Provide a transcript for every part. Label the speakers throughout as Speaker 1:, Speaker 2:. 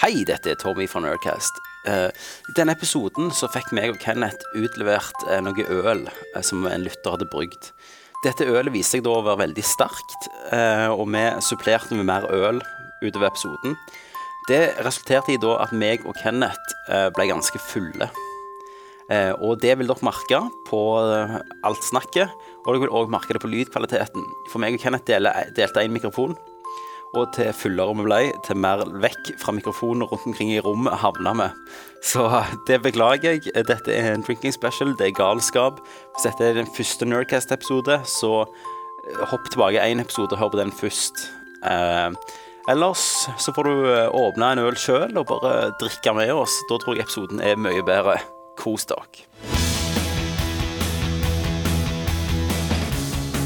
Speaker 1: Hei, dette er Tommy fra Nerdcast. Eh, I denne episoden så fikk meg og Kenneth utlevert eh, noe øl eh, som en lytter hadde brygd. Dette ølet viste seg da å være veldig sterkt, eh, og vi supplerte med mer øl utover episoden. Det resulterte i da at meg og Kenneth eh, ble ganske fulle. Eh, Og det vil dere merke på eh, alt snakket, og dere vil også merke det på lydkvaliteten. For meg og Kenneth dele- delte én mikrofon, og til fullere vi ble, til mer vekk fra mikrofoner rundt omkring i rommet havna vi. Så eh, det beklager jeg. Eh, Dette er en drinking special, det er galskap. Hvis dette er den første Nerdcast-episode, så eh, hopp tilbake én episode og hør på den først. Eh, ellers så får du eh, åpne en øl sjøl og bare drikke med oss. Da tror jeg episoden er mye bedre. Kos dere.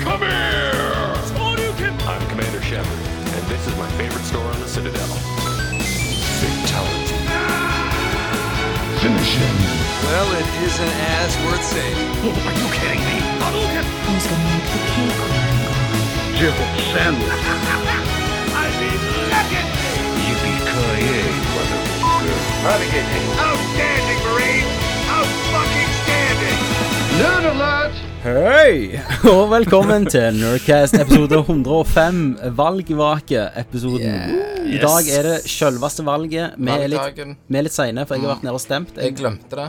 Speaker 2: Come here! I'm Commander Shepard, and this is my favorite store on the Citadel. Fatality.
Speaker 3: Well, it isn't as worth saying.
Speaker 4: Who's gonna make the cake work?
Speaker 2: Outstanding, Marine! Out fucking standing!
Speaker 5: Hei, og velkommen til Nerdcast episode 105, valgvake-episoden. I dag er det selveste valget. Vi er litt,
Speaker 6: Valgdagen.
Speaker 5: vi er litt seine, for jeg har vært nede og stemt.
Speaker 6: Jeg
Speaker 5: Jeg,
Speaker 6: glemte det.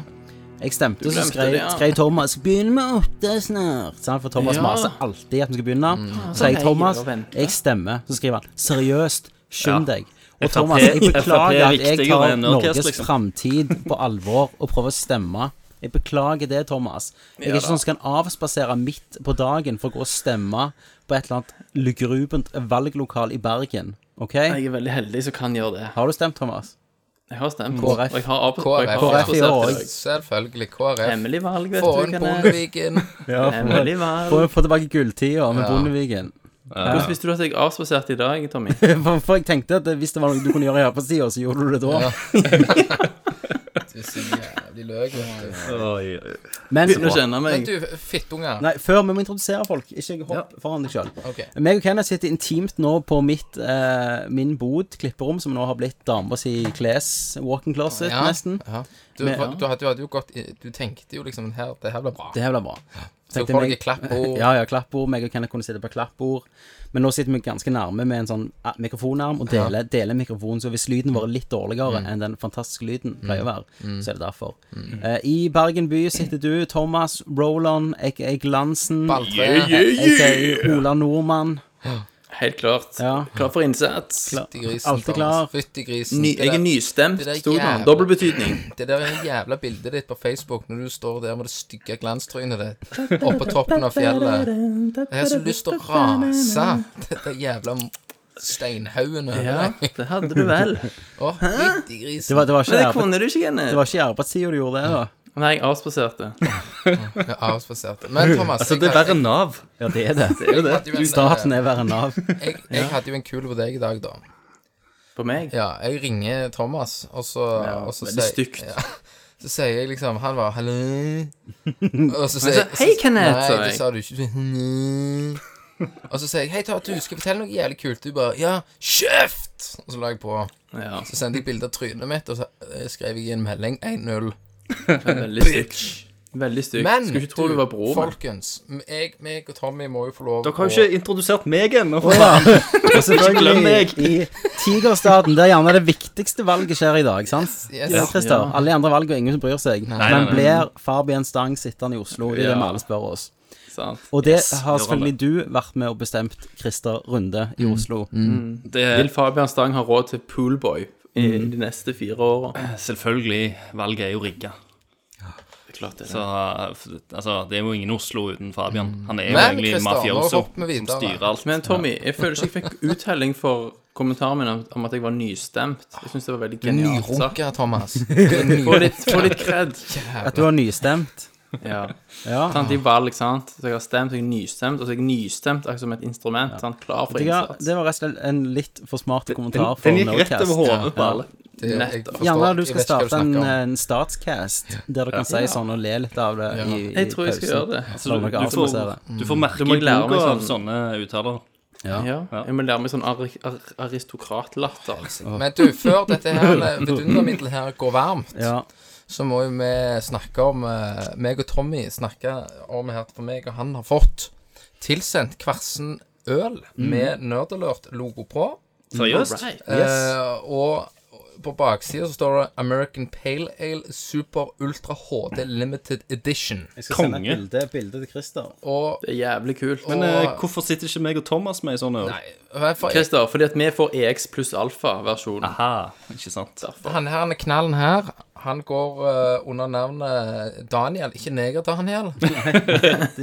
Speaker 5: jeg stemte, så
Speaker 1: glemte
Speaker 5: skrev,
Speaker 1: det, ja.
Speaker 5: skrev Thomas Begynn med åtte snart. sant? For Thomas
Speaker 6: Ja.
Speaker 5: maser alltid at vi skal begynne. Så jeg,
Speaker 6: heier
Speaker 5: Thomas,
Speaker 6: og venter.
Speaker 5: jeg stemmer. Så skriver han seriøst, skynd deg. Og
Speaker 7: FRP
Speaker 5: Thomas, jeg beklager at jeg
Speaker 7: viktigere
Speaker 5: tar
Speaker 7: enn Nerdcast,
Speaker 5: Norges
Speaker 7: liksom.
Speaker 5: framtid på alvor og prøver å stemme. Jeg beklager det, Thomas. Jeg er ikke sånn som kan avspasere midt på dagen for å gå og stemme på et eller annet lugrubent valglokal i Bergen. OK?
Speaker 7: Jeg er veldig heldig som kan gjøre det.
Speaker 5: Har du stemt, Thomas?
Speaker 7: Jeg har stemt.
Speaker 5: KrF.
Speaker 7: Og jeg har av- og
Speaker 6: KrF.
Speaker 7: jeg har
Speaker 5: KrF i år
Speaker 7: avspasert
Speaker 5: også.
Speaker 7: det.
Speaker 6: Selvfølgelig. KrF.
Speaker 7: Hemmelig valg, vet
Speaker 6: Få
Speaker 7: du. eh,
Speaker 6: inn
Speaker 7: Kenneth.
Speaker 6: Bondeviken.
Speaker 5: Ja,
Speaker 7: Hemmelig valg.
Speaker 5: Få få tilbake gulltida med
Speaker 6: Ja.
Speaker 5: Bondevigen.
Speaker 7: Hvordan visste du at jeg avspaserte i dag, Tommy?
Speaker 5: For, for jeg tenkte at hvis det var noe du kunne gjøre her på sida, så gjorde du det da.
Speaker 6: Du er så jævlig løk. vet du.
Speaker 5: Men,
Speaker 7: Nå kjenner jeg
Speaker 6: Men
Speaker 7: meg.
Speaker 6: du, fittunger.
Speaker 5: nei, før vi må introdusere folk, ikke hopp foran deg sjøl.
Speaker 6: Ok.
Speaker 5: Meg og Kenneth sitter intimt nå på mitt, eh, min bod, klipperom, som nå har blitt dama si kles walking closet,
Speaker 6: Ja,
Speaker 5: nesten.
Speaker 6: ja. Du,
Speaker 5: Men-
Speaker 6: du, hadde, du hadde jo gått i- Du tenkte jo liksom her, Det her blir bra.
Speaker 5: Det her blir bra.
Speaker 6: Så
Speaker 5: Tenkte
Speaker 6: får dere
Speaker 5: meg-
Speaker 6: klappord.
Speaker 5: Ja, ja, klappbord. Meg og Kenneth kunne sitte på klappbord. Men nå sitter vi ganske nærme med en sånn eh, mikrofonarm og deler, deler mikrofonen. Så hvis lyden vår er litt dårligere enn den fantastiske lyden pleier å være, så er det derfor. Eh, I Bergen by sitter du, Thomas Roland, aka Glansen,
Speaker 6: Balltre.
Speaker 5: aka Ola Nordmann.
Speaker 7: Helt klart.
Speaker 5: Ja.
Speaker 7: Klar for innsats.
Speaker 6: Fytti grisen.
Speaker 5: Alltid klar.
Speaker 6: Fytti grisen.
Speaker 7: Ny, jeg er
Speaker 6: det,
Speaker 7: nystemt.
Speaker 6: det der
Speaker 7: Sto det
Speaker 6: jævla-
Speaker 7: nå. Dobbel betydning.
Speaker 6: der, det der er det jævla bildet ditt på Facebook når du står der med det stygge glanstrynet ditt oppå toppen av fjellet. Jeg har så lyst til å rase. Dette jævla steinhaugene.
Speaker 7: Ja, det hadde du vel.
Speaker 6: Å, fytti grisen.
Speaker 5: Det var, det var
Speaker 7: Men
Speaker 5: ikke
Speaker 7: det
Speaker 5: Gjerpe-
Speaker 7: kunne du ikke,
Speaker 5: det
Speaker 7: Kenneth.
Speaker 5: var ikke Gjerpatsia du gjorde det, da.
Speaker 7: Nei, jeg avspaserte.
Speaker 6: Ja, avspasert. Men Thomas,
Speaker 7: Altså,
Speaker 6: jeg, hadde,
Speaker 7: Nav.
Speaker 5: Ja, det er det.
Speaker 6: jeg, jeg, hadde jo en, eh,
Speaker 5: Staten er verre enn Nav.
Speaker 6: jeg, jeg hadde jo en kul på deg i dag, da.
Speaker 7: På meg.
Speaker 6: Ja, jeg ringer Thomas, og så, og så
Speaker 7: veldig stygt.
Speaker 6: Ja, så sier jeg liksom Han var 'hallo'. Og så sier
Speaker 7: sa, «Hei, Kenneth», sa
Speaker 6: Nei, det
Speaker 7: jeg.
Speaker 6: sa du ikke. «Hallo». Og så sier jeg 'Hei, Tara, du skal fortelle noe jævlig kult'. Du bare 'Ja, kjeft!' Og så la jeg på.
Speaker 7: Ja,
Speaker 6: Så sendte jeg bilde av trynet mitt, og så eh, skrev jeg i en melding 1-0.
Speaker 7: veldig stygt. Veldig stygt.
Speaker 6: Men
Speaker 7: Skulle ikke tro du var broren min.
Speaker 6: folkens, jeg, meg og Tommy må jo få lov
Speaker 7: Dere har jo ikke introdusert meg ennå. for faen.
Speaker 5: Og
Speaker 7: glem
Speaker 5: selvfølgelig
Speaker 7: meg.
Speaker 5: i Tigerstaden, der gjerne det viktigste valget skjer i dag, sant?
Speaker 6: Yes.
Speaker 5: Ja, Christer.
Speaker 7: Ja.
Speaker 5: Alle andre valg og ingen som bryr seg. Men blir Fabian Stang sittende i Oslo? Det er det
Speaker 7: Ja.
Speaker 5: vi alle spør oss.
Speaker 7: Sant.
Speaker 5: Og det
Speaker 7: Yes, gjør
Speaker 5: har
Speaker 7: han
Speaker 5: selvfølgelig du vært med og bestemt, Christer Runde i Oslo.
Speaker 7: det. Vil Fabian Stang ha råd til poolboy i de neste fire årene?
Speaker 8: Selvfølgelig, valget er jo rigga.
Speaker 7: Klart det.
Speaker 8: Så, altså, det er jo ingen Oslo uten Fabian. Han er jo
Speaker 6: Mm. Men,
Speaker 8: egentlig en
Speaker 6: Christer, nå
Speaker 8: mafioso
Speaker 6: hopper vi
Speaker 8: som
Speaker 6: videre.
Speaker 8: styrer alt.
Speaker 7: Men Tommy, jeg føler ikke jeg fikk uttelling for kommentaren min om, om at jeg var nystemt. Jeg syns det var veldig genialt sagt.
Speaker 6: Nyrunka, Thomas. Det er
Speaker 7: Få
Speaker 6: ny-
Speaker 7: altså. litt, få litt cred.
Speaker 5: At du har nystemt.
Speaker 7: Ja.
Speaker 5: Ja.
Speaker 7: Sant, I valg, sant. Så jeg har stemt, og jeg er nystemt, og så er jeg nystemt akkurat som et instrument. Sant? Klar for
Speaker 5: Det var
Speaker 7: innsats.
Speaker 5: det var rett og slett en litt for smart kommentar for
Speaker 7: Den gikk rett
Speaker 5: Nerdcast.
Speaker 7: over hodet på alle.
Speaker 6: det- jeg forstår-
Speaker 5: Gjerne du
Speaker 6: jeg vet ikke
Speaker 5: skal
Speaker 6: hva du
Speaker 5: starte en,
Speaker 6: snakker
Speaker 5: eh,
Speaker 6: om.
Speaker 5: en statscast, der du kan si sånn og le litt av det i, i
Speaker 7: Jeg tror jeg skal gjøre det.
Speaker 8: Så
Speaker 5: Når
Speaker 8: du,
Speaker 5: dere
Speaker 8: du, får,
Speaker 5: avspasserer.
Speaker 8: du får merke
Speaker 7: Mm. må
Speaker 8: i
Speaker 7: lære meg
Speaker 8: boka av
Speaker 7: sånn-
Speaker 8: sånne uttaler.
Speaker 7: Ja. Jeg må lære meg sånn ar ar aristokratlatter.
Speaker 6: Men du, før dette her vidundermiddelet her går varmt,
Speaker 5: Ja.
Speaker 6: så må jo vi snakke om eh, meg og Tommy snakke om her for meg og han har fått tilsendt kvarsen øl
Speaker 5: Mm.
Speaker 6: med Nerdelert-logo på.
Speaker 8: Seriøst?
Speaker 6: Eh, og på baksida så står det American Pale Ale Super Ultra HD Limited Edition.
Speaker 5: Jeg skal
Speaker 8: Konge.
Speaker 5: sende et bilde, bilde til Christer.
Speaker 6: Og
Speaker 7: Det er jævlig kult.
Speaker 8: Men eh, hvorfor sitter ikke meg og Thomas med i sånn øl?
Speaker 6: Nei, hvorfor
Speaker 7: Christer, fordi at vi får EX pluss
Speaker 9: Ah,
Speaker 7: alfa-versjonen.
Speaker 8: Aha, ikke sant.
Speaker 6: Han her, han knallen her, han går eh, under navnet Daniel. Ikke neger-Daniel.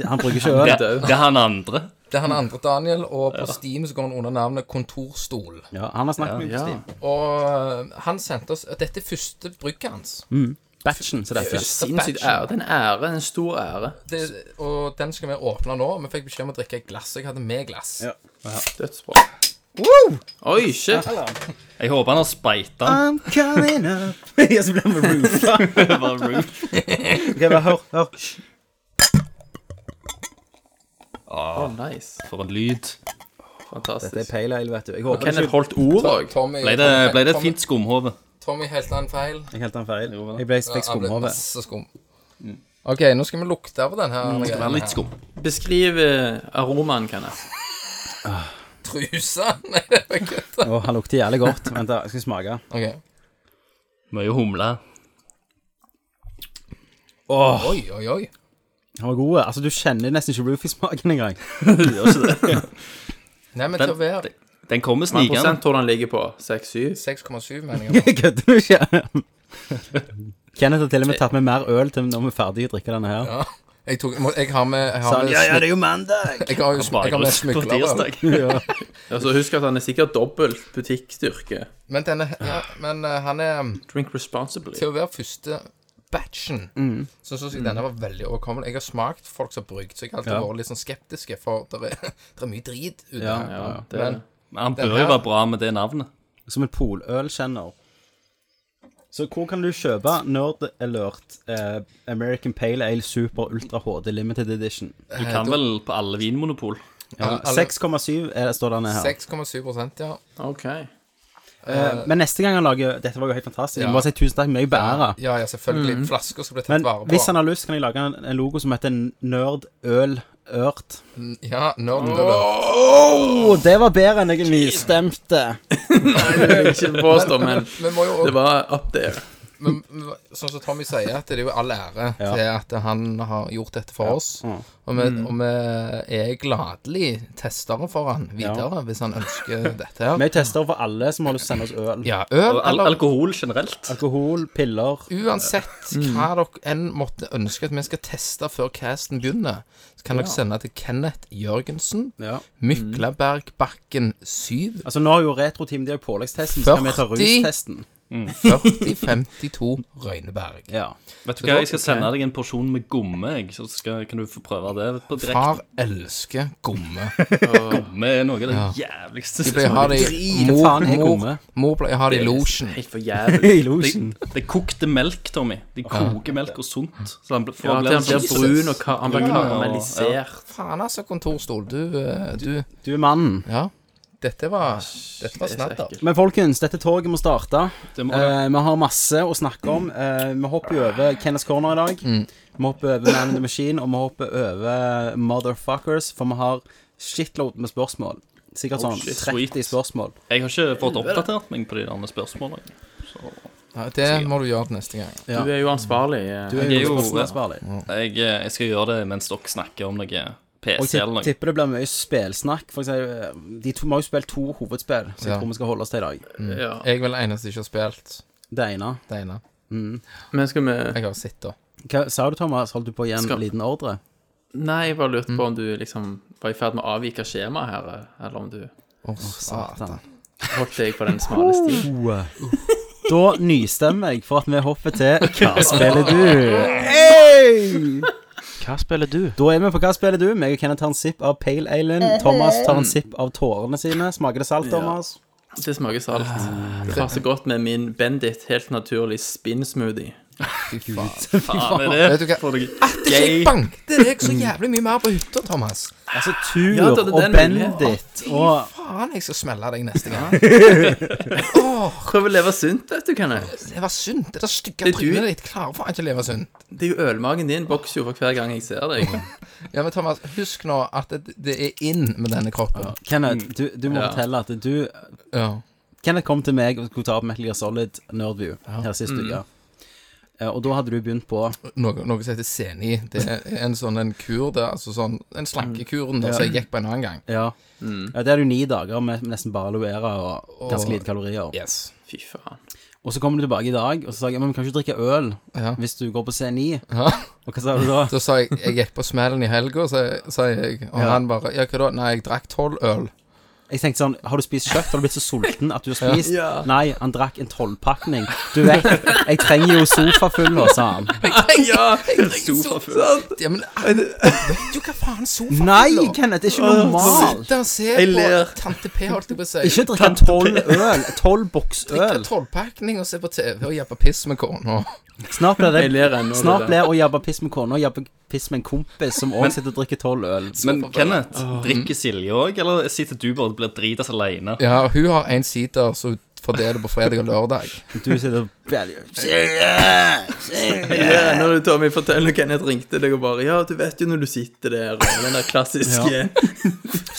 Speaker 5: Han bruker ikke øl.
Speaker 8: Det, det er han andre.
Speaker 6: Det er han andre Daniel, og på Steam så går han under navnet Kontorstol.
Speaker 5: Ja, han har snakket mye på Steam.
Speaker 6: Og eh, han sendte oss Dette er første brygget hans.
Speaker 8: Mm.
Speaker 5: Batchen, så det heter.
Speaker 6: Første
Speaker 7: Sinnssykt
Speaker 6: batchen.
Speaker 7: ære. Det er en ære. En stor ære.
Speaker 6: Det, og den skal vi åpne nå. Vi fikk beskjed om å drikke et glass. Jeg hadde med glass.
Speaker 5: Ja.
Speaker 7: Dødsbra. Oi, shit.
Speaker 8: Jeg håper han har speita den.
Speaker 5: I'm coming up. Ja, så blir vi roofa.
Speaker 8: Bare rude.
Speaker 5: Ok, bare hør, hør.
Speaker 7: Oh, nice.
Speaker 8: For en lyd.
Speaker 5: Dette er
Speaker 7: Fantastisk.
Speaker 5: pale ale, vet du. Jeg håper
Speaker 7: Kenneth holdt ord
Speaker 6: Tom-
Speaker 7: òg.
Speaker 6: Tommy,
Speaker 8: Ble det, ble det et
Speaker 6: Tommy-
Speaker 8: fint skumhove?
Speaker 6: Tommy helt en feil.
Speaker 5: Jeg helte han feil. Jeg ble fikk
Speaker 6: Han ble
Speaker 5: skumhove.
Speaker 6: masse skum. OK, nå skal vi lukte på den her.
Speaker 8: Mm. Det var litt skum.
Speaker 7: Beskriv eh, aromaen, Kenneth.
Speaker 6: Trusa? Nei, det var kødd.
Speaker 5: Å, han lukter jævlig godt. Vent, da. Jeg skal smake.
Speaker 6: Ok.
Speaker 8: Mye humle.
Speaker 6: Oi, oi, oi.
Speaker 5: Han var god. Altså, du kjenner nesten ikke roofie-smaken engang.
Speaker 6: Nei, men til å være
Speaker 8: Den, den kommer
Speaker 7: Hvor mange
Speaker 8: snikende.
Speaker 7: prosent tror du han ligger på? 6-7?
Speaker 6: 6,7 meninger.
Speaker 5: Kødder du ikke? Kenneth har til og med tatt med mer øl til når vi er ferdige å drikke denne her.
Speaker 6: Ja. Jeg, tok, må- jeg har med Jeg har med,
Speaker 5: Sånn, det er jo mandag!
Speaker 6: smy- jeg har jo smy- jeg har med
Speaker 8: Bakrus på
Speaker 6: smuglerøl.
Speaker 8: tirsdag.
Speaker 7: Altså, husk at han er sikkert dobbelt butikkstyrke.
Speaker 6: Men, denne, ja, men eh, han er um,
Speaker 7: Drink responsibly.
Speaker 6: Til å være første batchen,
Speaker 5: Mm.
Speaker 6: så syns jeg denne var veldig overkommelig. Jeg har smakt folk som har brygd, så jeg har alltid vært litt sånn skeptiske, for det er, der er mye drit ute.
Speaker 5: Ja,
Speaker 7: Ja,
Speaker 5: ja.
Speaker 7: det er
Speaker 6: Men-
Speaker 8: Men han
Speaker 6: Den
Speaker 8: bør
Speaker 6: her-
Speaker 8: jo være bra med det navnet.
Speaker 5: Som en polølkjenner. Så hvor kan du kjøpe Nerd Alert eh, American Pale Ale Super Ultra HD Limited Edition?
Speaker 8: Du kan vel på alle vinmonopol.
Speaker 5: Ja, 6,7 er det- står det ned her.
Speaker 6: 6,7 ja.
Speaker 7: OK.
Speaker 5: Eh, Men neste gang han lager Dette var jo helt fantastisk. Jeg må bare si tusen takk. Mye bedre.
Speaker 6: Ja, ja, selvfølgelig. Flasker skal bli tatt
Speaker 5: Mm. Men
Speaker 6: vare på.
Speaker 5: hvis han har lyst, kan jeg lage en, en logo som heter Nerd Øl Ørt.
Speaker 6: Ja, nerd alert.
Speaker 5: Å, det var bedre enn jeg nystemte.
Speaker 7: Jeg vil ikke påstå, men
Speaker 6: Vi må jo
Speaker 7: det var up there.
Speaker 6: men, men, Sånn som Tommy sier, at det er jo all ære
Speaker 5: Ja.
Speaker 6: til at han har gjort dette for oss.
Speaker 8: Mm.
Speaker 6: Og vi, og vi er gladelig testere for han videre, hvis han ønsker dette her.
Speaker 5: Vi tester for alle som har lyst til å sende oss øl.
Speaker 6: Ja, øl
Speaker 8: Og al
Speaker 6: eller
Speaker 8: alkohol generelt.
Speaker 5: Alkohol, piller
Speaker 6: Uansett hva dere enn måtte ønske at vi skal teste før casten begynner, så kan dere sende til Kenneth Jørgensen,
Speaker 5: Ja.
Speaker 6: Myklabergbakken 7,
Speaker 5: Altså, nå har jo Retroteam de har påleggstesten, så skal vi ta
Speaker 6: 40.
Speaker 5: rustesten.
Speaker 6: 4052 Røyneberg.
Speaker 5: Ja.
Speaker 8: Vet du hva, jeg skal sende deg en porsjon med gomme, jeg, så skal, kan du få prøve det på direkten.
Speaker 6: Far elsker gomme.
Speaker 8: Gomme er noe av det jævligste
Speaker 6: De pleier å ha det i
Speaker 5: Hva faen er
Speaker 6: mor-
Speaker 5: gomme?
Speaker 6: mor- Mor pleier å ha det i losjen.
Speaker 7: Helt for jævlig.
Speaker 5: Illusion.
Speaker 8: Det er kokte melk, Tommy. De koker melk og sunt. Så den blir
Speaker 7: Ja, til han blir
Speaker 8: Jesus.
Speaker 7: brun og ka- han blir
Speaker 8: Ja, ja.
Speaker 7: karamellisert.
Speaker 6: Faen, altså, kontorstol. Du, eh, du
Speaker 5: Du er mannen.
Speaker 6: Ja. Dette var Dette var
Speaker 7: Det er så
Speaker 6: snadder.
Speaker 7: ekkelt.
Speaker 5: Men folkens, dette toget må starte.
Speaker 8: Det må det.
Speaker 5: Eh, vi har masse å snakke om. Eh, vi hopper jo over Kenneth Corner i dag.
Speaker 8: Mm.
Speaker 5: Vi hopper over Man in the Machine, og vi hopper over Motherfuckers, for vi har shitload med spørsmål. Sikkert sånn
Speaker 8: Oh, shit,
Speaker 5: 30
Speaker 8: sweet.
Speaker 5: spørsmål.
Speaker 8: Jeg har ikke fått oppdatert meg på de andre spørsmålene.
Speaker 6: Ja, Det må du gjøre til neste gang.
Speaker 5: Ja.
Speaker 7: Du er jo ansvarlig. eh.
Speaker 5: Du er
Speaker 8: Jeg er
Speaker 5: jo
Speaker 8: jo-
Speaker 5: spørsmålsansvarlig.
Speaker 8: Jeg, eh, jeg skal gjøre det mens dere snakker om noe
Speaker 5: Og
Speaker 8: PC
Speaker 5: jeg
Speaker 8: eller noe.
Speaker 5: tipper det blir mye spelsnakk. For eksempel, eh, de to, vi har jo spilt to hovedspill, så jeg
Speaker 6: Ja.
Speaker 5: tror vi skal holde oss til i dag.
Speaker 8: Mm.
Speaker 7: Ja.
Speaker 6: Jeg er vel den eneste som ikke har spilt
Speaker 5: Det ene.
Speaker 6: det ene.
Speaker 7: Men skal vi
Speaker 6: Jeg har sett det.
Speaker 5: Hva sa du, Thomas? Holdt du på å gi en
Speaker 7: Skal-
Speaker 5: liten ordre?
Speaker 7: Nei, jeg bare lurte på om du liksom var i ferd med å avvike skjemaet her, eh, eller om du
Speaker 6: Å, satan.
Speaker 7: holdt deg på den smale stien.
Speaker 5: Da nystemmer jeg for at vi hopper til Hva spiller du? Hey!
Speaker 10: Hva spiller du?
Speaker 5: Da er vi på Hva spiller du? Meg og Kenneth tar en sipp av Pale Alien. Thomas tar
Speaker 7: eh.
Speaker 5: en sipp av tårene sine. Smaker det salt, Thomas?
Speaker 7: Det smaker salt. Det passer godt med min Bendit helt naturlig spin-smoothie.
Speaker 6: Fy faen.
Speaker 8: Faen er
Speaker 6: Vet
Speaker 8: det?
Speaker 6: du hva? Mm. At ikke jeg bankte deg så jævlig mye mer på hytta, Thomas.
Speaker 5: Altså, Tur
Speaker 7: Ja, det- det er
Speaker 5: og
Speaker 7: den
Speaker 5: Bendit og
Speaker 6: Faen, jeg skal smelle deg neste gang. Åh,
Speaker 7: Prøv å leve sunt, vet du, Kenneth.
Speaker 6: det var sunt. Det der stygge
Speaker 7: Det er du.
Speaker 6: trynet ditt klarer faen ikke å leve sunt.
Speaker 7: Det er jo ølmagen din bokser jo for hver gang jeg ser deg.
Speaker 6: Ja, men Thomas, husk nå at det, det er inn med denne kroppen.
Speaker 5: Kenneth, du, du må
Speaker 7: Ja.
Speaker 5: fortelle at du
Speaker 6: Ja.
Speaker 5: Kenneth kom til meg og skulle ta opp Metal Gear Solid Nerdview her sist
Speaker 7: Mm.
Speaker 5: uke. Eh, Og da hadde du begynt på
Speaker 6: Noe, noe som heter seni. Det er en sånn en kur der, altså sånn En slankekuren der som jeg gikk på en annen gang.
Speaker 5: Ja.
Speaker 7: Mm.
Speaker 5: ja det er jo ni dager med nesten bare Aluera og ganske lite kalorier.
Speaker 6: Yes.
Speaker 7: Fy faen.
Speaker 5: Og så kommer du tilbake i dag og så sa jeg, men kan du ikke drikke øl
Speaker 6: Ja.
Speaker 5: hvis du går på C9?
Speaker 6: Ja.
Speaker 5: Og hva sa du da?
Speaker 6: Så sa jeg Jeg gikk på smellen i helga, sa sa jeg. Og
Speaker 5: Ja.
Speaker 6: han bare Ja, hva da? Nei, jeg drakk tolv øl.
Speaker 5: Jeg tenkte sånn, har du spist kjøtt? Har du blitt så sulten at du har spist? Nei, han drakk en tolvpakning. Du vet, jeg trenger jo sofa full nå, sa han.
Speaker 7: Ja, sofafull.
Speaker 6: Ja, men jeg vet jo hva faen sofaen
Speaker 5: Nei, Kenneth, det er ikke normalt.
Speaker 6: Sitte og se
Speaker 7: Jeg ler.
Speaker 6: på Tante P, holdt jeg på å si.
Speaker 5: Ikke drikke tolv øl, tolv boks
Speaker 6: drikke
Speaker 5: øl.
Speaker 6: tolvpakning og se på TV og jabbe piss med kona.
Speaker 5: Snart blir det
Speaker 7: Jeg ler ennå.
Speaker 5: Snart
Speaker 7: det der.
Speaker 5: blir å jabbe piss med kona og jabbe piss med en kompis som også sitter og drikker tolv øl.
Speaker 8: Men Kenneth, drikker Silje òg, eller sitter du bare og blir dritas alene?
Speaker 6: Ja, og hun har en sider, så hun fordeler på fredag og lørdag.
Speaker 5: Du sitter og Shit.
Speaker 7: Jeg ler ennå når Tommy forteller når Kenneth ringte deg og bare Ja, du vet jo når du sitter der, og den der klassiske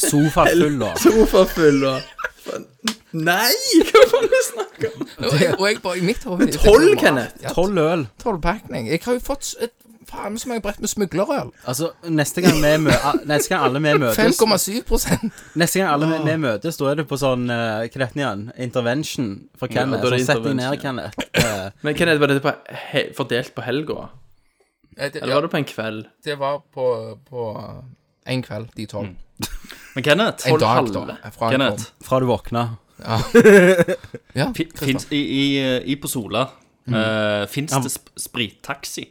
Speaker 5: sofa full, da.
Speaker 7: sofafull og Faen, Nei! Hva faen er det du snakker om?
Speaker 6: Og jeg, og jeg bare i mitt hode
Speaker 7: Tolv, Kenneth!
Speaker 5: Tolv øl.
Speaker 6: Tolvpakning. Jeg har jo fått s- et faen så mange brett med smuglerøl.
Speaker 5: Altså, neste gang vi mø a- Neste gang alle vi møtes
Speaker 6: 5,7
Speaker 5: Neste gang alle vi- vi møtes, da er det på sånn eh, Hva heter det igjen? Intervention for Kenneth.
Speaker 7: da er det
Speaker 5: så sett deg ned,
Speaker 7: intervention,
Speaker 5: Kenneth. Eh,
Speaker 7: Men Kenneth, var dette på he fordelt på helga?
Speaker 6: Eh, Det,
Speaker 7: Eller
Speaker 6: ja,
Speaker 7: var det på en kveld?
Speaker 6: det var på, på en kveld, de tolv.
Speaker 8: Men Kenneth,
Speaker 6: En dag,
Speaker 7: halve.
Speaker 6: da. Fra en
Speaker 8: Kenneth
Speaker 5: fra du våkna.
Speaker 6: kom. Ja,
Speaker 8: fi- finnes, i, i, i på Sola mm. fins det sp sprittaxi?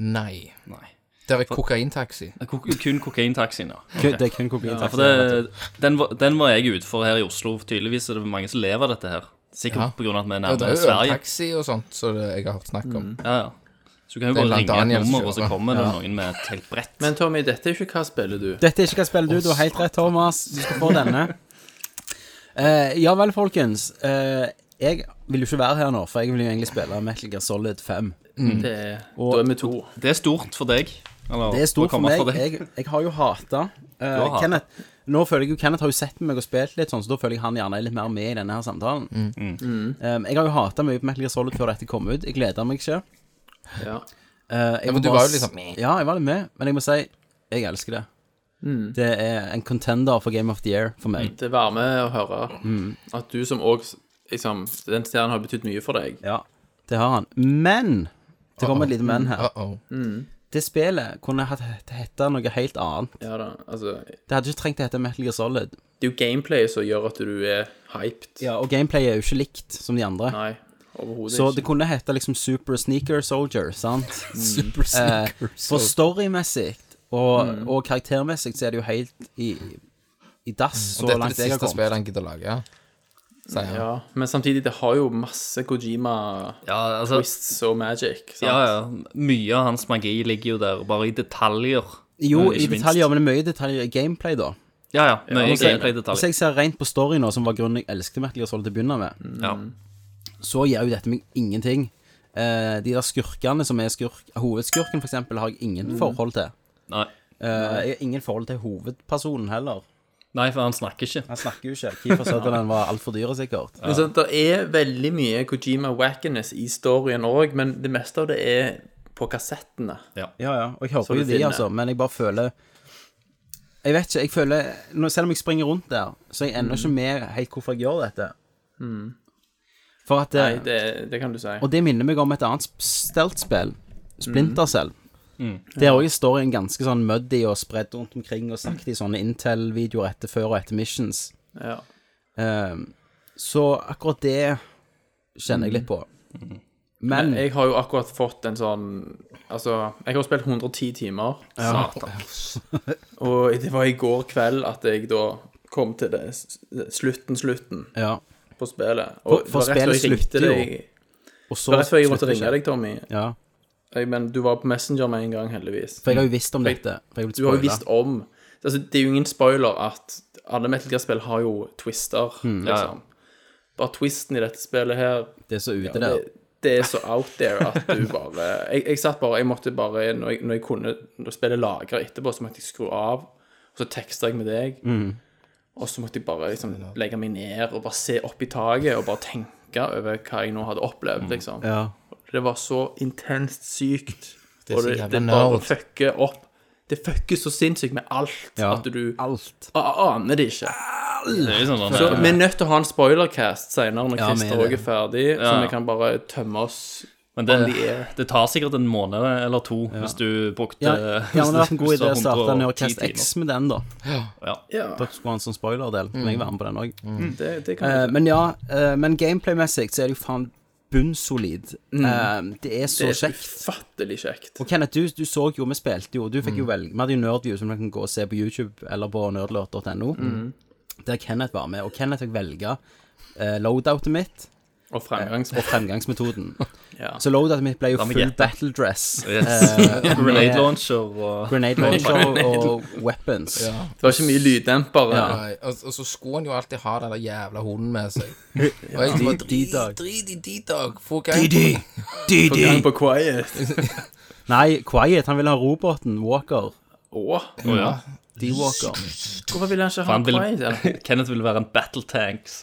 Speaker 6: Nei.
Speaker 8: Nei.
Speaker 6: Det er kokaintaxi.
Speaker 8: Det er ko- Kun kokaintaxien, ja.
Speaker 5: Kun- Det er kun kokain.
Speaker 8: Ja, for det, den, var- den var jeg ute for her i Oslo. Tydeligvis er det mange som lever av dette her.
Speaker 6: Ja.
Speaker 8: Sikkert på grunn av at vi er
Speaker 6: Ja, det
Speaker 8: nærmere
Speaker 6: er jo
Speaker 8: Sverige.
Speaker 6: øltaxi og sånt, så det jeg har hørt snakk om.
Speaker 8: Ja, ja. Så du kan jo
Speaker 6: Det er
Speaker 8: bare
Speaker 6: blant
Speaker 8: ringe
Speaker 6: Daniel
Speaker 8: et
Speaker 6: som
Speaker 8: nummer, og så
Speaker 6: kjører.
Speaker 8: kommer det noen med et helt brett.
Speaker 7: Men Tommy, dette er jo ikke hva spiller du?
Speaker 5: Dette er ikke hva spiller du, du har helt rett, Thomas. Du skal få denne. Eh, ja vel, folkens. Eh, jeg vil jo ikke være her nå, for jeg vil jo egentlig spille Metal Gear Solid 5.
Speaker 7: Det er, da er vi to.
Speaker 8: det er stort for deg. Eller,
Speaker 5: Det er
Speaker 8: å
Speaker 5: stort for
Speaker 8: komme
Speaker 5: meg.
Speaker 8: deg.
Speaker 5: Jeg, jeg har jo hata
Speaker 8: har hatet.
Speaker 5: Kenneth. Nå føler jeg jo Kenneth har jo sett meg og spilt litt, sånn, så da føler jeg han gjerne er litt mer med i denne her samtalen.
Speaker 6: Mm.
Speaker 5: Eh, jeg har jo hata mye på Metal Gear Solid før dette kom ut. Jeg gleder meg ikke.
Speaker 7: Ja.
Speaker 5: Eh, jeg
Speaker 6: Ja,
Speaker 5: må
Speaker 6: men du
Speaker 5: bare
Speaker 6: var jo
Speaker 5: s-
Speaker 6: liksom med.
Speaker 5: Ja, jeg var litt med, men jeg må si jeg elsker det. Det er en contender for Game of the Year for
Speaker 6: Mm.
Speaker 5: meg.
Speaker 7: Det varmer å høre at du som òg liksom, Den stjernen har betydd mye for deg.
Speaker 5: Ja, det har han. Men Det kommer et lite men her.
Speaker 6: Uh-oh. Mm.
Speaker 5: Det spillet kunne hatt hette noe helt annet.
Speaker 7: Ja da, altså
Speaker 5: Det hadde ikke trengt å hete Metal Gear Solid.
Speaker 7: Det er jo gameplayet som gjør at du er hyped.
Speaker 5: Ja, og gameplay er jo ikke likt som de andre.
Speaker 7: Nei, overhodet
Speaker 5: Så
Speaker 7: ikke.
Speaker 5: det kunne hete liksom Super Sneaker Soldier, sant?
Speaker 6: Mm. Super
Speaker 5: Eh,
Speaker 6: sneakers.
Speaker 5: for storymessig og, og karaktermessig så er det jo helt i, i dass så
Speaker 6: Dette er det
Speaker 5: langt jeg har
Speaker 6: siste
Speaker 5: kommet.
Speaker 6: spillet han gidder å lage. Sier han.
Speaker 7: ja. Men samtidig, det har jo masse Kojima-twists
Speaker 8: Ja, altså,
Speaker 7: og magic. Sant?
Speaker 8: ja, ja. Mye av hans magi ligger jo der, bare i detaljer.
Speaker 5: Jo,
Speaker 8: Eh,
Speaker 5: i
Speaker 8: ikke minst.
Speaker 5: detaljer, men det er mye detaljer i gameplay, da.
Speaker 8: Ja, ja. Mye
Speaker 7: nå ser jeg
Speaker 5: Hvis
Speaker 7: det.
Speaker 8: gameplay-detaljer.
Speaker 5: jeg ser rent på story nå, som var grunnen jeg elsket Metal Gear Solid til å begynne
Speaker 9: Mm.
Speaker 5: med,
Speaker 8: Ja.
Speaker 5: så gjør jo dette meg ingenting. Eh, de der skurkene som er skurk Hovedskurken, for eksempel, har jeg ingen forhold til.
Speaker 8: Nei.
Speaker 5: Eh, jeg har ingen forhold til hovedpersonen heller.
Speaker 8: Nei, for han snakker ikke.
Speaker 5: Han snakker jo ikke. Keefer Sutherland var altfor dyr, sikkert.
Speaker 7: Men så, det er veldig mye Kojima-wackiness i storyen òg, men det meste av det er på kassettene.
Speaker 5: Ja, ja. Og jeg håper
Speaker 7: du
Speaker 5: jo de,
Speaker 7: finner.
Speaker 5: altså. Men jeg bare føler Jeg vet ikke. jeg føler nå, Selv om jeg springer rundt der, så er jeg ennå ikke
Speaker 7: Mm.
Speaker 5: med helt hvorfor jeg gjør dette. For at
Speaker 7: Nei,
Speaker 5: eh,
Speaker 7: det, det kan du si.
Speaker 5: Og det minner meg om et annet sp- stealth-spill.
Speaker 7: Mm.
Speaker 5: Splinter Cell. Der òg er storyen ganske sånn muddy og spredt rundt omkring og sagt i sånne Intel-videoer etter før og etter missions.
Speaker 7: Ja.
Speaker 5: Ehm, så akkurat det kjenner jeg litt på.
Speaker 7: Mm.
Speaker 5: Men
Speaker 7: Jeg har jo akkurat fått en sånn Altså, jeg har spilt 110 timer. Satan. Og det var i går kveld at jeg da kom til det s- slutten, slutten
Speaker 5: ja.
Speaker 7: på spillet.
Speaker 5: For- for
Speaker 7: det var rett og slett
Speaker 5: spillet
Speaker 7: jeg ringte
Speaker 5: slutter jo.
Speaker 7: deg-
Speaker 5: Og så
Speaker 7: Det var rett før jeg måtte
Speaker 5: slutter
Speaker 7: ringe
Speaker 5: det.
Speaker 7: deg, Tommy.
Speaker 5: Ja,
Speaker 7: Jeg, men du var på Messenger med en gang, heldigvis.
Speaker 5: for jeg har jo visst om dette. For jeg har blitt
Speaker 7: Du har jo
Speaker 5: spoilet.
Speaker 7: visst om altså, Det er jo ingen spoiler at alle Metal Gear-spill har jo twister,
Speaker 5: Hmm.
Speaker 7: liksom. Bare twisten i dette spillet her
Speaker 5: Det er så ute
Speaker 7: det,
Speaker 5: der.
Speaker 7: det er så out there at du bare Jeg, jeg satt bare Jeg måtte bare Når jeg, når jeg kunne Når spillet lagra etterpå, så måtte jeg skru av, og så teksta jeg med deg.
Speaker 5: Mm.
Speaker 7: Og så måtte jeg bare liksom legge meg ned og bare se opp i taket og bare tenke over hva jeg nå hadde opplevd, liksom.
Speaker 5: Mm. Ja.
Speaker 7: Det var så intenst sykt.
Speaker 6: Det er
Speaker 7: og
Speaker 6: så
Speaker 7: det,
Speaker 6: jævla
Speaker 7: det bare
Speaker 6: nerd.
Speaker 7: fucker opp. Det fucker så sinnssykt med alt
Speaker 5: Ja.
Speaker 7: at du
Speaker 5: Alt.
Speaker 7: A- aner det ikke.
Speaker 9: Det er jo sånn
Speaker 7: Så
Speaker 9: der,
Speaker 7: vi er nødt til å ha en spoilercast senere,
Speaker 5: Ja,
Speaker 7: når
Speaker 5: vi er
Speaker 7: Christer òg
Speaker 5: det.
Speaker 7: er ferdig, så vi kan bare tømme oss.
Speaker 9: Men det,
Speaker 7: on the air.
Speaker 9: det tar sikkert en måned eller to hvis du brukte
Speaker 5: Ja, ja, men det hadde vært en god
Speaker 9: eh, hvis
Speaker 5: idé
Speaker 9: du har
Speaker 5: å starte
Speaker 9: 110
Speaker 5: Nerdcast X
Speaker 9: timer.
Speaker 5: med den, da.
Speaker 9: Ja.
Speaker 7: Ja,
Speaker 5: Da skulle han ha en sånn spoiler-del. Kan jeg være med på den òg?
Speaker 7: det, det kan
Speaker 5: Eh,
Speaker 7: vi.
Speaker 5: men ja, eh, men gameplay-messig så er det jo faen bunnsolid. Eh, det er så
Speaker 7: Det er så
Speaker 5: kjekt.
Speaker 7: ufattelig kjekt.
Speaker 5: Og Kenneth, du, du så jo, vi spilte jo, du fikk jo velge, vi hadde jo Nerdview som du kan gå og se på YouTube eller på nerdlert.no, der Kenneth var med, og Kenneth fikk velge eh, loadoutet mitt
Speaker 7: Og fremgangs...
Speaker 5: og fremgangsmetoden.
Speaker 7: Ja.
Speaker 5: Så loadoutet mitt ble jo
Speaker 9: La meg
Speaker 5: full
Speaker 9: gjette.
Speaker 5: battle dress,
Speaker 9: Yes. Grenade launcher og
Speaker 5: grenade launcher og, og weapons.
Speaker 7: Det var ikke mye lyddempere.
Speaker 5: Ja.
Speaker 6: Nei, og, og så skulle han jo alltid ha den der jævla hunden med seg. Og jeg bare drit,
Speaker 5: D-dog.
Speaker 6: drit i D-dog. Få gang på
Speaker 7: På gang på quiet.
Speaker 5: Nei, Quiet, han ville ha roboten, Walker,
Speaker 7: Åh,
Speaker 9: Å, ja.
Speaker 5: D-Walker.
Speaker 7: hvorfor ville han ikke ha
Speaker 9: Han vil,
Speaker 7: quiet? eller?
Speaker 9: Kenneth vil være en battle tanks.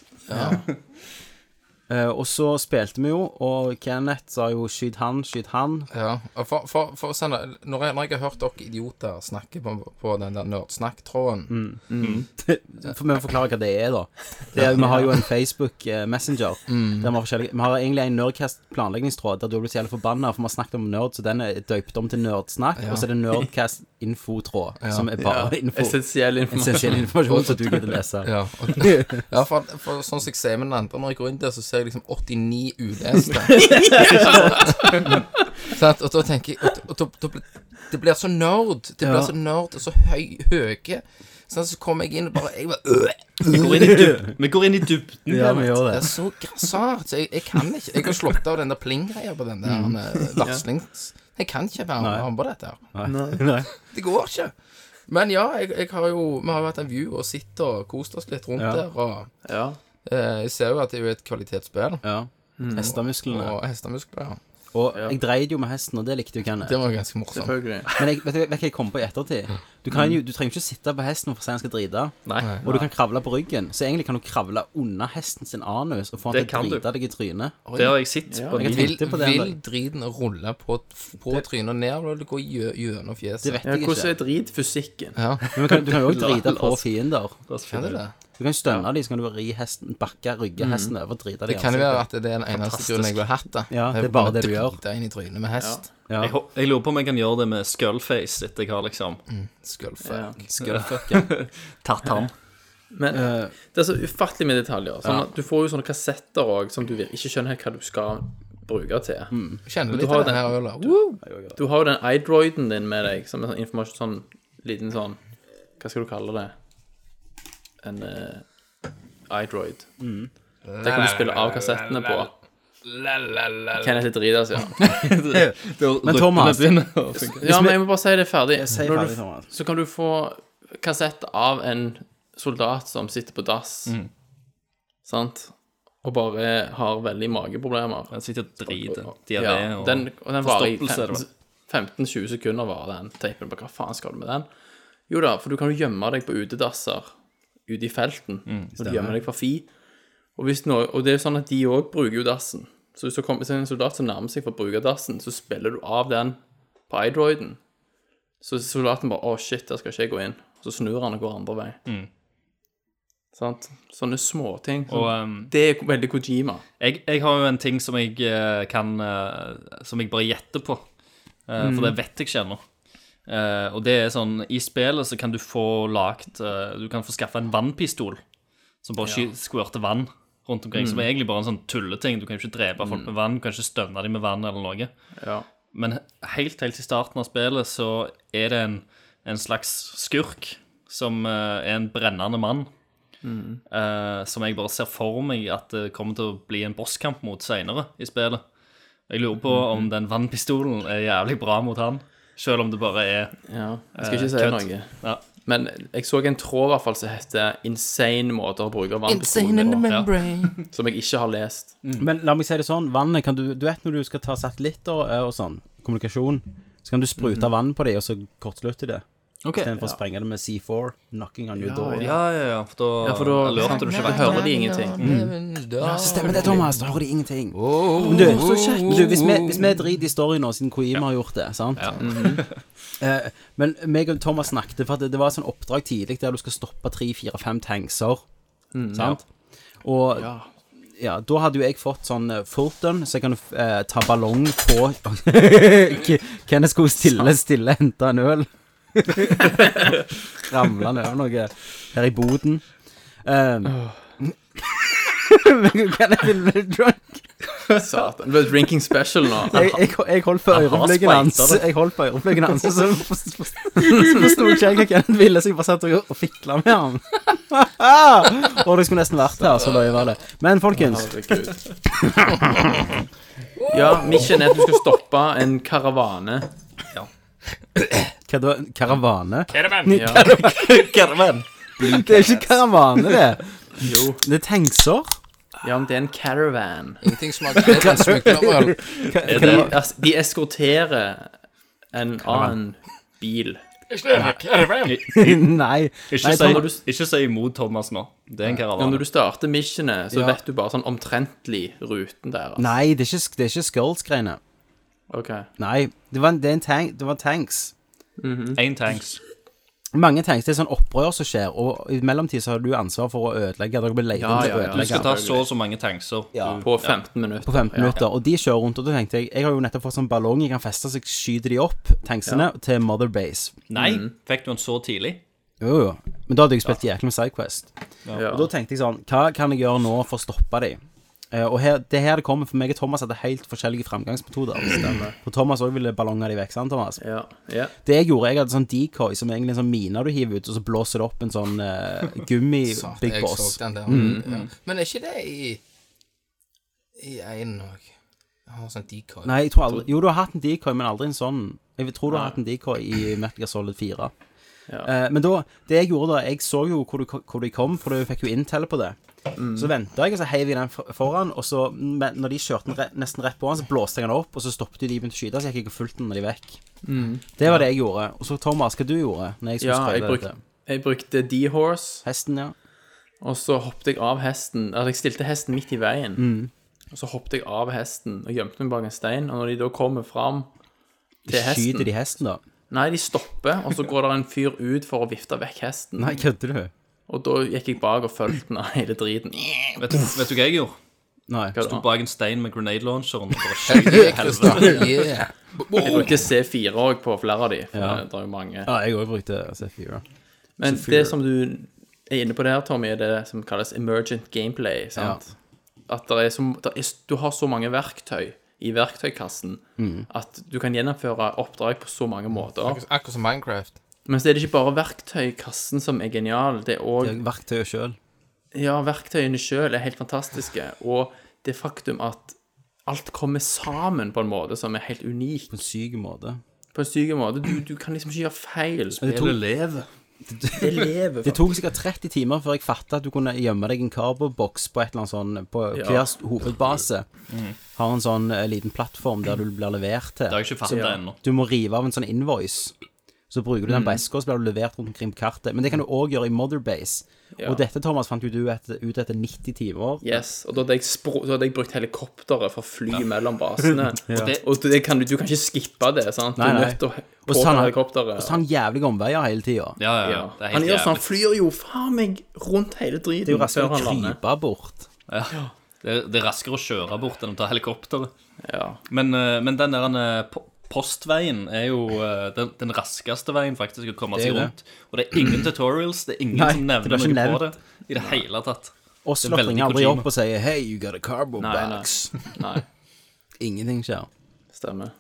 Speaker 5: Eh, og så spilte vi jo, og Kenneth sa jo skyt han, skyt han.
Speaker 6: Ja, og for, for, for å sende, når, jeg, når jeg har hørt dere idioter snakke på, på den der nerdsnakk-tråden
Speaker 9: Mm.
Speaker 5: For vi må forklare hva det er, da. Det er, vi har jo en Facebook eh, Messenger. Der vi, har forskjellige- vi har egentlig en Nerdcast planleggingstråd der du har blitt så jævlig forbanna, for vi har snakket om nerd, så den er døypt om til nerdsnakk. Og så er det Nerdcast infotråd, som er bare info.
Speaker 7: Essensiell informasjon.
Speaker 5: Essensiell informasjon som du gidder lese.
Speaker 6: Ja, og- ja for, for sånn som jeg ser med den andre Når jeg går inn der, så ser jeg liksom 89 uleste. Sant? Og da tenker jeg og, og, da, da, blir- Det blir så nerd. Det blir
Speaker 5: Ja.
Speaker 6: så nerd og så høy, høye. Sant? Så kommer jeg inn og bare Jeg bare øh,
Speaker 9: Vi går inn i dybden. Vi går inn i dybden.
Speaker 5: Ja, vi gjør
Speaker 6: Det er
Speaker 5: det.
Speaker 6: så grassat. så Jeg, jeg kan ikke. Jeg har slått av den der pling-greia på den
Speaker 5: Mm.
Speaker 6: der eh, varslings... Jeg kan ikke være med ham på dette. her.
Speaker 5: Nei.
Speaker 6: Det går ikke. Men ja, jeg, jeg har jo, vi har jo hatt en view og sittet og kost oss litt rundt
Speaker 5: Ja.
Speaker 6: der. Og
Speaker 7: Ja.
Speaker 6: eh, jeg ser jo at det er jo et kvalitetsspill.
Speaker 5: Ja. Mm. Hestemusklene.
Speaker 6: Og hestemuskler.
Speaker 5: Og jeg dreide jo med hesten, og det likte jo Kenneth.
Speaker 6: Det var jo ganske morsomt.
Speaker 7: Selvfølgelig.
Speaker 5: Men jeg, vet, du- vet du hva jeg kom på i ettertid? Du, kan jo, du trenger jo ikke sitte på hesten for å si han skal drite. Og du kan kravle på ryggen, så egentlig kan du kravle under hesten sin anus og få han
Speaker 9: Det
Speaker 5: til å
Speaker 9: kan du.
Speaker 5: drite deg i trynet.
Speaker 9: Det har jeg sett på
Speaker 5: Jeg
Speaker 9: video.
Speaker 6: Vil,
Speaker 5: tenkte på det en
Speaker 6: vil
Speaker 5: dag.
Speaker 6: driten rulle på, på trynet ned, eller vil det gå gjø- gjennom
Speaker 5: Det
Speaker 6: fjeset?
Speaker 5: vet
Speaker 7: Ja,
Speaker 5: jeg ikke.
Speaker 7: hvordan er dritfysikken?
Speaker 6: Ja,
Speaker 5: Men du kan- du kan jo også drite på fiender.
Speaker 6: kan det det?
Speaker 5: Du kan stønne dem, så kan du ri hesten, bakke, rygge hesten over og drite dem.
Speaker 6: Det kan jo være at det er den eneste grunnen jeg vil ha hatt det.
Speaker 5: Ja,
Speaker 6: Jeg
Speaker 5: det er
Speaker 6: vil
Speaker 5: bare det du gjør.
Speaker 6: Drite inn i trynet med hest.
Speaker 5: Ja.
Speaker 9: Jeg, hå- jeg lurer på om jeg kan gjøre det med skullface etter jeg har liksom
Speaker 6: Skølfe.
Speaker 5: Skullfuck, ja.
Speaker 9: tatt han.
Speaker 7: Men det er så ufattelig med detaljer. Sånn at du får jo sånne kassetter òg som du vir- ikke skjønner helt hva du skal bruke til.
Speaker 6: Kjenner litt
Speaker 7: har
Speaker 6: av den
Speaker 7: den-
Speaker 6: her øla. Woo!
Speaker 7: Du har jo den iDroiden din med deg, som er sånn informasjon sånn liten sånn Hva skal du kalle det? En uh, iDroid.
Speaker 5: Mm.
Speaker 7: Det kan du spille av kassettene på. Kenneth er drita, sier han.
Speaker 5: Men Thomas,
Speaker 7: Ja, men jeg må bare si det ferdig.
Speaker 5: si
Speaker 7: Når du-
Speaker 5: ferdig, Thomas.
Speaker 7: Så kan du få kassett av en soldat som sitter på dass,
Speaker 5: Mm.
Speaker 7: sant, og bare har veldig mageproblemer.
Speaker 9: Han sitter og driter.
Speaker 7: Ja,
Speaker 9: Diaré og
Speaker 7: den, og den varer i
Speaker 9: forstoppelse, er det vel?
Speaker 7: 15 15-20 sekunder varer den teipen. Bare, Hva faen skal du med den? Jo da, for du kan jo gjemme deg på utedasser ute i felten. og du gjemmer deg fra fi. Og, hvis noe, og det er jo sånn at de òg bruker jo dassen. Så hvis det kommer hvis det er en soldat som nærmer seg for å bruke dassen, så spiller du av den på iDroiden. Så soldaten bare 'Å, shit, der skal ikke jeg gå inn'. Så snur han og går andre vei. Sant? Sånne småting.
Speaker 9: Og
Speaker 7: Sånn.
Speaker 9: ehm,
Speaker 7: Det er veldig Kojima.
Speaker 9: jeg, jeg har jo en ting som jeg eh, kan eh, Som jeg bare gjetter på. Eh, For det vet jeg ikke ennå. Eh, og det er sånn I spillet så kan du få lagt eh, Du kan få skaffa en vannpistol som bare sky- skvørter vann rundt omkring. Som er egentlig bare en sånn tulleting. Du kan jo ikke drepe folk med vann. Du kan ikke stønne dem med vann eller noe.
Speaker 7: Ja.
Speaker 9: Men helt helt i starten av spillet så er det en, en slags skurk som eh, er en brennende mann. eh, som jeg bare ser for meg at det kommer til å bli en bosskamp mot seinere i spillet.
Speaker 8: Jeg lurer på om
Speaker 7: Mhm.
Speaker 8: den vannpistolen er jævlig bra mot han, selv om det bare er
Speaker 7: Ja, jeg skal ikke
Speaker 8: Eh,
Speaker 7: si
Speaker 8: kødd.
Speaker 7: noe.
Speaker 8: ja.
Speaker 7: Men jeg så en tråd i hvert fall som heter 'Insane måter å bruke
Speaker 6: Insane in the
Speaker 7: vannpistolen på',
Speaker 6: membrane.
Speaker 7: som jeg ikke har lest.
Speaker 5: Men la meg si det sånn, vannet kan du Du vet når du skal ta satellitter eh, og sånn, kommunikasjon, så kan du sprute
Speaker 8: Mhm.
Speaker 5: vann på dem, og så kortslutte det. Istedenfor å sprenge det med C4. Knocking on your door.
Speaker 8: ja, ja, ja, for da,
Speaker 7: Ja, for da
Speaker 8: alerter du ikke
Speaker 7: Da
Speaker 8: vekk.
Speaker 7: hører de ingenting.
Speaker 6: Ja,
Speaker 5: Stemmer det, Thomas. Da har de ingenting. Men du, men du hvis, vi, hvis vi driter i story nå, siden Koima har gjort det sant? Eh, Men meg og Thomas snakket, for at det, det var et sånt oppdrag tidlig der du skal stoppe tre, fire, fem tankser. sant? Og ja. da hadde jo jeg fått sånn eh, Fulton, så jeg kan eh, ta ballong på K- Kenneth skulle stille, stille hente en øl. Ramla ned noe her i boden. Um, Kenneth vil bli drunk.
Speaker 7: Satan. Det ble drinking special nå.
Speaker 5: jeg, jeg, jeg holdt på ørefløkken
Speaker 8: spikta
Speaker 5: hans.
Speaker 8: det.
Speaker 5: Jeg holdt på ørefløkken hans, så så forsto ikke jeg hva Kenneth ville, så jeg bare satt og, og fikla med ham. og det skulle nesten vært her, så løy var det. Men folkens,
Speaker 7: Herregud. Ja, mission er at du skal stoppe en karavane.
Speaker 5: hva da? Karavane?
Speaker 7: Ja.
Speaker 5: Det er ikke karavane, det.
Speaker 7: Jo.
Speaker 5: Det er tankser.
Speaker 7: ja, men det er en caravan.
Speaker 6: Ingenting smaker bedre enn smuglerøl.
Speaker 7: Er det, altså, de eskorterer en annen bil.
Speaker 5: Nei.
Speaker 8: Ikke,
Speaker 7: Tom, når du-
Speaker 8: si, ikke si imot Thomas nå. Det er en
Speaker 7: Ja,
Speaker 8: karavane.
Speaker 7: når du starter missionet, så
Speaker 5: Ja.
Speaker 7: vet du bare sånn omtrentlig ruten der. altså.
Speaker 5: Nei, det er ikke, det er ikke Skulls-greiene.
Speaker 7: Ok.
Speaker 5: Nei, det var, en, det er en tank, det var tanks.
Speaker 8: Én tanks.
Speaker 5: Mange tanks, det er sånn opprør som skjer, og i mellomtid så har du ansvar for å ødelegge. Dere blir leid
Speaker 7: Ja,
Speaker 5: til
Speaker 7: ja,
Speaker 5: å
Speaker 7: ja.
Speaker 8: Du
Speaker 5: ødelegge.
Speaker 8: skal ta så og så mange tankser.
Speaker 5: Ja.
Speaker 8: Du-
Speaker 7: På 15 minutter.
Speaker 5: på 15 minutter, og de kjører rundt, og da tenkte jeg Jeg har jo nettopp fått sånn ballong jeg kan feste, så jeg skyter de opp, tanksene, til Mother Base.
Speaker 8: Nei,
Speaker 7: Mhm.
Speaker 8: fikk du den så tidlig?
Speaker 5: Jo, jo. Men da hadde jeg spilt jæklig med Sidequest.
Speaker 7: Ja.
Speaker 5: Og da tenkte jeg sånn Hva kan jeg gjøre nå for å stoppe de? Eh, og her, det er her det kommer, for meg og Thomas hadde helt forskjellige framgangsmetoder. For Thomas òg ville ballonger de vekk, sant, Thomas?
Speaker 7: Ja. ja.
Speaker 5: Det jeg gjorde, jeg hadde sånn decoy, som egentlig er en sånn mine du hiver ut, og så blåser det opp en sånn eh, gummi-big
Speaker 6: Jeg
Speaker 5: boss.
Speaker 6: så den der. Ja. Men er ikke det i I én òg? Jeg har sånn decoy.
Speaker 5: Nei, jeg tror aldri Jo, du har hatt en decoy, men aldri en sånn. Jeg tror du har hatt en decoy i Metal Gear Solid 4. Eh, men da, det jeg gjorde da Jeg så jo hvor, du, ko- hvor de kom, for du fikk jo intel på det.
Speaker 7: Mm.
Speaker 5: Så venta jeg, og så heiv jeg den for- foran. Og så, men når de kjørte den re nesten rett på han, så blåste jeg den opp, og så stoppet de de begynte å skyte, så jeg gikk og fulgte den når de vekk. Det var det jeg gjorde. Og så, Thomas, hva du gjorde når jeg skulle
Speaker 7: Mm. ja
Speaker 5: ja,
Speaker 7: jeg,
Speaker 5: sprøyte
Speaker 7: brukte,
Speaker 5: dette?
Speaker 7: jeg brukte D-horse,
Speaker 5: Hesten, ja.
Speaker 7: og så hoppet jeg av hesten. Altså, jeg stilte hesten midt i veien.
Speaker 5: Mm.
Speaker 7: Og så hoppet jeg av hesten og gjemte meg bak en stein. Og når de da kommer fram
Speaker 5: Skyter
Speaker 7: til hesten
Speaker 5: de hesten, da?
Speaker 7: Nei, de stopper, og så går det en fyr ut for å vifte vekk hesten.
Speaker 5: Nei, kødder du?
Speaker 7: Og da gikk jeg bak og fulgte den av hele driten.
Speaker 8: Vet du, vet du hva jeg gjorde?
Speaker 5: Nei.
Speaker 8: Sto bak en stein med grenade launcheren og bare
Speaker 6: Yeah,
Speaker 8: skjøt helvete.
Speaker 6: Kristian, yeah.
Speaker 7: Jeg brukte C4 òg på flere av de, for
Speaker 5: Ja.
Speaker 7: det er jo mange.
Speaker 5: Ja, jeg òg brukte C4.
Speaker 7: Men det som du er inne på der, Tommy, er det som kalles emergent gameplay. sant? At der er så, der er, du har så mange verktøy i verktøykassen
Speaker 5: Mm.
Speaker 7: at du kan gjennomføre oppdrag på så mange måter.
Speaker 6: Akkurat som Minecraft.
Speaker 7: Men så er det ikke bare verktøykassen som er genial. Det
Speaker 5: Det
Speaker 7: er
Speaker 5: er
Speaker 7: òg
Speaker 5: Verktøyet sjøl.
Speaker 7: Ja, verktøyene sjøl er helt fantastiske. Og det faktum at alt kommer sammen på en måte som er helt unik.
Speaker 5: På en syk måte.
Speaker 7: På en syk måte. Du, du kan liksom ikke gjøre feil.
Speaker 5: Men det tok-
Speaker 7: Det lever.
Speaker 5: Det tok sikkert 30 timer før jeg fatta at du kunne gjemme deg i en carboboks på et eller annet sånn På
Speaker 7: Ja. Mm.
Speaker 5: hver s- hovedbase. Har en sånn eh, liten plattform der du blir levert
Speaker 8: Det har
Speaker 5: til.
Speaker 8: jeg ikke fattet ennå.
Speaker 5: Du må rive av en sånn invoice. Så bruker
Speaker 7: Mm.
Speaker 5: du den på eska, og så blir du levert rundt omkring på kartet. Men det kan du òg gjøre i Motherbase. Og dette, Thomas, fant jo du etter, ut etter 90 timer.
Speaker 7: Yes, og da hadde jeg, spro da hadde jeg brukt helikopteret for å fly mellom basene. Og det, og det kan, du- du kan ikke skippe det, sant? Du
Speaker 5: Nei,
Speaker 7: er
Speaker 5: nei.
Speaker 7: nødt til å
Speaker 5: Og så
Speaker 7: påta
Speaker 5: han-
Speaker 7: helikopteret.
Speaker 5: Og så tar han jævlige omveier hele tida.
Speaker 8: Ja, ja, ja.
Speaker 7: ja.
Speaker 8: Det er
Speaker 7: Han
Speaker 8: helt
Speaker 7: gjør sånn, han
Speaker 8: jævlig.
Speaker 7: flyr jo faen meg rundt hele driten
Speaker 5: Det er jo
Speaker 7: før
Speaker 5: raskere å
Speaker 7: han lander.
Speaker 5: krype bort.
Speaker 8: Ja. Det, er, det er raskere å kjøre bort enn å ta helikopteret.
Speaker 7: Ja.
Speaker 8: Men, eh, men den der eh, po- postveien er jo eh, den, den raskeste veien faktisk å komme
Speaker 5: Det er
Speaker 8: seg
Speaker 5: jo
Speaker 8: rundt. Og det er ingen tutorials, det er ingen
Speaker 5: Nei,
Speaker 8: som
Speaker 5: det blir
Speaker 8: nevner
Speaker 5: ikke
Speaker 8: noe på det
Speaker 5: nevnt.
Speaker 8: i det hele tatt.
Speaker 5: Oslo
Speaker 8: veldig
Speaker 5: ringer aldri
Speaker 8: Kojima.
Speaker 5: opp og sier 'Hey, you got a
Speaker 7: Nei, nei.
Speaker 5: carbobox'.
Speaker 7: Nei,
Speaker 5: Ingenting skjer.
Speaker 7: stemmer.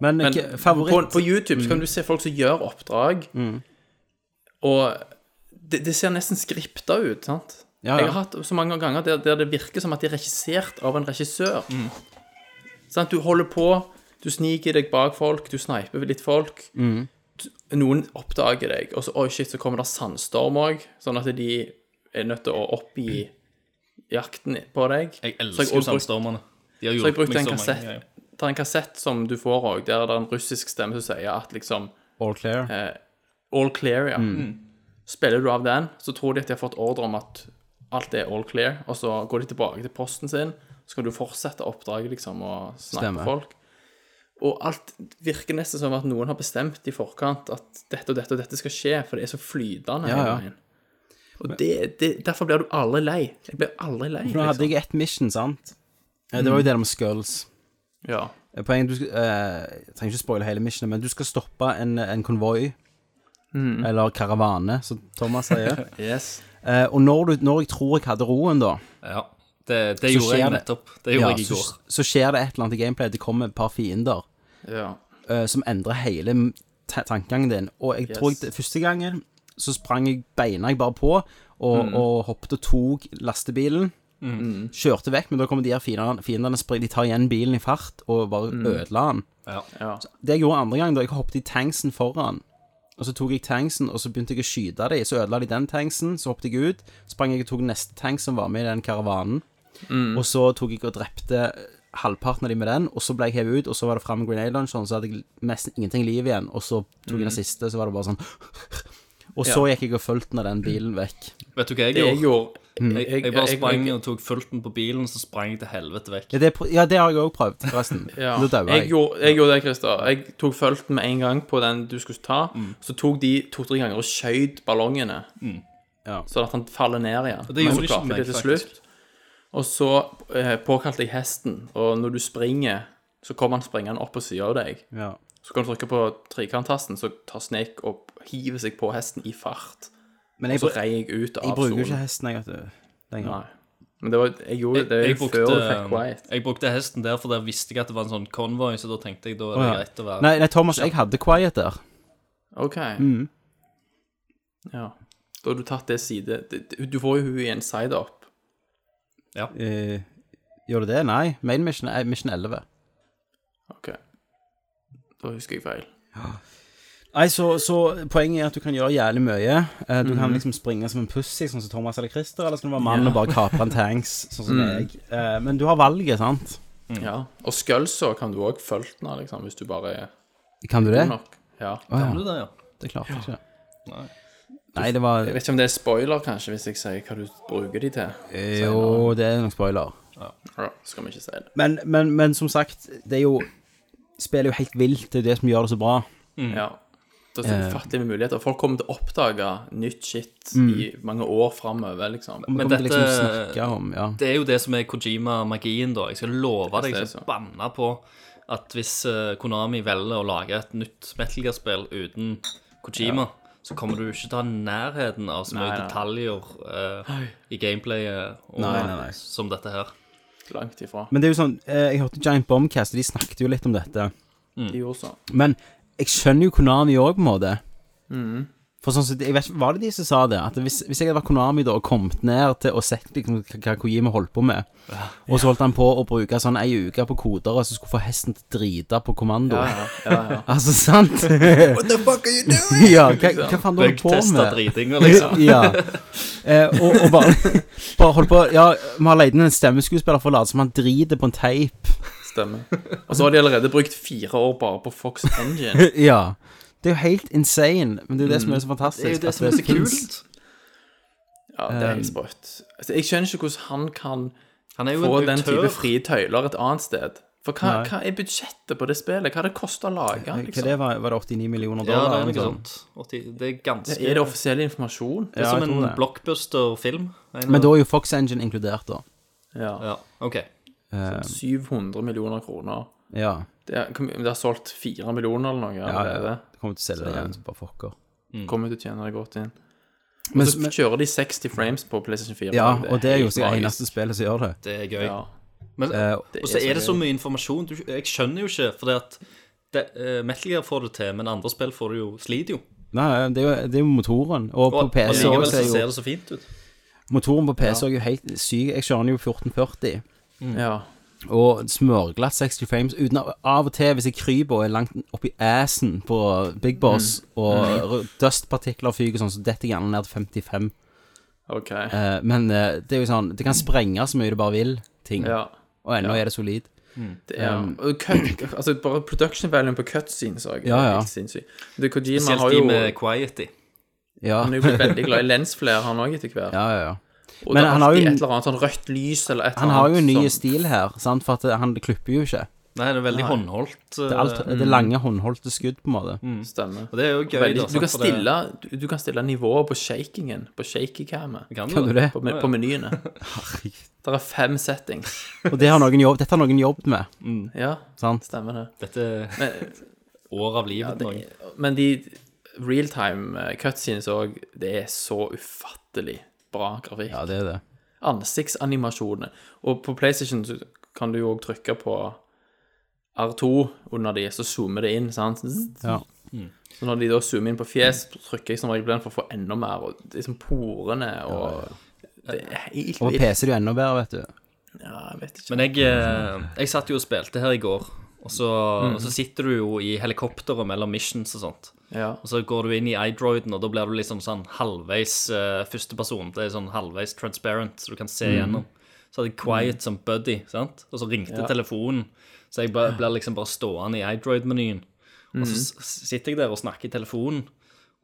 Speaker 5: Men, eh,
Speaker 7: Men
Speaker 5: ikke-
Speaker 7: på,
Speaker 5: favoritt
Speaker 7: på YouTube så kan du se folk som gjør oppdrag, og det, det ser nesten skripta ut, sant?
Speaker 5: Ja, ja.
Speaker 7: Jeg har hatt så mange ganger der, der det virker som at de er regissert av en regissør. Sant? Du holder på, du sniker deg bak folk, du sniper litt folk. Du- Noen oppdager deg, og så, oi shit, så kommer det sandstorm òg, sånn at de er nødt til å oppgi jakten på deg.
Speaker 9: Jeg
Speaker 7: Så jeg
Speaker 9: elsker jo
Speaker 7: også bruk-
Speaker 9: sandstormene. De
Speaker 7: Så
Speaker 9: har
Speaker 7: jeg
Speaker 9: hjulpet
Speaker 7: brukte
Speaker 9: meg
Speaker 7: en
Speaker 9: så mange
Speaker 7: kassett
Speaker 9: ganger.
Speaker 7: Det er en kassett som du får òg, der det er en russisk stemme som sier at liksom eh,
Speaker 5: All clear.
Speaker 7: All clear, ja.
Speaker 5: Mm.
Speaker 7: Mm. Spiller du av den, så tror de at de har fått ordre om at alt er all clear, og så går de tilbake til posten sin, så kan du fortsette oppdraget, liksom, og snakke
Speaker 5: Stemmer.
Speaker 7: med folk. Og alt virker nesten som at noen har bestemt i forkant at dette og dette og dette skal skje, for det er så flytende.
Speaker 5: Ja,
Speaker 7: hele
Speaker 5: ja.
Speaker 7: veien. Og det, det, derfor blir du aldri lei. Jeg blir aldri lei.
Speaker 5: For nå hadde
Speaker 7: liksom.
Speaker 5: jeg ett mission, sant? Eh,
Speaker 9: Mm.
Speaker 5: Det var jo det med skulls.
Speaker 7: liksom. Ja.
Speaker 5: Eh, Poenget du skal- eh, Jeg trenger ikke spoile hele missionet, men du skal stoppe en, en konvoi.
Speaker 9: Mm.
Speaker 5: Eller karavane, som Thomas sier.
Speaker 7: Yes.
Speaker 5: Eh, og når, du, når jeg tror jeg hadde roen, da
Speaker 9: Ja, det, det
Speaker 5: Så
Speaker 9: gjorde
Speaker 5: skjer
Speaker 9: jeg
Speaker 5: det.
Speaker 9: nettopp. Det gjorde
Speaker 5: ja,
Speaker 9: jeg i
Speaker 5: så,
Speaker 9: går.
Speaker 5: så skjer det et eller annet i gameplay. Det kommer et par fiender
Speaker 7: Ja.
Speaker 5: eh, som endrer hele ta- tankegangen din. Og jeg tror jeg, det- første gangen så sprang jeg beina jeg bare på, og, og hoppet og tok lastebilen. Kjørte vekk, men da kommer de her fiendene, fiendene spring- de tar igjen bilen i fart og bare ødela den.
Speaker 9: Ja.
Speaker 5: Det jeg gjorde andre gang, da jeg hoppet i tanksen foran, og så tok jeg tanksen, og så begynte jeg å skyte dem, så ødela de den tanksen, så hoppet jeg ut, sprang jeg og tok neste tank som var med i den karavanen, og så tok jeg og drepte halvparten av dem med den, og så ble jeg hevet ut, og så var det fram med grenade launcheren, Sånn, så hadde jeg nesten ingenting liv igjen, og så tok jeg den
Speaker 9: Mm.
Speaker 5: siste, så var det bare sånn Og så gikk jeg og fulgte den av den bilen vekk.
Speaker 9: Vet du hva jeg
Speaker 7: Det
Speaker 9: gjorde?
Speaker 7: jeg gjorde
Speaker 5: Mm.
Speaker 9: Jeg, jeg,
Speaker 7: jeg-
Speaker 9: bare
Speaker 7: jeg-
Speaker 9: sprang
Speaker 7: jeg-
Speaker 9: og tok fulten på bilen, så sprang jeg til helvete vekk.
Speaker 5: Ja, det, pr- ja, det har jeg òg prøvd, forresten.
Speaker 7: Ja.
Speaker 5: Da daua
Speaker 7: Jeg,
Speaker 5: jeg.
Speaker 7: gjorde, jeg gjorde det, Christer. Jeg tok følten med en gang på den du skulle ta.
Speaker 5: Mm.
Speaker 7: Så tok de to-tre ganger og skjøt ballongene,
Speaker 5: Ja.
Speaker 7: sånn at han faller ned igjen.
Speaker 9: det
Speaker 7: Men
Speaker 9: gjorde
Speaker 7: så
Speaker 9: ikke
Speaker 7: klarte jeg
Speaker 9: meg,
Speaker 7: det til
Speaker 9: faktisk.
Speaker 7: slutt. Og så eh, påkalte jeg hesten, og når du springer, så kommer han springende opp på sida av deg.
Speaker 5: Ja.
Speaker 7: Så kan du trykke på trekant-tasten, så tar Snake og hiver seg på hesten i fart.
Speaker 5: Men jeg,
Speaker 7: Så
Speaker 5: br
Speaker 7: rei jeg ut
Speaker 5: jeg
Speaker 7: av
Speaker 5: bruker jo ikke
Speaker 7: solen.
Speaker 5: hesten, jeg, vet du. Lenger.
Speaker 7: Nei. Men det var, jeg gjorde det
Speaker 9: Jeg
Speaker 7: før du fikk
Speaker 9: brukte, um,
Speaker 7: quiet.
Speaker 9: jeg brukte hesten der, for der visste jeg at det var en sånn konvoi, så da tenkte jeg da er det
Speaker 5: Å, ja.
Speaker 9: greit å være
Speaker 5: Nei, nei, Thomas, jeg hadde quiet der.
Speaker 7: Ok. Ja. Da har du tatt det side... det- Du får jo hun i en side-up.
Speaker 5: Eh, gjør det det? Nei. Main mission er mission 11.
Speaker 7: Ok. Da husker jeg feil.
Speaker 5: Nei, så, så poenget er at du kan gjøre jævlig mye. Eh, du kan liksom springe som en pussy, sånn som Thomas eller Christer, eller så kan du være mann og bare kapre en tanks, sånn som jeg. Eh, men du har valget, sant?
Speaker 7: Ja. Og skølser kan du òg følge nå, liksom, hvis du bare er
Speaker 5: Kan du
Speaker 7: god
Speaker 5: det?
Speaker 7: nok. Ja.
Speaker 5: Å, ja.
Speaker 9: Du der, ja.
Speaker 5: Det klarte jeg ikke. Nei, det var
Speaker 7: Jeg vet ikke om det er spoiler, kanskje, hvis jeg sier hva du bruker de til.
Speaker 5: Jo, det er nok spoiler.
Speaker 7: Ja, skal vi ikke si det.
Speaker 5: Men, men, men som sagt, det er jo Spillet er jo helt vilt. Det er jo det som gjør det så bra.
Speaker 7: Ja. Da er det ufattelig med muligheter. Folk kommer til å oppdage nytt shit i mange år framover, liksom.
Speaker 5: Men
Speaker 9: dette-
Speaker 5: dette liksom snakke om, ja.
Speaker 9: Det er jo det som er Kojima-magien, da. Jeg skal love deg,
Speaker 7: det er
Speaker 9: jeg skal banne på at hvis eh, Konami velger å lage et nytt Metal Gear-spill uten Kojima, så kommer du ikke til å ha nærheten av så mye
Speaker 7: Nei, nei.
Speaker 9: detaljer eh, i gameplayet og,
Speaker 5: Nei, nei, nei.
Speaker 9: som dette her.
Speaker 7: Langt ifra.
Speaker 5: Men det er jo sånn eh, Jeg hørte Giant Bombcast, og de snakket jo litt om dette.
Speaker 7: De gjorde sånn.
Speaker 5: Men jeg skjønner jo Konami òg, på en måte.
Speaker 9: Mm.
Speaker 5: For sånn, som- jeg vet, ikke- Var det de som sa det? At hvis, hvis jeg hadde vært Konami da og kommet ned til og sett liksom, hva- hva Kojima holdt på med, og så holdt han på å bruke sånn ei uke på koder og så skulle få hesten til å drite på kommando
Speaker 7: Ja, ja, ja.
Speaker 5: Altså, sant? What the fuck are you doing? ja, hva, hva faen holder du på
Speaker 9: Bugtesta
Speaker 5: med?
Speaker 9: dritinger, liksom.
Speaker 5: ja. Eh, og, og bare, bare holdt på Ja, vi har leid inn en stemmeskuespiller for å late som han driter på en teip.
Speaker 7: Stemmer. Og så har de allerede brukt fire år bare på Fox Engine.
Speaker 5: Ja. Det er jo helt insane, men det er jo det som er så fantastisk.
Speaker 9: Mm. Det er jo det
Speaker 5: at
Speaker 9: som er så
Speaker 5: finnes.
Speaker 9: kult.
Speaker 7: Ja, det
Speaker 5: Ehm,
Speaker 7: er helt sprøtt. Altså, jeg skjønner ikke hvordan han kan
Speaker 9: Han er jo
Speaker 7: få
Speaker 9: en
Speaker 7: den type
Speaker 9: autør.
Speaker 7: frie tøyler et annet sted. For hva,
Speaker 5: Nei.
Speaker 7: hva er budsjettet på det spillet? Hva har det kosta å lage?
Speaker 5: Hva
Speaker 7: Liksom?
Speaker 5: det var, var det 89 millioner
Speaker 9: Ja,
Speaker 5: dollar?
Speaker 9: det liksom- er
Speaker 5: eller
Speaker 9: noe
Speaker 5: sånt?
Speaker 9: sånt. 80 Det er ganske
Speaker 7: Er det offisiell informasjon?
Speaker 9: Det er
Speaker 5: Ja,
Speaker 9: som
Speaker 5: jeg
Speaker 9: en
Speaker 5: tror det.
Speaker 9: blockbuster-film.
Speaker 5: Men da er jo Fox Engine inkludert, da.
Speaker 7: Ja.
Speaker 9: Ja, OK.
Speaker 5: Ehm.
Speaker 7: 700 millioner kroner.
Speaker 5: Ja.
Speaker 7: Det, er, det har solgt fire millioner eller noe
Speaker 5: ja,
Speaker 7: allerede.
Speaker 5: ja. Du kommer til å selge det igjen, så bare fucker.
Speaker 9: Mm.
Speaker 7: Kommer til å tjene det godt inn.
Speaker 5: Men,
Speaker 7: Så
Speaker 5: men,
Speaker 7: kjører de 60 frames på PlayStation 4.
Speaker 5: ja, og det er jo
Speaker 7: helt
Speaker 5: så det
Speaker 7: magisk.
Speaker 5: eneste spillet som gjør det.
Speaker 9: Det er gøy.
Speaker 7: Ja.
Speaker 9: Men,
Speaker 5: Eh,
Speaker 9: og så er det så mye informasjon. Du, jeg skjønner jo ikke, for det at det, eh, Metal Gear får det til, men andre spill får det jo, sliter jo.
Speaker 5: nei, det er jo, det er jo motoren. Og på
Speaker 9: Og
Speaker 5: PC
Speaker 9: allikevel
Speaker 5: også
Speaker 9: så
Speaker 5: er
Speaker 9: ser
Speaker 5: jo
Speaker 9: det så fint ut.
Speaker 5: Motoren på PC er jo helt syk. Jeg kjører den jo 1440.
Speaker 7: Ja.
Speaker 5: Og smørglatt 60 frames. Uten av, av og til, hvis jeg kryper og er langt oppi assen på Big Boss,
Speaker 9: Mm.
Speaker 5: og rø- dustpartikler fyker og sånn, så detter jeg gjerne ned til 55.
Speaker 7: OK.
Speaker 5: Eh, men eh, det er jo sånn Det kan sprenge så mye du bare vil, ting.
Speaker 7: Ja.
Speaker 5: Og ennå
Speaker 7: Ja.
Speaker 5: er det solid.
Speaker 7: Det er,
Speaker 5: Ehm,
Speaker 7: og cut, altså bare production value på cutscenes òg.
Speaker 5: Ja, ja.
Speaker 7: Kojima
Speaker 8: Spesielt
Speaker 7: har
Speaker 8: de
Speaker 7: jo
Speaker 8: med quiety.
Speaker 5: Ja,
Speaker 7: Han er jo blitt veldig glad i lensflare, han òg, etter hvert.
Speaker 5: ja, ja. ja.
Speaker 7: og
Speaker 5: men
Speaker 7: det er
Speaker 5: han har jo
Speaker 7: alltid
Speaker 5: en-
Speaker 7: et eller annet sånn rødt lys eller et
Speaker 5: Han
Speaker 7: eller
Speaker 5: har jo en
Speaker 7: annet.
Speaker 5: ny
Speaker 7: sånn-
Speaker 5: stil her, sant? for at han klipper jo ikke.
Speaker 8: Nei, det er veldig håndholdt.
Speaker 5: Det, er alt,
Speaker 9: eh,
Speaker 5: det er lange, håndholdte skudd, på en måte.
Speaker 7: Mm. Stemmer.
Speaker 8: Og Mm. det er jo gøy,
Speaker 7: Veldig,
Speaker 8: da.
Speaker 7: du,
Speaker 8: sant,
Speaker 7: kan
Speaker 8: for det-
Speaker 7: stille, du, du kan stille nivået på shakingen, på shaky-camet,
Speaker 8: Kan
Speaker 5: Kan du
Speaker 8: du
Speaker 5: det?
Speaker 8: det?
Speaker 7: på, me-
Speaker 8: ja.
Speaker 7: på menyene. Det er fem settings.
Speaker 5: Og det har noen jobb, dette har noen jobbet med,
Speaker 7: Ja,
Speaker 5: sant?
Speaker 7: stemmer det.
Speaker 8: Dette er
Speaker 7: Men,
Speaker 8: år av livet. Norge.
Speaker 7: men de realtime eh, cutscenes òg, det er så ufattelig bra grafikk.
Speaker 5: Ja, det er det.
Speaker 7: Ansiktsanimasjoner. Og på PlayStation så kan du jo òg trykke på R2 under de, så zoomer det inn, sant?
Speaker 5: Ja.
Speaker 8: Mm.
Speaker 7: Så når de da zoomer inn på fjes, så trykker jeg som regel på den for å få enda mer, og liksom porene og Det er helt
Speaker 5: Og på
Speaker 7: vilt.
Speaker 5: PC er det jo enda bedre, vet du.
Speaker 7: Ja, jeg vet ikke.
Speaker 8: Men jeg, eh, jeg satt jo og spilte her i går, og så,
Speaker 5: Mm.
Speaker 8: og så sitter du jo i helikopteret mellom missions og sånt.
Speaker 7: Ja.
Speaker 8: Og så går du inn i iDroiden, og da blir du liksom sånn halvveis eh, førsteperson. Det er sånn halvveis transparent, så du kan se
Speaker 5: Mhm.
Speaker 8: igjennom. Så hadde jeg Quiet som buddy, sant? og så ringte telefonen. Så jeg bare, blir liksom bare stående i iDroid-menyen. Og
Speaker 5: Mhm.
Speaker 8: så s- s- sitter jeg der og snakker i telefonen,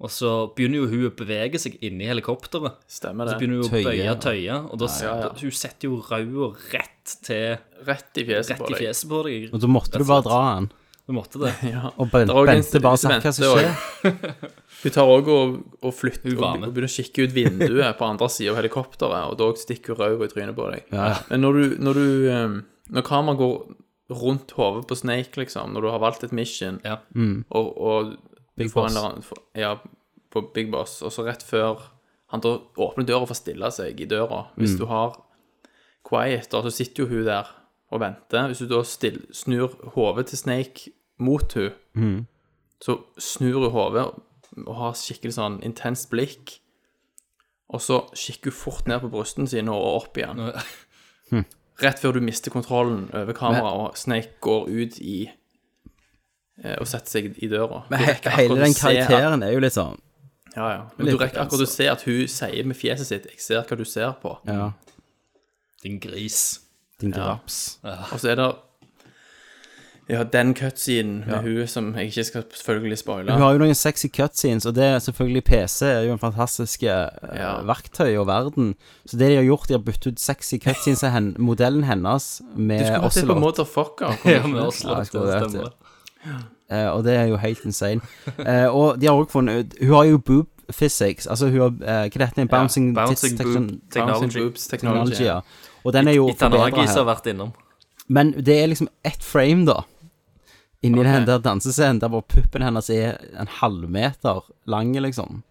Speaker 8: og så begynner jo hun å bevege seg inni helikopteret.
Speaker 7: Stemmer
Speaker 8: Så
Speaker 7: det.
Speaker 8: begynner hun å
Speaker 5: Tøye,
Speaker 8: bøye
Speaker 5: ja.
Speaker 8: og tøye, og da setter- hun setter jo rauda rett til
Speaker 7: Rett i fjeset
Speaker 8: Rett
Speaker 7: på
Speaker 8: i
Speaker 7: deg.
Speaker 8: fjeset på deg.
Speaker 5: Og så måtte du bare dra den.
Speaker 8: Du måtte det.
Speaker 7: Ja.
Speaker 5: Og ben,
Speaker 7: Det er også en-
Speaker 5: Bente bare sagt hva som
Speaker 7: Bente
Speaker 5: skjer.
Speaker 7: Hun tar òg og, og flytter
Speaker 8: Hun
Speaker 7: og,
Speaker 8: var med.
Speaker 7: og begynner å kikke ut vinduet på andre sida av helikopteret, og da stikker hun ræva i trynet på deg.
Speaker 5: Ja.
Speaker 7: Men når du Når, du, ehm, når kameraet går rundt hodet på Snake, liksom, når du har valgt et mission,
Speaker 8: Ja.
Speaker 7: og, og du
Speaker 5: Mm. Big
Speaker 7: får
Speaker 5: Boss.
Speaker 7: en eller annen får- Ja, på Big Boss, og så rett før han da åpner døra for å stille seg i døra Hvis
Speaker 5: Mm.
Speaker 7: du har Quiet, da, så sitter jo hun der og venter. Hvis du da still, snur hodet til Snake mot hun,
Speaker 5: Mm.
Speaker 7: så snur hun hodet og har skikkelig sånn intenst blikk, og så kikker hun fort ned på brysten sine og opp igjen.
Speaker 5: Hm.
Speaker 7: Rett før du mister kontrollen over kameraet, og Snake går ut i eh, og setter seg i døra. Du
Speaker 5: Men he-
Speaker 7: rekker
Speaker 5: hele
Speaker 7: akkurat
Speaker 5: den
Speaker 7: å se at-
Speaker 5: karakteren altså. er jo litt sånn
Speaker 7: Ja, ja. Men du rekker akkurat å se at hun sier med fjeset sitt 'Jeg ser hva du ser på'.
Speaker 5: Ja.
Speaker 8: Din gris.
Speaker 5: Din graps.
Speaker 7: Og så er det ja, den cutscenen med hun som jeg ikke skal selvfølgelig spoile.
Speaker 5: Hun har jo noen sexy cutscenes, og det er selvfølgelig PC er jo en fantastisk eh,
Speaker 7: Ja.
Speaker 5: verktøy og verden. Så det de har gjort, de har byttet ut sexy cutscenes av hen, modellen hennes
Speaker 7: Du
Speaker 5: med
Speaker 7: skulle hatt det på
Speaker 5: Ocelot.
Speaker 7: Motherfucker.
Speaker 8: Ja, med oss
Speaker 5: Ja, jeg
Speaker 8: lagt,
Speaker 5: skulle
Speaker 8: det
Speaker 5: vært
Speaker 8: stemmer.
Speaker 5: Eh, og det er jo helt insane. Eh, og de har også funnet ut Hun har jo boob physics. Altså hun har eh, Hva det heter det? Bouncing,
Speaker 8: Bouncing
Speaker 5: tits
Speaker 8: boob
Speaker 5: techn-
Speaker 7: Technology.
Speaker 8: technology.
Speaker 7: Boobs,
Speaker 5: technology.
Speaker 7: technology.
Speaker 5: Ja. Og den er jo forbedret
Speaker 8: Itanagi som
Speaker 5: her.
Speaker 8: har vært innom.
Speaker 5: Men det er liksom ett frame, da. Inni
Speaker 7: Ok.
Speaker 5: den der dansescenen der hvor puppen hennes er en halvmeter lang, liksom.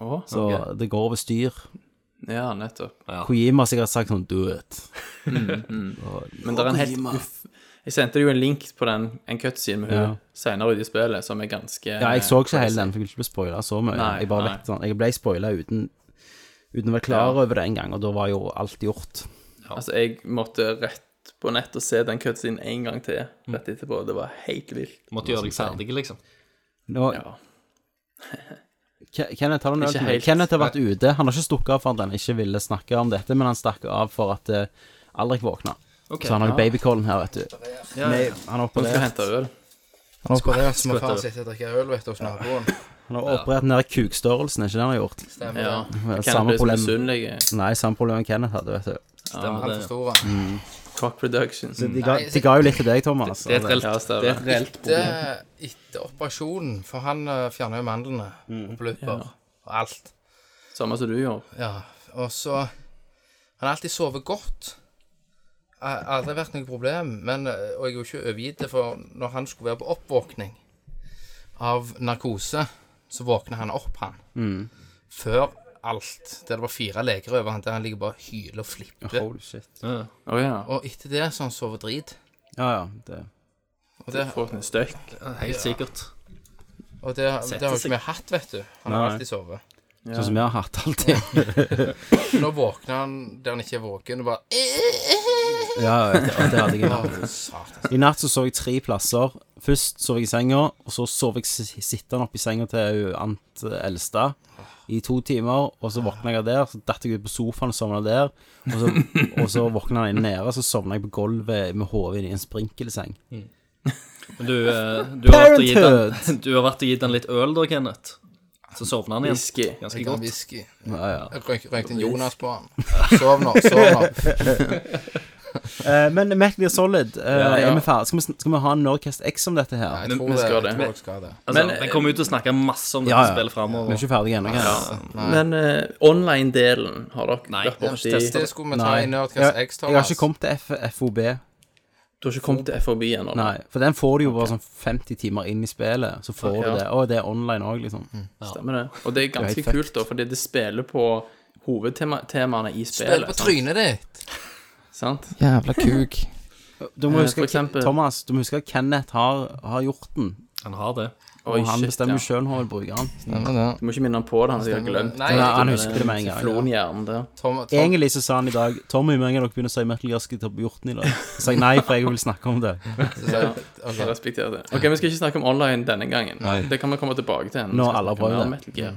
Speaker 7: Å,
Speaker 5: Så det går over styr.
Speaker 7: ja, nettopp.
Speaker 5: Kojima har sikkert sagt sånn Do it.
Speaker 7: Men det er en helt uff. Jeg sendte jo en link på den, en cutscene med hun
Speaker 5: Ja.
Speaker 7: senere ute i spillet, som er ganske
Speaker 5: Ja, jeg så ikke hele den, for jeg ville ikke bli spoila så mye.
Speaker 7: Nei,
Speaker 5: jeg bare
Speaker 7: nei.
Speaker 5: vet sånn Jeg ble spoila uten, uten å være klar over det en gang, og da var jo alt gjort.
Speaker 7: Altså, jeg måtte rett på nett og se den cutscenen en gang til rett etterpå. Det var helt vilt.
Speaker 8: Måtte gjøre deg ferdig, liksom.
Speaker 5: Nå,
Speaker 7: Ja.
Speaker 5: Ke- Kenneth, har, du
Speaker 7: Ikke
Speaker 5: noe-
Speaker 7: helt.
Speaker 5: Kenneth har vært ute. Han har ikke stukket av for at han ikke ville snakke om dette, men han stakk av for at eh, Alrik våkna. så han har jo babycallen her, vet du. Nei, han har
Speaker 7: Nå skal jeg
Speaker 5: operert,
Speaker 7: hente øl.
Speaker 6: På det så må far sitte og drikke øl, vet du, hos naboen.
Speaker 5: han har operert den der kukstørrelsen, ikke det han har gjort?
Speaker 6: Stemmer
Speaker 7: Ja.
Speaker 6: det.
Speaker 5: Ja,
Speaker 7: Kenneth
Speaker 5: Samme
Speaker 7: blir så
Speaker 5: problem
Speaker 7: misunnelig.
Speaker 5: Nei, samme problem Kenneth hadde, vet du.
Speaker 8: Stemmer
Speaker 6: Alt for
Speaker 8: det.
Speaker 6: store.
Speaker 7: Cock Productions.
Speaker 5: De ga, de ga jo litt til deg, Thomas.
Speaker 8: Det er et reelt,
Speaker 7: Ja,
Speaker 8: det er et
Speaker 7: stemmer.
Speaker 8: reelt
Speaker 6: Det er etter operasjonen, for han eh, fjerner jo mandlene og blubber og alt.
Speaker 7: Samme som du gjør.
Speaker 6: Ja, og så Han har alltid sovet godt. Det har aldri vært noe problem, men, eh, og jeg er jo ikke overgitt, for når han skulle være på oppvåkning av narkose, så våkner han opp, han.
Speaker 5: Mm.
Speaker 6: Før alt. Der det var fire leger over han, der han ligger bare og hyler og flipper.
Speaker 5: Holy shit.
Speaker 7: Å ja.
Speaker 6: Og etter det så har han sovet drit.
Speaker 5: Ja, ja. Det.
Speaker 6: Og det,
Speaker 7: Fått en støkk.
Speaker 8: helt sikkert.
Speaker 6: og det, det har jo ikke vi hatt, vet du. Han har
Speaker 5: Nei.
Speaker 6: alltid sovet.
Speaker 5: Sånn som jeg har hatt alltid.
Speaker 6: Nå våkner han der han ikke er våken og bare
Speaker 5: Ja, det, det hadde jeg i natt.
Speaker 6: Å, satan.
Speaker 5: I natt så sov jeg tre plasser. Først sov jeg i senga, og så sov jeg si- sittende oppe i senga til hun Ant eh, Elstad i to timer, og så våkna jeg der, så datt jeg ut på sofaen og sovna der, og så, og så våkna jeg nede, så sovna jeg på gulvet med hodet inn i en sprinkelseng.
Speaker 8: Men du, eh, du, har vært og gitt han,
Speaker 5: Parenthood.
Speaker 8: du har vært og gitt han litt øl, da, Kenneth. Så sovna han igjen.
Speaker 7: Whisky.
Speaker 8: Ganske
Speaker 6: Jeg har
Speaker 8: godt.
Speaker 6: whisky.
Speaker 5: Ja, ja.
Speaker 6: Jeg røyk- Røykte en Jonas på han. Sov nå, sov nå.
Speaker 5: Eh, men Metal Gear Solid, eh,
Speaker 7: Ja, ja.
Speaker 5: er vi ferdige? Skal, vi sn- skal vi ha en Nordcast X om dette her?
Speaker 6: Jeg
Speaker 7: Men-
Speaker 6: tror
Speaker 7: men
Speaker 6: det.
Speaker 7: skal
Speaker 6: Jeg
Speaker 7: det?
Speaker 6: tror jeg skal det.
Speaker 8: Altså,
Speaker 7: Men-
Speaker 8: vi kommer ut og snakker masse om dette
Speaker 5: Ja, ja.
Speaker 8: spillet
Speaker 5: Vi er
Speaker 8: framover.
Speaker 5: ikke ferdige ennå, kanskje?
Speaker 7: Men eh, online-delen har dere
Speaker 8: Nei,
Speaker 7: vært
Speaker 8: det har
Speaker 7: borti.
Speaker 8: ikke
Speaker 6: Det
Speaker 7: Du
Speaker 6: skulle vi ta
Speaker 5: Nei.
Speaker 6: i Nerdcast
Speaker 5: Jeg,
Speaker 6: X, Thomas.
Speaker 5: jeg har ikke kommet til F FOB,
Speaker 7: har ikke kommet til FHB ennå? da.
Speaker 5: nei. For den får du jo bare sånn 50 timer inn i spillet, så får
Speaker 7: Ja.
Speaker 5: du det. Å, det er online òg, liksom.
Speaker 7: Stemmer det. Og det er
Speaker 5: Det
Speaker 7: ganske
Speaker 5: er helt
Speaker 7: kult, da, fordi det spiller på hovedtemaene i
Speaker 6: Spill
Speaker 7: spillet.
Speaker 6: på trynet ditt.
Speaker 7: Sant?
Speaker 6: Jævla kuk.
Speaker 5: Du må
Speaker 7: Eh,
Speaker 5: huske,
Speaker 7: for eksempel-
Speaker 5: Thomas, du må huske at Kenneth har, har gjort den.
Speaker 8: Han har det.
Speaker 5: Og
Speaker 7: Oi,
Speaker 5: han
Speaker 7: shit,
Speaker 5: bestemmer
Speaker 7: ja.
Speaker 5: jo sjøl hvor han vil bruke den.
Speaker 7: Du må ikke minne han på det, han sikkert har glemt
Speaker 6: Nei,
Speaker 5: Ja, han
Speaker 7: det. eh,
Speaker 5: husker det med en gang. Ja.
Speaker 7: Flonhjernen der.
Speaker 6: Tom, Tom,
Speaker 5: Egentlig så sa han i dag Tommy, hvor mange av dere begynner å si Metal Gear skal ta på hjorten i dag? Så sa jeg nei, for jeg vil snakke om det.
Speaker 6: så- ok.
Speaker 7: Jeg respekterer det. Ok, Vi skal ikke snakke om online denne gangen. Det kan vi komme tilbake til.
Speaker 5: Nå alle har prøvd det.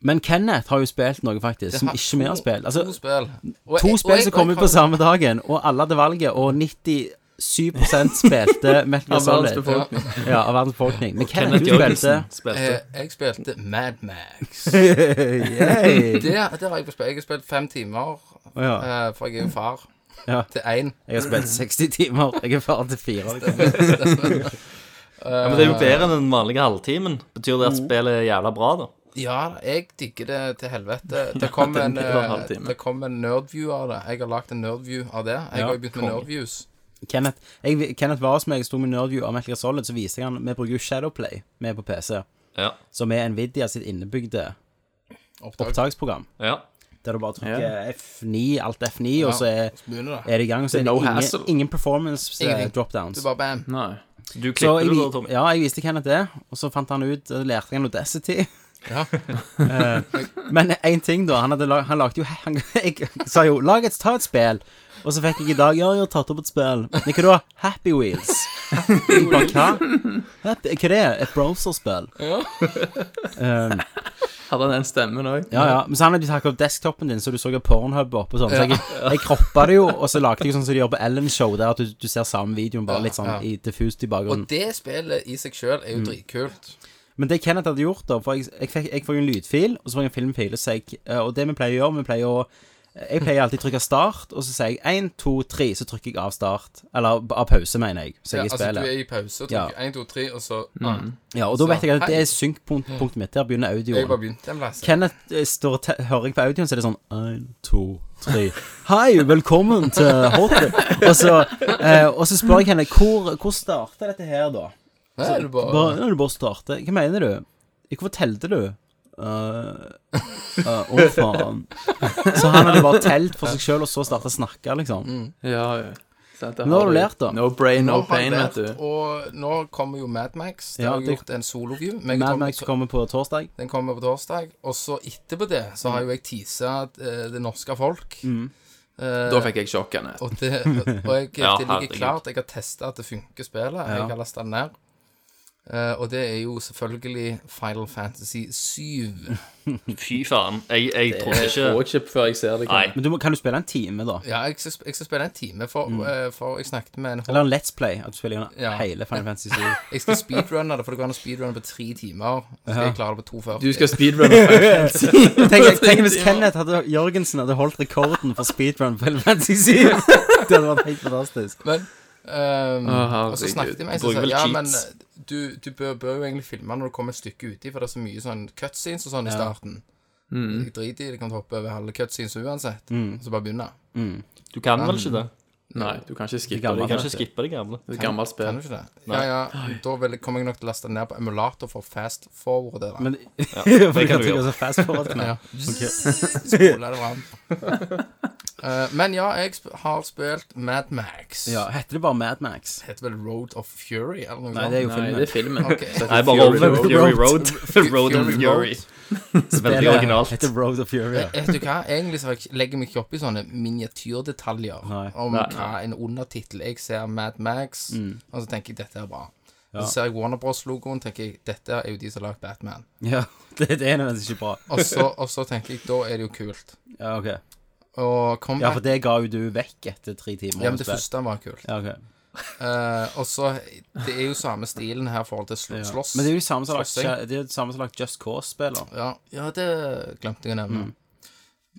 Speaker 5: Men Kenneth har jo spilt noe, faktisk, som ikke vi har spilt.
Speaker 6: To
Speaker 5: Altså,
Speaker 6: spill. Og
Speaker 5: to
Speaker 6: jeg- og
Speaker 5: spill
Speaker 6: jeg-
Speaker 5: som kom
Speaker 6: og
Speaker 5: ut
Speaker 6: jeg
Speaker 5: på
Speaker 6: kan-
Speaker 5: samme dagen, og alle hadde valget, og 97 spilte Metal Gear
Speaker 7: Av verdens
Speaker 5: Solid.
Speaker 7: befolkning.
Speaker 5: Ja, av verdens befolkning. Men Kenneth,
Speaker 8: Kenneth
Speaker 5: du spilte
Speaker 8: Jørgensen spilte.
Speaker 6: Eh, Jeg spilte Mad Max.
Speaker 5: Yay.
Speaker 6: Det, det har jeg spilt. Jeg har spilt fem timer,
Speaker 5: Ja.
Speaker 6: eh, for jeg er jo far
Speaker 5: Ja.
Speaker 6: til én.
Speaker 5: Jeg har spilt 60 timer. Jeg er faren til fire.
Speaker 8: Ja, men det er jo bedre enn den vanlige halvtimen. Betyr det at spillet er jævla bra, da?
Speaker 6: Ja, jeg digger det til helvete. Det kom en,
Speaker 7: det var en
Speaker 6: eh,
Speaker 7: halvtime.
Speaker 6: det kom en nerdview av det. Jeg har lagd en nerdview av det. Jeg har jo begynt med nerdviews.
Speaker 5: Kenneth, jeg, Kenneth var hos meg, jeg sto med Nerdview av Metal Gear Solid, så viste jeg han, vi bruker jo Shadowplay med på PC,
Speaker 8: Ja.
Speaker 5: som er Nvidia sitt innebygde
Speaker 6: Opptak.
Speaker 5: opptaksprogram,
Speaker 8: ja.
Speaker 5: der du bare trykker F9, alt F9, og så er,
Speaker 6: Begynner det.
Speaker 5: er det i gang, og så
Speaker 7: Det
Speaker 5: er
Speaker 7: er
Speaker 5: det
Speaker 7: no hassle.
Speaker 5: ingen, ingen performance eh,
Speaker 6: Ingenting.
Speaker 5: dropdowns.
Speaker 6: Du bare bam.
Speaker 7: Nei.
Speaker 8: Du
Speaker 5: Så
Speaker 8: klipper
Speaker 5: jeg,
Speaker 8: det da,
Speaker 5: vi-
Speaker 8: Tommy.
Speaker 5: ja, jeg viste Kenneth det, og så fant han ut, og lærte han Audacity.
Speaker 6: Ja.
Speaker 5: Eh, Men en ting da, han, hadde lag, han lagde jo, han, jeg sa jo, lag et, ta et spill, og så fikk jeg i dag, ja, jeg har tatt opp et spill. Men hva da? Happy Wheels. Jeg bare, hva? Happy, hva er det? Et browserspill? Um,
Speaker 7: Hadde han den stemmen òg?
Speaker 5: ja, ja, men så han hadde takket opp desktopen din, så du så jo Pornhub opp og sånn, så jeg, jeg kroppet det jo, og så lagde jeg sånn som de gjør på Ellen Show, der at du, du ser samme videoen, bare litt sånn
Speaker 6: Ja, ja.
Speaker 5: i diffust i bakgrunnen.
Speaker 6: Og det spillet i seg sjøl er jo dritkult.
Speaker 5: Men det Kenneth hadde gjort da, for jeg, jeg, fikk, jeg får jo en lydfil, og så får jeg en filmfil, og, så jeg, eh, og det vi pleier å gjøre, vi pleier å eh, jeg pleier alltid å trykke start, og så sier jeg 1, 2, 3, så trykker jeg av start. Eller av pause, mener jeg.
Speaker 6: Ja,
Speaker 5: Så jeg
Speaker 6: altså, du
Speaker 5: spiller.
Speaker 6: er i pause,
Speaker 5: Ja.
Speaker 6: trykker én, to, tre, og så
Speaker 7: Mm.
Speaker 6: ah,
Speaker 5: Ja, og da vet jeg at det
Speaker 6: Hei.
Speaker 5: er synkpunktet mitt. Der begynner
Speaker 6: Jeg bare
Speaker 5: audioen.
Speaker 6: begynte en plass.
Speaker 5: Kenneth eh, står og te- hører jeg på audioen, så er det sånn 1, 2, 3 Hei, velkommen til Hotlip. Og, så, eh, og så spør jeg henne hvor, hvor starta dette her, da?
Speaker 6: Nei, er det bare-
Speaker 5: Bare, når du bare starter Hva mener du? Hvorfor telte du? Eh, eh, Å, faen. Så han hadde bare telt for seg sjøl, og så starta å snakke, liksom.
Speaker 7: Ja, ja. Sant, det
Speaker 5: Nå har du lært, da.
Speaker 7: No brain, no
Speaker 6: Mm. Nå har jeg
Speaker 7: pain, vet
Speaker 6: lært,
Speaker 7: du.
Speaker 6: Og nå kommer jo Mad Max. Det
Speaker 5: Ja,
Speaker 6: har jeg
Speaker 5: det-
Speaker 6: gjort en soloview. Men jeg
Speaker 5: Mad
Speaker 6: kommer-
Speaker 5: Max kommer på torsdag.
Speaker 6: Den kommer på torsdag. Og så etterpå det så har jo jeg teasa eh, det norske folk. Eh,
Speaker 7: Da fikk jeg sjokken.
Speaker 6: og, det, og jeg,
Speaker 8: Ja,
Speaker 6: det
Speaker 8: herregud.
Speaker 6: ligger klart. Jeg har testa at det funker, spillet. Jeg har lasta den ned. Eh, og det er jo selvfølgelig Final Fantasy 7.
Speaker 8: Fy faen. Jeg, jeg trodde
Speaker 7: Jeg
Speaker 8: ikke
Speaker 7: får ikke før jeg ser det.
Speaker 8: Nei.
Speaker 5: Men du må, kan du spille en time, da?
Speaker 6: Ja, jeg skal, sp- jeg skal spille en time, for,
Speaker 7: Mm.
Speaker 6: eh, for jeg snakket med en hå-
Speaker 5: Eller en Let's Play? At du spiller gjennom
Speaker 6: Ja.
Speaker 5: hele Final Fantasy 7?
Speaker 6: Jeg skal speedrunne det, for det går an å speedrunne på tre timer. Så skal jeg klare det på 2,40.
Speaker 7: Du skal speedrunne.
Speaker 5: Tenk, tenk hvis Kenneth hadde, Jørgensen hadde holdt rekorden for speedrun på Final Fantasy 7! Det hadde vært helt fantastisk.
Speaker 6: Men ehm,
Speaker 7: herregud.
Speaker 6: Og så snakket de med meg
Speaker 8: Bruker
Speaker 6: og sa
Speaker 8: vel
Speaker 6: ja, men
Speaker 8: cheats.
Speaker 6: du, du bør, bør jo egentlig filme når du kommer et stykke uti, for det er så mye sånn cutscenes og sånn i starten.
Speaker 7: Mm.
Speaker 8: Mm.
Speaker 6: Jeg driter i det, kan hoppe over halve cutscenes uansett.
Speaker 5: mm,
Speaker 6: Og så bare begynne.
Speaker 8: Du kan vel ikke det?
Speaker 7: Nei, du kan ikke skippe
Speaker 5: gamle
Speaker 8: Du
Speaker 7: det.
Speaker 8: kan ikke skippe det gamle.
Speaker 7: Det er et gammelt
Speaker 6: Kan
Speaker 7: spill.
Speaker 6: du ikke det? eh, Ja, ja, da vil, jeg- kommer jeg nok til å laste ned på emulator for fast forward det der.
Speaker 5: Men For
Speaker 8: det
Speaker 5: jeg
Speaker 8: kan
Speaker 5: kan
Speaker 8: du
Speaker 5: trykke
Speaker 8: gjøre.
Speaker 5: så fast forward.
Speaker 6: Ja. Spoler det fram. Eh, men ja, jeg sp har spilt Mad Max.
Speaker 1: Ja, Heter det bare Mad Max?
Speaker 6: Heter vel Road of Fury, eller noe
Speaker 1: Nei, det er jo
Speaker 7: Nei,
Speaker 1: filmen.
Speaker 7: det er filmen.
Speaker 6: Ok.
Speaker 9: Nei, bare
Speaker 7: Fury
Speaker 9: Road
Speaker 7: Road.
Speaker 9: Fury Road. Road of
Speaker 6: Fury
Speaker 9: Fury. Så Veldig
Speaker 1: Spillet
Speaker 9: originalt.
Speaker 1: Heter Road of Fury. ja.
Speaker 6: Eh, Vet du hva, egentlig så har jeg ikke- legger jeg meg ikke opp i sånne miniatyrdetaljer
Speaker 1: Nei. Mm.
Speaker 6: om
Speaker 9: Nei,
Speaker 6: hva en undertittel Jeg ser Mad Max, og så tenker jeg dette er bra. Så ser jeg Warner Bros.-logoen, tenker jeg dette er jo de som har lagd Batman.
Speaker 1: Ja, det, det er nødvendigvis ikke bra.
Speaker 6: Og så, og så tenker jeg da er det jo kult.
Speaker 1: Ja, ok.
Speaker 6: Og Combat
Speaker 1: Ja,
Speaker 6: ja,
Speaker 1: for det ga jo du vekk etter tre timer.
Speaker 6: men det
Speaker 1: spill.
Speaker 6: første var kult.
Speaker 1: Ja, ok.
Speaker 6: Eh, og så Det er jo samme stilen her i forhold til sl
Speaker 1: Ja.
Speaker 6: slåss.
Speaker 1: Men det er jo de samme som har lagt-
Speaker 6: Slåssing.
Speaker 1: det er jo de samme som har lagt Just Cause-spiller.
Speaker 6: ja, ja, det glemte jeg å nevne.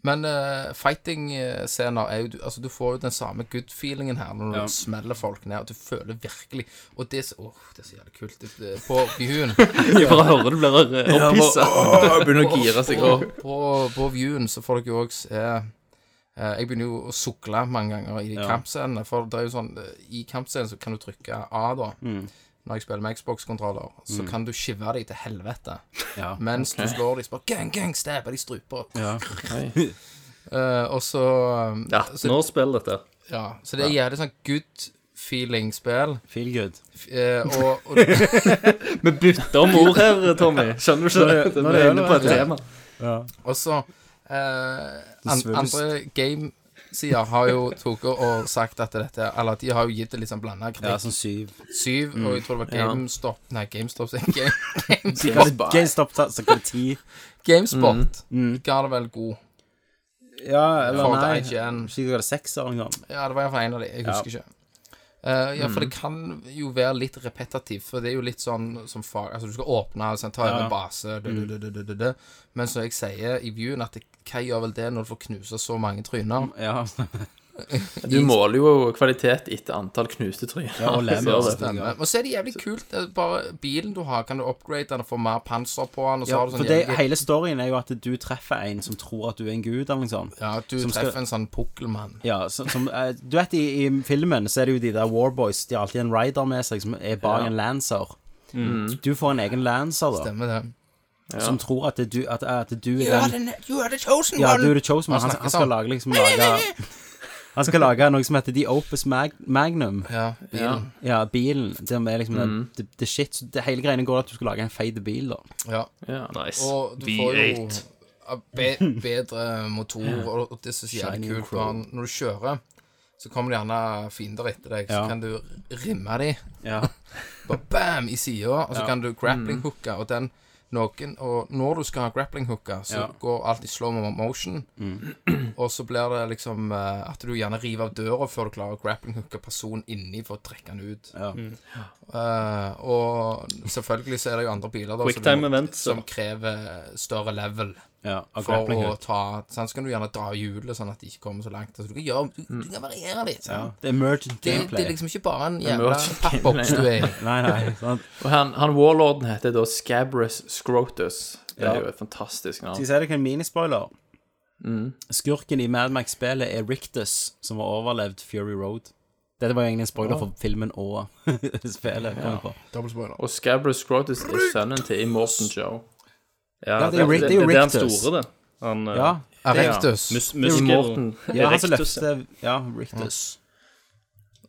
Speaker 6: Men eh, fighting-scener er jo du- Altså, du får jo den samme good feelingen her når du smeller folk ned, og du føler virkelig Og det er så Åh, det er så jævlig kult. Det, det, på viewen
Speaker 9: Jeg bare hører du blir opphissa.
Speaker 7: Åh, Begynner å gire seg opp.
Speaker 6: på, på, på viewen så får dere jo også se eh, Jeg begynner jo å sukle mange ganger i de kampscenene. For det er jo sånn eh, i kampscenen så kan du trykke A, da. Når jeg spiller med Xbox-kontroller, så kan du skive deg til helvete.
Speaker 1: Ja.
Speaker 6: Mens du slår dem, så bare gang, gang, stabber de struper.
Speaker 7: Oi.
Speaker 6: Eh, og så um,
Speaker 9: Det er 18 år spill, dette.
Speaker 6: ja, Så det er jævlig sånn good feeling-spill.
Speaker 1: Feel good.
Speaker 6: Eh, og, og
Speaker 9: Vi bytter om ord her, Tommy. Skjønner du ikke det?
Speaker 1: nå er
Speaker 9: Vi
Speaker 1: det
Speaker 9: er inne på et
Speaker 1: øl, ja.
Speaker 9: tema.
Speaker 6: Og så eh, an,
Speaker 1: svulst.
Speaker 6: Andre game-sider har jo tatt og sagt at dette Eller de har jo gitt det litt sånn blanda
Speaker 1: Ja,
Speaker 6: kritikk.
Speaker 1: sånn Mm. syv.
Speaker 6: Syv, og jeg tror det var GameStop Nei, GameStop sier jeg. Game,
Speaker 1: GameStop ta- så kan det ti.
Speaker 6: GameSpot
Speaker 1: Mm.
Speaker 6: ga det vel god.
Speaker 1: Ja, eller
Speaker 6: Forhold
Speaker 1: nei.
Speaker 6: til IGN.
Speaker 1: Ikke hva det er seks år engang.
Speaker 6: Ja, det var iallfall en av de. Jeg husker ikke. Eh, ja, for
Speaker 1: Mm.
Speaker 6: det kan jo være litt repetitivt, for det er jo litt sånn som fag Altså, du skal åpne og så ta over en base, du,
Speaker 1: Mm.
Speaker 6: du, du, du, du, du. men som jeg sier i viewen, at det- hva gjør vel det når du får knuse så mange tryner?
Speaker 1: Ja,
Speaker 7: Du måler jo kvalitet etter antall knuste tryn.
Speaker 1: og lemmer.
Speaker 7: Så er det.
Speaker 6: Stemmer. Og så er det jævlig kult. det er Bare bilen du har, kan du upgrade den og få mer panser på den. Og så
Speaker 1: ja
Speaker 6: har du
Speaker 1: for
Speaker 6: sånn
Speaker 1: det,
Speaker 6: jævlig-
Speaker 1: hele storyen er jo at du treffer en som tror at du er en gud, eller noe sånt.
Speaker 6: Ja, du
Speaker 1: som
Speaker 6: treffer
Speaker 1: skal-
Speaker 6: en sånn pukkelmann.
Speaker 1: Ja, som, som, eh, du vet, i, i filmen så er det jo de der warboys. De har alltid en rider med seg som er bak en lancer.
Speaker 7: Mm,
Speaker 1: Du får en egen lancer, da,
Speaker 6: Stemmer det.
Speaker 1: som tror at det du, at, at det du er den
Speaker 6: You are the chosen
Speaker 1: Ja, du er the chosen one.
Speaker 6: Han
Speaker 1: Han,
Speaker 6: snakker
Speaker 1: han skal
Speaker 6: sånn.
Speaker 1: lage liksom lage Han skal lage noe som heter The Opus Mag Magnum.
Speaker 6: Ja, bilen.
Speaker 1: Ja, bilen. Som er liksom den,
Speaker 6: Mm.
Speaker 1: the, the shit. Så Det hele greiene går at du skal lage en feit bil, da.
Speaker 6: Ja.
Speaker 7: Ja.
Speaker 9: Nice.
Speaker 6: Og du får jo
Speaker 9: V8.
Speaker 6: ja, be bedre motor, og og det synes jeg er jævlig
Speaker 1: Shining
Speaker 6: kult.
Speaker 1: Crow.
Speaker 6: og han- Når du kjører, så kommer det gjerne fiender etter deg, så
Speaker 1: Ja.
Speaker 6: kan du rimme dem.
Speaker 1: Ja.
Speaker 6: Bare bam i sida, og så kan du
Speaker 1: Mm.
Speaker 6: grappling hooke, og den noen, og når du skal ha grappling hooka, så
Speaker 1: Ja.
Speaker 6: går alt i slow mo- motion.
Speaker 9: Mm.
Speaker 6: Og så blir det liksom eh, at du gjerne river av døra før du klarer å grappling hooke personen inni for å trekke han ut.
Speaker 1: Ja.
Speaker 9: Mm.
Speaker 6: Eh, og selvfølgelig så er det jo andre biler da,
Speaker 9: Quick
Speaker 6: som du
Speaker 9: time
Speaker 6: må-
Speaker 9: events,
Speaker 6: som
Speaker 9: da.
Speaker 6: krever større level
Speaker 1: ja og
Speaker 6: for
Speaker 1: grappling
Speaker 6: å
Speaker 1: hook.
Speaker 6: ta sånn, Så kan du gjerne dra hjulet sånn at de ikke kommer så langt. Altså, du, kan gjøre, du, du kan variere litt.
Speaker 1: Mm. Ja.
Speaker 6: sant?
Speaker 1: Det er emergent
Speaker 6: Det, det
Speaker 1: gameplay.
Speaker 6: er liksom ikke bare en
Speaker 7: må
Speaker 6: jævla
Speaker 7: ikke
Speaker 6: pappboks du er i.
Speaker 1: Nei, nei. Sant?
Speaker 7: Og han, han warlorden heter da Scabrous Scrotus. Det er
Speaker 1: Ja.
Speaker 7: jo et fantastisk
Speaker 1: Skal
Speaker 7: navn.
Speaker 1: jeg si deg en minispoiler?
Speaker 6: Mm.
Speaker 1: Skurken i Mad Max-spillet er Rictus, som har overlevd Fury Road. Dette var jo egentlig en spoiler for filmen og spillet. kom jeg på.
Speaker 7: Og Scabrous Scrotus er sønnen til Immortan Joe.
Speaker 1: Ja, det er Rick- det er jo
Speaker 9: Det er han
Speaker 1: Rictus.
Speaker 9: store, det. Han eh,
Speaker 1: Ja,
Speaker 6: Erectus.
Speaker 9: mus
Speaker 7: Immortan.
Speaker 9: muskel...
Speaker 1: ja han som
Speaker 9: Erectus,
Speaker 1: løfter Ja, Rictus.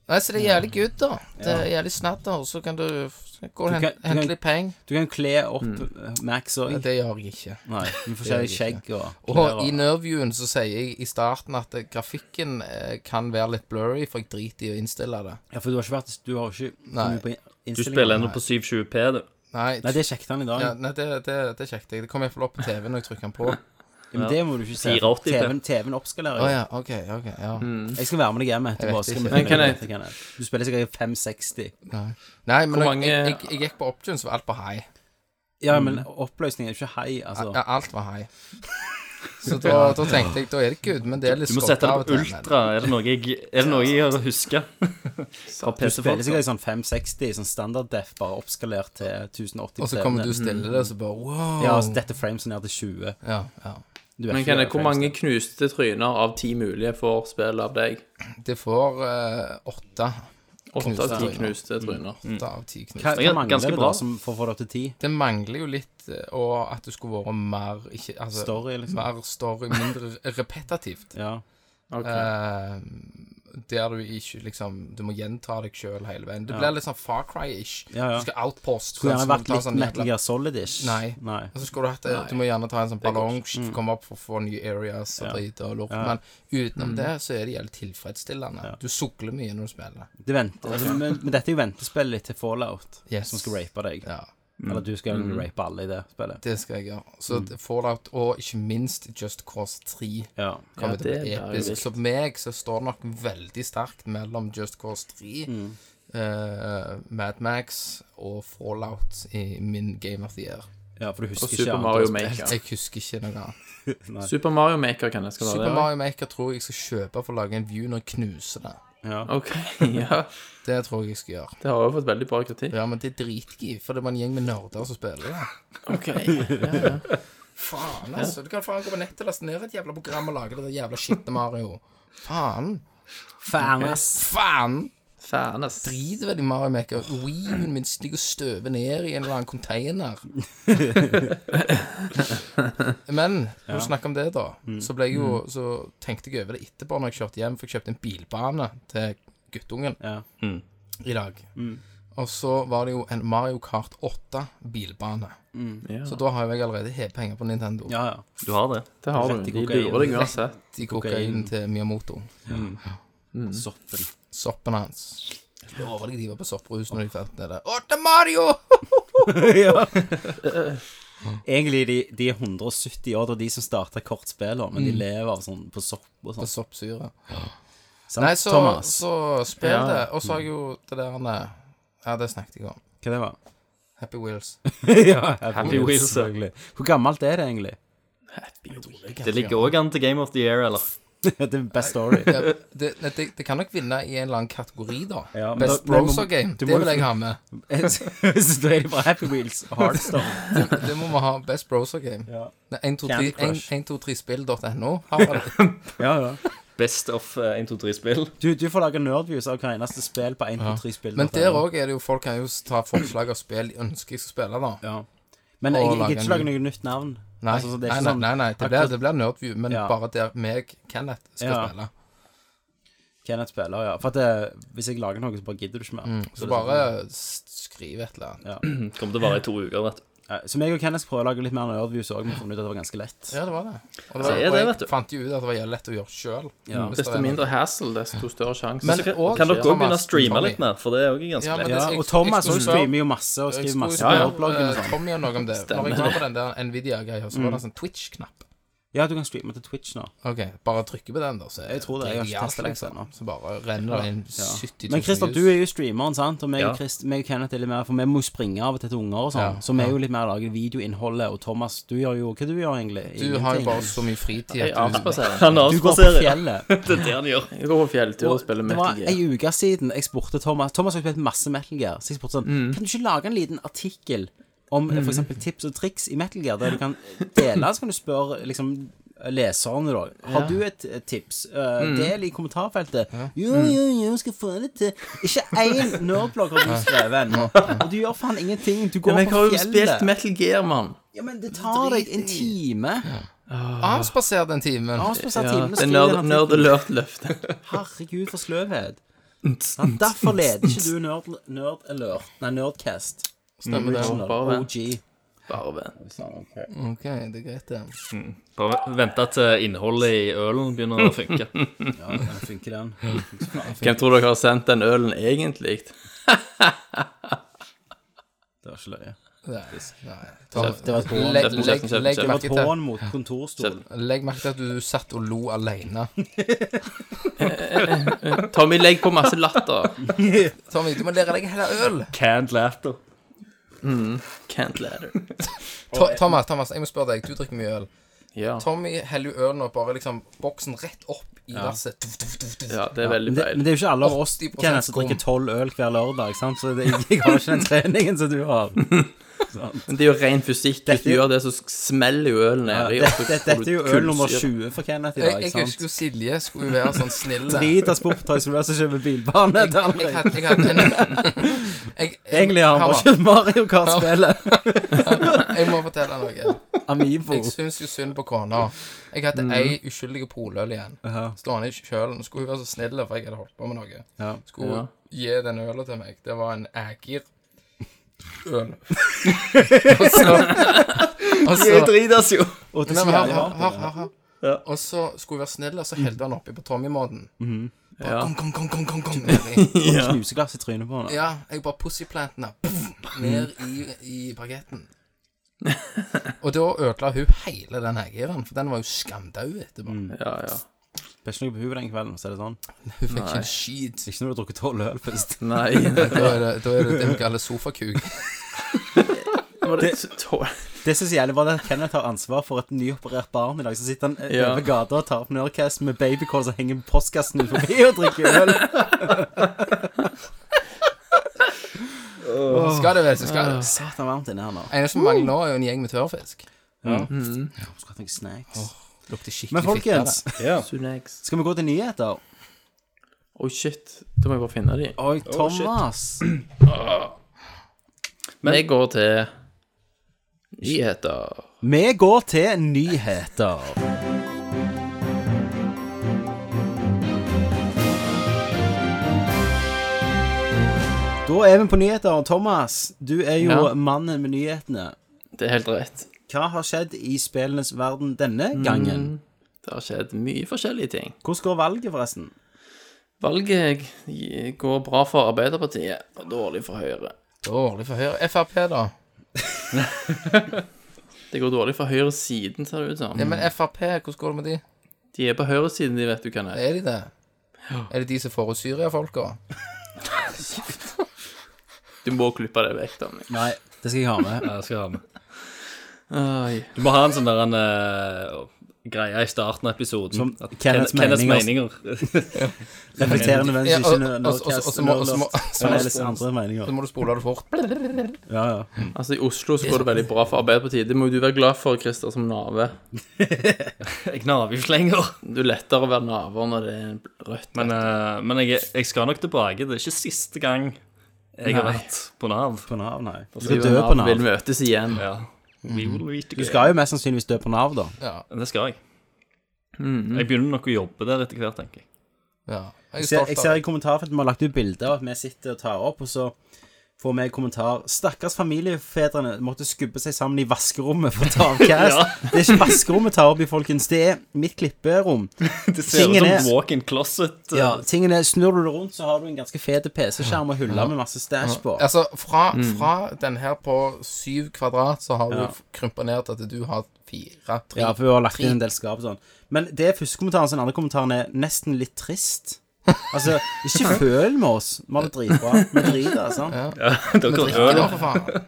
Speaker 6: Nei, så det er jævlig good, da. Det er jævlig snadder, og så kan du f- gå
Speaker 1: Du
Speaker 6: og hente,
Speaker 1: kan- du
Speaker 6: hente
Speaker 1: kan-
Speaker 6: litt penger.
Speaker 1: Du kan jo kle opp
Speaker 6: Mm.
Speaker 1: eh, Max og
Speaker 6: Nei, Det gjør jeg ikke.
Speaker 1: Nei, med forskjellig
Speaker 6: Det er det
Speaker 1: skjegg og
Speaker 6: Og i nerviewen så sier jeg i starten at eh, grafikken eh, kan være litt blurry, for jeg driter i å innstille det.
Speaker 1: Ja, for du har ikke vært Du har ikke
Speaker 6: Nei.
Speaker 1: kommet på
Speaker 9: Du
Speaker 1: innstillinga.
Speaker 9: spiller ennå på 720P, du.
Speaker 6: Nei,
Speaker 1: Nei, det sjekket han i dag.
Speaker 6: ja, nei det, det, det sjekket jeg. Det kom iallfall opp på TV når jeg trykket den på. Å
Speaker 1: Ja, men det må du ikke se.
Speaker 9: 480p.
Speaker 1: TV-en TV oppskalerer. jo.
Speaker 6: ja, OK. ok, ja
Speaker 7: Mm.
Speaker 1: Jeg skal være med deg hjem etterpå.
Speaker 6: Jeg vet
Speaker 1: så skal vi
Speaker 6: ikke.
Speaker 1: finne
Speaker 7: Men
Speaker 1: ut dette, Kenneth. Du spiller sikkert i 560.
Speaker 6: Nei, nei men
Speaker 7: Hvor
Speaker 6: jeg-
Speaker 7: mange-
Speaker 6: jeg, jeg, jeg gikk på options, var alt på high.
Speaker 1: Ja, men oppløsningen er jo ikke hei, altså.
Speaker 6: Mm. Ja, alt var high. Så da, da tenkte jeg da er det good, men det er litt
Speaker 9: Du må
Speaker 6: skott
Speaker 9: sette
Speaker 6: av og
Speaker 9: det på
Speaker 6: til, men-
Speaker 9: ultra. Er det noe jeg, er det noe jeg har huska? Fra
Speaker 1: Du spiller
Speaker 9: PC-folk.
Speaker 1: sikkert i sånn 560, sånn standard def, bare oppskalert til 1080.
Speaker 6: Og så kommer du og stiller det, og så bare wow.
Speaker 1: Ja, altså dette frames ned til 20.
Speaker 6: ja, ja.
Speaker 1: Du er
Speaker 7: Men
Speaker 1: ikke
Speaker 7: Kenneth, hvor
Speaker 1: frames
Speaker 7: mange
Speaker 1: ned.
Speaker 7: knuste tryner av ti mulige får spill av deg?
Speaker 6: Det får eh, åtte.
Speaker 7: Åtte av ti
Speaker 6: Knuste.
Speaker 7: knuste
Speaker 5: Mm.
Speaker 7: tryner.
Speaker 6: Åtte av ti knust.
Speaker 1: Hva,
Speaker 9: Det er
Speaker 1: hva mangler
Speaker 9: ganske
Speaker 1: det
Speaker 9: bra.
Speaker 1: da som for å få det opp til 10?
Speaker 6: Det mangler jo litt eh, og at det skulle vært mer ikke, altså,
Speaker 1: Story, liksom.
Speaker 6: Mer story, mindre repetitivt.
Speaker 1: Ja.
Speaker 7: Ok.
Speaker 6: Eh, der du ikke liksom Du må gjenta deg sjøl hele veien. Det blir litt sånn Far Cry-ish.
Speaker 5: Ja, ja.
Speaker 6: Du skal outpost.
Speaker 5: Skulle
Speaker 6: sant,
Speaker 5: gjerne
Speaker 6: så må du
Speaker 5: vært
Speaker 6: ta
Speaker 5: litt
Speaker 6: sånn jævla-
Speaker 5: Metal Gear Solid-ish.
Speaker 6: Nei.
Speaker 5: Nei.
Speaker 6: Og så skulle du hatt Du må gjerne ta en sånn ballong, for å komme opp for å få nye areas og drit og lort. Men utenom det så er det jævlig tilfredsstillende. Du sukler mye når du spiller.
Speaker 5: Det venter, altså, men, men dette er jo ventespillet litt til Fallout,
Speaker 6: Yes.
Speaker 5: som skal rape deg.
Speaker 6: Ja,
Speaker 5: Eller du skal
Speaker 7: Mm.
Speaker 5: rape alle i det spillet.
Speaker 6: det skal jeg gjøre. Så Fallout, og ikke minst Just Cause 3,
Speaker 5: Ja.
Speaker 6: kommer til å bli
Speaker 7: det er jo
Speaker 6: episk.
Speaker 7: vilt.
Speaker 6: Så for meg så står det nok veldig sterkt mellom Just Cause 3, eh, Mad Max og Fallout i min Game of the Year.
Speaker 5: ja, for du husker
Speaker 7: Og
Speaker 5: ikke
Speaker 7: Super
Speaker 5: annet
Speaker 7: Mario
Speaker 5: å spille.
Speaker 7: Maker.
Speaker 6: Jeg husker ikke noe annet.
Speaker 7: Super Mario Maker kan jeg skal
Speaker 6: Super
Speaker 7: være det.
Speaker 6: Mario Maker tror jeg jeg skal kjøpe for å lage en view når jeg knuser det.
Speaker 7: Ok, ja.
Speaker 6: Det tror jeg jeg skal gjøre.
Speaker 7: Det har jo fått veldig bra kritikk.
Speaker 6: Ja, men det er dritgiv, for det var en gjeng med nerder som spiller det.
Speaker 7: Ok, ja, ja.
Speaker 6: Faen, altså. Du kan faen gå på nettet og laste ned et jævla program og lage det der jævla skitne Mario. Faen.
Speaker 5: Faen, ass.
Speaker 6: Faen!
Speaker 7: Fan, ass.
Speaker 6: Drit vel i Mario Maker. Wien min stikker støvet ned i en eller annen container. Men når du snakker om det, da,
Speaker 5: Mm.
Speaker 6: så, ble jeg jo, så tenkte jeg over det etterpå når jeg kjørte hjem, for jeg kjøpte en bilbane til guttungen
Speaker 5: Ja. Mm.
Speaker 6: i dag. Og så var det jo en Mario Kart 8-bilbane.
Speaker 7: Ja.
Speaker 5: Sånn.
Speaker 6: Så da har jo jeg allerede hevet penger på Nintendo.
Speaker 5: Ja, ja.
Speaker 8: Du har det.
Speaker 7: Det har du.
Speaker 5: Rett i
Speaker 7: De
Speaker 5: kokain.
Speaker 7: lurer deg uansett.
Speaker 6: I kokainen til Miyamoto.
Speaker 5: Mm. Soppen.
Speaker 6: Soppen hans. Jeg lover deg de var på sopprus når de fant det der. Åtte Mario!
Speaker 5: ja. Egentlig de, de er 170 år, det er de som starta kortspiller, men de lever av sånn på sopp og
Speaker 6: På
Speaker 5: sånn.
Speaker 6: soppsyre.
Speaker 5: Sant,
Speaker 6: Nei, så,
Speaker 5: Thomas?
Speaker 6: så spill det. Og så har jeg jo det der med- Ja, det snakket jeg om.
Speaker 5: Hva det var
Speaker 6: Happy Wheels.
Speaker 5: ja,
Speaker 8: Happy Wheels,
Speaker 5: selvfølgelig. Hvor gammelt er det egentlig?
Speaker 8: Det ligger òg an til Game of the Year, eller?
Speaker 5: det er best story.
Speaker 6: Ja, det, nei, det, det kan nok vinne i en eller annen kategori, da.
Speaker 5: Ja, men
Speaker 6: Best
Speaker 5: da- men
Speaker 6: Browser
Speaker 5: må-
Speaker 6: Game.
Speaker 5: du
Speaker 6: Det
Speaker 5: må jo
Speaker 6: vil jeg
Speaker 5: få-
Speaker 6: ha med.
Speaker 5: så da er det bare Happy Wheels og Hardstone.
Speaker 6: Det må vi ha. Best Browser Game.
Speaker 5: Ja.
Speaker 6: Nei, 123
Speaker 5: Candy Crush.
Speaker 6: 123spill.no. Harald.
Speaker 5: Ja, ja.
Speaker 8: Best of eh, 1, 2, 3-spill.
Speaker 5: Du, du får lage nerdviews av hver eneste spill på 1 på 3 spill.
Speaker 6: Men der òg er det jo folk kan jo ta forslag av spill de ønsker jeg skal spille, da.
Speaker 5: Ja. Men jeg,
Speaker 6: Og
Speaker 5: jeg
Speaker 6: lage
Speaker 5: gidder
Speaker 6: en
Speaker 5: ikke lage noe nytt navn.
Speaker 6: Nei,
Speaker 5: Altså, så det er
Speaker 6: nei,
Speaker 5: ikke
Speaker 6: nei,
Speaker 5: sånn-
Speaker 6: nei, nei, det blir, det blir Nerdview, men
Speaker 5: Ja.
Speaker 6: bare der meg, Kenneth, skal
Speaker 5: Ja.
Speaker 6: spille.
Speaker 5: Kenneth spiller, ja. For at det, hvis jeg lager noe, så bare gidder du ikke mer.
Speaker 6: Så bare
Speaker 5: sånn-
Speaker 6: s- skriv et eller annet.
Speaker 8: Kommer til å vare i to uker, vet du.
Speaker 5: Ja, Eh, Så meg og Kenneth skal prøve å lage litt mer nerdviews òg, men funnet ut at det var ganske lett.
Speaker 6: Ja, det var det. Og, det
Speaker 8: Så
Speaker 6: var,
Speaker 8: er det,
Speaker 6: og jeg
Speaker 8: vet du.
Speaker 6: fant jo ut at det var jævlig lett å gjøre sjøl.
Speaker 5: Ja.
Speaker 7: Desto mindre hassle, desto større sjanse.
Speaker 6: Men-
Speaker 7: Så-
Speaker 6: og-
Speaker 8: Kan dere òg
Speaker 6: Thomas,
Speaker 8: begynne å streame
Speaker 6: Tommy.
Speaker 8: litt mer, for det er òg ganske
Speaker 6: Ja, men
Speaker 5: Ja,
Speaker 8: lett.
Speaker 6: Jeg-
Speaker 5: og
Speaker 6: jeg-
Speaker 5: Thomas
Speaker 6: jeg
Speaker 5: også
Speaker 6: skulle spørre-
Speaker 5: streamer jo masse og
Speaker 6: Jeg
Speaker 5: skriver
Speaker 6: skulle
Speaker 5: masse
Speaker 6: spørre
Speaker 5: på bloggen
Speaker 6: eh,
Speaker 5: og sånn.
Speaker 6: Tommy om noe om det. Når jeg var på den der Nvidia-greia, så var det en sånn Twitch-knapp.
Speaker 5: Ja, du kan streame til Twitch nå.
Speaker 6: Ok, Bare trykke på den, da. Så er
Speaker 5: Jeg tror det, jeg har ikke
Speaker 6: genialt,
Speaker 5: testet det
Speaker 6: liksom.
Speaker 5: ennå.
Speaker 6: Så bare renner det inn 70 000
Speaker 5: Men Christer, du er jo streameren, sant? Og meg,
Speaker 8: Ja.
Speaker 5: og Christ, meg og Kenneth er litt mer For vi må jo springe av og til til unger og
Speaker 6: Ja,
Speaker 5: sånn. Så vi er jo litt mer lager videoinnholdet. Og Thomas, du gjør jo Hva du gjør egentlig?
Speaker 6: Du har jo
Speaker 5: Ingenting.
Speaker 6: bare så mye fritid
Speaker 7: Jeg
Speaker 6: at du
Speaker 7: avspaserer.
Speaker 8: Han
Speaker 5: Du går på
Speaker 8: avspaserer.
Speaker 5: fjellet.
Speaker 8: Det er det han gjør.
Speaker 7: Jeg går på fjelltur og spiller
Speaker 5: det
Speaker 7: Metal
Speaker 5: var
Speaker 7: Gear.
Speaker 5: ei Ah, uke siden jeg spurte Thomas Thomas har spilt masse Metal Gear. Så jeg spurte sånn
Speaker 6: Mm.
Speaker 5: Kan du ikke lage en liten artikkel om eh, for eksempel tips og triks i Metal Gear, der du kan dele, så kan du spørre liksom leserne, da. Har du et eh, tips? Eh,
Speaker 6: Mm.
Speaker 5: Del i kommentarfeltet. Jo, jo, jo, skal få det til. Ikke én nerdblogger du skrevet ennå. Og du gjør faen ingenting. Du går
Speaker 7: Men jeg
Speaker 5: på
Speaker 7: har jo spilt
Speaker 5: fjellet.
Speaker 7: Metal Gear, mann.
Speaker 5: Ja, men det tar deg en time.
Speaker 6: avspaserer den timen.
Speaker 5: Avspaser
Speaker 7: Ja.
Speaker 5: timen og
Speaker 7: Det er
Speaker 5: skriver en
Speaker 7: nerd-
Speaker 5: artikkel.
Speaker 7: nerdelørt løfte.
Speaker 5: Herregud, for sløvhet. Sant? derfor leder ikke du Nerd, nerd Alert. Nei, Nerdcast.
Speaker 6: Stemmer det.
Speaker 5: Original,
Speaker 7: bare det.
Speaker 5: OG.
Speaker 7: Bare vent.
Speaker 6: Ok, det er greit, det.
Speaker 8: Bare vente til innholdet i ølen begynner å funke.
Speaker 5: Ja, den funker den.
Speaker 7: Hvem tror dere har sendt den ølen egentlig?
Speaker 5: Det var ikke løye.
Speaker 6: Nei, nei. Tom,
Speaker 5: Det var et hån.
Speaker 6: legg,
Speaker 7: Kjeften,
Speaker 6: legg,
Speaker 7: kjeften,
Speaker 6: legg,
Speaker 7: kjeften.
Speaker 6: merke
Speaker 5: Det var et
Speaker 6: til,
Speaker 5: hån mot kontorstol.
Speaker 6: legg merke til at du satt og lo alene.
Speaker 7: Tommy, legg på masse latter.
Speaker 6: Tommy, du må lære deg å helle øl.
Speaker 8: Canned laughter.
Speaker 7: Can't let her.
Speaker 6: To Thomas, Thomas, jeg må spørre deg. Du drikker mye øl.
Speaker 7: Ja.
Speaker 6: Tommy heller jo ølen og bare liksom boksen rett opp i glasset. Duff, duff, duff, duff.
Speaker 7: ja, det er veldig
Speaker 5: Men det, men
Speaker 7: feil.
Speaker 5: det er jo ikke alle av oss
Speaker 6: 80%
Speaker 5: Kenneth, som drikker tolv øl hver lørdag, sant? så det, jeg har ikke den treningen som du har.
Speaker 7: Men det er jo ren fysikk. Hvis du
Speaker 5: Dette-
Speaker 7: gjør det, så smeller jo ølen nedi. og så
Speaker 5: Dette,
Speaker 7: får du
Speaker 5: dette er jo øl nummer
Speaker 7: kullsyre.
Speaker 5: 20 for Kenneth i
Speaker 6: Jeg,
Speaker 5: dag.
Speaker 6: jeg
Speaker 5: sant?
Speaker 6: husker jo Silje skulle jo være sånn snill.
Speaker 5: Drit av Sporttoy som løser kjøper bilbane.
Speaker 6: Jeg, jeg, hadde- jeg hadde en jeg, jeg,
Speaker 5: Egentlig har han bare
Speaker 6: Hammer,
Speaker 5: kjøpt Mario Kart-spillet.
Speaker 6: Jeg må fortelle deg noe.
Speaker 5: Amiibo.
Speaker 6: Jeg syns jo synd på kona. Jeg hadde
Speaker 5: Mm.
Speaker 6: ei uskyldig poløl igjen. Stående i kjølen. Skulle hun være så snill, for jeg hadde holdt på med noe.
Speaker 5: Ja.
Speaker 6: Skulle hun gi den øla til meg. Det var en Ægir. Øl. og så, og så
Speaker 11: drites jo.
Speaker 5: Og til
Speaker 6: Altså, Nei, men her,
Speaker 5: Sverige.
Speaker 6: her, her, her, her. Og så skulle hun være snill, og så helte han oppi på Tommy-måten. Bare Kom, kom, kom, kom, kom, kom. ned i-
Speaker 5: Og knuseglass i trynet på henne.
Speaker 6: Ja, jeg bare pussyplantene ned i, i bagetten. og da ødela hun hele den heggiren, for den var jo skamdau etterpå.
Speaker 7: Ja, ja.
Speaker 5: Det er ikke noe på huet den kvelden, så er det sånn.
Speaker 6: Hun fikk ikke en skit.
Speaker 5: Ikke når du har drukket tolv øl først.
Speaker 7: Nei. Det
Speaker 6: Da er det da er det, det vi kaller sofakuk.
Speaker 7: var litt tå-
Speaker 5: Det som er så jævlig var det at Kenneth har ansvar for et nyoperert barn i dag. Så sitter han eh,
Speaker 7: Ja.
Speaker 5: over gata og tar opp Nerdcast med babycall som henger på postkassen utenfor og drikker øl.
Speaker 6: Skal det vel, så skal det.
Speaker 5: Satan varmt inne her nå.
Speaker 6: Eneste som mangler nå, er jo en gjeng med tørrfisk.
Speaker 7: Mm.
Speaker 5: Jeg skulle hatt noen snacks.
Speaker 6: Lukter skikkelig
Speaker 5: Men folkens,
Speaker 7: Sunex.
Speaker 5: skal vi gå til nyheter?
Speaker 7: Oi, shit. Da må jeg bare finne de.
Speaker 5: Oi, Thomas.
Speaker 7: Men jeg går til nyheter.
Speaker 5: Vi går til nyheter. Da er vi på nyheter. Thomas, du er jo
Speaker 7: Ja.
Speaker 5: mannen med nyhetene.
Speaker 7: Det er helt rett.
Speaker 5: Hva har skjedd i spillenes verden denne gangen?
Speaker 7: Det har skjedd mye forskjellige ting.
Speaker 5: Hvordan går valget, forresten?
Speaker 7: Valget g- går bra for Arbeiderpartiet og dårlig for Høyre.
Speaker 6: Dårlig for Høyre. Frp, da?
Speaker 7: Det går dårlig for høyresiden, ser det ut som.
Speaker 6: Ja, men Frp, hvordan går det med de?
Speaker 7: De er på høyresiden, de vet du hvem er.
Speaker 6: Er de det? Er det de som får ut Syria-folka?
Speaker 7: Du må klippe det vekk, Dominic.
Speaker 5: Nei, det skal jeg ha med.
Speaker 9: Ja, skal jeg ha med.
Speaker 7: Oi.
Speaker 9: Du må ha en sånn der en eh, greie i starten av episoden.
Speaker 5: Som
Speaker 9: At
Speaker 5: Kenneths
Speaker 9: Ken- Kenneths
Speaker 5: meninger. Reflekterer nødvendigvis
Speaker 6: Ja, og-
Speaker 5: ikke
Speaker 6: og- og- og-
Speaker 5: Nerdcast
Speaker 6: og- og- og- og-
Speaker 5: Nerdlust,
Speaker 6: og-
Speaker 5: som ellers andre meninger.
Speaker 6: Så må du spole det fort.
Speaker 5: Ja, ja.
Speaker 7: Altså, I Oslo så går det veldig bra for Arbeiderpartiet. Det må jo du være glad for, Christer, som nave.
Speaker 9: Jeg knaver ikke lenger.
Speaker 7: Det er lettere å være naver når det er rødt.
Speaker 9: Men, eh, men jeg, jeg skal nok tilbake. Det er ikke siste gang jeg har
Speaker 7: Nei.
Speaker 9: vært på Nav.
Speaker 5: På Nav, nei. Du
Speaker 7: Altså, Vi
Speaker 5: skal dø på
Speaker 7: vil
Speaker 5: Nav.
Speaker 7: møtes igjen.
Speaker 9: Ja. Vi will meet
Speaker 5: Du
Speaker 9: again.
Speaker 5: skal jo mest sannsynligvis dø på Nav, da.
Speaker 9: Det skal jeg. Jeg begynner nok å jobbe der etter hvert, tenker jeg.
Speaker 6: Ja. Jeg er
Speaker 5: ser, jeg
Speaker 6: stolt
Speaker 5: ser
Speaker 6: av
Speaker 5: i kommentarfeltet vi har lagt ut bilder av at vi sitter og tar opp, og så får vi en kommentar Stakkars familiefedrene måtte skubbe seg sammen i vaskerommet for å ta av cast. Det er ikke vaskerommet tar opp i, folkens. Det er mitt klipperom.
Speaker 9: Det ser ut
Speaker 5: Tingen
Speaker 9: som
Speaker 5: er-
Speaker 9: walk-in closet. eh,
Speaker 5: Ja, tingen er, Snur du det rundt, så har du en ganske fet PC-skjerm og hylle med masse stæsj på.
Speaker 6: Altså, fra, fra den her på syv kvadrat, så har du krympa ned til at du har fire, tre
Speaker 5: Ja, for vi har lagt inn en del skap og sånn. Men det er første kommentaren, så den andre kommentaren er nesten litt trist. Altså, ikke føl med oss. Vi har det dritbra. Vi driter, altså. sant?
Speaker 6: Men
Speaker 9: Dere
Speaker 6: drikke
Speaker 9: har øl,
Speaker 6: da, for faen.
Speaker 7: Jeg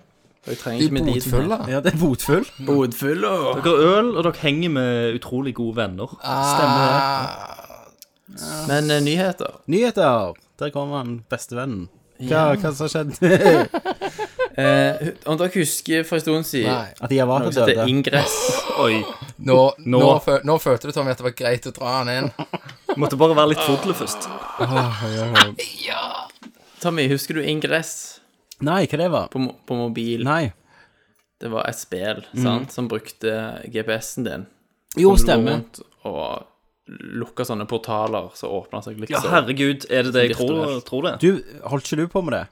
Speaker 6: De
Speaker 7: trenger
Speaker 6: er
Speaker 7: ikke med dit.
Speaker 6: botfulle.
Speaker 5: Ja, det er botfull.
Speaker 7: Bodfulle.
Speaker 9: dere har øl, og dere henger med utrolig gode venner.
Speaker 7: Men eh, nyheter.
Speaker 5: Nyheter! Der kommer han, bestevennen. Hva, hva som har skjedd?
Speaker 7: Eh, om dere husker for en stund siden
Speaker 6: Nei.
Speaker 5: At de har vært
Speaker 7: Det er
Speaker 5: døde?
Speaker 7: ingress.
Speaker 9: Oi.
Speaker 6: Nå, nå. fø- nå følte du, Tommy, at det var greit å dra han inn.
Speaker 9: Måtte bare være litt fodle først.
Speaker 7: Tommy, husker du ingress
Speaker 5: Nei, hva det var?
Speaker 7: på, mo- på mobil?
Speaker 5: Nei.
Speaker 7: Det var et spill sant, som brukte GPS-en din.
Speaker 5: Jo,
Speaker 7: Som lå
Speaker 5: stemmer.
Speaker 7: rundt Og lukka sånne portaler som åpna seg
Speaker 9: Ja,
Speaker 7: liksom.
Speaker 9: herregud, er det det jeg tror,
Speaker 7: Virtuelt.
Speaker 9: tror det?
Speaker 5: Du, holdt ikke du på med det?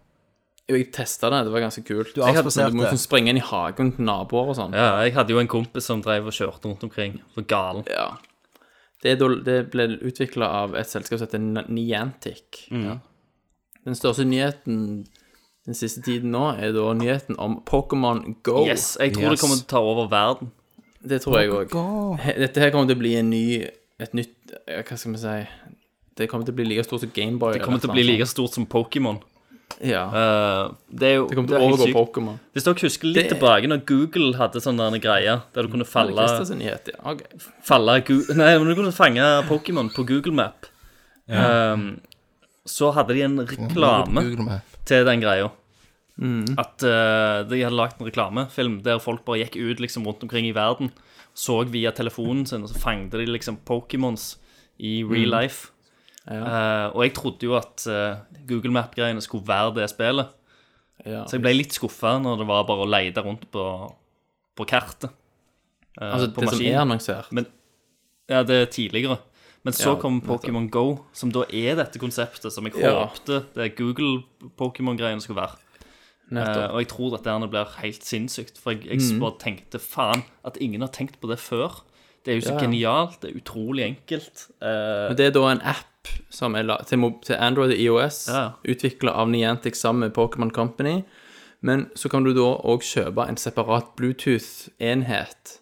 Speaker 7: Jo, jeg testa det, det var ganske kult.
Speaker 5: Du
Speaker 7: Jeg hadde-
Speaker 5: avspaserte.
Speaker 7: Du må liksom springe inn i hagen til naboer og sånn.
Speaker 9: Ja, jeg hadde jo en kompis som drev og kjørte rundt omkring. For galen.
Speaker 7: Ja. Det, er da- det ble utvikla av et selskap som heter N- Niantic.
Speaker 9: Mm.
Speaker 7: Ja. Den største nyheten den siste tiden nå er da nyheten om Pokémon Go.
Speaker 9: Yes, jeg tror det kommer til å ta over verden.
Speaker 7: Det tror jeg òg. Dette her kommer til å bli en ny Et nytt ja, Hva skal vi si Det kommer til å bli like stort som Gameboy.
Speaker 9: Det kommer til å bli like stort som Pokémon.
Speaker 7: Ja.
Speaker 9: Eh, det er jo
Speaker 7: Det kommer til
Speaker 9: er
Speaker 7: å
Speaker 9: helt
Speaker 7: overgå
Speaker 9: sykt.
Speaker 7: Pokémon.
Speaker 9: Hvis dere husker litt
Speaker 7: Det-
Speaker 9: tilbake når Google hadde sånne der greier der du kunne falle,
Speaker 7: Christer sin nyhet, ja. ok.
Speaker 9: falle Gu- Nei, men du kunne fange Pokémon på Google Map. Ehm, så hadde de en reklame
Speaker 6: Google Map.
Speaker 9: til den greia.
Speaker 7: Mm.
Speaker 9: At eh, de hadde lagd en reklamefilm der folk bare gikk ut liksom rundt omkring i verden, så via telefonen sin, og så fanget de liksom Pokémons i real
Speaker 7: Mm.
Speaker 9: life. Eh, og jeg trodde jo at eh, Google Map-greiene skulle være det spillet.
Speaker 7: Ja.
Speaker 9: Så jeg ble litt skuffa når det var bare å lete rundt på, på kartet. eh,
Speaker 7: Altså,
Speaker 9: på
Speaker 7: det som er
Speaker 9: maskinen.
Speaker 7: annonsert.
Speaker 9: Men- Ja, det er tidligere. Men så
Speaker 7: Ja,
Speaker 9: kom Pokémon Go, som da er dette konseptet som jeg
Speaker 7: Ja.
Speaker 9: håpte det Google-Pokémon-greien skulle være. Eh,
Speaker 7: Nettopp.
Speaker 9: og jeg tror dette her nå blir helt sinnssykt, for jeg, jeg bare tenkte faen at ingen har tenkt på det før. Det er jo
Speaker 7: Ja,
Speaker 9: så
Speaker 7: ja.
Speaker 9: genialt, det er utrolig enkelt. Eh,
Speaker 7: Men det er da en app som er la til, mo- til Android og iOS,
Speaker 9: Ja.
Speaker 7: utvikla av Niantic sammen med Pokémon Company. Men så kan du da òg kjøpe en separat Bluetooth-enhet.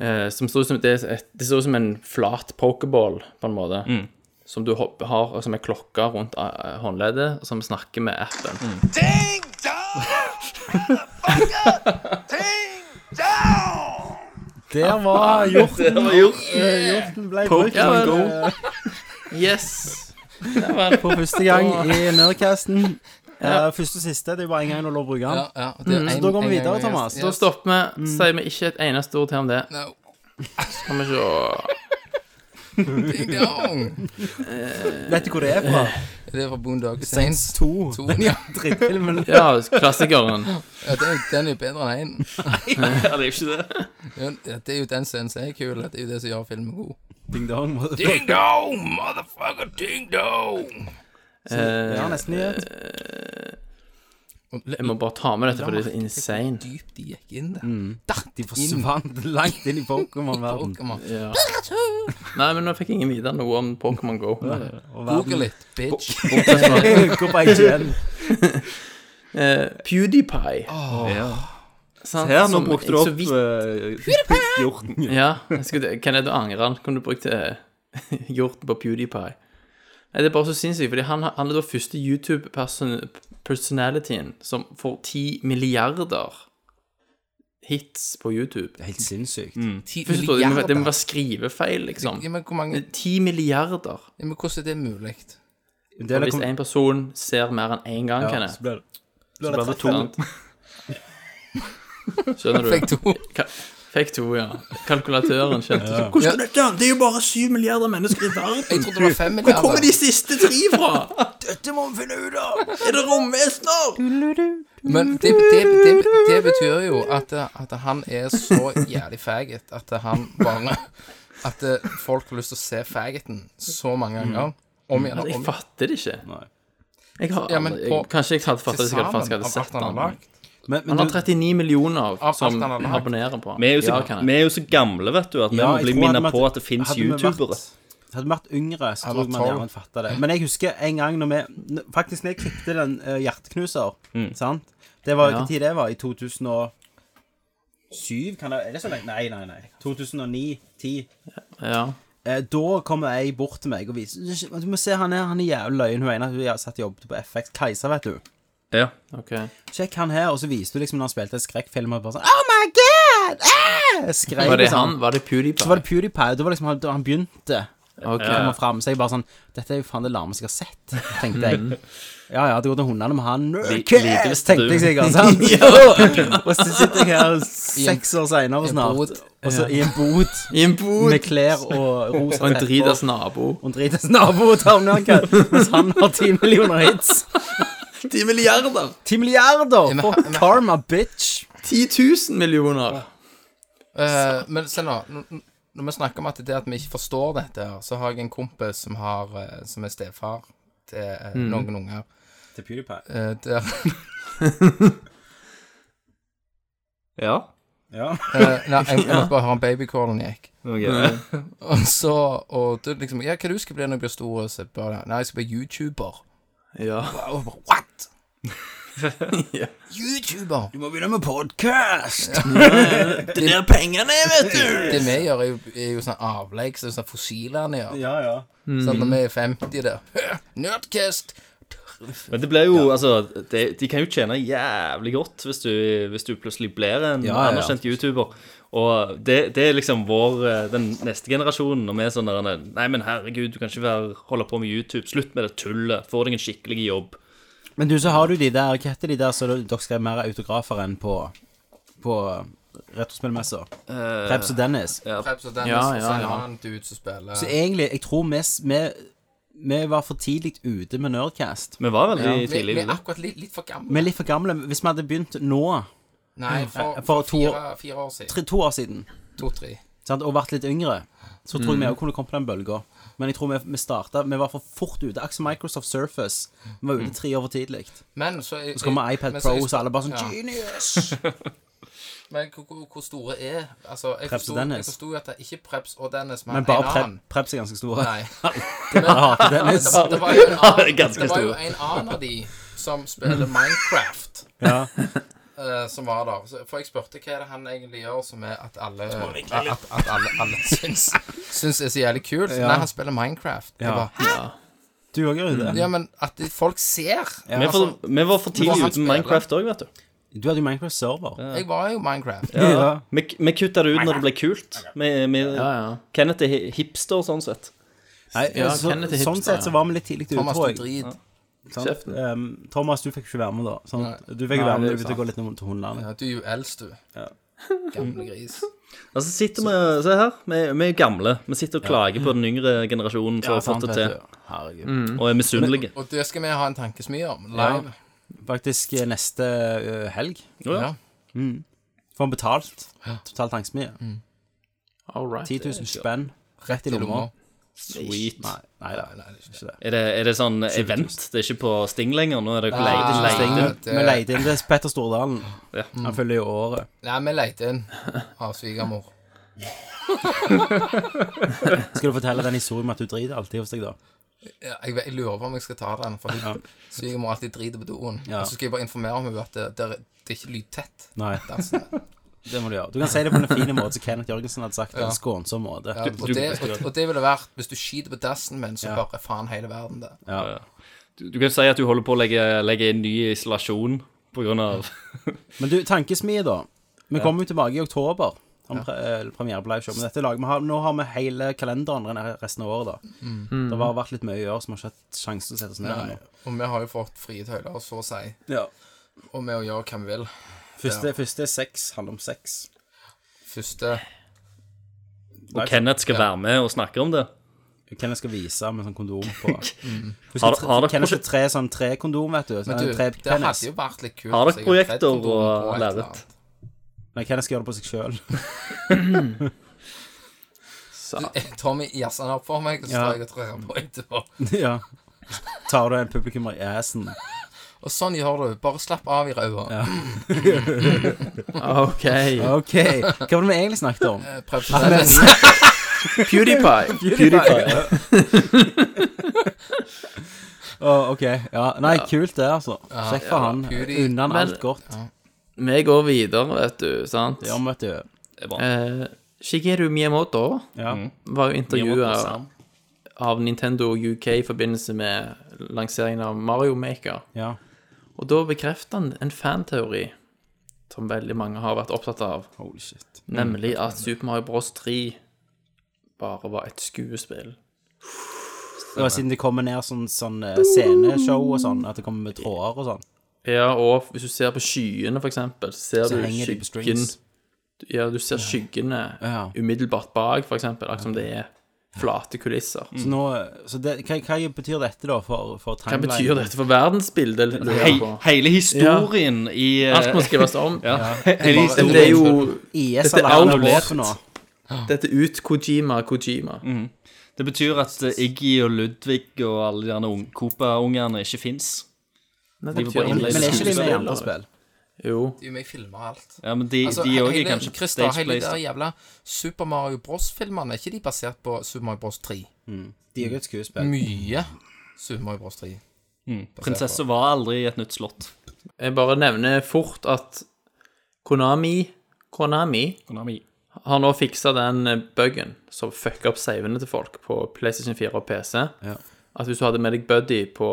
Speaker 7: Eh, som står som, det, er et, det ser ut som en flat pokerball, på en måte. Som du hopp- har som er klokka rundt eh, håndleddet, og som snakker med appen.
Speaker 12: Ding dong! motherfucker! Ding dong!
Speaker 5: Der var hjorten. Eh, hjorten ble brukt
Speaker 7: Pokémon Go.
Speaker 5: eh,
Speaker 7: Yes! Det var en
Speaker 5: for første gang i Nerdcasten. Eh, første og siste. Det er jo bare én gang du har lov å bruke den.
Speaker 6: Ja, ja, det er en-
Speaker 5: Mm. da går vi
Speaker 6: en
Speaker 5: videre,
Speaker 6: gang jeg-
Speaker 5: Thomas.
Speaker 6: Ja.
Speaker 7: Da stopper vi. Sier vi ikke et eneste ord til om det.
Speaker 6: No.
Speaker 7: Skal vi se
Speaker 6: Ding dong!
Speaker 5: Vet du hvor det er fra?
Speaker 6: Det er fra Boondock
Speaker 5: Saints
Speaker 6: Saints
Speaker 5: 2.
Speaker 6: 2.
Speaker 5: Den
Speaker 6: Ja,
Speaker 5: drittfilmen.
Speaker 7: Ja, klassikeren.
Speaker 6: ja den, den er jo bedre enn én.
Speaker 9: ja, det er jo ikke det.
Speaker 6: Den- Det er jo den som er kul. Det er jo det som gjør filmen god.
Speaker 5: Ding dong.
Speaker 6: Ding dong, motherfucker, ding dong!
Speaker 5: Ja,
Speaker 7: Eh,
Speaker 5: nesten nyhet.
Speaker 7: jeg må bare ta med dette, for det er så insane.
Speaker 6: Dypt de gikk inn der.
Speaker 5: Mm. De forsvant langt inn i Pokémon-verden.
Speaker 6: Pokémon.
Speaker 7: Ja. Nei, men nå fikk ingen vite noe om Pokémon Go.
Speaker 6: Google it, bitch.
Speaker 7: Bortsett fra,
Speaker 5: Gå på IGN.
Speaker 7: eh, PewDiePie.
Speaker 9: Ja.
Speaker 7: sant,
Speaker 9: Her, nå
Speaker 7: som
Speaker 9: brukte
Speaker 7: jeg
Speaker 9: du
Speaker 7: så
Speaker 9: opp
Speaker 7: vidt-
Speaker 9: eh, hjorten.
Speaker 7: Ja, jeg skulle, kan jeg da angre han? Kunne du brukt eh, hjorten på PewDiePie? Nei, det er bare så sinnssykt, fordi han, han er da første YouTube-personalityen som får 10 milliarder hits på YouTube.
Speaker 5: Helt sinnssykt.
Speaker 6: Ti
Speaker 7: Først og fremst, det må, det må
Speaker 6: milliarder.
Speaker 7: være skrivefeil, liksom.
Speaker 6: Ja, men hvor mange
Speaker 7: 10 milliarder.
Speaker 6: ja, Men hvordan er det mulig?
Speaker 5: Det er det
Speaker 7: Og hvis
Speaker 5: kom-
Speaker 7: en person ser mer enn én gang, kan
Speaker 5: ja, så
Speaker 7: jeg.
Speaker 5: blir det
Speaker 7: Så blir det to. Skjønner du?
Speaker 6: Fikk to.
Speaker 7: Ka fikk to, ja. Kalkulatøren skjønte. så, Hvordan er dette? Det er jo bare syv milliarder mennesker i
Speaker 6: Jeg
Speaker 7: verden.
Speaker 6: trodde det var fem
Speaker 7: Hvor kommer de
Speaker 6: milliarder.
Speaker 7: siste tre fra? Dette må vi finne ut av. Er det romvesener?
Speaker 6: Men det, det, det, det betyr jo at, eh, at han er så jævlig faggot at eh, han bare At eh, folk har lyst til å se faggoten så mange ganger. Om igjen og
Speaker 7: Jeg
Speaker 6: om igjen.
Speaker 7: fatter Mm. det ikke. Jeg har,
Speaker 6: Ja, men
Speaker 7: aldri-
Speaker 6: på-
Speaker 7: kanskje jeg hadde fattet det sikkert
Speaker 6: Tilsammen
Speaker 7: faktisk hadde
Speaker 6: av alt
Speaker 7: sett
Speaker 6: han har
Speaker 7: han.
Speaker 6: lagd.
Speaker 5: Men, men
Speaker 7: Han har
Speaker 5: du-
Speaker 7: 39 millioner
Speaker 6: alt
Speaker 7: som
Speaker 6: han har lagd.
Speaker 7: abonnerer på han.
Speaker 9: Vi er, jo så,
Speaker 7: Ja, kan jeg.
Speaker 9: vi er jo så gamle, vet du, at vi
Speaker 5: Ja,
Speaker 9: må
Speaker 5: jeg
Speaker 9: bli
Speaker 5: tror hadde
Speaker 9: minnet
Speaker 5: vi
Speaker 9: på
Speaker 5: vært-
Speaker 9: at det fins
Speaker 5: hadde vi vært-
Speaker 9: youtubere.
Speaker 5: Hadde vi vært yngre, så tror
Speaker 6: Eller
Speaker 5: jeg man
Speaker 6: tolv.
Speaker 5: gjerne fatta det. Men jeg husker en gang når vi n- Faktisk når jeg klippte den eh, Hjerteknuser, sant Det var
Speaker 7: Ja.
Speaker 5: hva tid det var? I 2007? Kan det, er det så lenge? Nei, nei, nei. 2009-10.
Speaker 7: Ja.
Speaker 5: Eh, da kommer ei bort til meg og viser Du må se, han er, han er jævlig løyen. Hun ene hun har satt og jobbet på FX. Kajsa, vet du.
Speaker 9: Ja.
Speaker 7: Ok.
Speaker 5: Sjekk han her, og så viste du liksom når han spilte en skrekkfilm, og bare sånn Oh my god! Ah! Skrek
Speaker 7: Var det
Speaker 5: liksom.
Speaker 7: han? Var det
Speaker 5: Så var
Speaker 7: PewDiePie?
Speaker 5: det PewDiePie, og da var liksom han, da han begynte
Speaker 7: Ok.
Speaker 5: å komme fram. Så jeg bare sånn Dette er jo faen det larmeste jeg har sett, tenkte jeg.
Speaker 7: Mm.
Speaker 5: Ja ja, det går til hundene med han.
Speaker 9: lite
Speaker 5: Nerdcast,
Speaker 9: visste du.
Speaker 5: tenkte jeg sikkert. Sant? Jo! og så sitter jeg her seks år seinere
Speaker 6: en bod.
Speaker 5: snart, og så i en bod
Speaker 7: I en bod.
Speaker 5: med klær og rosa
Speaker 7: Og en
Speaker 5: tepper.
Speaker 7: dritas nabo.
Speaker 5: Og en dritas nabo og tarmnarkad, mens han har ti millioner hits.
Speaker 7: 10 milliarder!
Speaker 5: Ti milliarder!
Speaker 6: men-
Speaker 5: For karma, bitch.
Speaker 7: 10 000 millioner!
Speaker 6: Eh, men se nå, n- n- når vi snakker om at det at vi ikke forstår dette, her, så har jeg en kompis som, har, eh, som er stefar til eh,
Speaker 7: Mm.
Speaker 6: noen unger.
Speaker 5: Til PewDiePie.
Speaker 6: Eh, der,
Speaker 9: ja.
Speaker 5: Ja.
Speaker 6: eh, nei, jeg, jeg måtte bare høre om babycallen gikk.
Speaker 9: Okay.
Speaker 6: Og så, og du liksom Ja, hva du skal bli når du blir stor? Og så bare, nei, jeg skal bli YouTuber.
Speaker 7: Ja.
Speaker 6: Og jeg bare, what?
Speaker 7: Ja.
Speaker 6: YouTuber?
Speaker 5: Du må begynne med podkast!
Speaker 7: Det der pengene, vet du!
Speaker 6: Det vi gjør, er jo, er jo sånn avlegg, så det er sånn fossilene gjør.
Speaker 5: Ja, ja. Mm.
Speaker 6: Sånn når vi er 50 der. Nerdcast!
Speaker 9: Men det blir jo, altså det, De kan jo tjene jævlig godt hvis du, hvis du plutselig blir en
Speaker 5: Ja, ja.
Speaker 9: anerkjent YouTuber. Og det, det er liksom vår eh, Den neste generasjonen, når vi er sånn der Nei, men herregud, du kan ikke være, holde på med YouTube. Slutt med det tullet. Få deg en skikkelig jobb.
Speaker 5: Men du, så har du de der Hva heter de der så dere skrev mer autografer enn på På retrospillmesser? Krebs og Dennis.
Speaker 6: Preps og Dennis,
Speaker 7: Ja,
Speaker 6: og sånn, så
Speaker 7: ja,
Speaker 6: en
Speaker 7: ja.
Speaker 6: annen dude som spiller
Speaker 5: Så egentlig, jeg tror vi s- vi, vi var for tidlig ute med Nerdcast.
Speaker 9: Vi var veldig
Speaker 6: Vi,
Speaker 9: tidlig
Speaker 6: vi er
Speaker 9: ute.
Speaker 6: akkurat litt, litt for gamle.
Speaker 5: Vi er litt for gamle. Hvis vi hadde begynt nå
Speaker 6: Nei, for,
Speaker 5: eh, for to år-
Speaker 6: fire, fire år siden.
Speaker 5: Tre, to år siden
Speaker 6: To-tre.
Speaker 5: sant? og vært litt yngre, så tror jeg vi også kunne kommet på den bølga. Men jeg tror vi, vi starta Vi var for fort ute. Akkurat som Microsoft Surface. Vi var ute Mm. tre år for tidlig.
Speaker 6: Men så
Speaker 5: Så kommer iPad
Speaker 6: men
Speaker 5: Pro,
Speaker 6: jeg-
Speaker 5: så alle bare sånn
Speaker 6: ja.
Speaker 5: Genius!
Speaker 6: Men hvor- hvor hvor store er Altså, jeg
Speaker 5: Preps og
Speaker 6: forsto
Speaker 5: Dennis.
Speaker 6: jeg forsto jo at det er ikke Preps og Dennis, men,
Speaker 5: Men bare
Speaker 6: en
Speaker 5: pre
Speaker 6: annen.
Speaker 5: preps er ganske store.
Speaker 6: Nei.
Speaker 5: Jeg hater
Speaker 6: Det,
Speaker 5: Dennis.
Speaker 6: det var jo en annen,
Speaker 7: Ganske
Speaker 6: det var jo
Speaker 7: store.
Speaker 6: en annen av de som spiller Minecraft,
Speaker 5: Ja.
Speaker 6: eh, som var der. Så- For jeg spurte hva er det han egentlig gjør som er at alle At, at alle, alle syns, syns er så jævlig kult. Nei, han spiller Minecraft. Jeg
Speaker 5: Ja.
Speaker 6: bare,
Speaker 5: Du òg gjør jo det.
Speaker 6: Mm. Ja, men at de, folk ser sånn,
Speaker 5: Ja.
Speaker 8: Vi, er for, vi var for tidlig
Speaker 6: Men han
Speaker 8: ute med Minecraft òg, vet du.
Speaker 5: Du hadde jo Minecraft Server.
Speaker 6: Jeg var jo Minecraft.
Speaker 5: Ja.
Speaker 10: Vi, vi kutta det ut når det ble kult. Vi, vi,
Speaker 7: Ja, ja.
Speaker 10: Kenneth er hi- hipster, sånn sett.
Speaker 5: Nei,
Speaker 7: Ja,
Speaker 5: så,
Speaker 7: Kenneth er hipster,
Speaker 5: sånn sett så var vi litt tidlig ute,
Speaker 6: Thomas,
Speaker 5: tror
Speaker 6: du
Speaker 5: jeg.
Speaker 6: drit.
Speaker 5: Sant?
Speaker 7: Kjeften.
Speaker 5: Ehm, Thomas, du fikk ikke være med, da. Sant? Du fikk
Speaker 7: Nei,
Speaker 5: være med
Speaker 7: det er
Speaker 5: når du å gå litt rundt hundene.
Speaker 6: Ja, du er jo eldst, du. Gamle gris.
Speaker 10: Altså sitter vi, Se her, vi, vi er gamle. Vi sitter og klager på den yngre generasjonen som har fått det til,
Speaker 5: Herregud.
Speaker 10: og er misunnelige.
Speaker 6: Og det skal vi ha en tankesmie om live.
Speaker 7: Mm.
Speaker 5: Faktisk eh, neste eh, helg
Speaker 7: Ja.
Speaker 6: Ja.
Speaker 5: får han betalt. Totalt tankesmie.
Speaker 7: All
Speaker 5: 10 000 spenn rett i
Speaker 6: I
Speaker 5: lomma.
Speaker 6: lomma.
Speaker 7: Sweet.
Speaker 5: Nei, nei da.
Speaker 6: Nei, det er ikke det.
Speaker 7: Er det, er det sånn event? Det er ikke på Sting lenger? Nå er det
Speaker 6: Nei,
Speaker 7: leide,
Speaker 6: det er ikke
Speaker 7: leide.
Speaker 6: Sting.
Speaker 5: Vi leide inn til Petter Stordalen.
Speaker 7: Ja.
Speaker 6: Mm.
Speaker 5: Han følger jo året.
Speaker 6: Nei, vi leter inn av svigermor.
Speaker 5: Skal du fortelle den historien med at du driter alltid hos deg, da?
Speaker 6: Ja, Jeg, vet- jeg lurer på om jeg skal ta den, for hun- svigermor alltid driter på doen.
Speaker 5: Ja.
Speaker 6: Og så skal jeg bare informere henne at det, det, er- det er ikke lydtett.
Speaker 5: Nei,
Speaker 6: Altså,
Speaker 5: det må du gjøre. Du kan si det på en fin måte som Kenneth Jørgensen hadde sagt det. En skånsom måte.
Speaker 6: ja, og, det, og, og det ville vært Hvis du skiter på dassen min, så hører faen hele verden det.
Speaker 7: Du, du kan si at du holder på å legge, legge inn ny isolasjon på grunn av
Speaker 5: Men du, tankesmie, da. Vi kommer jo tilbake i oktober. Om pre eh, premiere på liveshow. Men dette laget, vi har, nå har vi hele kalenderen re- resten av året, da.
Speaker 6: Mm.
Speaker 1: Mm.
Speaker 5: Det har vært litt mye å gjøre, så vi har ikke hatt sjanse til å sette oss ned ennå.
Speaker 6: Og vi har jo fått frie tøyler, så å si.
Speaker 5: Ja.
Speaker 6: Og med å gjøre hva vi vil.
Speaker 5: Første, første sex handler om sex.
Speaker 6: Første
Speaker 7: Og Kenneth skal være med og snakke om det.
Speaker 5: Kenneth skal vise med sånn kondom på.
Speaker 7: Har, har dere
Speaker 5: Kenneth skal
Speaker 7: prosje-
Speaker 5: tre sånn tre kondom, vet du. Sånn,
Speaker 6: Men du,
Speaker 5: tre
Speaker 6: det
Speaker 5: penis.
Speaker 6: hadde jo vært litt kult.
Speaker 7: Har
Speaker 6: hvis
Speaker 7: dere
Speaker 6: jeg hadde
Speaker 7: projekter
Speaker 6: sett kondomen
Speaker 7: og
Speaker 6: på et eller
Speaker 7: lerret?
Speaker 6: annet.
Speaker 5: Nei, Kenneth skal gjøre det på seg sjøl.
Speaker 6: Tommy jazza den opp for meg, og så
Speaker 5: Ja.
Speaker 6: står jeg og trer på etterpå.
Speaker 5: ja. Tar du en publikummer i assen.
Speaker 6: Og sånn gjør du. Bare slapp av i ræva.
Speaker 7: OK.
Speaker 5: OK. Hva var det vi egentlig snakket om?
Speaker 6: Eh, Prøv på det.
Speaker 7: PewDiePie.
Speaker 5: PewDiePie. Å, OK. Ja. Nei, kult det, altså. Kjekt for han.
Speaker 6: Pudi.
Speaker 5: Unna han alt
Speaker 7: Men-
Speaker 5: godt.
Speaker 7: Vi går videre, vet du. sant?
Speaker 5: Ja, vet du.
Speaker 7: Eh, Shigeru Miyamoto
Speaker 5: Ja.
Speaker 7: var jo
Speaker 8: Miyamoto
Speaker 7: intervjua
Speaker 8: Sam.
Speaker 7: av Nintendo UK i forbindelse med lanseringen av Mario Maker.
Speaker 5: ja.
Speaker 7: Og da bekrefter han en fanteori som veldig mange har vært opptatt av,
Speaker 5: Holy shit. Mm.
Speaker 7: nemlig at Super Mario Bros 3 bare var et skuespill.
Speaker 5: Det var siden det kommer ned sånn, sånn eh, sceneshow og sånn, at det kommer med tråder og sånn.
Speaker 7: Ja, og hvis du ser på skyene, for eksempel, så ser
Speaker 5: Så
Speaker 7: du
Speaker 5: henger de på
Speaker 7: skyggen
Speaker 5: strings.
Speaker 7: Ja, du ser skyggene
Speaker 5: Ja.
Speaker 7: umiddelbart bak, for eksempel, akkurat som det er flate kulisser.
Speaker 5: Så, nå, så det, hva, hva betyr dette da for, for
Speaker 7: Mm. Hva
Speaker 5: timeline?
Speaker 7: betyr dette for verdensbildet? lurer jeg
Speaker 8: Hei,
Speaker 7: på?
Speaker 8: hele historien i eh,
Speaker 7: Alt må skrives om.
Speaker 8: hele historien.
Speaker 7: Det er jo
Speaker 5: IS
Speaker 7: Dette er
Speaker 5: eller han er
Speaker 7: annullert.
Speaker 5: våpen nå?
Speaker 7: Dette er ut Kojima
Speaker 5: Mm.
Speaker 7: Kojima.
Speaker 8: Det betyr at eh, Iggy og Ludvig og alle de andre ung- Copa-ungene ikke fins.
Speaker 7: Men
Speaker 8: De var bare
Speaker 5: Men er ikke de med i andre
Speaker 7: skuespillere.
Speaker 5: spill?
Speaker 7: Jo.
Speaker 6: Du, vi filmer alt.
Speaker 8: Ja, men de
Speaker 6: Altså,
Speaker 8: de òg er
Speaker 6: hele,
Speaker 8: kanskje
Speaker 6: Christer, hele de
Speaker 8: stageplaced.
Speaker 6: der jævla Super Mario Bros-filmerne, er ikke de basert på Super Mario Bros 3?
Speaker 5: De er jo et skuespill.
Speaker 6: Mye Super Mario Bros 3.
Speaker 9: Mm.
Speaker 8: Prinsesse var aldri i et nytt slott.
Speaker 7: Jeg bare nevner fort at Konami Konami
Speaker 8: Konami.
Speaker 7: har nå fiksa den eh, buggen som fucker opp savene til folk på PlayStation 4 og PC. At hvis du hadde med deg Buddy på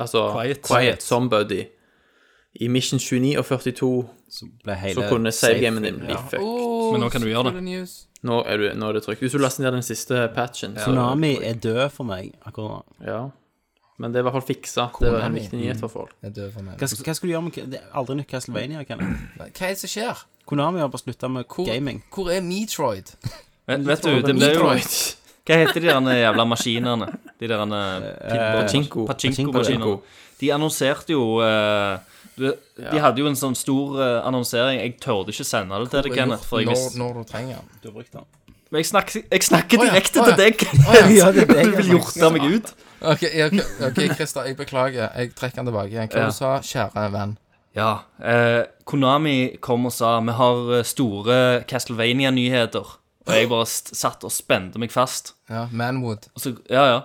Speaker 7: Altså
Speaker 8: Quiet.
Speaker 7: som Buddy i Mission 29 og 42,
Speaker 5: Ble
Speaker 7: så
Speaker 5: hele
Speaker 7: kunne
Speaker 5: safe-
Speaker 7: savegamen din bli fucked.
Speaker 6: Oh,
Speaker 8: Men nå kan du gjøre det.
Speaker 7: Nå, er du- nå er det trygt. Hvis du laster ned den siste patchen, så
Speaker 5: Konami er død for meg
Speaker 7: Mm.
Speaker 5: akkurat nå.
Speaker 7: Ja. Men det er i hvert fall fiksa. Det var en
Speaker 6: Konami.
Speaker 7: viktig nyhet for folk.
Speaker 6: Jeg dør for meg.
Speaker 5: Hva, sk- hva skal du gjøre med K- Det er aldri nytt Castlevania, Kenneth.
Speaker 6: Hva er det som skjer?
Speaker 5: Konami har bare slutta med
Speaker 6: Hvor,
Speaker 5: gaming.
Speaker 6: hvor er Metroid?
Speaker 8: Vet, vet du, Mm. det ble jo
Speaker 7: Metroid.
Speaker 8: Hva heter de der jævla maskinene? De der
Speaker 7: Pachinko.
Speaker 8: Pachinko-maskinene. De annonserte jo eh,
Speaker 9: Du, De hadde jo en sånn stor eh, annonsering. Jeg tørde ikke sende det til deg, Kenneth. For jeg,
Speaker 6: Når,
Speaker 9: visste-
Speaker 6: når du trenger den.
Speaker 5: Du har brukt den.
Speaker 9: men jeg snakker, jeg snakker
Speaker 6: Å ja,
Speaker 9: direkte
Speaker 6: å ja.
Speaker 9: til deg.
Speaker 5: Ja, det er
Speaker 9: Du vil
Speaker 5: deg, ja.
Speaker 9: hjorte meg ut.
Speaker 6: Ok, ja, ok, ok, Christer, jeg beklager. Jeg trekker den tilbake igjen. Hva
Speaker 9: Ja.
Speaker 6: du sa du, kjære venn?
Speaker 9: Ja. Eh, Konami kom og sa vi har eh, store Castlevania-nyheter. Og jeg bare st satt og spente meg fast.
Speaker 6: Ja, Manwood.
Speaker 9: Og så, ja, ja.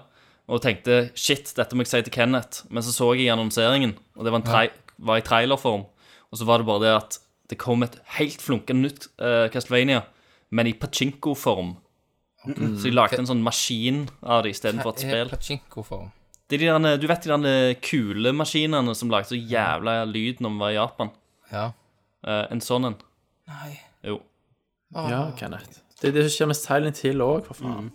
Speaker 9: Og tenkte shit, dette må jeg si til Kenneth. Men så så jeg i annonseringen, og det var, en trai var i trailerform. Og så var det bare det at det kom et helt flunkende nytt eh, Castlevania, men i pachinko-form. Så jeg lagde en sånn maskin av det istedenfor et
Speaker 6: Er
Speaker 9: spill.
Speaker 6: Pachinko-form.
Speaker 9: Det er de derne, du vet de der kulemaskinene som lagde så jævla lyd når vi var i Japan?
Speaker 6: Ja.
Speaker 9: Eh, en sånn en.
Speaker 6: Nei.
Speaker 9: Jo.
Speaker 7: Ja, Kenneth. Det er det som skjer med Silent Hill òg, for faen.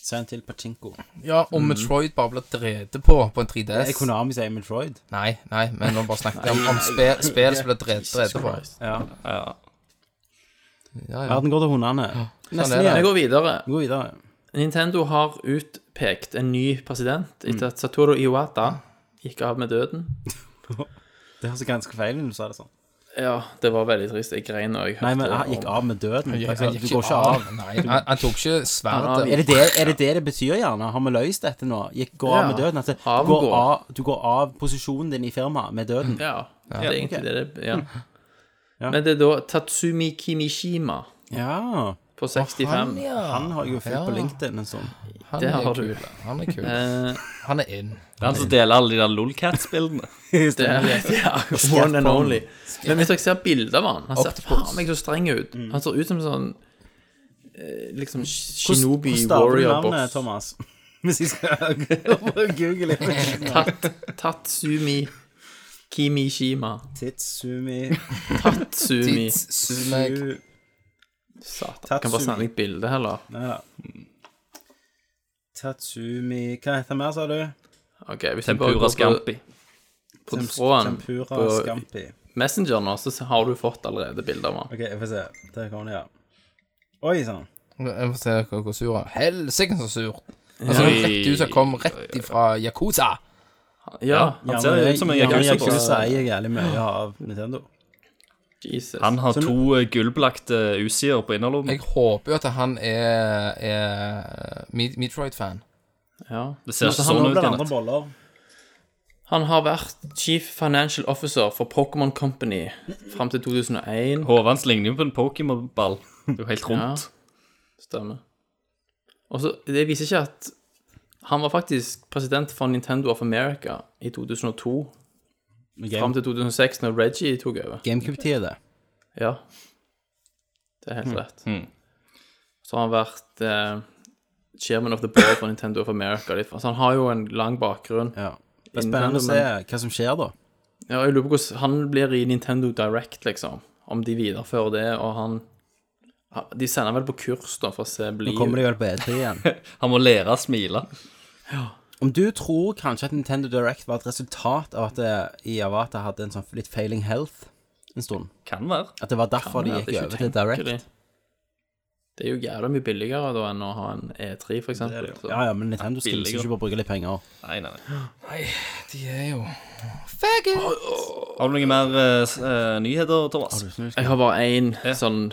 Speaker 5: Send til Pachinko.
Speaker 6: Ja,
Speaker 8: Mm.
Speaker 6: om Metroid bare blir drevet på på en
Speaker 5: Det er
Speaker 6: 3DS.
Speaker 5: Konami som er Emil Freud.
Speaker 6: Nei, nei, men nå bare snakket jeg om, om spill, spill som blir drevet, drevet på.
Speaker 5: Ja.
Speaker 9: Ja.
Speaker 6: Ja, ja.
Speaker 5: Verden går til hundene. Nesten
Speaker 6: er det.
Speaker 7: Jeg
Speaker 5: igjen.
Speaker 7: går videre.
Speaker 5: Gå videre.
Speaker 7: Nintendo har utpekt en ny president
Speaker 5: Mm.
Speaker 7: etter at Satoru Iwata gikk av med døden.
Speaker 5: Det høres ganske feil ut når du sa det sånn.
Speaker 7: Ja, det var veldig trist. Jeg grein når jeg hørte
Speaker 5: Nei, men han gikk
Speaker 7: om-
Speaker 5: av med døden.
Speaker 6: Jeg-
Speaker 5: Altså,
Speaker 6: jeg gikk
Speaker 5: Du går ikke av.
Speaker 6: Nei, han, han tok ikke
Speaker 7: Han
Speaker 6: sverdet.
Speaker 7: avgikk.
Speaker 5: Er det det, er det det det betyr, gjerne? Har vi løst dette nå? Gikk, går av
Speaker 7: Ja.
Speaker 5: med døden? Altså,
Speaker 7: Av
Speaker 5: du, går
Speaker 7: går.
Speaker 5: av, du går av posisjonen din i firmaet med døden?
Speaker 7: Ja, det er egentlig
Speaker 5: ok.
Speaker 7: det det ja.
Speaker 5: Ja.
Speaker 7: Men det er da Tatsumi Kimishima
Speaker 5: Ja.
Speaker 7: på 65.
Speaker 6: Han, ja.
Speaker 5: Han har jeg jo fulgt
Speaker 6: Ja.
Speaker 5: på LinkedIn en sånn.
Speaker 6: Han
Speaker 7: Det
Speaker 6: er
Speaker 7: har du.
Speaker 6: kul. Han er kul.
Speaker 7: Eh,
Speaker 6: Han er in.
Speaker 9: Det er han som deler alle de der Lolcats-bildene.
Speaker 7: det er ja, one and only. Men hvis dere ser bilder av han Han ser faen meg så streng ut.
Speaker 5: Mm.
Speaker 7: Han ser ut som en sånn eh, Liksom Shinobi
Speaker 5: Hvordan staver du
Speaker 7: Warrior
Speaker 5: navnet,
Speaker 7: Boss.
Speaker 5: Thomas? Hvis jeg skal google litt.
Speaker 7: Tat, Tatsumi Kimishima.
Speaker 5: Titsumi
Speaker 7: Tatsumi
Speaker 6: Tidsumeg.
Speaker 7: Satan. Kan bare
Speaker 5: Tatsumi.
Speaker 7: sende deg bilde, heller.
Speaker 5: Tatsumi Hva heter han mer, sa du?
Speaker 7: Ok, Hvis du bare
Speaker 9: Tempura
Speaker 7: går på,
Speaker 9: Scampi.
Speaker 7: på tråden
Speaker 5: Tempura
Speaker 7: på
Speaker 5: Scampi.
Speaker 7: Messenger nå, så har du fått allerede bilder av han.
Speaker 5: OK, jeg får se. Der kommer det, ja. Oi sånn. sann.
Speaker 6: Jeg må se hvor hvor sur han er. Helsike, så sur. Altså, rett ut som kom rett ifra Yakuza.
Speaker 7: Ja,
Speaker 9: Han ser ut som en Yakuza-boss.
Speaker 5: Yakuza eier jævlig mye av Nintendo.
Speaker 7: Jesus.
Speaker 9: Han har to eh, gullbelagte usider på innerlommen.
Speaker 6: Jeg håper jo at han er, er Met- Metroid-fan.
Speaker 7: ja.
Speaker 9: Det ser ikke
Speaker 5: Så nå
Speaker 9: sånn ut,
Speaker 5: blir det andre
Speaker 9: Kenneth.
Speaker 5: boller.
Speaker 7: han har vært chief financial officer for Pokémon Company fram til 2001.
Speaker 9: Hodet hans ligner jo på en Pokémon-ball. Det er jo helt rundt.
Speaker 7: Stemmer. Og så, Det viser ikke at han var faktisk president for Nintendo of America i 2002 fram
Speaker 5: Game,
Speaker 7: til 2006, når Reggie tok over.
Speaker 5: GameCube-tida, det.
Speaker 7: Ja. Det
Speaker 5: Hmm.
Speaker 7: er helt rett. Så har han vært eh, chairman of the board for Nintendo of America. litt. Så han har jo en lang bakgrunn.
Speaker 5: Ja. Det er spennende å se hva som skjer, da.
Speaker 7: Ja, jeg lurer på hvordan han blir i Nintendo Direct, liksom. Om de viderefører det, og han De sender vel på kurs, da, for å se bli
Speaker 5: Nå kommer de vel på E3 igjen.
Speaker 9: Han må lære å smile.
Speaker 5: Om du tror kanskje at Nintendo Direct var et resultat av at eh, Iwata hadde en sånn litt failing health en stund?
Speaker 9: Kan være.
Speaker 5: At det var derfor de
Speaker 7: Ja, det
Speaker 5: gikk
Speaker 7: er
Speaker 5: over til
Speaker 7: ikke
Speaker 5: Direct?
Speaker 7: utenkelig. Det er jo jævla mye billigere da enn å ha en E3, for eksempel. Så-
Speaker 5: Ja, ja, men Nintendo skal
Speaker 9: Billigere.
Speaker 5: liksom ikke bare bruke litt penger.
Speaker 9: Nei, nei, nei.
Speaker 6: De er jo Faggot!
Speaker 9: Har du noen mer eh, s- eh, nyheter, Thomas?
Speaker 7: Jeg har bare én sånn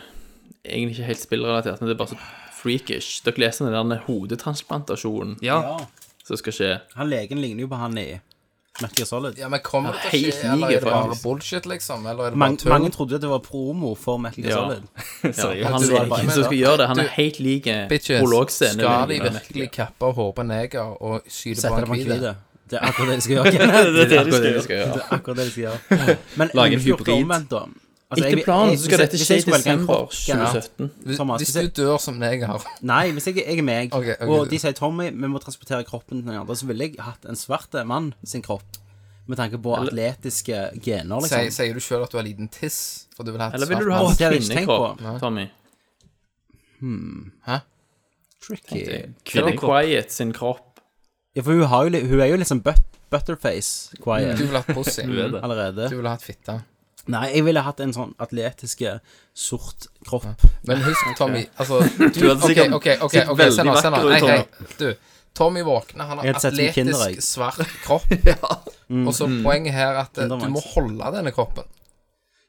Speaker 7: Egentlig ikke helt spillrelatert, men det er bare så freakish. Dere leser om den der hodetransplantasjonen
Speaker 9: Ja.
Speaker 7: som skal skje.
Speaker 5: Han legen ligner jo på han i Merker Solid.
Speaker 6: Ja, men kommer det til å
Speaker 7: Helt
Speaker 6: skje, eller er det
Speaker 7: nige,
Speaker 6: bare
Speaker 7: faktisk.
Speaker 6: bullshit, liksom? Eller er det bare
Speaker 5: Mange,
Speaker 6: tull?
Speaker 5: mange trodde det var promo for Metal Gear
Speaker 7: Ja.
Speaker 5: Solid.
Speaker 7: Ja, og han
Speaker 6: du er bare-
Speaker 7: legen som skal gjøre det, han er helt lik eh,
Speaker 6: Bitches,
Speaker 7: prologscenen.
Speaker 6: skal de virkelig kappe av håret på en neger og skyte på
Speaker 5: Sette det
Speaker 6: en
Speaker 5: på en
Speaker 6: hvit?
Speaker 5: kvide. Det er akkurat det de skal gjøre. Kenneth.
Speaker 7: Det er akkurat det de
Speaker 5: Det
Speaker 7: skal gjøre.
Speaker 5: er akkurat det de skal gjøre. Men
Speaker 7: Lage en
Speaker 5: jeg vil ikke gjøre
Speaker 7: hybrid.
Speaker 5: omvendt, da. Altså, jeg
Speaker 7: Etter
Speaker 5: vil-
Speaker 7: planen
Speaker 5: jeg-
Speaker 7: så
Speaker 5: hvis
Speaker 7: skal
Speaker 5: jeg-
Speaker 7: dette
Speaker 5: hvis
Speaker 7: skje
Speaker 5: jeg
Speaker 7: i
Speaker 5: skulle velge en
Speaker 7: desember
Speaker 5: kropp, Kenneth,
Speaker 7: 2017.
Speaker 6: Hvis,
Speaker 5: Thomas,
Speaker 6: hvis
Speaker 5: hvis jeg-
Speaker 6: du dør som neger
Speaker 5: Nei, hvis jeg, jeg er meg,
Speaker 6: Ok, ok.
Speaker 5: og de sier Tommy, vi må transportere kroppen til den andre, så ville jeg hatt en svarte mann sin kropp. Med tanke på atletiske gener,
Speaker 6: sier,
Speaker 5: liksom.
Speaker 6: sier du sjøl at du har liten tiss, for du vil ha et
Speaker 7: Eller ville du
Speaker 6: svart
Speaker 7: ha
Speaker 5: Åh,
Speaker 7: en
Speaker 5: det hadde jeg ikke tenkt
Speaker 7: kvinnekropp,
Speaker 5: på.
Speaker 7: Tommy?
Speaker 5: Tricky.
Speaker 7: Kvinne Quiet sin kropp.
Speaker 5: Ja, for hun, har jo, li- hun er jo liksom but, butterface
Speaker 6: mann?
Speaker 5: quiet
Speaker 6: Du vil ha et pussy. Du
Speaker 5: allerede.
Speaker 6: vil ha et fitte.
Speaker 5: Nei, jeg ville hatt en sånn atletiske, sort kropp.
Speaker 6: Men husk, Tommy altså, du,
Speaker 7: hadde sikkert
Speaker 6: Ok, ok, ok,
Speaker 7: sett
Speaker 6: se nå,
Speaker 7: veldig
Speaker 6: se nå.
Speaker 7: vakker ut,
Speaker 6: Hei, hei. Du, Tommy våkner, han har
Speaker 5: Jeg hadde sett som Kinderegg.
Speaker 6: atletisk, svart kropp. Og så poenget her at eh, du må holde denne kroppen.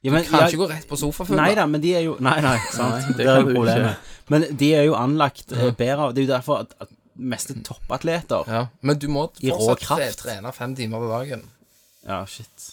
Speaker 5: Ja, men,
Speaker 6: Kan
Speaker 5: ja,
Speaker 6: ikke gå rett på
Speaker 5: Nei
Speaker 6: sofafugler.
Speaker 5: da, men de er jo Nei, nei, sant. det, er
Speaker 7: kan
Speaker 5: jo
Speaker 7: du
Speaker 5: problemet. Men de er jo anlagt eh, bedre av Det er jo derfor at, at meste toppatleter
Speaker 6: Ja. Men du må
Speaker 5: I rå
Speaker 6: fortsatt tre,
Speaker 5: kraft.
Speaker 6: trene fem timer om dagen.
Speaker 5: Ja, shit.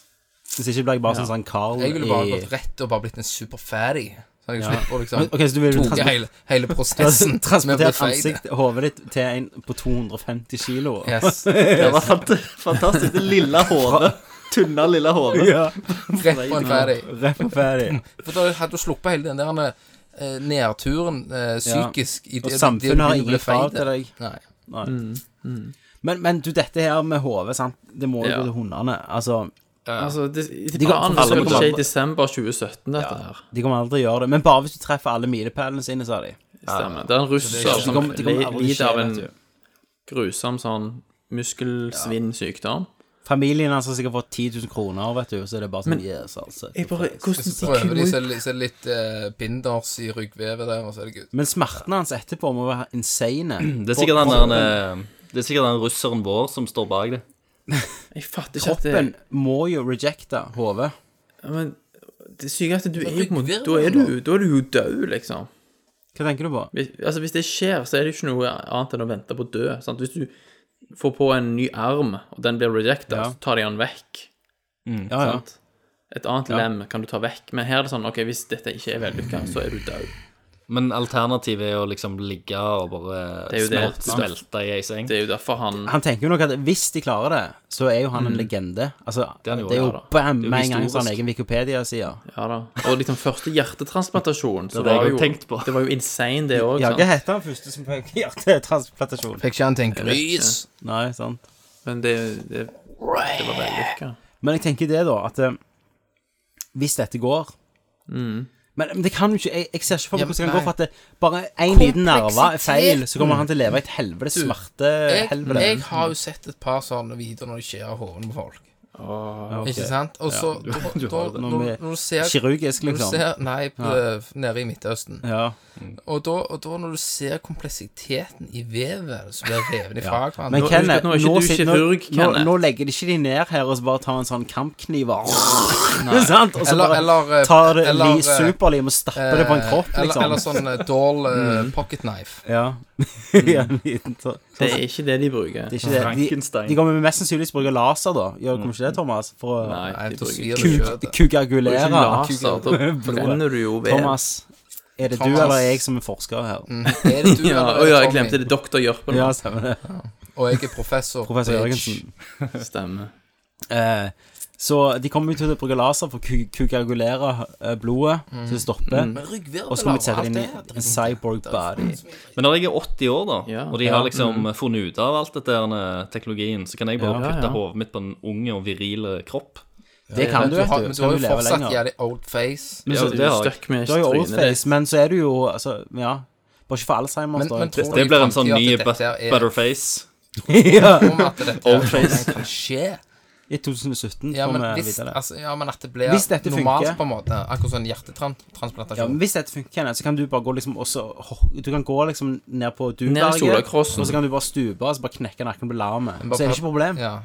Speaker 5: Hvis ikke blir jeg bare sånn sånn Carl
Speaker 6: Jeg ville bare
Speaker 5: i
Speaker 6: gått rett og bare blitt en super fatty. Så hadde jeg slipper å liksom
Speaker 5: Men, Ok, så du vil
Speaker 6: tok
Speaker 5: transpor-
Speaker 6: hele, hele
Speaker 5: du har
Speaker 6: prosessen med å bli
Speaker 5: transportert
Speaker 6: feit.
Speaker 5: ansikt, hodet ditt til en på 250 kilo?
Speaker 6: Yes.
Speaker 10: Det var fant- fantastisk. Det lille hodet. Tynne lille hodet.
Speaker 5: Ja,
Speaker 6: Rett på en fatty.
Speaker 5: Rett og ferdig.
Speaker 6: For da hadde du sluppet hele den der eh, nedturen eh, psykisk i
Speaker 5: Og
Speaker 6: det-
Speaker 5: samfunnet
Speaker 6: det
Speaker 5: har
Speaker 6: du ble
Speaker 5: ingen krav
Speaker 6: feit.
Speaker 5: til deg.
Speaker 6: Nei.
Speaker 5: Nei.
Speaker 7: Mm,
Speaker 5: Men, men du, dette her med hodet, sant. Det må jo
Speaker 7: Ja.
Speaker 5: gå til hundene. Altså,
Speaker 7: Altså, det, i
Speaker 5: De går-
Speaker 7: planen
Speaker 5: alle
Speaker 7: skal
Speaker 5: må
Speaker 7: det skje i
Speaker 5: gå-
Speaker 7: desember 2017, dette her.
Speaker 5: de kommer aldri til å gjøre det. Men bare hvis du treffer alle milepælene sine, sa de.
Speaker 7: Stemmer. Det er en russer
Speaker 5: Det
Speaker 7: som
Speaker 5: kommer- det kommer
Speaker 7: li-
Speaker 5: aldri
Speaker 7: lider
Speaker 5: skje,
Speaker 7: av en
Speaker 5: vet du.
Speaker 7: grusom sånn muskelsvinnsykdom.
Speaker 5: Familien hans har sikkert fått 10 000 kroner, vet du, så det er bare sånn yes, altså.
Speaker 6: Så prøver de så er det litt- så er det litt eh, binders i ryggvevet der, og så er det gutt.
Speaker 5: Men smertene hans etterpå må være insane.
Speaker 9: Mm.
Speaker 10: Det er sikkert den, der, eh, det er sikkert den russeren vår som står bak det.
Speaker 7: Jeg fatter ikke at det
Speaker 5: Kroppen må jo rejecte hodet.
Speaker 7: Ja, Men det syke er at du er jo på en måte Da
Speaker 6: ryggvirvelen,
Speaker 7: er du, da er du jo død, liksom.
Speaker 5: Hva tenker du på?
Speaker 7: Hvis, altså, hvis det skjer, så er det ikke noe annet enn å vente på å dø. Sant? Hvis du får på en ny arm, og den blir rejecta,
Speaker 5: Ja.
Speaker 7: så tar de den vekk. Mm.
Speaker 5: Ja, ja.
Speaker 7: Sant? Et annet lem kan du ta vekk, men her er det sånn OK, hvis dette ikke er vellykka, så er du død.
Speaker 9: Men alternativet er å liksom ligge og bare
Speaker 7: Det er jo det.
Speaker 9: smelte, smelte i ei seng.
Speaker 7: Det er jo derfor han
Speaker 5: Han tenker jo nok at hvis de klarer det, så er jo han en legende. Altså, det
Speaker 9: er
Speaker 5: er
Speaker 9: han
Speaker 5: jo,
Speaker 9: jo, ja, da.
Speaker 5: bam,
Speaker 9: Det er jo
Speaker 5: med en gang
Speaker 9: historisk.
Speaker 5: så har han egen Wikipedia-side.
Speaker 7: Ja da. Og liksom første hjertetransplantasjon, så
Speaker 9: det
Speaker 7: var
Speaker 9: jeg
Speaker 7: jo
Speaker 9: har tenkt på.
Speaker 7: Det var jo insane, det òg.
Speaker 5: Ja, hva heter han første som fikk hjertetransplantasjon?
Speaker 6: Fikk ikke han til en grys?
Speaker 5: Nei, sant.
Speaker 7: Men det, det, det var vellykka.
Speaker 5: Men jeg tenker det, da, at eh, hvis dette går
Speaker 7: Mm.
Speaker 5: men, men det kan jo ikke Jeg, jeg ser ikke for meg
Speaker 6: Ja,
Speaker 5: hvordan det kan gå,
Speaker 6: nei.
Speaker 5: for at det, bare én liten nerve er feil, så kommer han til å leve i et
Speaker 6: Du,
Speaker 5: helvete
Speaker 6: jeg,
Speaker 5: smertehelvete.
Speaker 6: jeg har jo sett et par sånne videoer når de skjærer hodene på folk. Ikke sant? Og så da- da- når,
Speaker 5: Noe med
Speaker 6: når du ser
Speaker 5: Kirurgisk,
Speaker 6: når du
Speaker 5: liksom.
Speaker 6: ser, Nei, på, nede i Midtøsten.
Speaker 5: Ja.
Speaker 6: Og da, og da når du ser kompleksiteten i vevet som blir revet ifra hverandre
Speaker 5: Men
Speaker 7: Nå-
Speaker 5: Kenneth,
Speaker 7: husk at nå er ikke
Speaker 5: nå,
Speaker 7: du
Speaker 5: sit-
Speaker 7: kirurg,
Speaker 5: nå, nå,
Speaker 7: Kenneth.
Speaker 5: nå legger de ikke de ned her og så bare tar en sånn kampkniv og Sant? Og så
Speaker 6: Eller-
Speaker 5: bare
Speaker 6: eller, eh,
Speaker 5: tar det
Speaker 6: eller,
Speaker 5: li,
Speaker 6: eh,
Speaker 5: superlim og stapper det på en kropp,
Speaker 6: Eh,
Speaker 5: liksom.
Speaker 6: Eller,
Speaker 5: Mm.
Speaker 6: eller sånn eh, Dahl eh, pocket knife.
Speaker 5: ja. Ja, en liten sånn-
Speaker 7: Det er ikke det de bruker.
Speaker 5: det er ikke det. De,
Speaker 10: Frankenstein.
Speaker 5: de kommer mest sannsynligvis bruke laser, da. Gjør kommer ikke det, Thomas? For å
Speaker 6: Nei,
Speaker 7: Nei, de
Speaker 6: da
Speaker 7: bruker
Speaker 6: svir du
Speaker 5: kuk-
Speaker 6: kjøttet.
Speaker 7: Det er
Speaker 5: kukakulere.
Speaker 7: ikke laser, da
Speaker 5: Blodet.
Speaker 7: brenner du jo ved.
Speaker 5: Thomas, er det du
Speaker 6: Thomas.
Speaker 5: eller jeg som er forsker her?
Speaker 6: Mm. Er det du
Speaker 7: Ja,
Speaker 6: eller
Speaker 7: å
Speaker 6: er
Speaker 7: ja,
Speaker 6: det
Speaker 7: jeg glemte
Speaker 6: Tommy?
Speaker 7: det. Doktor Jørpen.
Speaker 5: Ja, stemmer det.
Speaker 6: Og jeg er professor.
Speaker 5: Professor
Speaker 6: bitch.
Speaker 5: Jørgensen.
Speaker 7: Stemmer.
Speaker 5: Eh, så de kommer jo til å bruke laser for å ku- kukakulere eh, blodet, så det stopper.
Speaker 6: Men ryggvirvler
Speaker 5: Og så må vi sette
Speaker 6: alt
Speaker 5: inn i
Speaker 6: Mm. det her
Speaker 5: en
Speaker 6: dritten.
Speaker 5: cyborg body.
Speaker 9: Men når jeg er 80 år, da,
Speaker 7: Ja. Mm.
Speaker 9: og de har liksom funnet ut av alt dette denne teknologien, så kan jeg bare
Speaker 7: Ja,
Speaker 9: putte
Speaker 7: ja.
Speaker 9: hodet mitt på en unge og virile kropp.
Speaker 5: Det kan
Speaker 6: Men
Speaker 5: du,
Speaker 6: du
Speaker 5: vet
Speaker 6: har,
Speaker 5: du.
Speaker 6: men du
Speaker 5: så
Speaker 6: har jo
Speaker 5: kan du leve
Speaker 6: fortsatt
Speaker 5: lenger.
Speaker 6: jævlig old face.
Speaker 9: Ja,
Speaker 7: Så
Speaker 9: det
Speaker 7: du er
Speaker 9: har jeg.
Speaker 7: stuck med
Speaker 5: Du har jo old
Speaker 7: trynet ditt.
Speaker 5: face, men så er du jo altså, Ja. Bare ikke for Alzheimers,
Speaker 6: Men,
Speaker 5: da.
Speaker 6: men tror
Speaker 9: Det
Speaker 6: du i
Speaker 9: blir en sånn
Speaker 6: fremtiden
Speaker 9: ny
Speaker 6: at dette
Speaker 9: but
Speaker 6: her er-
Speaker 9: butterface.
Speaker 5: ja.
Speaker 6: Om at dette old face kan skje.
Speaker 5: I 2017
Speaker 6: Ja,
Speaker 5: får
Speaker 6: men,
Speaker 5: vi
Speaker 6: hvis,
Speaker 5: vite det.
Speaker 6: altså, ja, men at det blir
Speaker 5: Hvis dette
Speaker 6: normalt,
Speaker 5: funker-
Speaker 6: på en måte. Akkurat sånn
Speaker 5: Ja, men
Speaker 6: hjertetransplantasjon.
Speaker 5: hvis dette funker, Kenneth, så kan du bare gå liksom og så ho- Du kan gå liksom ned på duberget,
Speaker 7: Solakrossen.
Speaker 5: og så kan du bare stupe og så bare knekke nakken på larmet.
Speaker 6: bare
Speaker 5: Så er det
Speaker 6: prøv-
Speaker 5: ikke et problem.
Speaker 6: Ja.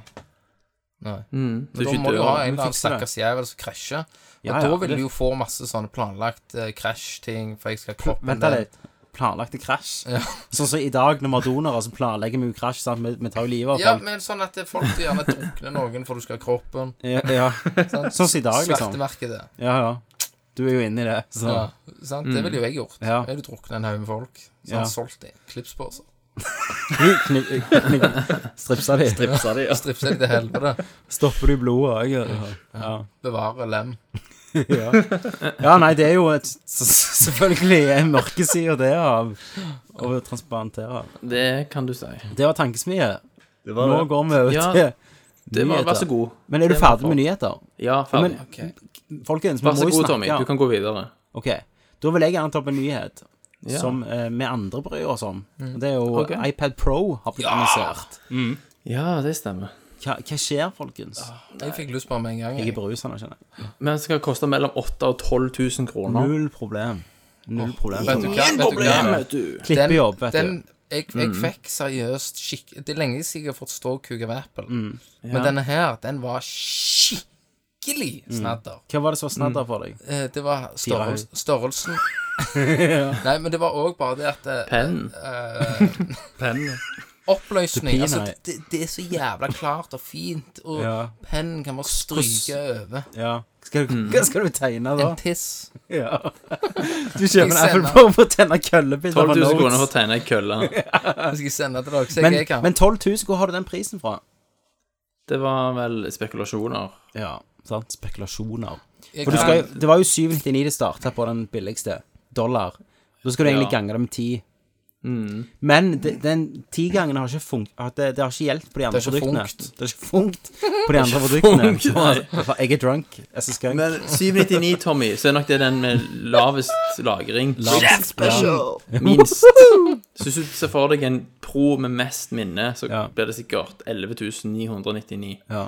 Speaker 6: Nei.
Speaker 7: Mm. Du
Speaker 6: Da
Speaker 7: er
Speaker 6: må du
Speaker 7: ikke
Speaker 6: ha
Speaker 7: død.
Speaker 6: en eller annen
Speaker 5: fikser det.
Speaker 6: stakkars jævel som krasjer. Og
Speaker 5: Ja,
Speaker 6: da
Speaker 5: ja,
Speaker 6: vil
Speaker 5: det-
Speaker 6: du jo få masse sånne planlagt eh, krasj-ting, for jeg skal kroppen
Speaker 5: Vent da
Speaker 6: den-
Speaker 5: litt. Planlagte krasj.
Speaker 6: Ja.
Speaker 5: Sånn som i dag, når vi har donorer, så planlegger vi jo krasj. sant? Vi, vi tar jo livet av
Speaker 6: Ja,
Speaker 5: folk.
Speaker 6: men sånn at det er folk som gjerne drukner noen for du skal ha kroppen.
Speaker 5: Ja, ja.
Speaker 6: Sant?
Speaker 5: Sånn som i dag, liksom.
Speaker 6: Svertemerkedet.
Speaker 5: Ja, ja. Du er jo inne i det, så
Speaker 6: Ja, sant? Det ville jo jeg gjort.
Speaker 5: Mm. Ja.
Speaker 6: Jeg ville druknet en haug med folk. Så
Speaker 5: Ja.
Speaker 6: han solgt det. Klipsposer.
Speaker 5: Kniv- kniv- Stripsa de.
Speaker 10: Tripsa de, ja.
Speaker 6: Stripset til helvete.
Speaker 5: Stopper du blodet òg? Ja.
Speaker 6: Bevare lem.
Speaker 5: Ja. ja, nei, det er jo et, s- s- selvfølgelig en mørkeside det av å transplantere.
Speaker 7: Det kan du si.
Speaker 5: Det var tankesmie.
Speaker 10: Det var
Speaker 5: Nå
Speaker 10: det.
Speaker 5: går vi over
Speaker 7: Ja,
Speaker 5: til
Speaker 7: Det var, vær så
Speaker 5: nyheter.
Speaker 7: god.
Speaker 5: Men er du
Speaker 7: Det var
Speaker 5: ferdig med
Speaker 7: bra.
Speaker 5: nyheter?
Speaker 7: Ja, ferdig.
Speaker 5: Men- Folkens, vi
Speaker 7: vær
Speaker 5: må
Speaker 7: så
Speaker 5: jo
Speaker 7: god,
Speaker 5: snakke.
Speaker 7: Tommy. Du kan gå videre.
Speaker 5: Ok, da vil jeg gjerne ta opp en nyhet
Speaker 7: Ja. Mm.
Speaker 5: som eh, vi andre bryr oss om. Og Det er jo
Speaker 7: Ok.
Speaker 5: iPad Pro har blitt annonsert.
Speaker 7: Ja, det stemmer.
Speaker 5: Hva, hva skjer, folkens?
Speaker 7: Ah.
Speaker 6: Jeg fikk lyst på den med en gang.
Speaker 5: Jeg er
Speaker 6: Jeg.
Speaker 5: berusende, kjenner jeg.
Speaker 7: Men det skal koste mellom 8000 og 12 000 kroner.
Speaker 5: Null problem. Null problem.
Speaker 6: Vet du hva? Mm. Vet du hva?
Speaker 5: Klippejobb, vet du.
Speaker 6: Den, jeg, jeg fikk seriøst skikk... Det er lenge siden jeg har fått ståkuk av Apple.
Speaker 5: Mm.
Speaker 6: Men denne her, den var skikkelig
Speaker 5: Mm.
Speaker 6: snadder.
Speaker 5: Hva var det som var
Speaker 7: Mm.
Speaker 5: snadder for deg?
Speaker 6: Eh, Det var størrels, størrelsen Nei, men det var òg bare det at eh,
Speaker 7: Penn.
Speaker 8: Penn.
Speaker 6: Oppløsning.
Speaker 5: Supina,
Speaker 6: Altså,
Speaker 5: ja.
Speaker 6: det, det er så jævla klart og fint, og
Speaker 5: Ja.
Speaker 6: pennen kan bare stryke over.
Speaker 5: Ja. Skal du,
Speaker 7: Mm.
Speaker 5: Hva skal du tegne da?
Speaker 6: En tiss.
Speaker 5: Ja. Du kjøper en
Speaker 6: Jeg
Speaker 5: Apple
Speaker 6: sender-
Speaker 5: Pro for å tenne køllebiter
Speaker 7: 12
Speaker 5: på
Speaker 7: 000 kroner for
Speaker 5: Notes.
Speaker 7: å tegne ei kølle.
Speaker 6: Jeg skal sende til dere, så
Speaker 5: Men,
Speaker 6: jeg kan.
Speaker 5: men 12 000, hvor har du den prisen fra?
Speaker 7: Det var vel spekulasjoner.
Speaker 5: Ja, sant? Spekulasjoner.
Speaker 6: jeg
Speaker 5: For du
Speaker 6: kan-
Speaker 5: skal, jo- det var jo 799 det starta på den billigste. Dollar. Da skal du egentlig gange det med 10. Men de, den 10 gangen har ikke funkt har- det, det har ikke hjulpet på de andre
Speaker 6: ikke
Speaker 5: produktene.
Speaker 6: funkt.
Speaker 5: Det har ikke funkt på de andre produktene. Jeg er drunk. Jeg skal skunk.
Speaker 7: Men 799, Tommy, så er nok det den med lavest lagring. Lavest Minst. Så hvis du ser for deg en pro med mest minne, så
Speaker 5: Ja.
Speaker 7: blir det sikkert 11.999.
Speaker 5: Ja.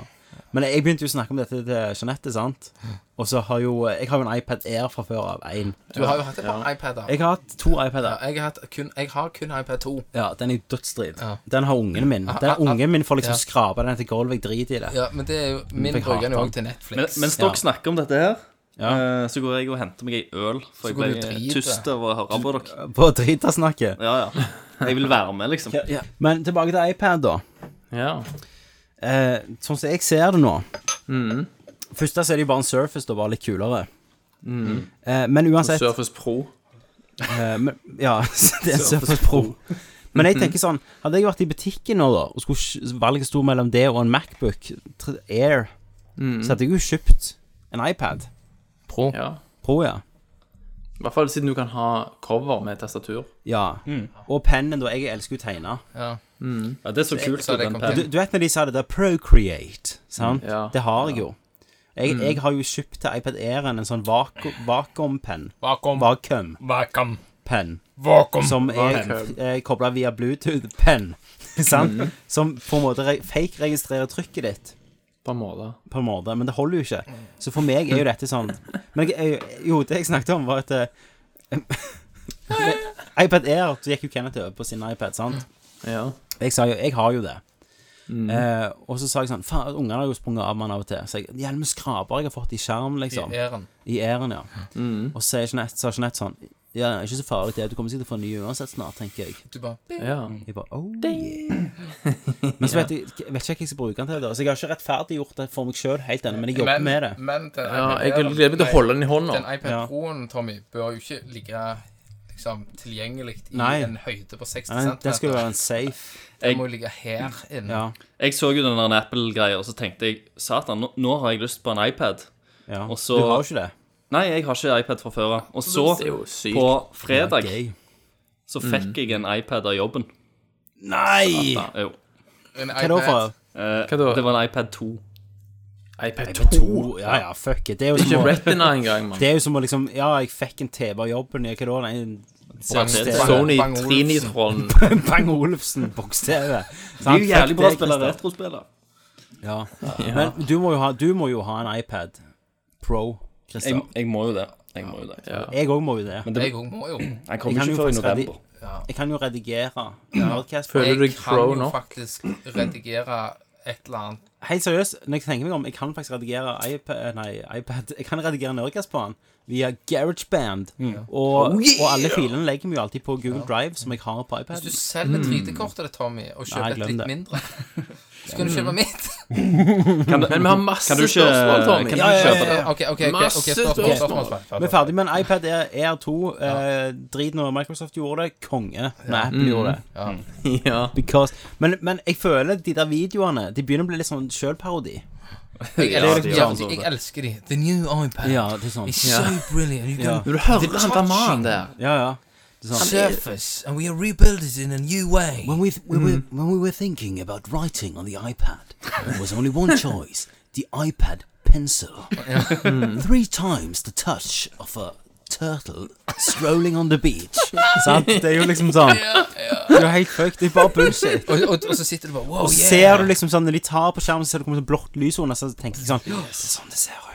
Speaker 5: Men jeg begynte jo å snakke om dette til Jeanette, sant? Og så har jo Jeg har jo en iPad Air fra før av. Én.
Speaker 6: Du har jo hatt et par iPader.
Speaker 5: Jeg har hatt to
Speaker 6: Ja,
Speaker 5: iPader.
Speaker 6: jeg, har hatt kun, jeg har kun iPad 2.
Speaker 5: Ja, den er jo dødsdrit.
Speaker 6: Ja.
Speaker 5: Den har ungen min.
Speaker 6: ah,
Speaker 5: Den ungen min får
Speaker 6: ja.
Speaker 5: liksom skrape den til gulvet. Jeg driter i det.
Speaker 6: Ja, men det er jo min
Speaker 5: Jeg
Speaker 6: bruker den jo
Speaker 5: hater
Speaker 6: også til
Speaker 9: Men,
Speaker 6: Netflix.
Speaker 9: mens dere
Speaker 5: Ja.
Speaker 9: snakker om dette her,
Speaker 5: Ja.
Speaker 9: eh, så går jeg og henter meg ei øl, for
Speaker 6: går du
Speaker 9: jeg
Speaker 6: og
Speaker 9: ble
Speaker 6: driter.
Speaker 9: tyst av å høre på dere.
Speaker 5: På dritasnakket.
Speaker 9: Ja, ja. Jeg vil være med, liksom.
Speaker 5: Men tilbake til iPad, da.
Speaker 7: Ja.
Speaker 5: Eh, sånn som jeg ser det nå
Speaker 6: Mm.
Speaker 5: Først da så er det jo bare en Surface, da, bare litt kulere.
Speaker 6: Mm.
Speaker 5: Eh, men uansett
Speaker 7: Surface Pro.
Speaker 5: Eh, men, ja, det er en Surface Pro. Men jeg tenker sånn Hadde jeg vært i butikken nå, da, og skulle sk- valget sto mellom det og en Macbook tr- Air,
Speaker 6: Mm.
Speaker 5: så hadde jeg jo kjøpt en iPad
Speaker 6: Pro.
Speaker 7: Ja.
Speaker 5: Pro, ja.
Speaker 7: I hvert fall siden du kan ha cover med tastatur.
Speaker 5: ja. Og pennen, da. Jeg elsker jo å tegne.
Speaker 9: Ja, det er så kult.
Speaker 6: Så det
Speaker 9: den
Speaker 6: kom
Speaker 9: pennen.
Speaker 5: Du, du vet når de sa det der Procreate, sant?
Speaker 7: Ja.
Speaker 5: Det har jeg jo.
Speaker 6: Mm.
Speaker 5: Jeg, jeg har jo kjøpt til iPad Air-en en sånn vaku- vakuumpenn.
Speaker 6: Vakuum.
Speaker 5: Vakuumpenn.
Speaker 6: Vakuum. Vakuum. Mm.
Speaker 5: som er eh, kobla via Bluetooth-penn. Sant? Som på en måte re fake-registrerer trykket ditt,
Speaker 7: På en måte.
Speaker 5: på en måte, men det holder jo ikke. Så for meg er jo dette sånn Men jeg, jeg, jo, det jeg snakket om, var at eh, med iPad Air så gikk jo Kenneth over på sin iPad, sant?
Speaker 7: Ja.
Speaker 5: Jeg sa jo Jeg har jo det. Eh, og så sa jeg sånn Faen, ungene har jo sprunget av meg av og til. Så jeg Hjelm med skraper jeg har fått i skjerm, liksom.
Speaker 6: Æren.
Speaker 5: I æren, ja. Og så sier Jeanette, sa Jeanette sånn Ja, det er ikke så farlig det. Du kommer sikkert til å få en ny uansett snart, tenker jeg.
Speaker 6: Du bare bing.
Speaker 7: ja.
Speaker 5: Jeg bare, oh yeah Men så vet jeg, vet ikke hva jeg skal bruke den til da. Så jeg har ikke rettferdiggjort det for meg selv helt ennå, men jeg jobber
Speaker 6: Men-
Speaker 5: med det
Speaker 6: Men den
Speaker 7: ja
Speaker 6: iPad
Speaker 7: jeg
Speaker 6: Airen-
Speaker 7: gleder meg til å
Speaker 6: nei,
Speaker 7: holde den i hånda.
Speaker 6: Den iPad
Speaker 5: Ja.
Speaker 6: Proen, Tommy, bør jo ikke ligge liksom, tilgjengelig i
Speaker 5: Nei.
Speaker 6: en høyde på 60
Speaker 5: Nei,
Speaker 6: cm.
Speaker 5: Den skal jo være en safe
Speaker 6: Den må jo ligge her inne.
Speaker 5: Ja,
Speaker 9: Jeg så jo den der Apple-greia, og så tenkte jeg Satan, nå, nå har jeg lyst på en iPad.
Speaker 5: ja.
Speaker 9: Og så-
Speaker 5: Du har jo ikke det
Speaker 9: Nei, jeg har ikke iPad fra før av. Og så,
Speaker 7: Det er jo sykt.
Speaker 9: på fredag,
Speaker 5: Gøy
Speaker 9: så fikk jeg en iPad av jobben.
Speaker 5: Nei
Speaker 9: Ja, jo.
Speaker 6: En
Speaker 5: Hva da
Speaker 6: iPad-
Speaker 5: for?
Speaker 9: Eh,
Speaker 7: Hva da?
Speaker 9: Det var en iPad 2.
Speaker 7: iPad 2.
Speaker 5: To Ja, ja, fuck it Det er jo
Speaker 7: Ikke
Speaker 5: som å,
Speaker 7: Retina engang, mann.
Speaker 5: det er jo som å liksom Ja, jeg fikk en TV av jobben Ja, hva da? Nei, en
Speaker 6: Det er-
Speaker 7: Sony
Speaker 6: Bang Olufsen.
Speaker 7: 3-nitron.
Speaker 5: Bang Olufsen boks-TV Det
Speaker 9: Det er jo jævlig bra å spille retrospiller.
Speaker 5: Ja Men du må jo ha, du må jo ha en iPad Pro, Kristian
Speaker 9: jeg må jo det. Jeg må jo det.
Speaker 5: Jeg også må jo det
Speaker 9: det-
Speaker 6: Jeg òg må jo.
Speaker 9: Jeg
Speaker 5: Jeg
Speaker 9: kommer
Speaker 5: kan jo
Speaker 9: ikke før i
Speaker 5: faktisk
Speaker 9: november.
Speaker 5: Jeg kan jo redigere Nerdcast på
Speaker 7: Føler du
Speaker 6: Jeg
Speaker 7: deg
Speaker 6: kan
Speaker 7: pro
Speaker 6: jo
Speaker 7: nå?
Speaker 6: faktisk redigere et eller annet.
Speaker 5: Helt seriøst, når jeg tenker meg om, jeg kan faktisk redigere iPad, eh, nei, iPad Jeg kan redigere Norges på den via GarageBand.
Speaker 9: Mm. Oh,
Speaker 5: Og, og alle filene legger vi jo alltid på Google Drive, som jeg har på
Speaker 6: Hvis
Speaker 5: iPad.
Speaker 6: du selger 3D-kortet ditt, Tommy, og
Speaker 5: Hmm.
Speaker 6: kjøper
Speaker 5: Nei,
Speaker 6: et
Speaker 5: glem
Speaker 6: litt
Speaker 5: det.
Speaker 6: mindre, så kan du kjøpe mitt.
Speaker 7: Men vi har masse
Speaker 9: Kan du ikke,
Speaker 7: spørsmål, Tommy.
Speaker 9: kan du ikke kjøpe det?
Speaker 6: Ok, ok, ok,
Speaker 7: Masse
Speaker 6: ok, spørsmål, spørsmål,
Speaker 5: Vi er
Speaker 6: spørsmål.
Speaker 5: ferdig med en iPad Air, Air 2. Eh, drit når Microsoft gjorde det. Konge når Apple
Speaker 9: Mm.
Speaker 5: gjorde det.
Speaker 7: Ja.
Speaker 5: Because, men, men jeg føler de der videoene De begynner å bli litt sånn sjølparodi.
Speaker 6: Jeg
Speaker 9: Ja,
Speaker 6: elsker,
Speaker 9: det gjør
Speaker 6: ja,
Speaker 9: han så
Speaker 6: jeg elsker de. The new iPad
Speaker 5: Ja, det er sånn.
Speaker 6: is so brilliant. You
Speaker 5: Ja.
Speaker 6: can
Speaker 7: Når du hører han der mannen der
Speaker 5: Ja, ja. Det er sånn.
Speaker 6: surface, and we are rebuild it in a new way.
Speaker 5: When we, we were, when we were thinking about writing on the iPad, there was only one choice the iPad pencil. Three times the touch of a turtle strolling on the beach. Sant? Det er jo liksom sånn. Det er jo helt fucked. Det er bare bullshit.
Speaker 6: Og, og, og så sitter du bare wow,
Speaker 5: Og
Speaker 6: yeah.
Speaker 5: ser du liksom sånn, Når de tar på skjermen, så ser det kommer sånn blått lys under, så tenker jeg sånn Det er sånn det ser ut.
Speaker 1: fett.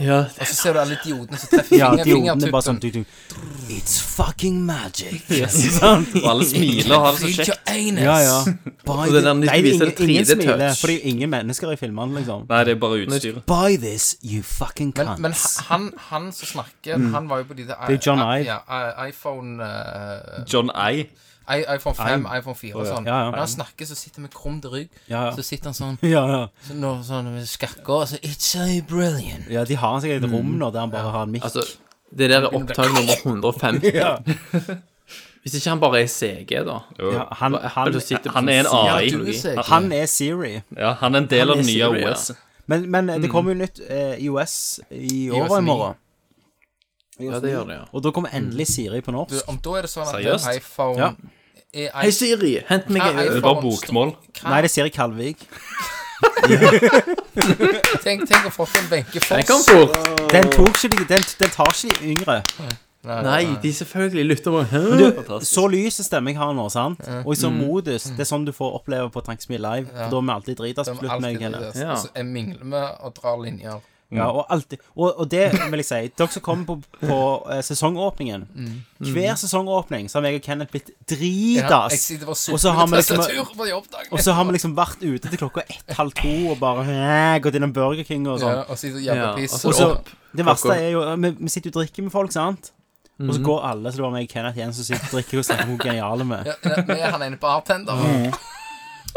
Speaker 7: Ja,
Speaker 6: Og så ser du alle diodene som treffer
Speaker 5: Ja,
Speaker 6: finger-
Speaker 5: dioden er bare sånn
Speaker 6: fingertuppen.
Speaker 5: du, du. It's fucking magic.
Speaker 8: Og alle smiler og har det så
Speaker 6: Read
Speaker 8: kjekt.
Speaker 6: your anus.
Speaker 5: Ja, ja. Buy
Speaker 7: det der
Speaker 5: thi-
Speaker 7: nytt
Speaker 5: Nei,
Speaker 7: viser
Speaker 5: ingen, ingen
Speaker 7: 3D-touch.
Speaker 5: smiler, for det er jo ingen mennesker i filmene, liksom.
Speaker 8: Nei, det er bare utstyret.
Speaker 5: Buy this, you fucking
Speaker 6: Men,
Speaker 5: cunt.
Speaker 6: men ha- han, han som snakker, han var jo på de der
Speaker 5: er jo John
Speaker 6: i-
Speaker 5: Ive.
Speaker 6: Ja, i- iPhone eh,
Speaker 8: John I.
Speaker 6: i- iPhone 5, iPhone 4 og sånn.
Speaker 5: Ja, ja.
Speaker 6: Når han snakker, så sitter han med krum rygg.
Speaker 5: Ja, ja.
Speaker 6: Så sitter han sånn,
Speaker 5: ja, ja.
Speaker 6: så nå, sånn med skakker og så It's so brilliant.
Speaker 5: ja, de har sikkert et rom nå der han bare har en mikk.
Speaker 7: altså Det der er opptak nummer 150. Hvis ikke han bare er CG, da.
Speaker 5: Ja, han, han,
Speaker 8: Han er en AI.
Speaker 6: Du er seg.
Speaker 5: han er Siri.
Speaker 8: Ja, han er en del av
Speaker 7: er
Speaker 8: det nye
Speaker 7: sikkert, ja.
Speaker 8: OS.
Speaker 5: Men, men eh, det kommer jo nytt eh, IOS i år
Speaker 6: IOS
Speaker 5: i
Speaker 6: 9.
Speaker 5: morgen.
Speaker 7: Ja, det gjør det, ja.
Speaker 5: Og da kommer endelig Siri på norsk.
Speaker 6: Mm. Du, Om da er det sånn at
Speaker 8: Seriøst?
Speaker 6: den iPhone
Speaker 5: Ja.
Speaker 6: er
Speaker 7: Hei,
Speaker 6: i-
Speaker 7: Siri, hent meg
Speaker 6: er
Speaker 7: en øl.
Speaker 8: Det er bare
Speaker 6: iPhone-
Speaker 8: bokmål.
Speaker 5: Nei, det er Siri Kalvik.
Speaker 6: Tenk, tenk å få til en Benke
Speaker 7: Den kom
Speaker 6: Foss.
Speaker 7: fort.
Speaker 5: Den tok ikke de Den, den tar ikke de yngre.
Speaker 7: Nei, de selvfølgelig lytter bare Hæ?
Speaker 5: Så lys stemme jeg har nå, sant? Og i
Speaker 7: Mm.
Speaker 5: sånn modus. Det er sånn du får oppleve på Tranksmi Live. For da er vi alltid drita
Speaker 6: som
Speaker 5: slutt
Speaker 6: alltid
Speaker 5: meg. Eller.
Speaker 6: Mm. er der. Så jeg mingler med og drar linjer.
Speaker 7: Mm.
Speaker 5: Ja, og, alltid, og, og det vil jeg si. Dere som kommer på, på eh, sesongåpningen.
Speaker 7: Mm.
Speaker 5: Hver sesongåpning så har jeg og Kenneth blitt
Speaker 6: Mm. Ja, jeg
Speaker 5: dritas.
Speaker 6: sitter bare
Speaker 5: Og så
Speaker 6: soler
Speaker 5: har vi
Speaker 6: med
Speaker 5: liksom-
Speaker 6: tastatur på jobbdagen.
Speaker 5: Og så har vi liksom vært ute til klokka ett, halv to og bare eh, gått innom Burger King og sånn.
Speaker 6: Ja, og sitter og jabber
Speaker 7: Ja,
Speaker 6: piss.
Speaker 7: og så-
Speaker 5: Og så,
Speaker 7: opp.
Speaker 5: det verste er jo eh, Vi, vi sitter jo og drikker med folk, sant? Og så
Speaker 7: Mm.
Speaker 5: går alle, så det var meg og Kenneth igjen som sitter og drikker og snakker om hvor geniale vi er.
Speaker 6: Ja, ja, men han ene bartender.
Speaker 5: Mm.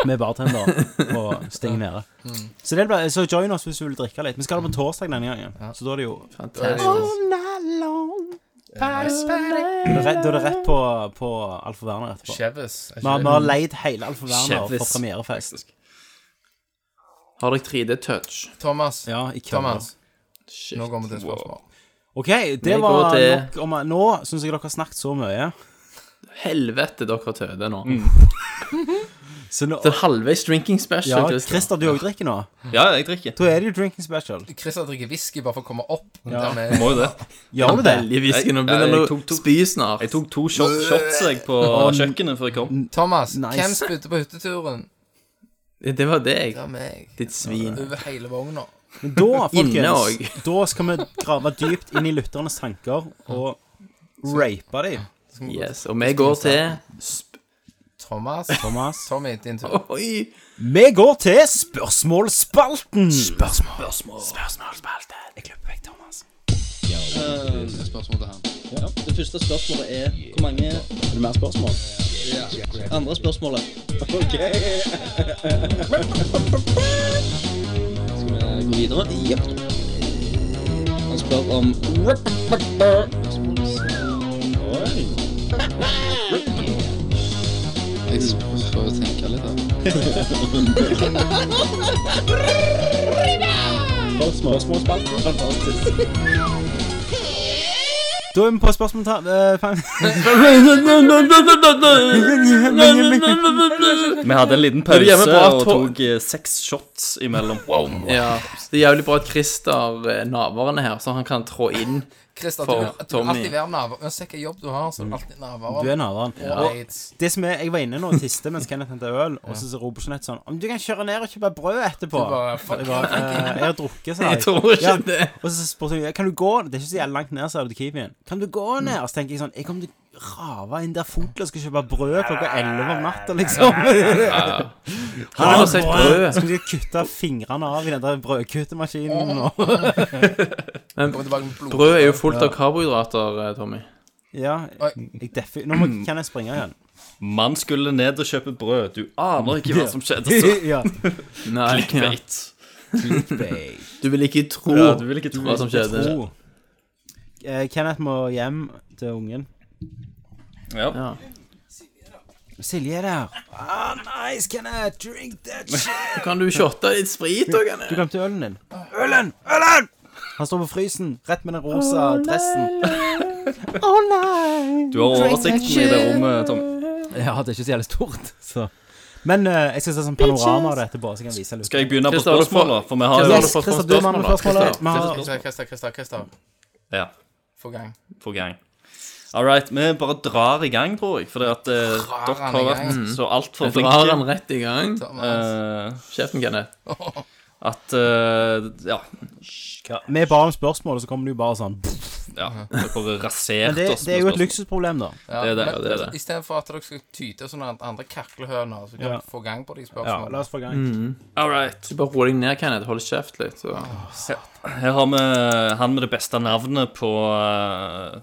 Speaker 5: Med bartender og sting nede. Så, det blir, så join oss hvis du vil drikke litt. Vi skal ha det på torsdag denne gangen. Så da er det jo
Speaker 7: Fantastisk.
Speaker 5: Da er det rett, da er det rett på, på Alf og Werner etterpå.
Speaker 6: Chevis.
Speaker 5: Vi har, vi har leid hele Alf og Werner for
Speaker 7: Kjevis.
Speaker 5: premierefest.
Speaker 7: Har dere 3D-touch?
Speaker 6: Thomas,
Speaker 5: Ja, i køller.
Speaker 6: Thomas, nå går vi til et spørsmål.
Speaker 5: OK,
Speaker 7: Vi
Speaker 5: det
Speaker 7: går
Speaker 5: var
Speaker 7: til-
Speaker 5: nok om Nå syns jeg dere har snakket så mye.
Speaker 7: Helvete, dere har tøde nå.
Speaker 5: Så nå
Speaker 7: Det er halvveis drinking
Speaker 5: Ja,
Speaker 7: special, Christer.
Speaker 5: Christer, du òg drikker nå?
Speaker 8: Ja, jeg drikker.
Speaker 5: Da er det jo drinking special.
Speaker 6: Christer drikker whisky bare for å komme opp.
Speaker 5: Ja.
Speaker 6: Dermed-
Speaker 8: Må jo det.
Speaker 5: Gjør du det?
Speaker 7: Veldig whisky. Nå
Speaker 8: Jeg- jeg
Speaker 7: begynner han
Speaker 8: tok
Speaker 7: å
Speaker 8: to-
Speaker 7: spy snart.
Speaker 8: Jeg tok to shot- shots jeg på kjøkkenet før jeg kom.
Speaker 6: Thomas,
Speaker 5: Nice.
Speaker 6: hvem spydde på hytteturen?
Speaker 7: Det var deg,
Speaker 6: Det var meg.
Speaker 7: ditt svin.
Speaker 6: Over hele vogna.
Speaker 5: Men da,
Speaker 7: Inne
Speaker 5: folkens,
Speaker 7: også.
Speaker 5: da skal vi grave dypt inn i lytternes tanker og rape dem.
Speaker 7: Yes, og vi går til sp
Speaker 6: Thomas,
Speaker 5: Thomas.
Speaker 6: Tommy, din tur.
Speaker 7: Oi!
Speaker 5: Vi går til spørsmålsspalten. Spørsmål.
Speaker 7: Spørsmålsspalten.
Speaker 5: Jeg klipper vekk Thomas.
Speaker 10: Det første spørsmålet er hvor mange
Speaker 5: Er det mer spørsmål?
Speaker 10: andre spørsmålet? Ok. Skal vi gå videre? Jepp. Han spør om Jeg får jo tenke litt, da.
Speaker 5: Da er vi på spørsmål... eh, fan-
Speaker 9: Vi hadde en liten
Speaker 7: Det er
Speaker 9: pause
Speaker 7: jævlig bra
Speaker 9: og
Speaker 7: to-
Speaker 9: tok eh, seks shots imellom.
Speaker 7: Ja. Det er jævlig bra at Christer eh, naveren er her, så han kan trå inn.
Speaker 6: Christer, du,
Speaker 7: For
Speaker 6: du vil
Speaker 7: Tommy.
Speaker 6: alltid være naver. Uansett hvilken jobb du har, så er du alltid naver.
Speaker 5: Du er naveren.
Speaker 6: Og aids.
Speaker 5: Det som er, Jeg var inne nå og tiste mens Kenneth henta øl, og så roper Jeanette sånn Om du kan kjøre ned og kjøpe brød etterpå?
Speaker 6: Du bare, fuck.
Speaker 5: jeg, bare, eh, jeg har drukket, sa
Speaker 7: Jeg tror ikke
Speaker 5: Ja.
Speaker 7: det.
Speaker 5: Og så spurte hun Kan du gå Det er ikke så jævlig langt ned, sa du til Kiwien. Kan du gå ned? Og så tenker jeg sånn Jeg kommer til å rave inn der fotle og skal kjøpe brød klokka 11 om natta, liksom.
Speaker 7: Han har sett brød.
Speaker 5: Skal de kutte fingrene av i den der brødkuttemaskinen og
Speaker 6: Kommer tilbake med blod.
Speaker 7: Brød er jo fullt av karbohydrater, eh, Tommy.
Speaker 5: Ja, jeg defi... Nå
Speaker 7: Mm.
Speaker 5: må, kan jeg springe igjen.
Speaker 8: Man skulle ned og kjøpe brød. Du aner ikke hva som skjedde. Så
Speaker 5: Ja.
Speaker 7: Nei, ja.
Speaker 8: Clickbait.
Speaker 7: Du vil ikke tro
Speaker 8: Ja, du vil ikke tro
Speaker 7: hva som skjedde.
Speaker 5: Tro. Eh, Kenneth må hjem til ungen.
Speaker 8: Ja.
Speaker 7: Ja.
Speaker 5: Silje er der. Ah, nice, Kenneth! Drink that shit!
Speaker 7: Kan du shotte litt sprit òg,
Speaker 5: Du glemte ølen din. Ølen! Ølen! Han står på frysen, rett med den rosa dressen. Å nei!
Speaker 8: Du har oversikten i det rommet, Tom.
Speaker 5: Ja, det er ikke så jævlig stort, så Men eh, jeg skal se sånn panorama av det etterpå, så jeg kan vise litt.
Speaker 8: Skal jeg begynne på
Speaker 7: Christer, har du fått-
Speaker 8: spørsmålet? For vi har
Speaker 7: Christer,
Speaker 8: jo
Speaker 7: har
Speaker 5: Yes,
Speaker 7: fått
Speaker 5: Christer,
Speaker 7: noen
Speaker 5: du er mannen med
Speaker 7: spørsmål, da?
Speaker 5: spørsmålet. Vi har
Speaker 6: Christer, Christer, Christer, Christer.
Speaker 8: Ja,
Speaker 6: Få gang.
Speaker 8: på gang. All right, vi bare drar i gang, tror jeg. Fordi at eh, dere
Speaker 6: han i
Speaker 8: har
Speaker 6: gang.
Speaker 8: vært så altfor
Speaker 7: Drar
Speaker 8: flinke.
Speaker 7: han rett i gang?
Speaker 6: Thomas.
Speaker 8: Eh,
Speaker 7: Kjeften, Kenneth.
Speaker 9: At eh, Ja,
Speaker 5: Vi ba om spørsmål, og så kommer du bare sånn pff.
Speaker 9: ja dere raserte
Speaker 5: Men det,
Speaker 9: oss.
Speaker 5: det er jo et luksusproblem, da.
Speaker 6: Ja,
Speaker 9: Det er det,
Speaker 6: men
Speaker 9: det er det.
Speaker 6: Istedenfor at dere skal tyte sånne andre kaklehøner, så kan
Speaker 5: Ja.
Speaker 6: dere få gang på de
Speaker 5: Ja,
Speaker 6: spørsmålene.
Speaker 5: la oss få i gang.
Speaker 9: All right.
Speaker 7: Så bare ro deg ned, Kenneth. Hold kjeft litt. Så.
Speaker 9: Her har vi eh, han med det beste navnet på eh,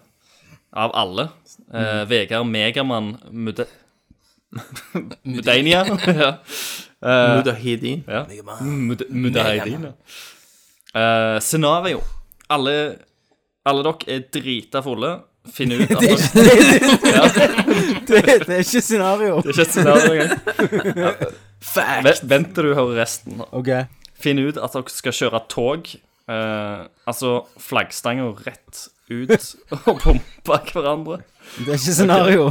Speaker 9: Av alle. Eh, Vegard Megamann Mude... Mudania. ja. Eh,
Speaker 7: Mudahidin.
Speaker 9: Ja. Mm, Mud- Mudahideen. Eh, scenario. Alle, alle dere er drita fulle. Finner ut at dere Det
Speaker 5: Det, det er ikke scenario.
Speaker 9: er ikke et scenario engang. Vent- Vent til du hører resten.
Speaker 5: OK.
Speaker 9: Finner ut at dere skal kjøre tog. eh, altså flaggstanga rett ut og pumpe hverandre.
Speaker 5: Det er ikke scenario.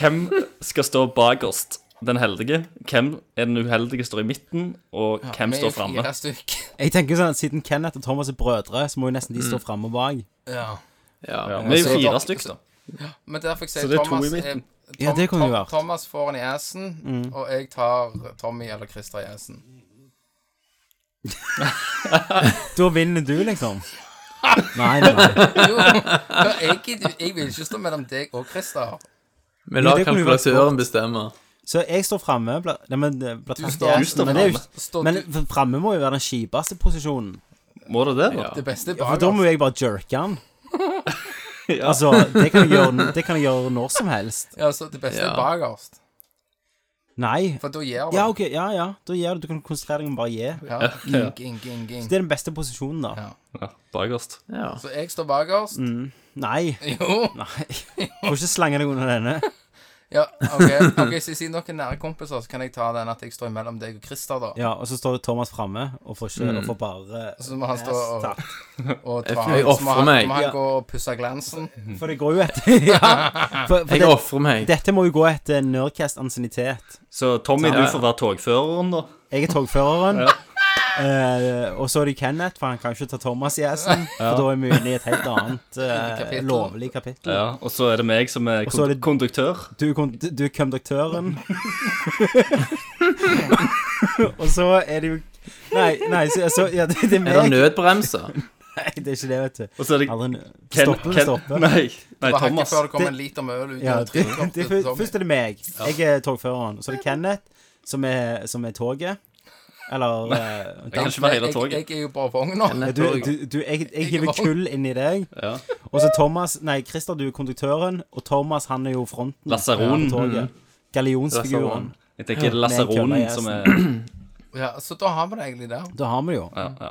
Speaker 9: Hvem skal stå bakerst? Den heldige. Hvem er den uheldige står i midten, og hvem
Speaker 6: Vi er
Speaker 9: står framme?
Speaker 6: Fire stykk.
Speaker 5: Jeg tenker sånn at Siden Kenneth og Thomas er brødre, så må jo nesten de stå framme og bak.
Speaker 6: Ja.
Speaker 7: Ja.
Speaker 9: Vi er jo
Speaker 6: Så-
Speaker 9: fire stykker, da.
Speaker 6: Men derfor jeg sier
Speaker 7: det er to i
Speaker 6: Thomas
Speaker 7: midten.
Speaker 6: er-
Speaker 5: Ja, det kunne jo vært.
Speaker 6: Thomas får han i assen, og jeg tar Tommy eller Christer i assen.
Speaker 5: Da vinner du, liksom. Nei, nei, nei.
Speaker 6: Jo, men jeg, gidder- jeg vil ikke stå mellom deg og Christer.
Speaker 7: Vi lar
Speaker 5: det kunne jo vært
Speaker 7: kalkulatøren bestemme.
Speaker 5: Så jeg står framme. bla- Nei, men eh, bla-
Speaker 6: Du står-
Speaker 5: men det er jo ikke-
Speaker 6: Står
Speaker 5: Men
Speaker 6: du
Speaker 5: framme må jo være den kjipeste posisjonen.
Speaker 9: Må det det, da?
Speaker 6: det beste
Speaker 5: For da må
Speaker 6: bak
Speaker 5: jo jeg bare jerke den. Altså, det kan, jeg gjøre, det kan jeg gjøre når som helst.
Speaker 6: Ja, så det beste er bakerst.
Speaker 5: Nei.
Speaker 6: For da gjør
Speaker 5: Ja,
Speaker 6: man
Speaker 5: ok, ja, ja. Da gjør du, du kan konsentrere deg om bare å gi.
Speaker 6: ja. Ging, ging, ging, ging.
Speaker 5: Det er den beste posisjonen, da.
Speaker 9: Bakerst.
Speaker 7: Ja.
Speaker 6: Så jeg står bakerst.
Speaker 5: Nei.
Speaker 6: Jo.
Speaker 5: Mm. Nei. Får ikke slange deg under denne.
Speaker 6: Ja, ok, ok, så siden dere er nære kompiser, så kan jeg ta den at jeg står mellom deg og Christer, da.
Speaker 5: Ja, og så står Thomas framme og får ikke og får bare
Speaker 6: Så må han stå og,
Speaker 5: Takk.
Speaker 6: og
Speaker 7: Jeg
Speaker 6: ta
Speaker 7: føler jeg
Speaker 6: Så må
Speaker 7: offrer meg.
Speaker 6: han, må
Speaker 5: Ja.
Speaker 6: han gå og pusse glansen.
Speaker 5: For det går jo etter ja. For, for
Speaker 7: Jeg
Speaker 5: det,
Speaker 7: ofrer meg.
Speaker 5: dette må jo gå eh, etter Nerdcast-ansiennitet.
Speaker 9: Så Tommy,
Speaker 7: Ja,
Speaker 9: du
Speaker 7: ja.
Speaker 9: får være togføreren, da.
Speaker 5: Jeg er togføreren. eh, og så er det Kenneth, for han kan jo ikke ta Thomas i assen. For da er vi inne i et helt annet eh,
Speaker 6: Kapittel.
Speaker 5: lovlig kapittel.
Speaker 9: Ja, og så er det meg som er,
Speaker 5: Og så er
Speaker 9: kon
Speaker 5: det-
Speaker 9: konduktør.
Speaker 5: Du, er kon- du er konduktøren. og så er det jo Nei, nei, så, så ja, det, det er
Speaker 7: Er det
Speaker 5: meg.
Speaker 7: nødbremser?
Speaker 5: Nei, det er ikke det, vet du.
Speaker 9: Og så er det
Speaker 5: Aldri nø-
Speaker 9: Ken,
Speaker 5: Stopper,
Speaker 9: Ken,
Speaker 5: stopper.
Speaker 9: Nei, nei
Speaker 6: Bare hakke
Speaker 9: Thomas.
Speaker 6: før det kommer
Speaker 5: Det-
Speaker 6: en liter møl ut
Speaker 5: Ja,
Speaker 6: av
Speaker 5: det,
Speaker 6: trykket.
Speaker 5: det,
Speaker 9: sånn,
Speaker 5: fu- først er det meg. Jeg er togføreren. Så er det Kenneth, som er, som er toget. Eller eh,
Speaker 9: Jeg kan ikke være hele
Speaker 6: Jeg,
Speaker 9: toget.
Speaker 6: jeg er jo bare vogna.
Speaker 5: Ja, du, du, du, jeg, jeg hiver
Speaker 6: var-
Speaker 5: kull inn i deg. Og så Thomas Nei, Christer, du er konduktøren. Og Thomas, han er jo fronten.
Speaker 9: Lasaron.
Speaker 5: på toget. Gallionsfiguren.
Speaker 9: Jeg tenker det er lasaronen
Speaker 5: Med
Speaker 9: som er
Speaker 6: Ja, så da har vi det egentlig der.
Speaker 5: Da har vi det jo.
Speaker 9: ja, ja,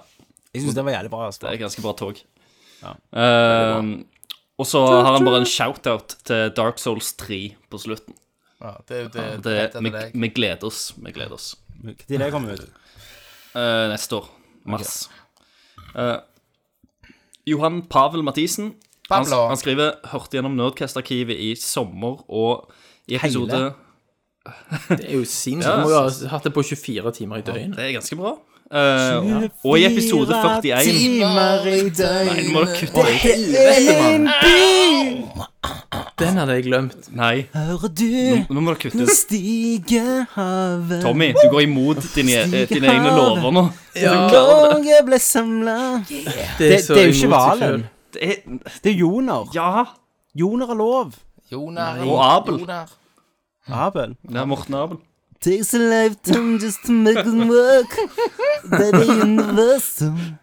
Speaker 5: Jeg syns det var jævlig bra. Altså.
Speaker 9: Mm. Det er ganske bra tog. Eh, og så har han bare en shout-out til Dark Souls 3 på slutten.
Speaker 6: Ja, det er jo det,
Speaker 9: Det,
Speaker 6: rett etter
Speaker 9: vi,
Speaker 6: deg.
Speaker 9: vi gleder oss. Vi gleder oss.
Speaker 5: Når det kommer ut?
Speaker 9: Eh, neste år. Mars. Eh, Johan Pavel Mathisen. Han,
Speaker 6: Pablo.
Speaker 9: han skriver 'Hørte gjennom Nerdcast-arkivet i sommer' og i episode
Speaker 5: Hele?
Speaker 7: Det er jo sinnssykt. Du må jo ha hatt det på 24 timer i døgnet.
Speaker 9: Det er ganske bra. Eh, og i episode 41
Speaker 5: Timer i
Speaker 9: Nei,
Speaker 5: døgnet
Speaker 9: nå må du kutte ut.
Speaker 7: Den hadde jeg glemt.
Speaker 9: Nei,
Speaker 5: hører du
Speaker 9: nå må du kutte ut.
Speaker 5: stigehavet.
Speaker 9: Tommy, du går imot dine, eh, dine egne lover nå.
Speaker 5: Konge ble samla det, det,
Speaker 7: så
Speaker 5: er jo ikke
Speaker 7: imot seg
Speaker 5: hvalen.
Speaker 7: selv.
Speaker 9: Det er,
Speaker 5: Det er joner.
Speaker 9: ja.
Speaker 5: Joner er lov.
Speaker 6: Jonar
Speaker 9: Og Abel.
Speaker 6: Jonar.
Speaker 5: Abel.
Speaker 9: Det er Morten Abel.
Speaker 5: Takes a lifetime just to make them work. That is universal.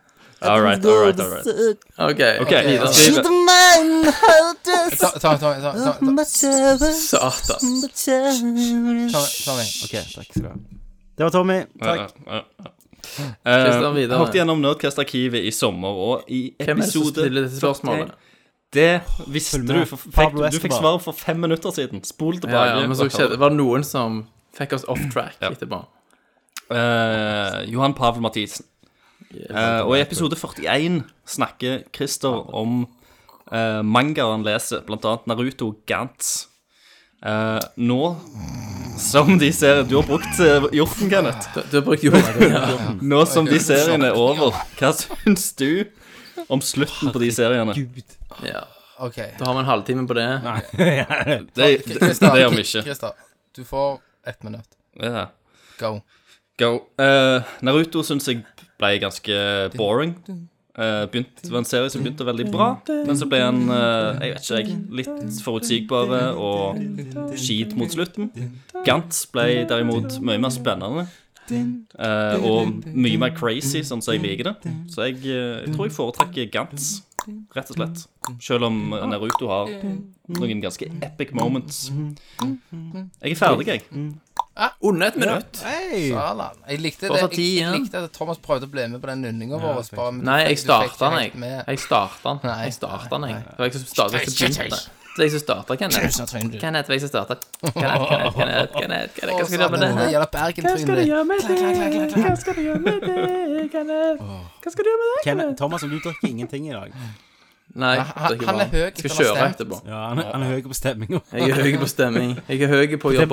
Speaker 9: All right, all right, all right.
Speaker 7: OK.
Speaker 9: OK, da
Speaker 5: To
Speaker 9: skriver
Speaker 5: the mind, how does
Speaker 6: Ta, ta, ta, ta, ta, ta.
Speaker 5: much of us,
Speaker 7: Satan.
Speaker 5: much of us.
Speaker 6: Tommy, Tommy.
Speaker 5: Ok, takk skal du ha. Det var Tommy. Takk.
Speaker 9: Eh,
Speaker 7: Kristian, videre.
Speaker 9: Hørte gjennom Nerdcast-arkivet i sommer, og i
Speaker 7: Hvem er det som
Speaker 9: episode
Speaker 7: stiller dette spørsmålet?
Speaker 9: Det visste
Speaker 5: Følg
Speaker 9: du.
Speaker 5: med.
Speaker 9: For fikk,
Speaker 5: Pablo
Speaker 9: du fikk
Speaker 5: Escobar.
Speaker 9: svaret for fem minutter siden. Spol
Speaker 7: Ja,
Speaker 9: tilbake.
Speaker 7: ja, men så skjedde, var det noen som fikk oss off track etterpå.
Speaker 9: Eh, Johan Pavel Mathisen. Eh, og i episode 41 snakker Christer om uh, mangaer han leser, bl.a. Naruto Gantz. Eh, nå som de ser Du har brukt eh, hjorten, Kenneth.
Speaker 7: Du, du har brukt jorden. Ja.
Speaker 9: Nå som de seriene er over, hva syns du om slutten på de seriene?
Speaker 7: Ja.
Speaker 6: OK.
Speaker 7: Da har vi en halvtime på det.
Speaker 9: Det, det, det gjør vi ikke.
Speaker 6: Christer, du får ett minutt.
Speaker 9: Ja.
Speaker 6: Go.
Speaker 9: Go. Eh, Naruto syns jeg ble ganske boring. Eh, begynt, det var en serie som begynte veldig bra, men så ble han eh, jeg vet ikke, jeg, litt forutsigbare og skit mot slutten. Gantz ble derimot mye mer spennende. eh, og mye mer crazy, sånn som jeg liker det. Så jeg, eh, jeg tror jeg foretrekker Gantz, rett og slett. Selv om eh, Naruto har noen ganske epic moments. Jeg er ferdig, jeg.
Speaker 7: Under et minutt.
Speaker 6: Salan. Jeg likte det
Speaker 7: Fortsatt
Speaker 6: jeg,
Speaker 7: ti
Speaker 6: jeg
Speaker 7: igjen.
Speaker 6: likte at Thomas prøvde å bli med på den nynninga vår. bare, men du
Speaker 7: Nei,
Speaker 6: fikk- du
Speaker 7: jeg
Speaker 6: fikk
Speaker 7: starta
Speaker 6: ikke
Speaker 7: den,
Speaker 6: helt
Speaker 7: jeg.
Speaker 6: med.
Speaker 7: Jeg starta den.
Speaker 6: Nei.
Speaker 7: Jeg starta den, jeg. Det var jeg som starta, jeg som begynte. Det var jeg som starta, Kenneth.
Speaker 6: Tusen takk.
Speaker 7: Kenneth, det var jeg som starta. Kenneth, Kenneth, Kenneth, Kenneth, Kenneth. Hva skal du gjøre med det?
Speaker 6: Det gjelder Bergen-trynet ditt.
Speaker 7: Hva skal du gjøre med det, Kenneth? Hva skal du gjøre med det?
Speaker 5: Ken, Thomas, om du drikker ingenting i dag
Speaker 7: Nei,
Speaker 6: Han-
Speaker 7: det er ikke
Speaker 6: han er
Speaker 7: bra.
Speaker 6: høy,
Speaker 7: Skal
Speaker 6: han har
Speaker 7: kjøre
Speaker 6: stemt.
Speaker 7: etterpå.
Speaker 5: Ja, han, er- han er høy på stemminga.
Speaker 7: Jeg er høy på stemming. Jeg er høy på å gjøre
Speaker 5: Du, er-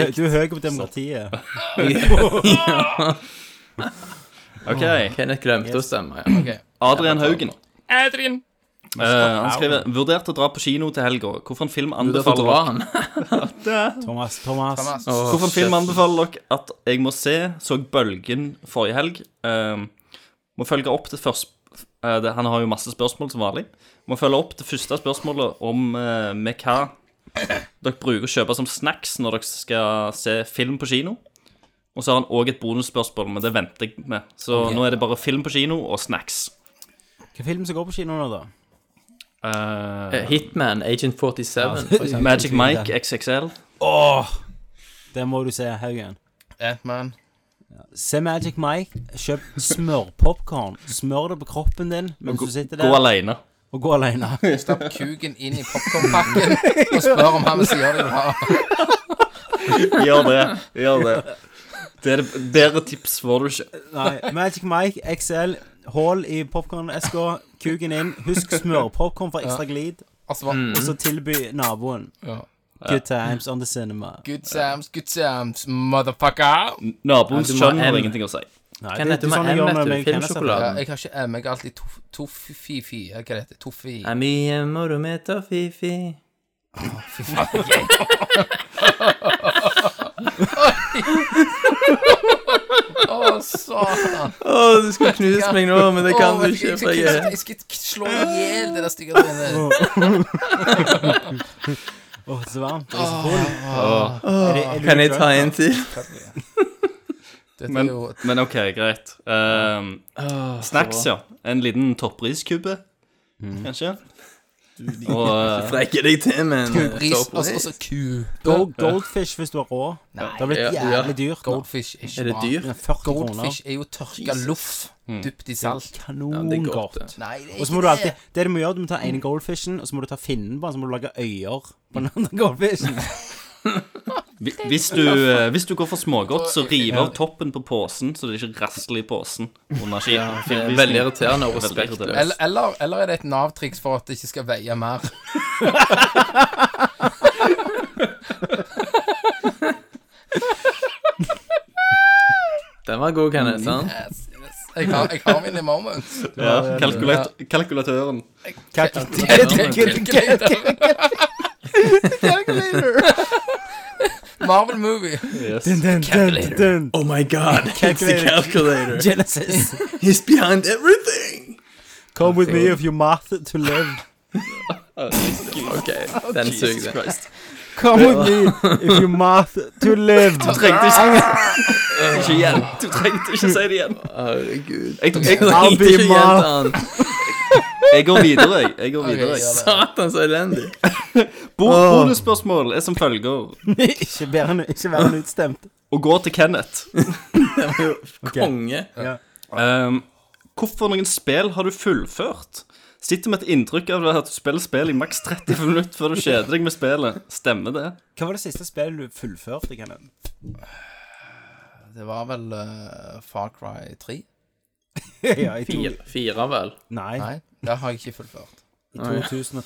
Speaker 7: borgerplikt.
Speaker 5: du er høy på demokratiet.
Speaker 9: OK.
Speaker 7: Kenneth glemte å stemme. ja.
Speaker 9: Adrian Haugen. Adrian. han skriver 'Vurderte å dra på kino til helga. Hvorfor en film
Speaker 7: Du, Derfor
Speaker 9: anbefaler
Speaker 7: drar
Speaker 9: dere
Speaker 7: han.
Speaker 5: Thomas, Thomas.
Speaker 6: Thomas.
Speaker 9: Hvorfor en film anbefaler dere at jeg må se? Så Bølgen forrige helg. Eh, må følge opp det første eh, det, Han har jo masse spørsmål, som vanlig. Må følge opp det første spørsmålet om eh, med hva dere bruker å kjøpe som snacks når dere skal se film på kino. Og så har han òg et bonusspørsmål, men det venter jeg med. Så nå er det bare film på kino og snacks.
Speaker 5: Hvilken film som går på kino nå, da?
Speaker 7: Eh, Hitman, Agent 47. for eksempel.
Speaker 9: Magic Mike XXL.
Speaker 5: Det må du se, Haugen.
Speaker 6: Ant-Man.
Speaker 5: Se Magic Mike, kjøp smørpopkorn. Smør det på kroppen din mens du sitter
Speaker 9: Gå
Speaker 5: der,
Speaker 9: alene.
Speaker 5: og gå alene.
Speaker 6: Stapp kuken inn i popkornpakken og spør om han vil si det du har.
Speaker 9: Gjør det. Gjør det. Det er det bedre tips får du ikke.
Speaker 5: Nei, Magic Mike, XL, hull i popkorneska, kuken inn. Husk smørpopkorn for ekstra glid,
Speaker 6: Altså bare
Speaker 7: Mm.
Speaker 5: og så tilby naboen.
Speaker 6: Ja.
Speaker 5: Good times on the cinema.
Speaker 6: Good Sams, good Sams, motherfucker.
Speaker 9: Naboens
Speaker 7: Ja, du må
Speaker 9: kjønn
Speaker 7: M.
Speaker 9: har ingenting å si.
Speaker 5: Nei, det er
Speaker 7: Kenneth, du må
Speaker 5: sånn jeg
Speaker 7: ha
Speaker 5: gjør med
Speaker 7: M, vet du,
Speaker 5: meg og Kenneth,
Speaker 7: filmsjokolade.
Speaker 6: Ja,
Speaker 5: selvfølgelig.
Speaker 6: jeg har ikke M, jeg har alltid tof- toffifi. Hva er det? heter? Toffi.
Speaker 7: Er mye moro med Tofifi.
Speaker 6: Å, satan.
Speaker 7: Å, du skulle knust meg nå, men det kan
Speaker 6: Å,
Speaker 7: du
Speaker 6: vet jeg
Speaker 7: ikke. for
Speaker 6: skal-
Speaker 7: jeg er-
Speaker 6: Jeg skal k- slå i hjel det der stygge trynet.
Speaker 5: Åh, det er så varmt. Det er så full. Er det- er du
Speaker 7: Kan jeg ta
Speaker 5: drunk?
Speaker 7: en til?
Speaker 6: Dette er
Speaker 9: Men,
Speaker 6: jo
Speaker 9: men OK, greit. Um,
Speaker 7: Ah,
Speaker 9: snacks, ja. En liten toppriskube,
Speaker 7: Mm.
Speaker 9: kanskje. Og uh,
Speaker 7: Strekker deg til, men eh,
Speaker 6: pris, og så- og så ku.
Speaker 5: Gold, goldfish hvis du har råd. Det har blitt
Speaker 7: Ja, ja.
Speaker 5: jævlig dyrt. nå.
Speaker 6: Goldfish er
Speaker 7: Er
Speaker 6: ikke
Speaker 7: det
Speaker 6: bra.
Speaker 7: dyr?
Speaker 5: Den er 40 kroner.
Speaker 6: Goldfish er jo tørka loff dypt i salt.
Speaker 7: det er
Speaker 5: Kanongodt.
Speaker 7: godt, det.
Speaker 6: Nei, det er
Speaker 5: Og så må du
Speaker 6: ikke
Speaker 5: alltid
Speaker 6: det.
Speaker 5: Det du må gjøre, du må ta ene goldfishen, og så må du ta finnen på den, så må du lage øyer på den andre goldfishen.
Speaker 9: hvi- hvis du, uh, hvis du går for smågodt, så riv av toppen på posen, så det ikke rasler i posen under ski.
Speaker 7: Veldig irriterende og
Speaker 9: Veldig irriterende.
Speaker 7: respektløst.
Speaker 6: Eller, eller, eller er det et Nav-triks for at det ikke skal veie mer?
Speaker 7: Den var god, Kenneth. sant?
Speaker 6: Jeg har, jeg har mine moments.
Speaker 9: Ja, kalkulat kalkulatøren.
Speaker 6: Marvel-movie.
Speaker 5: Calculator.
Speaker 7: Oh my god, it's the
Speaker 5: Calculator.
Speaker 7: calculator.
Speaker 5: Genesis.
Speaker 7: He's behind everything.
Speaker 5: Come with me if you math to live.
Speaker 7: OK, den sugde.
Speaker 5: Come with me if you math to live.
Speaker 9: Trengte ikke, ikke igjen. Du trengte ikke si det igjen.
Speaker 7: Eh. Herregud.
Speaker 9: Jeg, jeg,
Speaker 5: I'll
Speaker 7: Ikke
Speaker 5: be
Speaker 7: gjenta
Speaker 5: math.
Speaker 7: den.
Speaker 9: jeg går videre, jeg. jeg, går videre, jeg.
Speaker 7: Satan, så elendig.
Speaker 9: Bo Bonusspørsmål er som følger.
Speaker 5: Ikke vær en- ikke vær en utstemt.
Speaker 9: Å gå til Kenneth.
Speaker 7: Konge.
Speaker 9: Ehm, hvorfor noen spill har du fullført? Sitter med et inntrykk av at du spiller spill i maks 30 minutter før du kjeder deg med spillet. Stemmer det?
Speaker 5: Hva var det siste spillet du fullførte, Kenneth?
Speaker 6: Det var vel eh, Far Cry 3?
Speaker 5: Ja, i to,
Speaker 7: Fire, fire vel.
Speaker 5: nei,
Speaker 6: Nei, det har jeg ikke fullført.
Speaker 5: i 2013-12.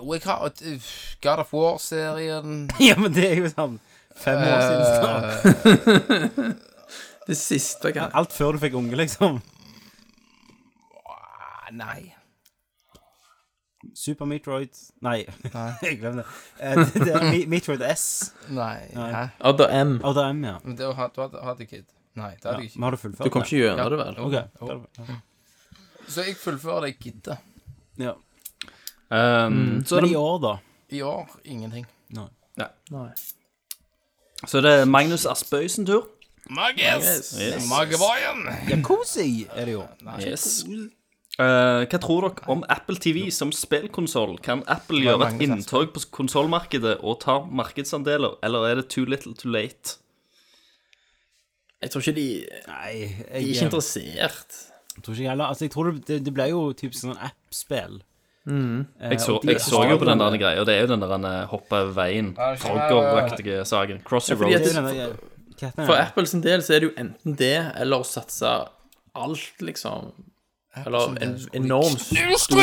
Speaker 6: Jo, jeg har et, uff, God of War-serien
Speaker 5: Ja, men det er jo sånn fem år siden
Speaker 6: Eh.
Speaker 5: snart.
Speaker 7: Det siste kan
Speaker 5: Alt før du fikk unge, liksom.
Speaker 6: Ah, Nei.
Speaker 5: Super Metroid Nei, jeg glemte det. Eh, det- det er Me- Metroid S.
Speaker 6: Nei. Hæ?
Speaker 7: Odder M.
Speaker 5: Å, det er M, ja.
Speaker 6: Men det å ha, du hadde, hadde kid. Nei, det
Speaker 5: ja.
Speaker 6: hadde jeg
Speaker 5: Men
Speaker 6: ikke.
Speaker 5: har du fullført
Speaker 7: Du kom
Speaker 5: det?
Speaker 7: ikke gjennom det, vel?
Speaker 5: Ok,
Speaker 6: Jo. Så jeg fullfører det jeg gidder.
Speaker 5: ja.
Speaker 9: Ehm,
Speaker 8: Um,
Speaker 5: Så Men i år, da?
Speaker 6: I år ingenting.
Speaker 9: Så det er Magnus Aspøysen tur.
Speaker 6: Magus!
Speaker 9: Yes.
Speaker 6: Mageboyen!
Speaker 5: Cozy er det jo.
Speaker 9: Yes. Eh, hva tror dere om Apple TV som spillkonsoll? Kan Apple gjøre et
Speaker 6: Magnus
Speaker 9: inntog på konsollmarkedet og ta markedsandeler, eller er det too little too late?
Speaker 7: Jeg tror ikke de,
Speaker 5: Nei, jeg,
Speaker 7: de er ikke interessert.
Speaker 5: tror ikke heller Altså, jeg tror det, det ble jo typisk sånn app-spill. Eh,
Speaker 9: Jeg så,
Speaker 5: og de
Speaker 9: jeg så
Speaker 5: har
Speaker 9: jo på den der greia, og det er jo den der eh, hoppe av veien, Frogger-aktige saken. Crossy
Speaker 5: Det er
Speaker 9: Road.
Speaker 5: jo den der- hva heter den?
Speaker 7: For Apple sin del så er det jo enten det, eller å satse alt, liksom. Eller en enormt stor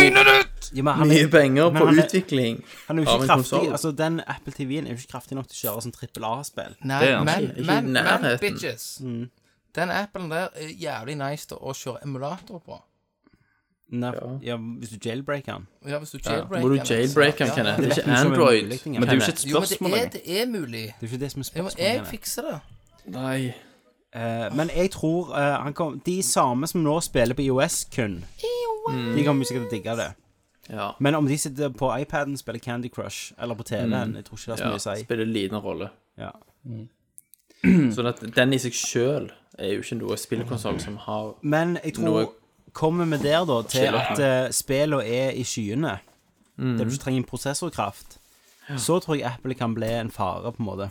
Speaker 5: Ja, men han er-
Speaker 7: mye penger
Speaker 5: men
Speaker 7: på
Speaker 5: han er-
Speaker 7: utvikling.
Speaker 5: Han er jo
Speaker 7: av
Speaker 5: ikke
Speaker 7: en
Speaker 5: kraftig,
Speaker 7: konsol.
Speaker 5: altså Den Apple TV-en er jo ikke kraftig nok til å kjøre sånn trippel A-spill.
Speaker 6: Nei,
Speaker 9: Det er han
Speaker 6: men,
Speaker 7: ikke. Ikke i
Speaker 6: men, men
Speaker 7: nærheten.
Speaker 6: bitches. Den appen der er jævlig nice til å kjøre emulator på.
Speaker 5: Ja. Ja, hvis du jailbreaker den.
Speaker 6: Ja, hvis du jailbreaker
Speaker 7: Må du
Speaker 6: den,
Speaker 7: jailbreake den,
Speaker 6: ja.
Speaker 7: Kenneth? Det
Speaker 5: Det vet vi
Speaker 7: er ikke
Speaker 5: som er
Speaker 7: Android.
Speaker 5: mulig ting,
Speaker 7: Men det er jo ikke
Speaker 5: Kenneth.
Speaker 7: et
Speaker 6: Jo, men
Speaker 7: spørsmål
Speaker 6: det er,
Speaker 7: engang.
Speaker 6: det er mulig.
Speaker 5: Det er jo ikke det som er
Speaker 6: Jo, men jeg
Speaker 5: spørsmålet.
Speaker 6: fikser det.
Speaker 7: Nei.
Speaker 5: Eh, men jeg tror eh, han kom, de samme som nå spiller på IOS kun, de kommer sikkert til å digge det.
Speaker 7: Ja.
Speaker 5: Men om de sitter på iPaden, spiller Candy Crush eller på TV-en, jeg tror ikke det har så
Speaker 7: Mm. ja.
Speaker 5: mye å si.
Speaker 7: Spiller liten rolle.
Speaker 5: Ja.
Speaker 7: Sånn at den i seg sjøl er jo ikke noe spillekonsoll som har
Speaker 5: Men jeg tror
Speaker 7: Noe-
Speaker 5: Kommer vi der, da, til at uh, spillene er i skyene,
Speaker 9: Mm.
Speaker 5: der du ikke trenger prosessorkraft, så tror jeg Apple kan bli en fare, på en måte.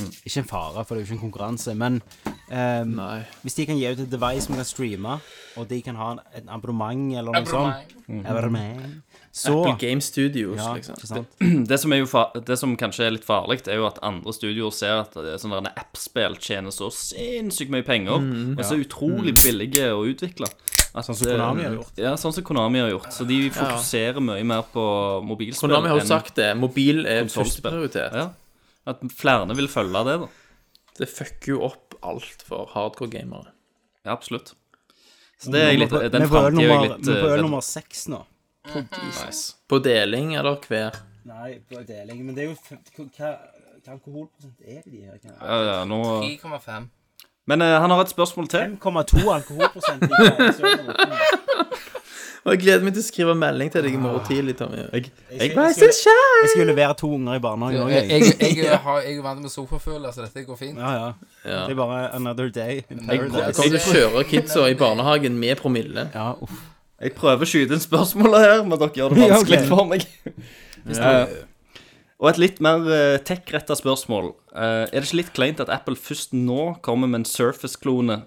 Speaker 9: Mm.
Speaker 5: Ikke en fare, for det er jo ikke en konkurranse, men eh,
Speaker 7: Nei.
Speaker 5: hvis de kan gi ut et device som kan streame, og de kan ha en, en abonnement eller noe
Speaker 6: Abonnement.
Speaker 5: sånt Mm. Abonnement. Så
Speaker 7: Apple Game Studios,
Speaker 5: ja,
Speaker 7: liksom.
Speaker 5: ikke sant?
Speaker 9: Det som, er jo fa det som kanskje er litt farlig, er jo at andre studioer ser at det er sånne der app-spill tjener så sinnssykt mye penger,
Speaker 5: Mm,
Speaker 9: og så utrolig billige å utvikle. At,
Speaker 5: Sånn som Konami har
Speaker 9: eh,
Speaker 5: gjort.
Speaker 9: Ja, sånn som Konami har gjort. Så de fokuserer mye mer på mobilspill.
Speaker 7: Konami har
Speaker 9: enn-
Speaker 7: jo sagt det. Mobil er
Speaker 9: konsolspill.
Speaker 7: førsteprioritet.
Speaker 9: Ja. At flere vil følge det, da.
Speaker 7: Det fucker jo opp alt for hardcore-gamere.
Speaker 9: Ja, absolutt. Så det er jeg litt,
Speaker 5: Vi
Speaker 9: den
Speaker 5: er på øl
Speaker 9: framtida er jeg
Speaker 5: nummer-
Speaker 9: litt
Speaker 5: vi er på
Speaker 9: eh,
Speaker 5: øl
Speaker 9: redd
Speaker 5: nummer seks nå.
Speaker 9: Nice.
Speaker 7: På deling eller hver.
Speaker 5: Nei, på deling. Men det er jo f- Hva hva alkoholprosent er det de her? Hva-
Speaker 9: Ja, ja, nå...
Speaker 6: 3,5.
Speaker 9: Men eh, han har et spørsmål til.
Speaker 5: 5,2 alkoholprosent. i Arizona.
Speaker 7: Og jeg gleder meg til å skrive melding til deg i morgen tidlig, Tommy. Jeg,
Speaker 5: Jeg, jeg, skulle, jeg skulle levere to unger i barnehagen òg,
Speaker 6: Jeg,
Speaker 5: jeg.
Speaker 6: jeg, jeg, har- jeg er vant med sofaføler, så dette går fint.
Speaker 5: Ja, ja. Det er bare another day. in paradise.
Speaker 7: jeg kommer til å kjøre kidsa i barnehagen med promille.
Speaker 5: Ja, uff.
Speaker 9: Jeg prøver å skyte inn spørsmålet her, men dere gjør det
Speaker 5: Ja, ok.
Speaker 9: vanskelig for meg. Eh, og et litt mer eh, tech-retta spørsmål. Eh, er det ikke litt kleint at Apple først nå kommer med en Surface-klone?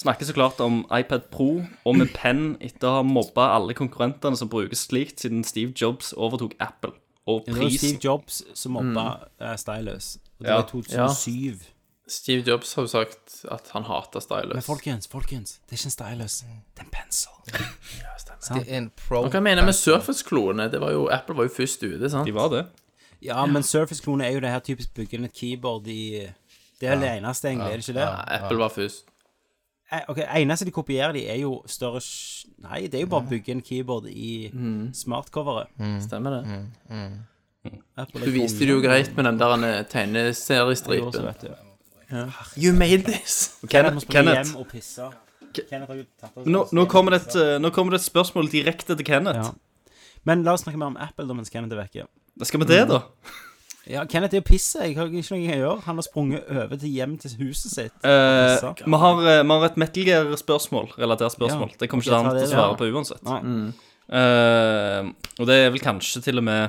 Speaker 9: Snakker så klart om iPad Pro og med Penn etter å ha mobba alle konkurrentene som brukes slikt, siden Steve Jobs overtok Apple. Og
Speaker 5: Det var Steve
Speaker 9: prisen
Speaker 5: Jobs som
Speaker 7: Mm.
Speaker 5: mobba eh, Stylus. Og det
Speaker 9: Ja.
Speaker 5: var i 2007.
Speaker 7: Steve Jobs har jo sagt at han hater
Speaker 5: Men
Speaker 7: stylus.
Speaker 5: folkens, folkens, det er ikke en Stylus.
Speaker 7: Mm.
Speaker 5: Det er en pensel.
Speaker 6: Det er en pro.
Speaker 7: Og Hva mener jeg med Surface-kloene? Det var jo, Apple var jo først ute, sant?
Speaker 9: De var det.
Speaker 5: Ja, men Surface-klone er jo det her typisk bygge inn et keyboard i Det er det eneste, egentlig. Er det ikke det?
Speaker 7: Ja, Apple var først.
Speaker 5: Eh, Ok, eneste de kopierer, de er jo større sj- Nei, det er jo bare å bygge en keyboard i
Speaker 7: Mm.
Speaker 5: smartcoveret.
Speaker 7: Stemmer det?
Speaker 9: Mm.
Speaker 5: Apple er
Speaker 7: Du viste
Speaker 5: kongen.
Speaker 7: det jo greit med den der eh,
Speaker 5: Jo, så
Speaker 7: tegneseriestripen.
Speaker 5: vet du.
Speaker 7: You made this!
Speaker 5: Kenneth må springe
Speaker 9: Kenneth.
Speaker 5: hjem og pisse. Kenneth har jo tatt oss
Speaker 9: Men Nå, nå, kommer det et, eh, nå kommer det et spørsmål direkte til Kenneth.
Speaker 5: Ja. Men la oss snakke mer om Apple da mens Kenneth er vekke.
Speaker 9: Da skal vi det, da.
Speaker 5: Ja, Kenneth er jo pisse. Jeg har ikke noe jeg gjør. Han har sprunget over til hjem til huset sitt.
Speaker 9: Eh,
Speaker 5: Pisse.
Speaker 9: vi, har, eh, vi har et Metal Gear-spørsmål, relatert spørsmål.
Speaker 5: Ja. Mm.
Speaker 9: Det kommer
Speaker 5: Ok,
Speaker 9: ikke
Speaker 5: ta
Speaker 9: han til å
Speaker 5: det, da.
Speaker 9: svare på uansett.
Speaker 5: Nei.
Speaker 9: Eh, og det er vel kanskje til og med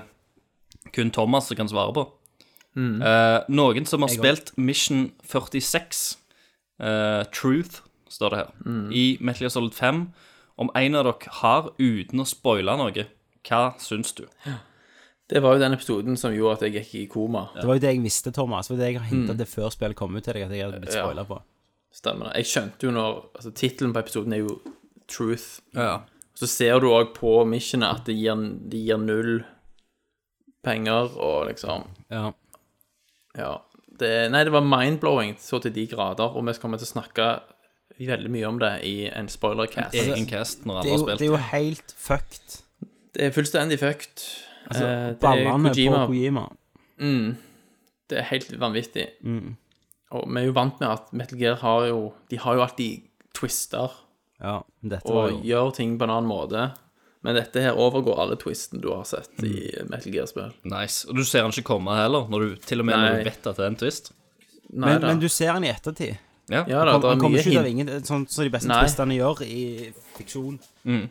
Speaker 9: kun Thomas som kan svare på.
Speaker 5: Mm.
Speaker 9: Eh, noen som har spilt Mission 46, eh, Truth, står det her,
Speaker 5: Mm.
Speaker 9: i Metal Gear Solid 5. Om en av dere har, uten å spoile noe, hva syns du?
Speaker 7: Det var jo den episoden som gjorde at jeg gikk i koma.
Speaker 5: Det var jo det jeg visste, Thomas. Det var det jeg har hintet det før spillet kom ut til deg, at jeg hadde blitt
Speaker 7: Mm. Ja.
Speaker 5: spoilet på.
Speaker 7: Stemmer det. Jeg skjønte jo når altså, Tittelen på episoden er jo Truth. Så ser du òg på missionet at de gir, de gir null penger, og liksom
Speaker 5: Ja.
Speaker 7: Ja. Det, nei, det var mind-blowing så til de grader, og vi kommer til å snakke veldig mye om det i en spoilercast.
Speaker 9: Egen cast når
Speaker 5: Altså, Det er,
Speaker 9: alle har
Speaker 5: jo,
Speaker 9: spilt.
Speaker 5: det er jo helt fucked.
Speaker 7: Det er fullstendig fucked.
Speaker 5: Altså,
Speaker 7: Eh, det er
Speaker 5: Ballene
Speaker 7: Kojima.
Speaker 5: på Kojima.
Speaker 7: Mm. Det er helt vanvittig.
Speaker 5: Mm.
Speaker 7: Og vi er jo vant med at Metal Gear har jo De har jo alltid twister
Speaker 5: Ja, dette var
Speaker 7: og
Speaker 5: jo
Speaker 7: gjør ting på en annen måte. Men dette her overgår alle twisten du har sett i Metal Gear-spill.
Speaker 9: Nice. Og du ser han ikke komme heller, når du, til og med når
Speaker 7: Nei.
Speaker 9: du vet at det er en twist.
Speaker 7: Nei
Speaker 5: men,
Speaker 7: da.
Speaker 5: men du ser han i ettertid.
Speaker 7: ja da, det
Speaker 5: han
Speaker 7: er
Speaker 5: kommer
Speaker 7: mye
Speaker 5: ikke ut av
Speaker 7: hint.
Speaker 5: ingen Sånn som de beste
Speaker 7: Nei. Mm.
Speaker 5: twistene gjør i fiksjon.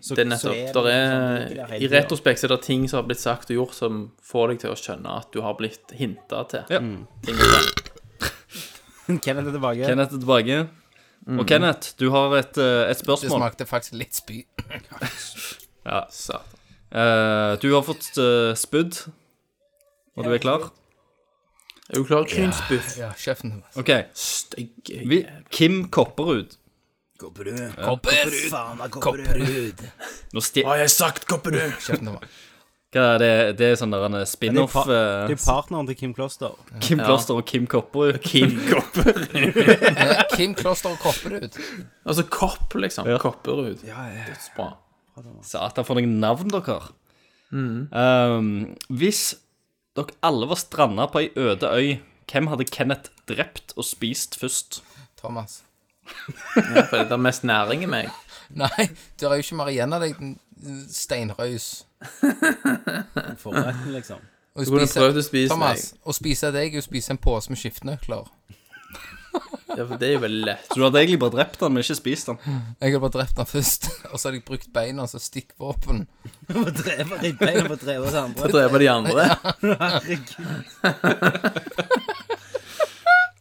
Speaker 5: Så,
Speaker 7: Det er nettopp, der
Speaker 5: det
Speaker 7: er, I
Speaker 5: hele tiden.
Speaker 7: retrospekt så er det ting som har blitt sagt og gjort som får deg til å skjønne at du har blitt hinta til.
Speaker 9: Ja.
Speaker 7: Ting som-
Speaker 5: Kenneth er tilbake.
Speaker 9: Kenneth er tilbake. Og Kenneth, du har et, eh, et
Speaker 6: Det
Speaker 9: spørsmål.
Speaker 6: smakte faktisk litt spy.
Speaker 7: Satan.
Speaker 9: Eh, du har fått eh, spydd, og du er klar?
Speaker 7: Er du klar? Krynsbuff.
Speaker 6: Ja, sjefen din.
Speaker 9: OK.
Speaker 7: Stygg.
Speaker 9: Vi, Kim Kopperud. Nå sti...
Speaker 7: Har jeg sagt kopperud?
Speaker 6: Sjefen din.
Speaker 9: Hva er det? Det er sånn der en
Speaker 5: Det er
Speaker 9: spin-off.
Speaker 5: pa- det er
Speaker 9: eh,
Speaker 5: jo partneren til Kim Kloster.
Speaker 9: Kim Kloster og Kim Kopperud. Kim Kopperud.
Speaker 6: Kim Kloster og Kopperud.
Speaker 7: Altså kopp, liksom. Kopperud. Dødsbra.
Speaker 9: Satan, for noen navn dere har. Ehm, hvis dere alle var stranda på ei øde øy, hvem hadde Kenneth drept og spist først?
Speaker 6: Thomas.
Speaker 7: Ja, for det er mest næring i meg.
Speaker 6: Nei, det er jo ikke mer igjen av deg, den steinrøys.
Speaker 5: Forretten, liksom.
Speaker 6: Å
Speaker 7: kunne
Speaker 6: spise-
Speaker 7: prøvd å spise
Speaker 6: Thomas, å spise deg er å spise en pose med skiftenøkler.
Speaker 7: Ja, for det er jo veldig lett.
Speaker 9: Så du hadde egentlig bare drept han, men ikke spist han.
Speaker 6: Jeg hadde bare drept han først, og så hadde jeg brukt beina som stikkvåpen.
Speaker 5: På drevet ditt bein og på drevet til andre.
Speaker 7: Drepe de andre.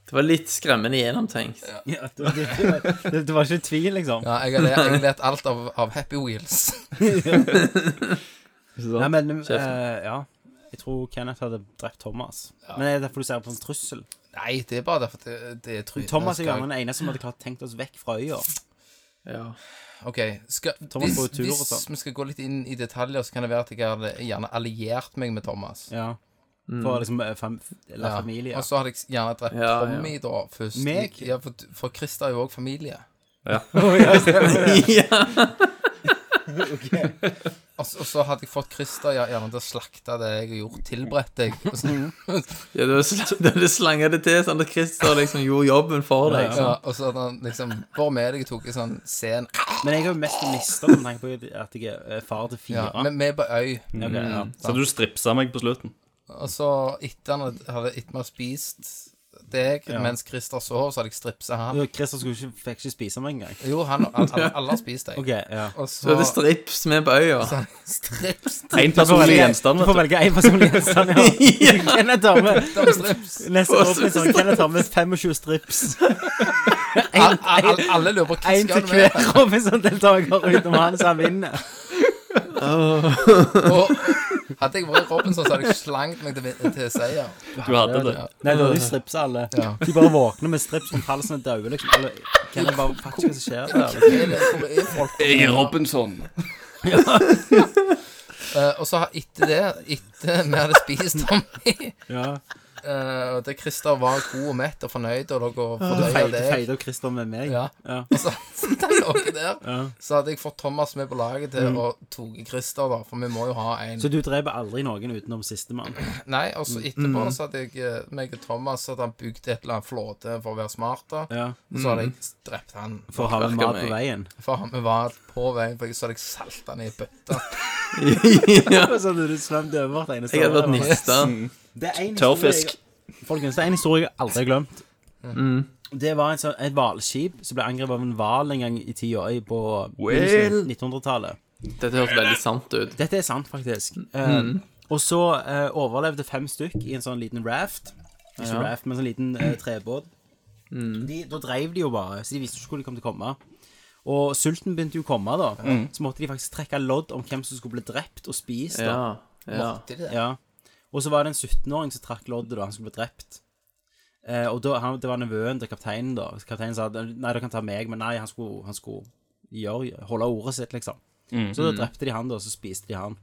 Speaker 7: Det var litt skremmende gjennomtenkt.
Speaker 5: Ja, det, var, det, var, det, det var ikke tvil, liksom.
Speaker 6: Ja, jeg hadde jeg hadde lært alt av, av Happy Wheels.
Speaker 5: Nei, men eh, ja. Jeg tror Kenneth hadde drept Thomas. Men er det derfor du ser på en trussel?
Speaker 6: Nei, det er bare derfor det, det er trynet.
Speaker 5: Thomas er jo
Speaker 6: skal-
Speaker 5: gjerne den ene som hadde klart tenkt oss vekk fra øya.
Speaker 7: Ja.
Speaker 6: Ok, skal,
Speaker 5: Thomas
Speaker 6: hvis,
Speaker 5: går jo tur og
Speaker 6: hvis
Speaker 5: sånn.
Speaker 6: vi skal gå litt inn i detaljer, så kan det være at jeg hadde gjerne alliert meg med Thomas.
Speaker 5: Ja. For liksom eh, fam eller
Speaker 6: Ja.
Speaker 5: familie.
Speaker 6: Og så hadde jeg gjerne drept
Speaker 7: Ja, ja.
Speaker 6: Tommy da først.
Speaker 5: Meg?
Speaker 6: Ja, for, for Christer er jo òg familie.
Speaker 7: ja.
Speaker 6: Og så, og så hadde jeg fått Christer ja, gjerne til å slakte deg og gjort tilberedt deg. Og så,
Speaker 7: ja du, sl du slanga det til sånn at Christer liksom gjorde jobben for deg.
Speaker 6: ja, og så hadde han liksom vært med deg og tok en sånn scen.
Speaker 5: Men jeg har jo mest mista med tanke på at jeg er eh, far til
Speaker 6: Ja,
Speaker 5: fire.
Speaker 6: med, med på øy.
Speaker 5: Ja, ok, ja.
Speaker 9: Så du stripsa meg på slutten.
Speaker 6: Og så etter han hadde- hadde etter vi hadde spist deg mens Christer sov, så hadde jeg stripsa han.
Speaker 5: Og Christer skulle ikke, fikk ikke spise meg engang.
Speaker 6: Jo, han han- alle, alle har spist deg.
Speaker 5: Ok, ja.
Speaker 6: Og
Speaker 7: Så
Speaker 6: så
Speaker 7: er det strips med på øya.
Speaker 6: strips.
Speaker 9: Én personlig
Speaker 5: velge-
Speaker 9: gjenstand,
Speaker 5: Du får
Speaker 9: vet du.
Speaker 5: velge én personlig gjenstand, ja. Kenneth har med
Speaker 6: strips.
Speaker 5: Neste
Speaker 7: Og
Speaker 5: år blir sånn Kenneth har med 25 strips.
Speaker 6: Al- al- Alle lurer på hva
Speaker 5: Én
Speaker 6: skal
Speaker 5: til
Speaker 6: du med.
Speaker 5: hver Robinson-deltaker utenom han, så han vinner.
Speaker 6: Og hadde jeg vært Robinson, så hadde jeg slangt meg til, til seier.
Speaker 9: Du hadde det.
Speaker 5: Nei, da har de stripsa alle.
Speaker 6: Ja.
Speaker 5: De bare våkner med strips rundt halsen og dauer, liksom. Eller kan jeg bare fatte hva som skjer der? Liksom.
Speaker 6: Eller hvor er folk?
Speaker 9: Jeg er Robinson.
Speaker 6: Eh, og så har- etter det, etter vi hadde spist Tommy
Speaker 5: Ja.
Speaker 6: eh, Og det Christer var god og mett og fornøyd, og dere fordøya
Speaker 5: Feide,
Speaker 6: deg
Speaker 5: feide og Christer med meg.
Speaker 6: ja.
Speaker 5: Ja.
Speaker 6: Og så, så da lå jeg der. Så hadde jeg fått Thomas med på laget til å toge Christer, da, for vi må jo ha en
Speaker 5: Så du dreper aldri noen utenom sistemann?
Speaker 6: Nei, og
Speaker 5: Mm.
Speaker 6: så etterpå så hadde jeg eh, meg og Thomas hadde han bygd et eller annet flåte for å være smart, da.
Speaker 5: Ja.
Speaker 6: Og så
Speaker 5: Mm.
Speaker 6: hadde jeg drept han.
Speaker 5: For å ha med mat på
Speaker 7: meg.
Speaker 5: veien?
Speaker 6: For han vi var på veien, for jeg så hadde jeg salta ned i bøtta.
Speaker 7: ja.
Speaker 5: Så hadde du svømt over hvert eneste
Speaker 7: Jeg hadde vært
Speaker 5: år, eller?
Speaker 7: nista.
Speaker 5: Det er en historie
Speaker 9: Tørrfisk.
Speaker 5: jeg- Folkens, det er en historie jeg aldri har glemt.
Speaker 7: Mm.
Speaker 5: Det var en sånn, et hvalskip som ble angrepet av en hval en gang i tida i- på begynnelsen av 1900-tallet.
Speaker 7: Dette høres veldig sant ut.
Speaker 5: Dette er sant, faktisk.
Speaker 7: Mm.
Speaker 5: Eh, og så eh, overlevde fem stykk i en sånn liten raft. Ikke
Speaker 7: Ja. Mm.
Speaker 5: raft, men sånn liten eh, trebåt. De, da drev de jo bare, så de visste ikke hvor de kom til å komme. Og sulten begynte jo å komme, da. Så måtte de faktisk trekke lodd om hvem som skulle bli drept og spist. Da.
Speaker 7: Mm. Ja. ja.
Speaker 5: Ja. Og så var det en 17-åring som trakk loddet da han skulle bli drept. Eh, og da, han, det var nevøen til kapteinen, da. Kapteinen sa nei, dere kan ta meg, men nei, han skulle, han skulle gjøre, holde ordet sitt, liksom.
Speaker 9: Mm,
Speaker 5: Så da drepte de han, da, og så spiste de han.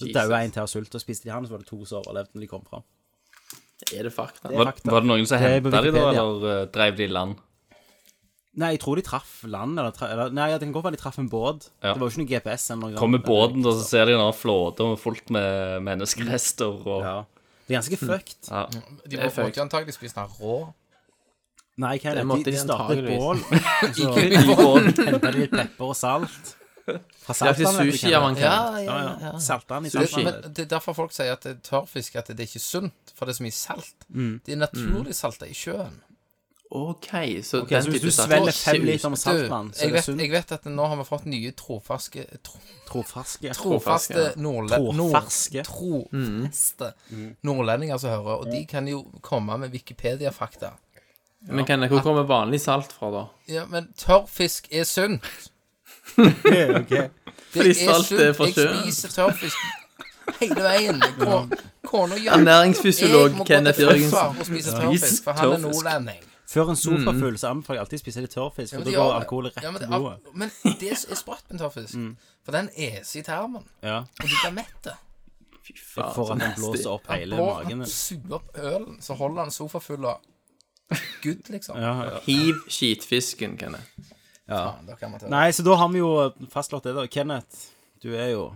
Speaker 5: Så daua en til av sult, og spiste de han, og så var det to som overlevde når de kom fram.
Speaker 7: Er det fakta?
Speaker 5: Det er
Speaker 9: Var,
Speaker 5: fakta.
Speaker 9: var det noen som
Speaker 5: Det er på
Speaker 9: henta de da,
Speaker 5: Wikipedia.
Speaker 9: eller eh, dreiv de i land?
Speaker 5: Nei, jeg tror de traff land, eller, tra eller Nei, det kan godt være de traff en båt.
Speaker 9: Ja.
Speaker 5: Det var jo ikke noe GPS. eller noe
Speaker 9: Kommer
Speaker 5: annet.
Speaker 9: båten, og så ser de en flåte fullt med menneskerester. Og...
Speaker 5: Ja. Det er ganske
Speaker 9: Hm.
Speaker 5: fucked.
Speaker 9: Ja.
Speaker 6: De må få ikke antagelig spise den rå.
Speaker 5: Nei, hva er det?
Speaker 13: Det måtte
Speaker 5: De, de
Speaker 13: de
Speaker 5: startet et
Speaker 13: antageligvis.
Speaker 5: bål, så hentet de litt pepper og salt. Fra
Speaker 13: Det er
Speaker 5: saltvann,
Speaker 13: til
Speaker 5: vet du
Speaker 13: sushi
Speaker 5: hva
Speaker 13: av han
Speaker 6: Ja,
Speaker 13: kan.
Speaker 6: ja,
Speaker 5: liksom. Ja,
Speaker 6: ja.
Speaker 5: ja. Saltvann i
Speaker 6: Det,
Speaker 5: sushi.
Speaker 6: men det er derfor folk sier at det er tørrfisk at det er ikke sunt, for det er så mye salt.
Speaker 5: Mm.
Speaker 6: Det er naturlig salta i sjøen.
Speaker 13: OK, så
Speaker 5: Så
Speaker 13: den
Speaker 5: hvis du
Speaker 13: type
Speaker 5: svelger
Speaker 13: saker
Speaker 5: fem liter med
Speaker 6: Du,
Speaker 5: saltvann, så
Speaker 6: jeg
Speaker 5: er det
Speaker 6: vet,
Speaker 5: sunt.
Speaker 6: jeg vet at nå har vi fått nye trofaske tro,
Speaker 5: Troferske.
Speaker 6: Trofaste eh, nordle, nord,
Speaker 5: Troferske.
Speaker 6: trofaste
Speaker 7: Mm.
Speaker 6: nordlendinger som hører, og de kan jo komme med Wikipedia-fakta.
Speaker 7: Men kan, hvor kommer vanlig salt fra, da?
Speaker 6: Ja, men tørrfisk er sunt.
Speaker 5: ok.
Speaker 6: Det er
Speaker 7: salt er fra
Speaker 6: Jeg
Speaker 7: sjøen.
Speaker 6: spiser tørrfisk hele veien. Ko- Kona gjør
Speaker 7: Ernæringsfysiolog
Speaker 6: Jeg må gå til
Speaker 7: Mm. Kenneth Jørgensen.
Speaker 6: farfar og spise tørrfisk, for han er nordlending.
Speaker 5: Før en sofa er full, så anbefaler jeg alltid å spise litt tørrfisk, for da går alkoholet
Speaker 6: Ja, men
Speaker 5: rett til
Speaker 6: det-
Speaker 5: blodet.
Speaker 6: Men det er sprøtt med tørrfisk,
Speaker 7: Mm.
Speaker 6: for den eser i termen,
Speaker 5: Ja.
Speaker 6: og du blir mett.
Speaker 5: For at den blåser opp hele
Speaker 6: På
Speaker 5: magen.
Speaker 6: han suger opp ølen, så holder han sofa full av good, liksom.
Speaker 5: Ja, ja.
Speaker 7: Hiv skitfisken, kan jeg.
Speaker 6: Faen, dere amatører.
Speaker 5: Nei, så da har vi jo fastslått det, da. Kenneth, du er jo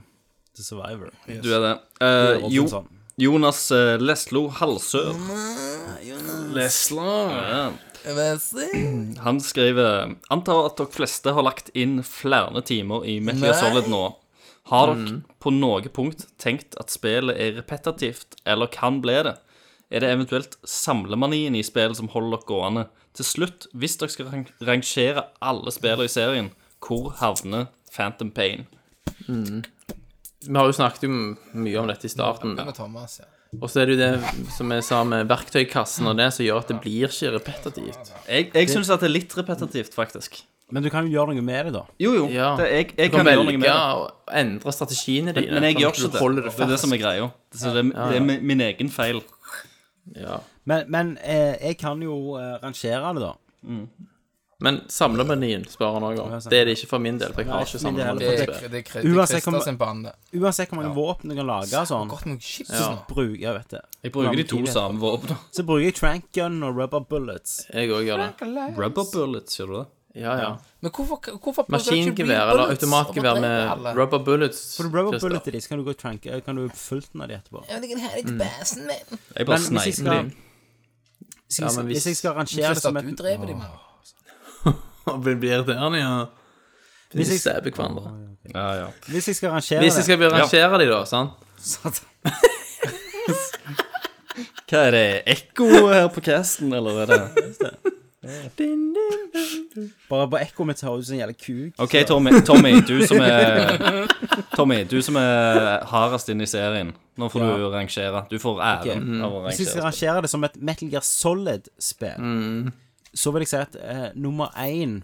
Speaker 5: the survivor.
Speaker 9: Du er det. Eh, jo,
Speaker 5: Robinson.
Speaker 9: Jonas eh, Leslo Halsør. Ja. Han skriver Antar at dere fleste har lagt inn flere timer i Metal Gear Solid nå. Har dere på noe punkt tenkt at spillet er repetitivt, eller kan bli det? Er det eventuelt samlemanien i spillet som holder dere gående? Til slutt, hvis dere skal rang- rangere alle spillene i serien, hvor havner Phantom Pain?
Speaker 7: Vi har jo snakket jo mye om dette i starten.
Speaker 6: Med Thomas, ja.
Speaker 7: Og så er det jo det som jeg sa med verktøykassen og det, som gjør at det blir ikke repetitivt.
Speaker 9: Jeg, jeg syns at det er litt repetitivt, faktisk.
Speaker 5: Men du kan jo gjøre noe med det, da.
Speaker 9: Jo, jo.
Speaker 7: Ja.
Speaker 9: Det, jeg jeg
Speaker 7: Du kan
Speaker 9: kan gjøre noe med
Speaker 7: velge
Speaker 9: det.
Speaker 7: å endre strategiene dine.
Speaker 9: Men jeg
Speaker 7: sånn
Speaker 9: gjør
Speaker 7: at du
Speaker 9: ikke det.
Speaker 7: holder
Speaker 9: Det er det som er greia. Så det, er- det er min- min egen feil.
Speaker 7: Ja.
Speaker 5: Men, men eh, jeg kan jo eh, rangere det, da.
Speaker 7: Men samlemenyen spør han òg om. Det er det ikke for min del, for jeg har ikke
Speaker 5: min del
Speaker 6: Det
Speaker 7: samlemenyen.
Speaker 6: er,
Speaker 7: på spill.
Speaker 6: det er, Kri- det er
Speaker 5: Uansett
Speaker 6: Christer
Speaker 5: kommer-
Speaker 6: sin bande.
Speaker 9: Mm.
Speaker 5: Uansett hvor mange våpen du kan lage og sånn,
Speaker 6: Godt med chips
Speaker 5: så
Speaker 6: nå.
Speaker 5: bruker jeg vet det.
Speaker 9: Jeg bruker de to samme våpnene.
Speaker 5: Så bruker jeg trank gun og rubber bullets.
Speaker 7: Jeg òg gjør det.
Speaker 9: Rubber bullets, gjør du det?
Speaker 7: Ja, ja.
Speaker 6: Men hvorfor, hvorfor prøver dere ikke
Speaker 7: Maskingevær
Speaker 6: rebullets
Speaker 7: eller
Speaker 6: og
Speaker 7: automatgevær
Speaker 6: bare drepe
Speaker 7: med
Speaker 6: alle?
Speaker 7: rubber bullets.
Speaker 5: For rubber
Speaker 7: Christer.
Speaker 5: bullet er de, så kan du gå i trank eh, Kan du fulten av de etterpå.
Speaker 6: Jeg vil ikke ha det
Speaker 9: Mm.
Speaker 6: til basen min.
Speaker 9: Jeg bare
Speaker 5: Men hvis jeg
Speaker 9: sneiper
Speaker 5: skal hvis, jeg-
Speaker 9: dem.
Speaker 7: Ja, men hvis-
Speaker 5: hvis jeg skal rangere det
Speaker 6: Christer,
Speaker 5: som
Speaker 6: du
Speaker 5: et
Speaker 6: dreper dem, mann.
Speaker 7: Og vi blir der, ja. De
Speaker 5: Hvis jeg-
Speaker 7: stabber hverandre.
Speaker 9: Ja, ja.
Speaker 5: Hvis jeg skal rangere
Speaker 7: Hvis
Speaker 5: det
Speaker 7: jeg skal rangere de, da, sant?
Speaker 9: Hva er det? Ekko her på casten, eller er det
Speaker 5: Bare på ekkoet mitt høres ut som en sånn jævla kuk.
Speaker 9: OK, Tommy, Tommy, du som er Tommy, du som er hardest inne i serien. Nå får du rangere. Du får æren av å
Speaker 5: Hvis jeg skal
Speaker 9: rangere.
Speaker 5: rangere det som et Metal Gear Solid-spill,
Speaker 7: Mm.
Speaker 5: så vil jeg si at eh, nummer én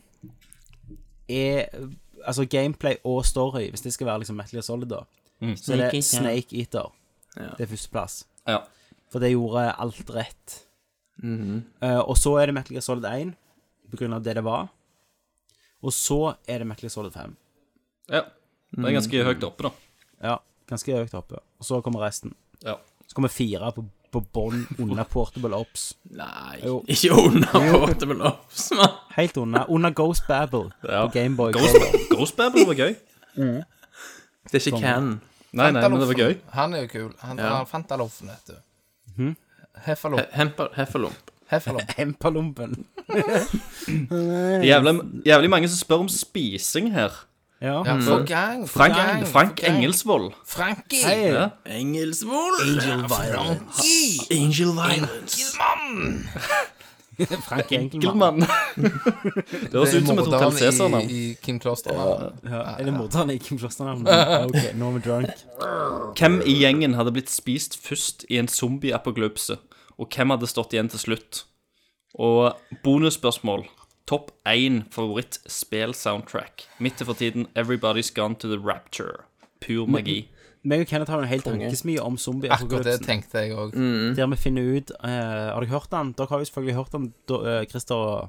Speaker 5: er eh, Altså gameplay og story, hvis det skal være liksom Metal Gear Solid, da. Så er det Snake Eater. Det er førsteplass.
Speaker 9: Ja.
Speaker 5: For det gjorde alt rett. Eh, og så er det Metal Gear Solid 1, på grunn av det det var. Og så er det Metal Gear Solid 5.
Speaker 9: ja. Det er
Speaker 5: Mm.
Speaker 9: ganske høyt oppe, da.
Speaker 5: Ja, ganske høyt oppe. Og så kommer resten.
Speaker 9: Ja.
Speaker 5: Så kommer fire på, på bånn under Portable Ops.
Speaker 7: Nei,
Speaker 5: Jo.
Speaker 7: ikke under portable ops, mann.
Speaker 5: Helt under. Under Ghost Babble
Speaker 9: Ja.
Speaker 5: på Gameboy.
Speaker 9: Ghost, Ghost Babble var gøy.
Speaker 7: Det er ikke Ken.
Speaker 9: Nei, nei, men det var gøy.
Speaker 6: Han er jo kul. Han,
Speaker 7: Ja.
Speaker 6: han fant aloffen, vet du.
Speaker 5: Mhm.
Speaker 6: Heffalomp.
Speaker 7: Hemper- Heffalump.
Speaker 6: Heffalomp.
Speaker 5: Hempalumpen.
Speaker 9: Jævlig, jævlig mange som spør om spising her.
Speaker 5: Ja.
Speaker 6: Ja, for gang. for
Speaker 9: Mm. Frank,
Speaker 6: gang,
Speaker 9: Frank
Speaker 6: for gang.
Speaker 9: Engelsvold.
Speaker 6: Frankie!
Speaker 5: Hei.
Speaker 9: Ja.
Speaker 7: Engelsvold!
Speaker 6: Frankie!
Speaker 7: Angel violence.
Speaker 6: Mann!
Speaker 5: Frank Enkelmann.
Speaker 9: Enkelmann. Det høres ut som et Hotell
Speaker 6: i,
Speaker 9: Cæsar-navn.
Speaker 6: i Kim Kloster.
Speaker 5: Ja, er det morderen i Kim Klosternavnet? Ok, nå er vi drunk.
Speaker 9: Hvem i gjengen hadde blitt spist først i en zombie-apokalypse? Og hvem hadde stått igjen til slutt? Og bonusspørsmål. Topp én favoritt-spill-soundtrack. Midt til for tiden Everybody's Gone to the Rapture. Pur magi.
Speaker 5: Meg og Kenneth har jo en hel tankesmie om
Speaker 6: Akkurat det
Speaker 5: zombieapokalypsen.
Speaker 6: tenkte jeg òg.
Speaker 9: Mm.
Speaker 5: Der vi finner ut eh, Har dere hørt den? Dere har jo selvfølgelig hørt den, uh, Christer og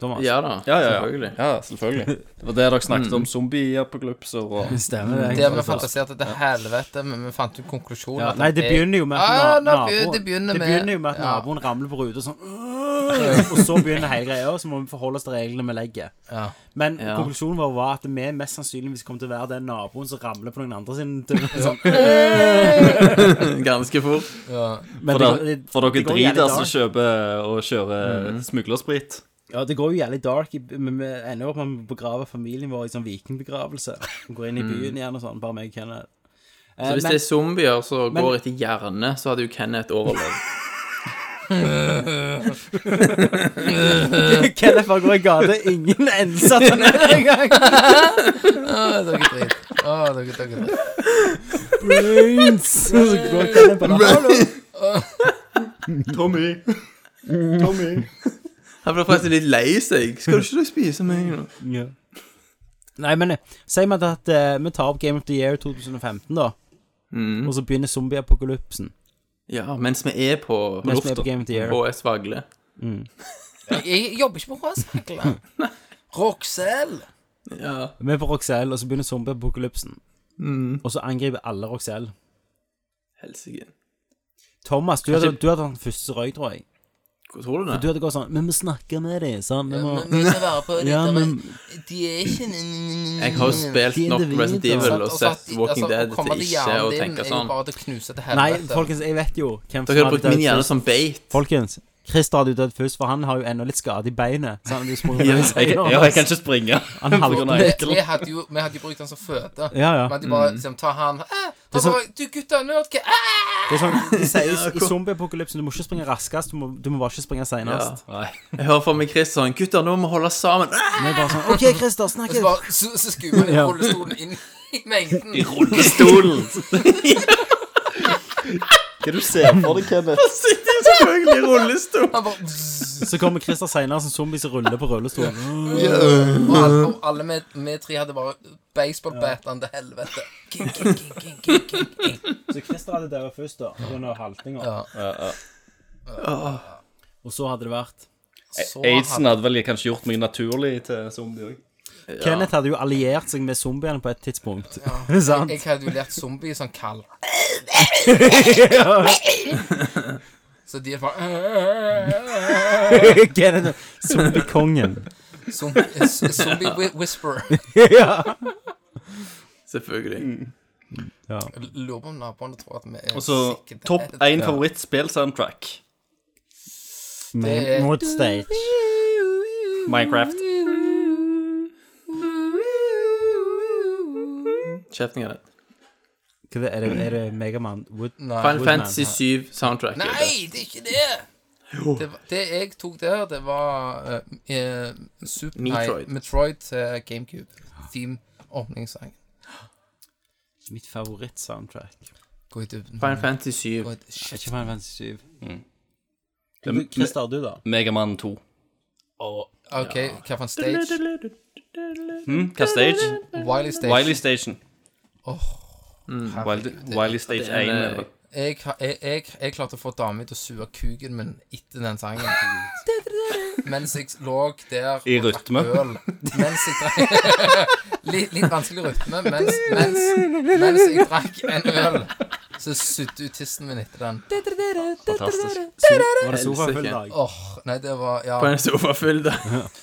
Speaker 5: Thomas.
Speaker 7: Ja da, selvfølgelig.
Speaker 9: ja, selvfølgelig. Det var det dere snakket om. Zombie-apokalypser og
Speaker 5: Stemmer det.
Speaker 6: Det vi fantaserte til helvete, men vi fant jo konklusjonen.
Speaker 5: Ja,
Speaker 6: at
Speaker 5: nei, det
Speaker 6: jeg-
Speaker 5: begynner jo med at
Speaker 6: Ah,
Speaker 5: na-
Speaker 6: nå be-
Speaker 5: naboen,
Speaker 6: det begynner
Speaker 5: det
Speaker 6: med-
Speaker 5: begynner jo med at
Speaker 6: ja.
Speaker 5: naboen ramler på ruta sånn Og så begynner hele greia, og så må vi forholde oss til reglene vi legger.
Speaker 6: Ja.
Speaker 5: Men
Speaker 7: Ja.
Speaker 5: konklusjonen vår var at vi mest sannsynligvis kommer til å være den naboen som ramler på noen andre sin tur. Sånn.
Speaker 7: Ganske fort.
Speaker 6: Ja.
Speaker 5: Men
Speaker 9: For,
Speaker 5: det,
Speaker 9: da,
Speaker 5: går- det,
Speaker 9: for dere
Speaker 5: det går jævlig
Speaker 9: driter som
Speaker 5: dark.
Speaker 9: kjøper og kjører smuglersprit.
Speaker 5: ja, det går jo jævlig dark. i- Men vi ender opp med å begrave familien vår i sånn vikingbegravelse. Går inn i byen igjen og sånn, bare meg og Kenneth. Eh,
Speaker 7: Så hvis
Speaker 5: men-
Speaker 7: det er zombier som
Speaker 5: men-
Speaker 7: går etter hjerne, så hadde jo Kenneth overlevd. Eh,
Speaker 5: Kenneth bare går i gata, ingen ansatte han er engang.
Speaker 6: Å, dere er drit. Å, dere, dere er drit.
Speaker 5: Brains! Så går Kenneth bare Hallo!
Speaker 9: Tommy!
Speaker 7: Han ble forresten litt lei seg. Skal du ikke spise meg nå?
Speaker 5: Nei, men eh, si meg at eh, vi tar opp Game of the Year 2015, da. Og så begynner zombieapokalypsen.
Speaker 7: Mm. Ja, mens vi er på
Speaker 5: Mens vi er
Speaker 7: lufta.
Speaker 5: på Game of the Year.
Speaker 7: Og er svagle.
Speaker 6: Jeg jobber ikke på Rossakla. Roxel.
Speaker 7: Ja.
Speaker 5: Vi er på Roxelle, og så begynner zombieapokalypsen. Og så angriper alle Roxelle.
Speaker 7: Helsike.
Speaker 5: Thomas, du hadde, du hadde hatt den første røy, tror jeg.
Speaker 7: Hva tror du
Speaker 5: Du
Speaker 7: det?
Speaker 5: hadde gått sånn Vi må snakke med dem, sant? Vi må
Speaker 6: Vi skal være på
Speaker 5: Ja,
Speaker 6: dette-
Speaker 5: men
Speaker 6: De er ikke
Speaker 7: Jeg har jo spilt
Speaker 5: Fiende
Speaker 7: nok
Speaker 5: vi,
Speaker 7: Resident
Speaker 5: da.
Speaker 7: Evil
Speaker 6: Altså,
Speaker 7: og sett
Speaker 6: at-
Speaker 7: Walking
Speaker 6: altså,
Speaker 7: Dead
Speaker 6: å komme
Speaker 7: til
Speaker 6: til
Speaker 7: ikke
Speaker 6: hjernen
Speaker 7: å
Speaker 6: din
Speaker 7: tenke
Speaker 6: er jo
Speaker 7: sånn.
Speaker 6: Bare til å knuse til
Speaker 5: Nei,
Speaker 6: helvete.
Speaker 5: folkens, jeg vet jo hvem
Speaker 7: Dere har
Speaker 5: hadde
Speaker 7: brukt min
Speaker 5: dødd
Speaker 7: hjerne
Speaker 5: først.
Speaker 7: som beit.
Speaker 5: Folkens, Christer hadde jo dødd først, for han har jo ennå litt skade i beinet. Sant? Du sprang rundt i
Speaker 9: Jeg,
Speaker 5: sengen
Speaker 9: ja, jeg
Speaker 5: hans.
Speaker 9: kan ikke springe.
Speaker 5: Han halter
Speaker 6: vi,
Speaker 5: litt.
Speaker 6: vi, hadde jo, vi hadde jo brukt den som føde.
Speaker 5: Ja, ja.
Speaker 6: Vi hadde bare
Speaker 7: Mm.
Speaker 6: liksom, ta han eh, ta
Speaker 5: er sånn-
Speaker 6: bare, Du gutta, nerd, hva eh,
Speaker 5: Det er sånn, de sier i, i zombieapokalypsen du må ikke springe raskest, du må, du må bare ikke springe senest.
Speaker 7: Ja. Jeg hører for meg Chris sånn Gutter, nå må vi holde sammen. Ah!
Speaker 5: Vi er bare sånn OK, Christer, snakk!
Speaker 6: Så bare så, så skuer vi
Speaker 5: Ja.
Speaker 6: rullestolen inn i mengden.
Speaker 7: Pistolen!
Speaker 9: Hva er det du ser for deg, Kenneth?
Speaker 7: Sitter selvfølgelig i rullestol.
Speaker 6: Han bare bzz,
Speaker 5: Så kommer Christer senere som zombie som ruller på rullestolen.
Speaker 6: Og alle, og alle med, med tre hadde bare baseballbatene til helvete. King, king, king, king, king, king, king.
Speaker 5: Så Christer hadde dødd først, da, pga. haltinga.
Speaker 6: Ja.
Speaker 5: Og så hadde det vært
Speaker 6: Så
Speaker 9: Aidsen
Speaker 6: hadde-
Speaker 9: hadde vel kanskje gjort meg naturlig til zombie òg.
Speaker 5: Kenneth hadde jo alliert seg med zombiene på et tidspunkt. Sant?
Speaker 6: Jeg hadde jo lært zombie sånn kall. Så de er bare
Speaker 5: Kenneth Zombiekongen.
Speaker 6: Zombie, zombie whi- whisperer.
Speaker 5: ja.
Speaker 7: Selvfølgelig.
Speaker 9: Mm.
Speaker 6: Jeg Lurer på om naboene tror at vi er
Speaker 9: Og så
Speaker 6: sikre.
Speaker 9: topp én favorittspill-soundtrack.
Speaker 5: Men mot stage.
Speaker 9: Minecraft.
Speaker 7: Kjeften Kenneth.
Speaker 5: Hva er det- Er det, er det Megaman Wood?
Speaker 6: Nei,
Speaker 7: Final
Speaker 5: Woodman.
Speaker 7: Fantasy 7 soundtrack.
Speaker 6: Nei, det er ikke det! Det, var- det jeg tok der, det var eh, eh, Sup- nei,
Speaker 7: Metroid.
Speaker 6: Metroid til GameCube. Theme åpningssang.
Speaker 5: Mitt favorittsoundtrack.
Speaker 6: Gå i dybden.
Speaker 7: Final Fantasy 7.
Speaker 6: Gå i- Shit.
Speaker 5: Ikke Final Fantasy 7.
Speaker 9: Det-
Speaker 5: Christer, du, da?
Speaker 9: Megaman 2.
Speaker 6: OK, hva for en stage?
Speaker 9: Hva stage?
Speaker 6: Wiley Stage.
Speaker 9: Wiley Station.
Speaker 6: Herregud.
Speaker 9: Mm. Wiley, Wiley Stage eh, 1. eller hva?
Speaker 6: Jeg, har- jeg, jeg, jeg klarte å få dama til å sue kuken min etter den sangen. Mens jeg lå der
Speaker 9: I
Speaker 6: og drakk
Speaker 9: rytme.
Speaker 6: øl. Mens jeg drakk litt, litt vanskelig rytme. Mens, mens, mens jeg drakk en øl, så sudde ut tissen min etter den.
Speaker 9: Fantastisk.
Speaker 5: Var det sofafull
Speaker 7: Helsike.
Speaker 5: dag?
Speaker 6: Åh, Nei, det var Ja,
Speaker 7: På en sofa full, da.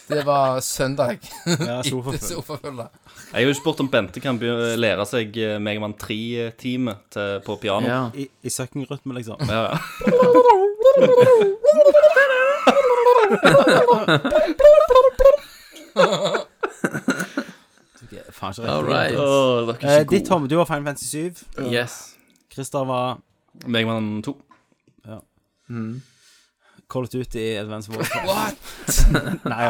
Speaker 6: det var søndag.
Speaker 5: Ja,
Speaker 6: Etter
Speaker 5: sofafull.
Speaker 6: sofafulla.
Speaker 9: Jeg har jo spurt om Bente kan be- lære seg eh, Megaman 3-teamet på piano.
Speaker 7: Ja.
Speaker 5: I, i søkkenrytme, liksom.
Speaker 9: Ja, ja.
Speaker 5: Faen, ikke
Speaker 7: All
Speaker 5: riktig.
Speaker 7: right.
Speaker 9: Åh, dere
Speaker 5: Eh,
Speaker 9: er ikke
Speaker 5: ditt,
Speaker 9: gode.
Speaker 5: Tom, du var Final Fantasy 7.
Speaker 7: Yes.
Speaker 5: Christer var
Speaker 9: Megaman 2.
Speaker 5: Call of Duty i Advance Warfare.
Speaker 6: What?
Speaker 5: Nei,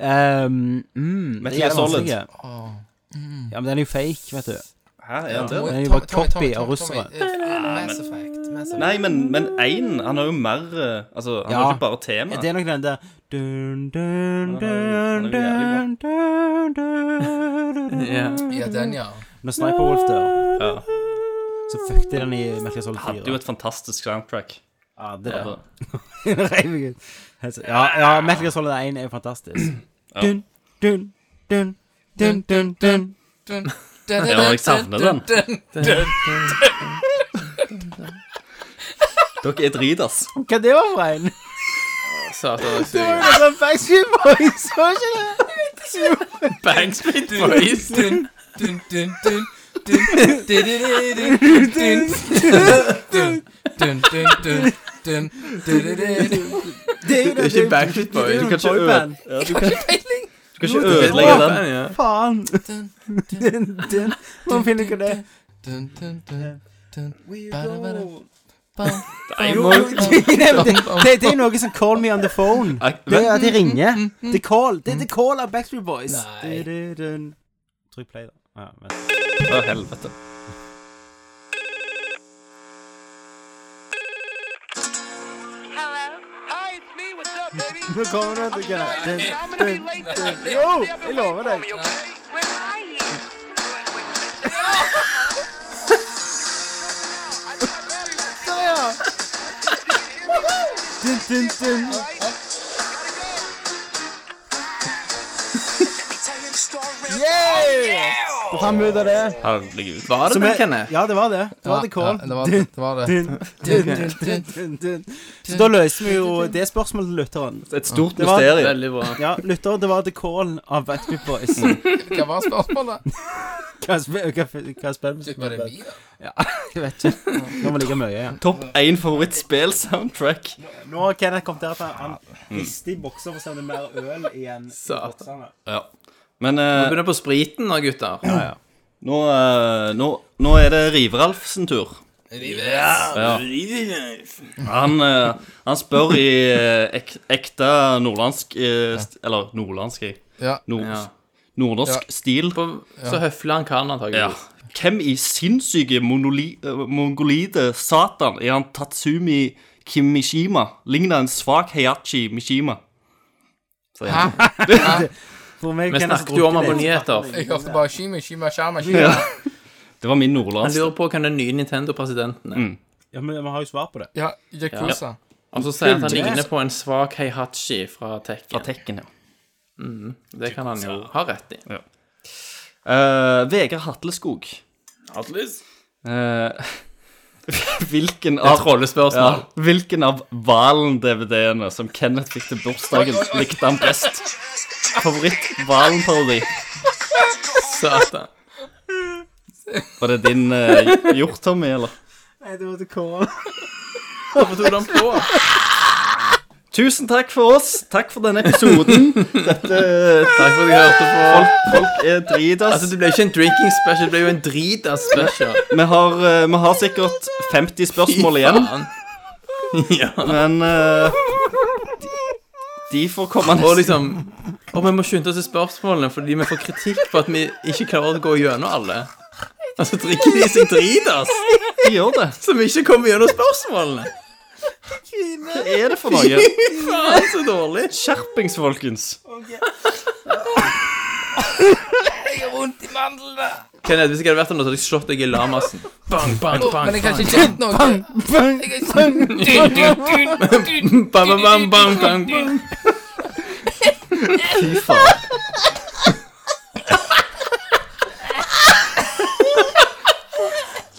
Speaker 5: ja. Ehm, mm,
Speaker 9: Metal
Speaker 5: det er
Speaker 9: Gear Solid.
Speaker 5: vanskelig. Ja, men den er jo fake, vet du.
Speaker 9: Hæ, er han
Speaker 5: Ja.
Speaker 9: det?
Speaker 5: Den er jo
Speaker 6: Tommy,
Speaker 5: bare
Speaker 6: Tommy,
Speaker 5: copy
Speaker 6: Tommy,
Speaker 5: av
Speaker 6: Tommy,
Speaker 5: russere.
Speaker 6: Tommy, eh, Mass Effect. Mass Effect.
Speaker 9: Nei, men, men 1, han har jo mer eh, Altså, han har
Speaker 5: Ja.
Speaker 9: ikke bare tema.
Speaker 5: Ja, det er nok den der dun, dun,
Speaker 9: Han er jo- han er jo
Speaker 5: dun, dun,
Speaker 9: jævlig
Speaker 5: dun, dun, dun.
Speaker 7: Ja.
Speaker 6: Ja, den, ja.
Speaker 5: Når Sniper Wolf dør,
Speaker 9: Ja.
Speaker 5: så fuck det den i Metal Gear Solid
Speaker 9: Hadde jo
Speaker 5: 4.
Speaker 9: et fantastisk soundtrack. Altså,
Speaker 5: Ja, det der.
Speaker 9: Ja.
Speaker 5: Det reiv meg ut. Helt så- Ja, ja, Metal Gear Solid 1 er jo fantastisk. Dun, dun, dun, dun, dun, dun.
Speaker 6: Dun,
Speaker 9: Ja, jeg savner den. Dere er drit, ass.
Speaker 5: Hva det var for en?
Speaker 7: Satan, jeg suger.
Speaker 5: sånn
Speaker 6: Backstreet Boys, var ikke det?
Speaker 7: Backstreet Boys.
Speaker 6: Dun, dun, dun, dun, dun, dun, dun, dun, dun, dun, dun, dun, dun, dun, dun.
Speaker 7: Det er ikke Backstreet Boys.
Speaker 9: Du kan ikke ødelegge Du kan ikke
Speaker 7: Det er
Speaker 9: ødelegge den.
Speaker 7: den, ja.
Speaker 5: Faen!
Speaker 6: Dun,
Speaker 5: Må finne ut av det.
Speaker 6: dun, dun, dun, dun. Bada, bada,
Speaker 5: Det
Speaker 6: bam.
Speaker 7: Nei, jo.
Speaker 5: det- det er noe som Call Me On The Phone.
Speaker 7: Nei,
Speaker 5: Det
Speaker 7: vent.
Speaker 5: er at de
Speaker 9: Mm,
Speaker 5: ringer. The Call. Det er The Call av Backstreet Boys.
Speaker 6: Nei.
Speaker 5: Du-du-dun. Trykk play, da. Ja, vent.
Speaker 7: Å, helvete.
Speaker 2: Hello? Hi, it's me. What's up, baby?
Speaker 5: Nå kommer det til
Speaker 2: Sorry,
Speaker 5: Kenneth.
Speaker 2: I'm gonna be late tonight.
Speaker 5: Yo,
Speaker 2: Stay up
Speaker 5: I
Speaker 2: and
Speaker 5: love
Speaker 2: wait
Speaker 5: it.
Speaker 2: for me, okay?
Speaker 14: Where are you?
Speaker 2: I got a battery life,
Speaker 5: Dun, dun,
Speaker 2: right?
Speaker 5: dun.
Speaker 2: Gotta Oh,
Speaker 5: Og han ut av det.
Speaker 7: Herregud. Var det
Speaker 5: Som
Speaker 7: det,
Speaker 5: er-
Speaker 7: Kenneth?
Speaker 5: Ja, det var det. Det var The Call.
Speaker 6: Ja, det var det. det var det.
Speaker 5: Dun, dun, dun, dun, dun, dun. Så da løser vi jo det spørsmålet til lytteren.
Speaker 9: Et stort
Speaker 5: Det var-
Speaker 9: mysterium.
Speaker 7: Veldig bra.
Speaker 5: Ja, lytter, det var The Call av Backstreet Boys.
Speaker 9: Mm.
Speaker 6: Hva var spørsmålet?
Speaker 5: Hva sp- hva- hva spiller
Speaker 6: Var det
Speaker 5: vi?
Speaker 6: vi, da?
Speaker 5: Jeg vet ikke. Nå må ligge mye igjen.
Speaker 9: Topp én favorittspill-soundtrack.
Speaker 5: Nå har Kenneth kommet der at han rister i bokser for å se om det er mer øl igjen. i
Speaker 7: Satan.
Speaker 5: boksene.
Speaker 9: Men eh,
Speaker 7: Begynner på spriten nå, gutter.
Speaker 9: nå, eh, nå, nå er det River-Alf sin tur. Ja. Han, eh, han spør i eh, ek, ekte nordlandsk eh, st- Eller nordlandsk, jeg.
Speaker 6: Ja.
Speaker 9: Nord,
Speaker 7: Ja.
Speaker 9: Nordnorsk
Speaker 6: Ja.
Speaker 9: stil.
Speaker 7: Så høflig han kan,
Speaker 9: Ja.
Speaker 7: antakeligvis.
Speaker 9: Hvem i sinnssyke monoli, eh, mongolide satan er han Tatsumi Kimishima? Ligner en svak Heiachi Mishima. sier han.
Speaker 5: For meg,
Speaker 7: Vi
Speaker 5: Kenneth,
Speaker 7: snakket jo om
Speaker 5: bruker det.
Speaker 7: abonneter.
Speaker 6: Jeg hørte bare Shima, Shima, Shama, Shima.
Speaker 9: Det var min
Speaker 7: Han
Speaker 9: nordlandsk.
Speaker 7: lurer på hvem den nye Nintendo-presidenten er.
Speaker 5: Ja, men vi har jo svar på det.
Speaker 6: Ja, Yakuza.
Speaker 7: Og så sier han at han ligner på en svak Heihachi fra Tekken.
Speaker 9: Tekken, ja.
Speaker 7: Det kan han jo ha rett i.
Speaker 9: Eh, Vegard Hatleskog.
Speaker 7: Atlis?
Speaker 9: Eh, hvilken
Speaker 7: Et
Speaker 9: av
Speaker 7: trollespørsmål.
Speaker 9: ja, Hvilken av Valen-DVD-ene som Kenneth fikk til bursdagen, likte han best? Favoritt-Valen-parodi.
Speaker 7: Satan.
Speaker 9: Var det din uh, hjort, Tommy, eller?
Speaker 5: Nei, det var The Call.
Speaker 7: Hvorfor tok du den på?
Speaker 9: Tusen takk for oss. Takk for denne episoden. Dette
Speaker 7: Takk for at jeg hørte på.
Speaker 9: Folk er dritas.
Speaker 7: Altså, det ble jo ikke en drinking special, det ble jo en drita special.
Speaker 9: vi, har, eh, vi har sikkert 50 spørsmål igjen,
Speaker 7: Faen. Ja.
Speaker 9: men eh, de, de får komme
Speaker 7: Og
Speaker 9: neste
Speaker 7: liksom Og vi må skynde oss i spørsmålene fordi vi får kritikk for at vi ikke klarer å gå gjennom alle. Altså, drikker de seg drit, ass?
Speaker 9: De gjør det.
Speaker 7: Så vi ikke kommer gjennom spørsmålene.
Speaker 9: Hva er det for noe?
Speaker 7: Faen, så dårlig.
Speaker 9: Skjerpings, folkens.
Speaker 7: Kenneth, hvis jeg hadde vært der nå, så hadde jeg slått deg i lamasen. Bang, bang, bang.
Speaker 6: Men jeg har ikke kjent noe. Jeg har ikke-
Speaker 7: Bang, bang, bang, bang, bang, bang.
Speaker 9: Fy faen.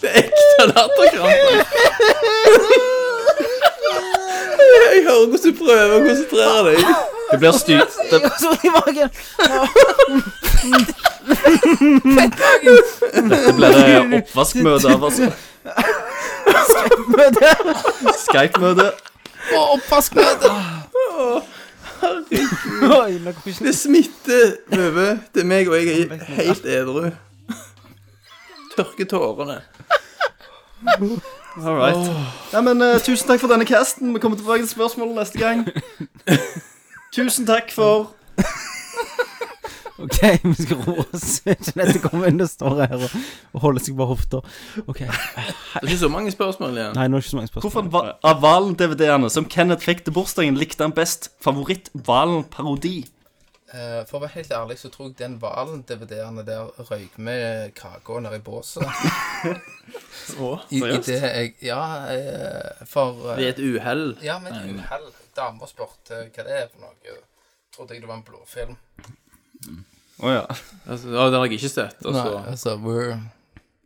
Speaker 7: Det er ekte latterkrampe. Jeg hører hvordan du prøver å konsentrere deg.
Speaker 9: Det blir styrt. Det,
Speaker 5: i magen.
Speaker 9: det blir det oppvaskmøte av altså. oss.
Speaker 5: Møte.
Speaker 9: Skype-møte.
Speaker 6: Å, Oppvaskmøte!
Speaker 5: Oi, nå kommer ikke
Speaker 7: Det smitter over til meg, og jeg er helt edru. Tørker tårene.
Speaker 9: All right. Nei, men, eh, tusen takk for denne casten. Vi kommer tilbake til spørsmålet neste gang. Tusen takk for
Speaker 5: OK, vi skal roe oss. Kenneth kommer inn og står her og, og holder seg på hofta. OK.
Speaker 7: Det er ikke så mange spørsmål igjen.
Speaker 5: Nei, nå er det ikke så mange spørsmål.
Speaker 9: Hvorfor va- av Valen-DVD-ene som Kenneth fikk til bursdagen, likte han best favoritt-Valen-parodi?
Speaker 6: Eh, For å være helt ærlig så tror jeg den hvalen DVD-ene der røyk med kaka nedi båset. I, i det jeg Ja, eh, for eh,
Speaker 7: Ved et uhell.
Speaker 6: Ja, men uhell. Damer spurte hva det er for noe. Trodde jeg det var en blåfilm.
Speaker 9: Å ja.
Speaker 7: Altså, å, den har jeg ikke sett. Og så Mm.
Speaker 6: Nei, altså, we're...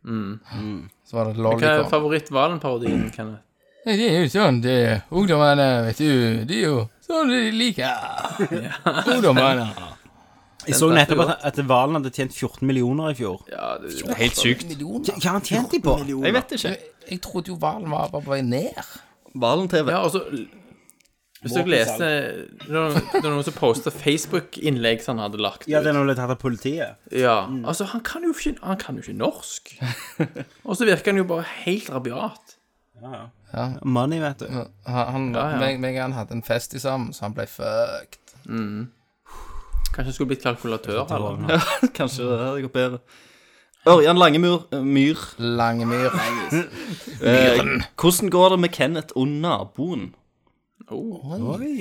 Speaker 6: Mm. Så var det
Speaker 7: Hva er
Speaker 6: lollipop.
Speaker 7: favoritt-Valen-parodien, Kenneth?
Speaker 6: Nei, det er jo sånn, det Ungdommene, vet du, de er jo så Hva er det de liker? Ungdommene.
Speaker 5: Jeg så nettopp at, at Valen hadde tjent 14 millioner i fjor.
Speaker 9: Helt sykt.
Speaker 5: Hva har han tjent de på?
Speaker 9: Jeg vet ikke.
Speaker 6: Jeg trodde jo hvalen var bare på vei ned.
Speaker 10: Valen-TV.
Speaker 7: Ja, altså Hvis dere leste Det var noen- det var noen som postet Facebook-innlegg som han hadde lagt
Speaker 5: Ja,
Speaker 7: ut.
Speaker 5: den ble tatt av politiet.
Speaker 7: Ja,
Speaker 6: Mm.
Speaker 7: altså han kan jo ikke, han kan jo ikke norsk. Og så virker han jo bare helt rabiat.
Speaker 5: Money, vet du.
Speaker 6: Han, han,
Speaker 7: Ja, ja.
Speaker 6: Meg, meg og han hadde en fest i sammen, så han ble fucked.
Speaker 7: Kanskje han skulle blitt kalkulatør, eller?
Speaker 5: Valen.
Speaker 10: Kanskje det hadde gått bedre. Ørjan Langemyr eh, Myhr.
Speaker 6: Langemyr.
Speaker 10: Eh, hvordan går det med Kenneth og naboen?
Speaker 5: Oi,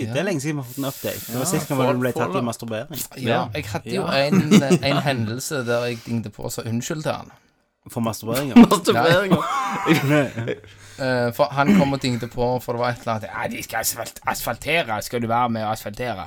Speaker 5: det er lenge siden vi har fått en update. Det var sist gang han ble tatt i masturbering.
Speaker 6: Ja, jeg hadde jo en, eh, en hendelse der jeg dingte på og sa unnskyld til han.
Speaker 5: For masturbering, ja.
Speaker 10: Masturberinger.
Speaker 6: Eh, for han kom og dingte på, for det var et eller annet Ja, de skal asfalt, asfaltere. Skal du være med og asfaltere?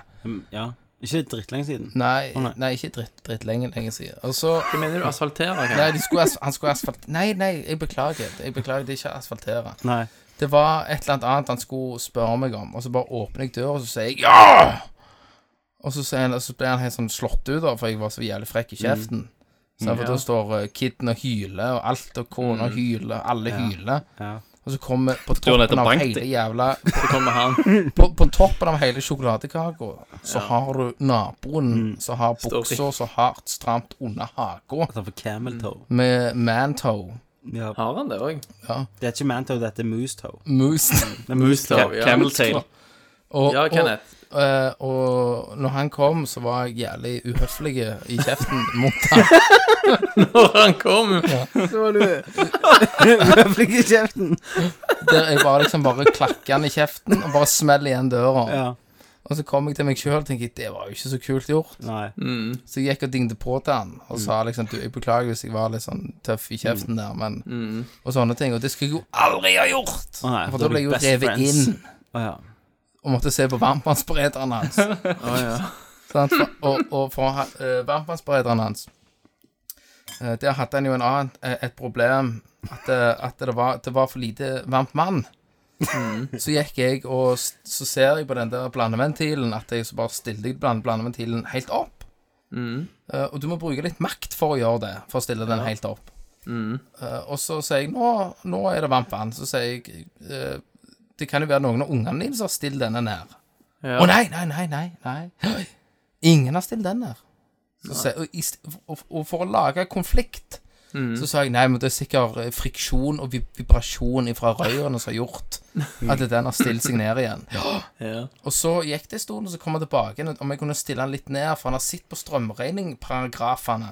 Speaker 5: ja. Ikke drittlenge siden.
Speaker 6: Nei,
Speaker 5: Å, nei.
Speaker 6: nei, ikke dritt, dritt lenge, lenge siden. Og så
Speaker 7: Hva mener du? Asfaltere?
Speaker 6: Nei, de skulle asf han skulle asfalt... Nei, nei, jeg beklager. Jeg beklager, det er ikke asfaltere.
Speaker 5: Nei.
Speaker 6: Det var et eller annet annet han skulle spørre meg om, og så bare åpner jeg døra, og så sier jeg ja! Og så, sier han, så ble han helt sånn slått ut, da, for jeg var så jævlig frekk i
Speaker 5: Mm.
Speaker 6: kjeften. Så For da står uh, kiden og hyler, og alt, og kona hyler, alle hyler.
Speaker 5: Mm. Ja.
Speaker 6: Og så kommer på
Speaker 9: han heter
Speaker 6: toppen av
Speaker 9: Bengt,
Speaker 6: hele
Speaker 9: jeg.
Speaker 6: jævla
Speaker 7: Så kommer han.
Speaker 6: På, på toppen av hele sjokoladekaka, så har du naboen
Speaker 5: Mm.
Speaker 6: som har buksa så hardt stramt under haka,
Speaker 5: Altså for camel toe.
Speaker 6: med mantoe.
Speaker 5: Ja.
Speaker 7: Har han det òg?
Speaker 5: Det er ikke man toe, dette er moose toe.
Speaker 6: Moose.
Speaker 5: Det er moose toe.
Speaker 7: Ja.
Speaker 9: Camel tail.
Speaker 6: Og,
Speaker 7: Ja,
Speaker 6: og,
Speaker 7: Kenneth.
Speaker 6: Eh, og når han kom, så var jeg jævlig uhøflig i kjeften mot han.
Speaker 7: Når han kom
Speaker 5: Høflig i kjeften.
Speaker 6: Der jeg bare liksom bare klakker han i kjeften og bare smeller igjen døra.
Speaker 5: Ja.
Speaker 6: Og så kom jeg til meg sjøl og tenkte det var jo ikke så kult gjort.
Speaker 5: Nei.
Speaker 6: Så jeg gikk og dingte på til han og sa liksom du, jeg beklager hvis jeg var litt sånn tøff i kjeften der, men Og sånne ting. Og det skulle jeg jo aldri ha gjort!
Speaker 5: Å, Mm. nei,
Speaker 6: For
Speaker 5: da
Speaker 6: da
Speaker 5: er
Speaker 6: ble
Speaker 5: du
Speaker 6: jeg jo
Speaker 5: best
Speaker 6: revet
Speaker 5: friends.
Speaker 6: inn
Speaker 5: Å ja.
Speaker 6: og måtte se på varmtvannsberederen hans. Sant? For, og, og for å ha- eh, varmtvannsberederen hans eh, Der hadde han jo en annen, eh, et problem. At, det- at det, var, det var for lite varmt vann. Så gikk jeg og s- så ser jeg på den der blandeventilen at jeg så bare stiller bland, blandeventilen helt opp. Eh, og du må bruke litt makt for å gjøre det, for å stille den helt opp. Eh, og så sier jeg nå, nå er det varmt vann. Så sier jeg eh, det kan jo være noen av ungene dine som har stilt denne nær. Å nei, nei, nei, nei, nei. Ingen har stilt den nær. Så sa- og, i st- og, og for å lage konflikt, så sa jeg nei, men det er sikkert eh, friksjon og vib- vibrasjon fra røyrene som har gjort at den har stilt seg ned igjen. Og så gikk det en stund, og så kom han tilbake igjen, om jeg kunne stille han litt ned, for han har sett på strømregningparagrafene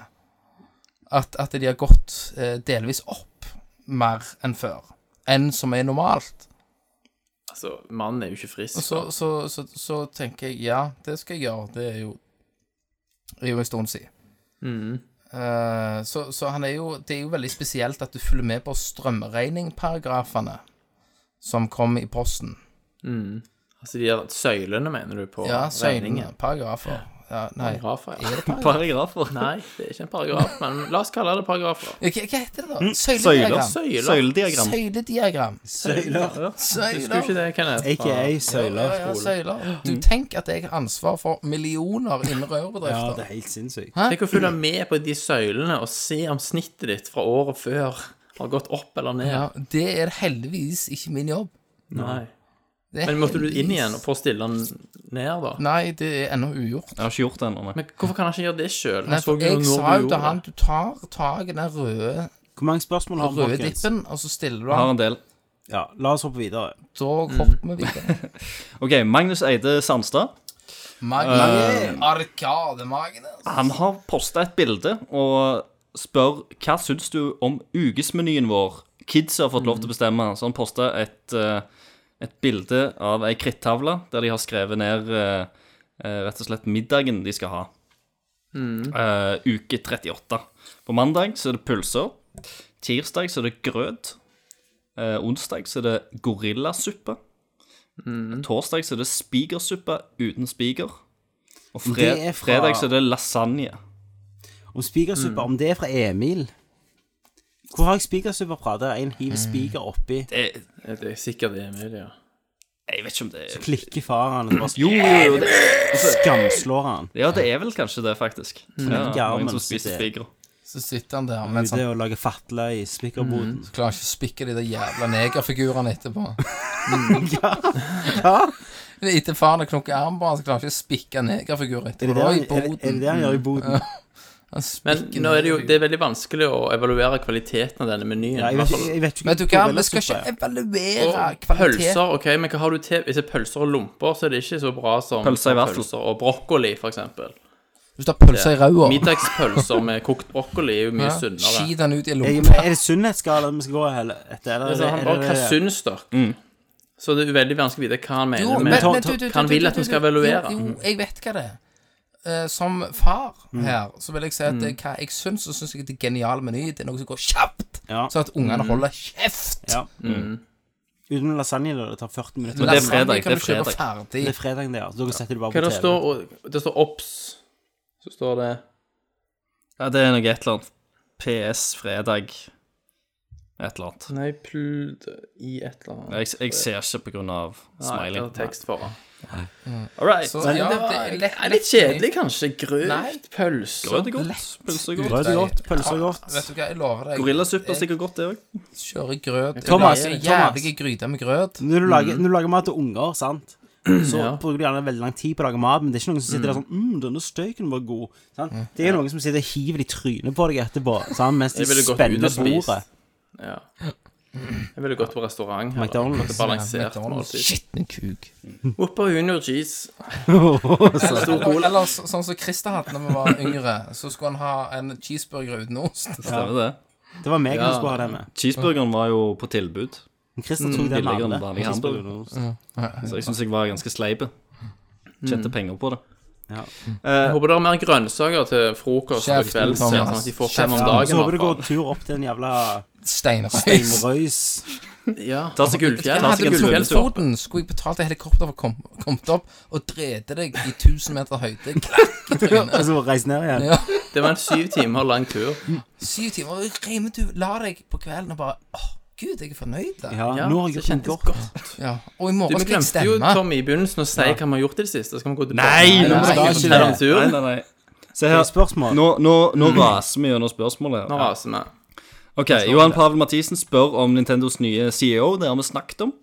Speaker 6: at, at de har gått eh, delvis opp mer enn før, enn som er normalt.
Speaker 7: Altså, mannen er jo ikke frisk.
Speaker 6: Og så, så, så, så tenker jeg ja, det skal jeg gjøre. Det er jo, det er jo en stund siden.
Speaker 7: Mm.
Speaker 6: Eh, så så han er jo, det er jo veldig spesielt at du følger med på strømregningparagrafene som kom i posten.
Speaker 7: Altså, de der søylene, mener du, på
Speaker 6: Ja, søylene.
Speaker 7: regningen?
Speaker 6: Paragrafer. Ja, nei.
Speaker 7: Paragrafer, ja.
Speaker 10: Paragrafer.
Speaker 7: Nei, det er ikke en paragraf, men la oss kalle det paragrafer.
Speaker 6: Hva, hva heter det, da?
Speaker 10: Søyler.
Speaker 6: Søylediagram.
Speaker 7: Mm, Søyler.
Speaker 10: Søylediagram.
Speaker 6: Søylediagram.
Speaker 5: Søyler.
Speaker 7: Husker du ikke
Speaker 6: Søyler.
Speaker 7: det, Kenneth?
Speaker 5: AKA
Speaker 6: Ja, ja,
Speaker 5: søyler.
Speaker 6: søyler.
Speaker 7: Mm.
Speaker 6: Du tenk at jeg har ansvar for millioner innen
Speaker 5: Ja, det
Speaker 6: rørbedrifter.
Speaker 5: er helt sinnssykt.
Speaker 7: Tenk å følge med på de søylene og se om snittet ditt fra året før har gått opp eller ned.
Speaker 6: Ja, det er heldigvis ikke min jobb.
Speaker 7: Nei.
Speaker 6: Det er
Speaker 7: Men måtte du inn
Speaker 6: heldigvis-
Speaker 7: igjen for å stille den ned, da?
Speaker 6: Nei, det er ennå ugjort.
Speaker 10: Jeg har ikke gjort det ennå, nei.
Speaker 7: Men hvorfor kan han ikke gjøre det sjøl?
Speaker 6: Nei, for jeg sa jo til han du tar tak i den røde,
Speaker 5: Hvor mange spørsmål har vi,
Speaker 6: røde
Speaker 5: folkens?
Speaker 6: dippen, og så stiller du
Speaker 10: Jeg har
Speaker 6: den.
Speaker 10: en del.
Speaker 5: Ja, la oss hoppe videre.
Speaker 6: Da
Speaker 5: Mm.
Speaker 6: hopper vi videre.
Speaker 10: OK, Magnus Eide Sandstad.
Speaker 5: Eh.
Speaker 6: Magnus. Arkademagnus.
Speaker 10: Han har posta et bilde og spør hva syns du om ukesmenyen vår. Kids har fått lov til å bestemme, så han posta et, eh, et bilde av ei krittavle der de har skrevet ned eh, eh, rett og slett middagen de skal ha.
Speaker 5: Mm.
Speaker 10: Eh, uke 38. På mandag så er det pølser. Tirsdag så er det grøt. Eh, onsdag så er det gorillasuppe.
Speaker 5: Mm.
Speaker 10: Torsdag så er det spigersuppe uten spiger. Og fre
Speaker 5: Det er fra-
Speaker 10: fredag så er det lasagne.
Speaker 5: Om spikersuppe, om det er fra Emil Hvor har jeg spikersuppe fra? Der en hiver spiker oppi
Speaker 7: Det er sikkert det, Emilie.
Speaker 8: Jeg vet ikke om det er
Speaker 5: Klikker faren og bare
Speaker 8: Jo, jo, det,
Speaker 5: skamslår han.
Speaker 8: ja, det er vel kanskje det, faktisk. Ja,
Speaker 5: Ikke armen,
Speaker 8: mange som
Speaker 5: så
Speaker 8: spiser
Speaker 5: det-
Speaker 8: figre.
Speaker 6: Så sitter han der mens han
Speaker 5: Ute og lager fatløy i spikkerboden.
Speaker 6: klarer ikke å spikke de der jævla negerfigurene etterpå. Det er Etter faren har knukket armen på han, så klarer han ikke å spikke negerfigurer
Speaker 5: Er det
Speaker 6: etterpå.
Speaker 5: det han,
Speaker 6: Oi,
Speaker 5: er det, er det det han gjør i boden?
Speaker 6: Han
Speaker 7: Men
Speaker 6: spikker
Speaker 7: nå er det jo det er veldig vanskelig å evaluere kvaliteten av denne menyen.
Speaker 5: Ja, jeg,
Speaker 7: i hvert
Speaker 5: vet,
Speaker 7: fall.
Speaker 5: jeg vet ikke
Speaker 6: Vet du hva, vi skal
Speaker 5: gorillasuppe
Speaker 6: ikke
Speaker 5: er.
Speaker 6: evaluere kvalitet.
Speaker 7: Pølser, ok, men hva har du til Hvis det er pølser og lomper, så er det ikke så bra som
Speaker 10: Pølser i vaffel.
Speaker 7: pølser og brokkoli, for eksempel.
Speaker 6: Hvis du har pølser i ræva,
Speaker 7: Middagspølser med kokt brokkoli er jo mye
Speaker 6: ja,
Speaker 7: sunnere.
Speaker 6: skit den ut i
Speaker 5: Jeg-
Speaker 6: lompa.
Speaker 5: men Er det sunnhetsskalaen vi skal gå hele- etter? Eller,
Speaker 7: Altså, han
Speaker 5: er
Speaker 7: bare,
Speaker 5: det-
Speaker 7: hva syns dere?
Speaker 6: Mm.
Speaker 7: Så det er jo veldig vanskelig å vite hva han
Speaker 6: Jo,
Speaker 7: mener
Speaker 6: men- men
Speaker 7: med
Speaker 6: du- du-
Speaker 7: hva han
Speaker 6: du-
Speaker 7: vil
Speaker 6: du-
Speaker 7: at vi
Speaker 6: du-
Speaker 7: skal evaluere.
Speaker 6: Jo, jo, jeg vet hva det er. Eh, Som far her, så vil jeg si at eh, hva jeg syns, så syns jeg det er genial meny. Det er noe som går kjapt,
Speaker 5: Ja.
Speaker 6: sånn at ungene holder kjeft.
Speaker 5: Ja. Uten lasagne, da. Det tar 40 minutter.
Speaker 10: det er
Speaker 6: Lasagne
Speaker 10: fredag,
Speaker 6: kan
Speaker 10: det
Speaker 6: du
Speaker 10: er
Speaker 6: kjøpe
Speaker 10: fredag.
Speaker 6: ferdig.
Speaker 5: Det er fredagen der, så dere setter det bare
Speaker 7: Hva
Speaker 5: på TV.
Speaker 7: det står Det står OBS. Så står det
Speaker 10: Ja, det er noe et eller annet. PS fredag. Et eller annet.
Speaker 7: Nei, pl... I et eller annet
Speaker 10: Jeg, jeg ser ikke på grunn av
Speaker 7: Smiley.
Speaker 10: smiley.
Speaker 7: tekst foran. All right.
Speaker 6: Så, ja, det er lett,
Speaker 7: er litt kjedelig, kanskje. Grøt, pølser
Speaker 10: Brød er godt. Pølser er godt.
Speaker 5: Brød er godt, pølser er godt.
Speaker 6: Vet du hva, jeg lover deg.
Speaker 10: Gorillasuppe er sikkert godt, det òg.
Speaker 6: Kjører grøt.
Speaker 5: Thomas,
Speaker 6: Jeg lager
Speaker 5: Thomas.
Speaker 6: jævlige gryter med grøt.
Speaker 5: Når du,
Speaker 7: Mm.
Speaker 5: lager, når du lager mat til unger, sant? så bruker du gjerne veldig lang tid på å lage mat, men det er ikke noen som sitter der sånn mm, 'Denne støyken var god.' Sant? Det er jo noen som sitter og hiver det i trynet på deg etterpå, sant? mens de
Speaker 7: Mm. Jeg ville gått ut
Speaker 5: spenner
Speaker 7: og spist.
Speaker 5: bordet.
Speaker 7: Ja. Jeg ville gått på restaurant. eller
Speaker 5: McDonald's.
Speaker 7: fått et Balansert måltid.
Speaker 6: Skitne kuk.
Speaker 7: Whopper Junior cheese.
Speaker 6: Eller, eller, eller så- sånn som Christer hadde når vi var yngre, så skulle han ha en cheeseburger uten ost.
Speaker 10: Stemmer det.
Speaker 5: Det var meg han skulle ha det med.
Speaker 10: Cheeseburgeren var jo på tilbud,
Speaker 5: Men
Speaker 7: Mm,
Speaker 5: Christer tok det
Speaker 10: billigere enn
Speaker 5: med
Speaker 10: vanlig hamburger.
Speaker 5: alle.
Speaker 10: så jeg syns jeg var ganske sleip. Tjente penger på det.
Speaker 7: Jeg håper det er mer grønnsaker til frokost og
Speaker 6: Kjeft,
Speaker 7: kvelds,
Speaker 6: Thomas.
Speaker 7: sånn at de får fem om
Speaker 6: Kjeft.
Speaker 5: Så
Speaker 7: dagen.
Speaker 5: håper du
Speaker 7: i hvert
Speaker 5: går tur opp til en jævla
Speaker 6: Steinrøys.
Speaker 5: steinrøys.
Speaker 7: fall. Ja.
Speaker 10: Ta seg gullfjell.
Speaker 6: Jeg
Speaker 10: Ta seg
Speaker 6: hadde
Speaker 10: en svømmetur.
Speaker 6: Lofoten, skulle jeg betalt et helikopter for å komme kom opp og drede deg i 1000 meter høyde. Klakk i
Speaker 5: Og
Speaker 6: trynet.
Speaker 5: så reise ned igjen.
Speaker 6: Ja.
Speaker 7: Det var en syv timer lang tur.
Speaker 6: Syv timer. og Rime, du la deg på kvelden og bare Åh, gud, jeg er fornøyd. da."
Speaker 5: Ja,
Speaker 7: Ja,
Speaker 5: nå har
Speaker 7: så
Speaker 5: jeg gjort
Speaker 7: kjentes
Speaker 5: noe godt.
Speaker 6: Ja. Og i
Speaker 7: Du,
Speaker 6: morgen
Speaker 7: vi
Speaker 6: skal jeg
Speaker 7: glemte jo,
Speaker 6: stemme.
Speaker 7: Tommy, i begynnelsen å si hva vi har gjort i det siste. Skal vi gå tilbake?
Speaker 10: Nei, nå må du
Speaker 5: Nei, det er
Speaker 10: ikke
Speaker 5: ikke
Speaker 7: det.
Speaker 10: Nei, nei, nei. Se
Speaker 5: Det er
Speaker 10: her.
Speaker 5: et Spørsmål.
Speaker 10: Nå, nå, nå raser vi gjennom spørsmålet.
Speaker 7: Nå
Speaker 10: her.
Speaker 7: raser vi.
Speaker 10: Ok, Johan Pavel Mathisen spør om Nintendos nye CEO. Det har vi snakket om.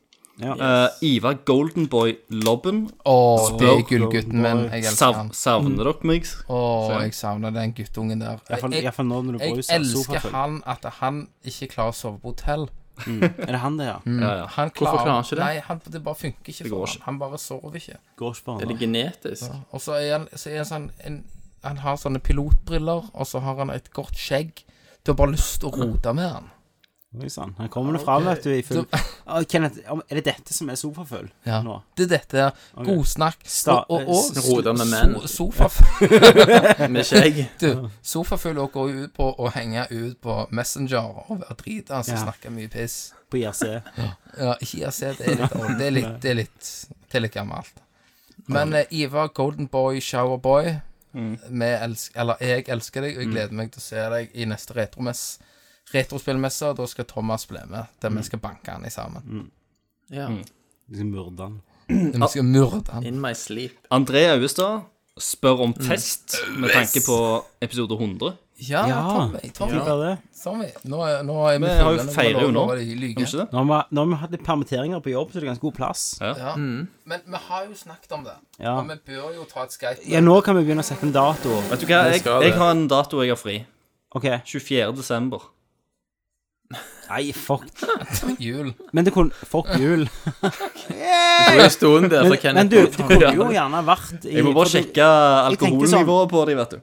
Speaker 5: Ja.
Speaker 10: Eh, Ivar Goldenboy Lobben.
Speaker 6: Åh, det er
Speaker 10: Spør-
Speaker 6: gullgutten min. Jeg elsker
Speaker 10: Sav,
Speaker 6: han.
Speaker 10: savner dere meg?
Speaker 6: Åh, jeg savner den guttungen der. Jeg,
Speaker 5: Iallfall nå når du
Speaker 6: jeg
Speaker 5: bruser.
Speaker 6: elsker
Speaker 5: Sofafull.
Speaker 6: han at han ikke klarer å sove på hotell.
Speaker 5: Er det han det, ja?
Speaker 7: Mm.
Speaker 10: Ja, ja.
Speaker 6: Han
Speaker 7: Hvorfor klarer han ikke det?
Speaker 6: Nei, han, det bare funker ikke for
Speaker 10: går
Speaker 6: han.
Speaker 10: ikke.
Speaker 6: Han bare sover ikke.
Speaker 5: Går ikke på
Speaker 7: Er det
Speaker 5: han. da.
Speaker 7: genetisk?
Speaker 6: Og så er han, så er han sånn en, Han har sånne pilotbriller, og så har han et godt skjegg. Du har bare lyst til å rote med han.
Speaker 5: Oi sann. Han kommer nå fram, vet du, i full
Speaker 6: Du-
Speaker 5: Ah, Kenneth, om- er det dette som er sofafull
Speaker 6: Ja.
Speaker 5: nå?
Speaker 6: Det er dette her. Godsnakk.
Speaker 5: Sta-
Speaker 6: og og, og
Speaker 5: eh,
Speaker 7: Roter med menn,
Speaker 6: so- sofafu-
Speaker 7: med skjegg.
Speaker 6: du, Sofafugler går jo ut på å henge ut på Messenger og være drita, så
Speaker 5: Ja.
Speaker 6: snakker mye piss.
Speaker 5: På IRC.
Speaker 6: Ja, ikke IRC, det er litt old. Det er litt, det er litt, det er litt gammelt. Men eh, Ivar, Golden Boy, Shower Boy
Speaker 10: Mm.
Speaker 6: vi elsk, Eller jeg elsker deg, og jeg gleder meg til å se deg i neste retromess. Retrospillmesse, og da skal Thomas bli med, der
Speaker 10: Mm.
Speaker 6: vi skal banke han i sammen.
Speaker 7: Ja.
Speaker 5: Liksom myrde han.
Speaker 6: Vi skal myrde han.
Speaker 7: In my sleep.
Speaker 10: André Auestad spør om test med tanke på episode 100.
Speaker 6: Ja,
Speaker 5: Ja,
Speaker 6: Tommy, Tommy,
Speaker 5: Tipper det.
Speaker 6: Tommy. Nå, er- nå er vi
Speaker 10: Vi har jo
Speaker 6: fulle, nå
Speaker 10: feirer jo
Speaker 6: må
Speaker 10: nå.
Speaker 6: vi love de lyge.
Speaker 10: Kan vi ikke det?
Speaker 5: Nå har vi- nå har vi hatt litt permitteringer på jobb, så det er ganske god plass.
Speaker 6: Ja. Men vi har jo snakket om det,
Speaker 5: Ja.
Speaker 6: og vi bør jo ta et Skype.
Speaker 5: ja, nå kan vi begynne å sette en dato.
Speaker 10: Vet du hva, jeg, jeg har en dato jeg har fri.
Speaker 5: OK.
Speaker 10: 24. desember.
Speaker 5: Nei, fuck.
Speaker 6: Jul.
Speaker 5: Men det kunne Fuck jul.
Speaker 7: Du er stående der,
Speaker 5: Men,
Speaker 7: så Altså, Kenneth
Speaker 5: men du, det kunne jo gjerne vært i
Speaker 10: Jeg må bare
Speaker 5: for-
Speaker 10: sjekke
Speaker 5: tenker sånn-
Speaker 10: alkoholnivået på dem, vet du.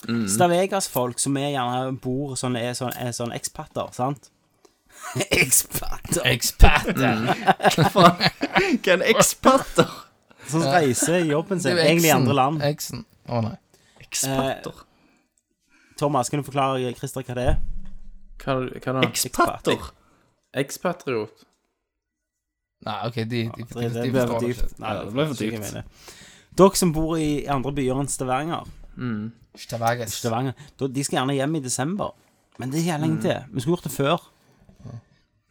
Speaker 5: Stavegas-folk som er gjerne bor sånn, er sånn, er sånn ekspatter, sant? Ekspatter.
Speaker 10: Hva er en ekspatter?
Speaker 5: Sånn som reiser i jobben
Speaker 6: Det
Speaker 5: sin,
Speaker 6: er jo
Speaker 5: egentlig i
Speaker 6: eksen.
Speaker 5: andre land.
Speaker 6: Eksen. Å nei.
Speaker 10: Ekspatter?
Speaker 5: Thomas, kan du forklare Christer hva det er?
Speaker 7: Hva, hva da?
Speaker 10: Ekspatter?
Speaker 7: Ekspatriot.
Speaker 6: Nei, OK, de, de, de,
Speaker 5: Det,
Speaker 6: de,
Speaker 5: det
Speaker 6: de
Speaker 5: ble
Speaker 6: forstår
Speaker 5: for
Speaker 6: det ikke.
Speaker 5: dypt. Nei,
Speaker 10: Ja, det ble for
Speaker 5: jeg
Speaker 10: dypt.
Speaker 5: mener. Dere som bor i andre byer enn Stavanger,
Speaker 7: Mm.
Speaker 6: Stavagas.
Speaker 5: Stavanger da- de skal gjerne hjem i desember. Men det er jævlig lenge til. Vi skulle gjort det før.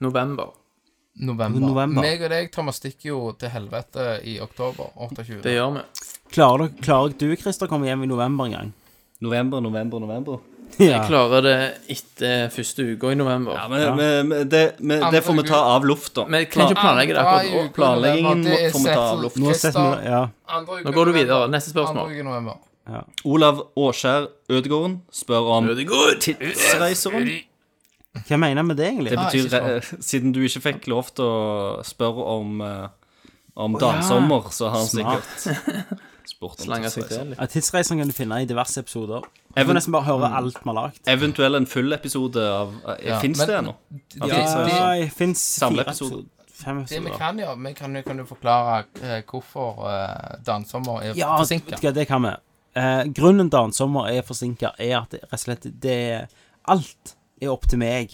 Speaker 7: November.
Speaker 6: November.
Speaker 5: November.
Speaker 6: Meg og deg, Thomas, stikker jo til helvete i oktober 28.
Speaker 7: Det gjør vi.
Speaker 5: Klarer, dere- klarer du, Christer, å komme hjem i november en gang?
Speaker 9: November, november, november.
Speaker 5: Ja.
Speaker 7: Klarer det etter første uka i november.
Speaker 9: Ja, men, men- men det, men det får vi ta av lufta.
Speaker 7: Vi kan ikke planlegge det akkurat
Speaker 6: Andre
Speaker 7: nå.
Speaker 6: uke
Speaker 9: Planleggingen
Speaker 6: november, det er
Speaker 9: må- får vi ta av
Speaker 6: settled.
Speaker 9: luften.
Speaker 5: Nå setter
Speaker 6: Christer,
Speaker 5: vi Ja.
Speaker 6: andre uke
Speaker 7: Nå går du
Speaker 6: november.
Speaker 7: videre. Neste spørsmål.
Speaker 6: Andre uke november.
Speaker 9: Olav Åskjær Ødegården spør om tidsreiseren.
Speaker 5: Hva mener jeg med det, egentlig?
Speaker 9: Det betyr,
Speaker 6: ikke
Speaker 9: eh, siden du ikke fikk lov til å spørre om, eh, om dansommer, så har han
Speaker 5: Smart.
Speaker 9: sikkert spurt om
Speaker 7: Slanger seg
Speaker 9: tidsreiser.
Speaker 7: til litt.
Speaker 5: Ja, Tidsreisen kan du finne i diverse episoder. Du
Speaker 9: Even-
Speaker 5: får nesten bare høre alt vi har lagd.
Speaker 9: Eventuell en full episode av
Speaker 6: Ja,
Speaker 9: ja, Fins
Speaker 6: men-
Speaker 9: det ennå? Av
Speaker 6: Ja,
Speaker 9: tidsreiser?
Speaker 6: det-
Speaker 5: Det fins
Speaker 9: Samle
Speaker 5: fire
Speaker 9: episoder.
Speaker 5: episoder. Fem
Speaker 6: Det vi
Speaker 5: episoder.
Speaker 6: kan gjøre, vi kan, kan du forklare eh, hvorfor eh, dansommer er
Speaker 5: Ja,
Speaker 6: forsinka.
Speaker 5: vet du hva, det kan vi. Eh, grunnen til Ansommer er forsinka, er at det rett og slett det Alt er opp til meg.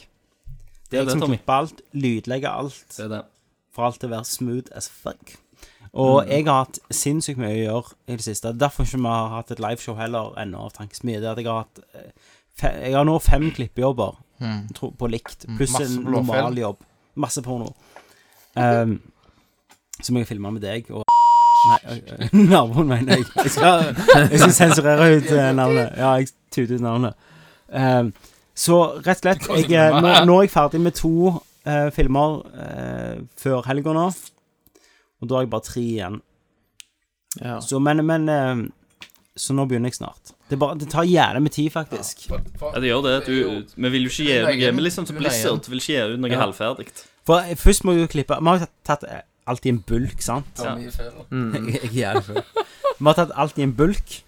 Speaker 5: Det er
Speaker 9: det,
Speaker 5: jeg som
Speaker 9: Tommy.
Speaker 5: klipper alt, lydlegger alt,
Speaker 9: Det er det.
Speaker 5: for alt til å være smooth as fuck. Og jeg har hatt sinnssykt mye å gjøre i det siste. Derfor ikke vi har hatt et liveshow heller ennå, av tankesmie. Det er at jeg har hatt eh, fe, Jeg har nå fem klippejobber
Speaker 6: Hmm.
Speaker 5: tro, på likt, pluss
Speaker 6: Mm. Masse
Speaker 5: en
Speaker 6: blåfilm.
Speaker 5: normal jobb. Masse porno. Um, som jeg filma med deg og Nei, ø- ø- naboen, mener jeg. Jeg skal, jeg skal sensurere ut eh, navnet. Ja, jeg tuter ut navnet. Um, så rett og slett jeg, eh, nå, nå er jeg ferdig med to eh, filmer eh, før helga nå. Og da har jeg bare tre igjen.
Speaker 7: Ja.
Speaker 5: Så, men, men eh, Så nå begynner jeg snart. Det, er bare, det tar jævlig med tid, faktisk.
Speaker 6: For- for-
Speaker 9: Ja, det gjør det. Du, vi vil jo ikke gi ut noe Vi er liksom
Speaker 6: Du
Speaker 9: som
Speaker 6: leier den.
Speaker 9: Blizzard vil ikke gi ut noe
Speaker 5: Ja.
Speaker 9: halvferdig.
Speaker 5: For eh, først må vi jo klippe Vi har jo tatt- tatt eh, alt i en bulk, sant?
Speaker 6: for mye feil.
Speaker 5: Jeg er jævlig full. Vi har tatt alt i en bulk.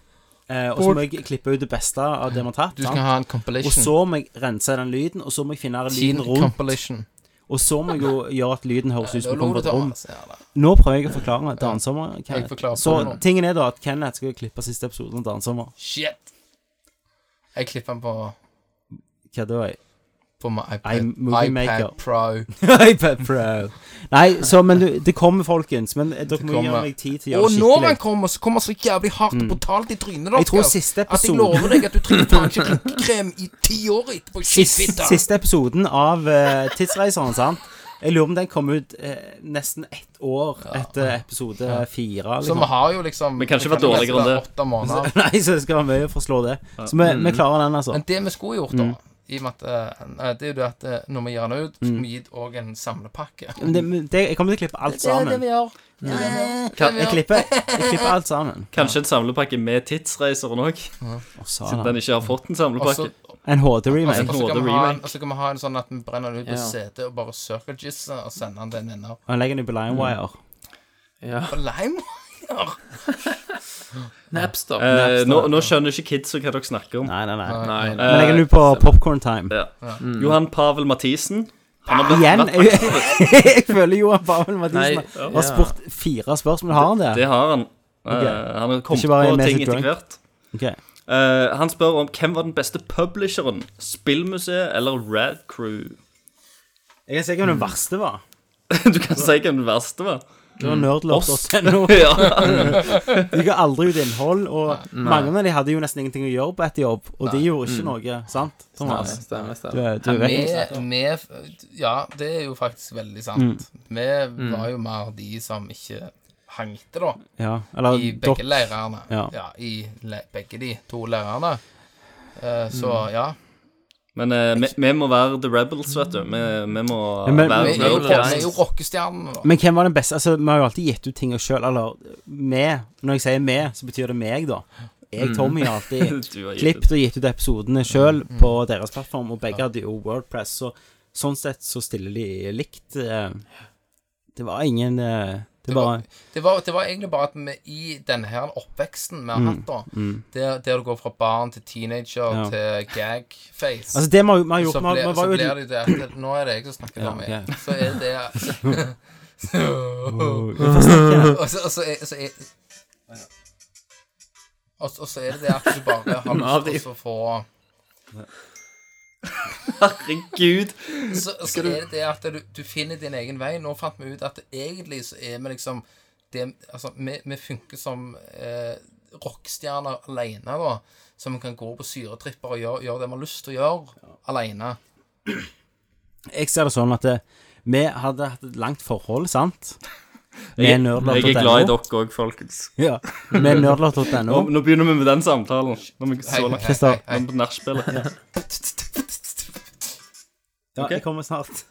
Speaker 5: eh, og så må jeg klippe ut det beste av det vi har tatt.
Speaker 6: Du skal
Speaker 5: Sant?
Speaker 6: ha en
Speaker 5: Og
Speaker 6: compilation.
Speaker 5: så må jeg rense den lyden, og så må jeg finne
Speaker 6: Teen
Speaker 5: lyden rundt.
Speaker 6: compilation.
Speaker 5: Og så må jeg jo gjøre at lyden høres ut som
Speaker 6: Da
Speaker 5: det
Speaker 6: lo
Speaker 5: kommer
Speaker 6: du,
Speaker 5: fra et rom.
Speaker 6: Thomas. Ja, da.
Speaker 5: Nå prøver jeg å forklare Dansommer.
Speaker 6: Jeg forklarer
Speaker 5: Kenneth. Så
Speaker 6: på det nå.
Speaker 5: tingen er da at Kenneth skal klippe siste episode av Dansommer.
Speaker 6: Shit. Jeg klipper den på,
Speaker 5: Hva da? jeg?
Speaker 6: på min iPad,
Speaker 5: I'm Movie Maker.
Speaker 6: iPad Pro.
Speaker 5: iPad Pro. Nei, så, men du, det kommer, folkens. Men dere må
Speaker 6: kommer.
Speaker 5: gjøre meg tid til å
Speaker 6: Og
Speaker 5: gjøre det
Speaker 6: når han
Speaker 5: skikkelig. Mm.
Speaker 6: kommer, så kommer han så jævlig hardt og brutalt i trynet deres.
Speaker 5: Jeg tror siste
Speaker 6: At jeg
Speaker 5: episode-
Speaker 6: lover deg at du trenger faen ikke rynkekrem i ti år etterpå. Shit,
Speaker 5: Sist,
Speaker 6: fitta.
Speaker 5: siste episoden av eh, Tidsreiseren, sant? Jeg lurer om den kom ut eh, nesten ett år etter episode fire.
Speaker 6: Så vi
Speaker 5: Liksom.
Speaker 6: har jo liksom
Speaker 9: Men kanskje vært
Speaker 6: kan jo
Speaker 9: dårligere enn
Speaker 6: nesten
Speaker 9: det.
Speaker 6: Åtte måneder.
Speaker 5: Nei, så det skal være mye for å slå det. Så vi, vi klarer den, altså.
Speaker 6: Mm. Men det vi skulle gjort, da i og med at, eh, Det er jo det at eh, når vi gir den ut, så
Speaker 5: Mm.
Speaker 6: må vi gi òg en samlepakke.
Speaker 5: Men det, men det, jeg kommer til å klippe alt sammen. Mm.
Speaker 6: gjør.
Speaker 5: Jeg klipper, jeg klipper alt sammen.
Speaker 9: Kanskje en samlepakke med tidsreiseren òg,
Speaker 5: Å,
Speaker 9: siden
Speaker 5: satan.
Speaker 9: den ikke har fått en
Speaker 6: Og så
Speaker 9: samlepakke.
Speaker 5: En HD-remake.
Speaker 6: og så kan vi ha
Speaker 9: HD
Speaker 6: en-
Speaker 9: remake.
Speaker 6: og så kan vi ha en sånn at vi brenner den ut på
Speaker 7: Ja.
Speaker 6: CD og bare circle jizz og sender den til en venner.
Speaker 5: Og jeg legger den ut på
Speaker 6: Mm.
Speaker 5: LimeWire.
Speaker 7: Ja.
Speaker 6: På lime?
Speaker 7: Napster.
Speaker 9: Eh, nå, nå skjønner ikke kidsa hva dere snakker om. Eh,
Speaker 5: Nei, nei, nei.
Speaker 7: Nei, nei.
Speaker 5: Jeg legger den ut på Popcorn Time.
Speaker 9: Ja. Johan Pavel Mathisen. Han har
Speaker 5: Igjen!
Speaker 9: vært-
Speaker 5: Jeg, jeg føler Johan Pavel
Speaker 7: Nei,
Speaker 5: Mathisen har-
Speaker 7: ja.
Speaker 5: har spurt fire spørsmål. Har han det?
Speaker 9: Det har han. Eh,
Speaker 5: Ok.
Speaker 9: han har kommet
Speaker 5: Ikke bare
Speaker 9: på
Speaker 5: Method
Speaker 9: ting etter
Speaker 5: Drunk.
Speaker 9: hvert.
Speaker 5: Ok.
Speaker 9: Eh, han spør om hvem var den beste publisheren? Spillmuseet eller Rad Crew?
Speaker 5: Jeg kan si hvem den
Speaker 6: Mm.
Speaker 5: verste var.
Speaker 9: Du kan si hvem den verste var.
Speaker 5: Det
Speaker 6: Mm.
Speaker 5: var nerdlord.no.
Speaker 9: Ja.
Speaker 5: De ga aldri ut innhold, og mange av de hadde jo nesten ingenting å gjøre på etter jobb, og de gjorde ikke noe, sant,
Speaker 7: Nei,
Speaker 5: Thomas?
Speaker 7: stemmer,
Speaker 5: Du,
Speaker 7: stemmer.
Speaker 5: du
Speaker 6: Mm. Vi,
Speaker 5: vet Mm.
Speaker 6: vi Ja, det er jo faktisk veldig sant. Vi var jo mer de som ikke hang etter, da.
Speaker 5: Ja, eller
Speaker 6: I
Speaker 5: dok-
Speaker 6: begge leirene.
Speaker 5: Ja.
Speaker 6: Ja, i le begge de to leirene. Eh, så
Speaker 5: Mm.
Speaker 6: ja.
Speaker 9: Men eh, vi, vi må være The Rebels, vet du. Vi, vi må
Speaker 5: Men- men-
Speaker 9: være
Speaker 6: Vi er jo,
Speaker 9: Rebels.
Speaker 6: vi er jo rockestjernene, da.
Speaker 5: Men hvem var den beste? Altså, vi har jo alltid gitt ut ting oss sjøl, eller vi. Når jeg sier vi, så betyr det meg, da. Jeg,
Speaker 6: Mm.
Speaker 5: Tommy, har alltid
Speaker 9: Du har gitt
Speaker 5: klippet og gitt ut episodene sjøl
Speaker 6: Mm.
Speaker 5: på deres plattform, og begge hadde jo Wordpress, så sånn sett så stiller de likt. eh, Det var ingen eh, Det
Speaker 6: var-
Speaker 5: var
Speaker 6: Det var, det var egentlig bare at vi i denne her oppveksten vi har hatt, da, der, der du går fra barn til teenager
Speaker 5: Mm. Ja.
Speaker 6: til gagface
Speaker 5: Altså, det vi har vi har gjort
Speaker 6: så,
Speaker 5: vi har-
Speaker 6: ble,
Speaker 5: vi
Speaker 6: så
Speaker 5: var jo
Speaker 6: blir det jo det at eh, Nå er det jeg som snakker
Speaker 5: Ja,
Speaker 6: om det.
Speaker 5: ok.
Speaker 6: Så er det Og så, og så, er, så er, og, så- og så er det det at du bare har lyst til å få
Speaker 9: Herregud.
Speaker 6: så, så er det det at du, du finner din egen vei. Nå fant vi ut at egentlig så er vi liksom det, altså, vi, vi funker som eh, rockestjerner alene, da. Så vi kan gå på syretripper og gjøre, gjøre det vi har lyst til å gjøre alene.
Speaker 5: jeg ser det sånn at det, Vi hadde hatt et langt forhold, sant? Med nerdlot.no.
Speaker 9: Jeg er glad i dere òg, folkens.
Speaker 5: Ja, med nerdlot.no.
Speaker 9: Nå begynner vi med den samtalen. Nå er vi så langt
Speaker 5: Christer,
Speaker 9: på nachspielet.
Speaker 5: ja, jeg kommer snart.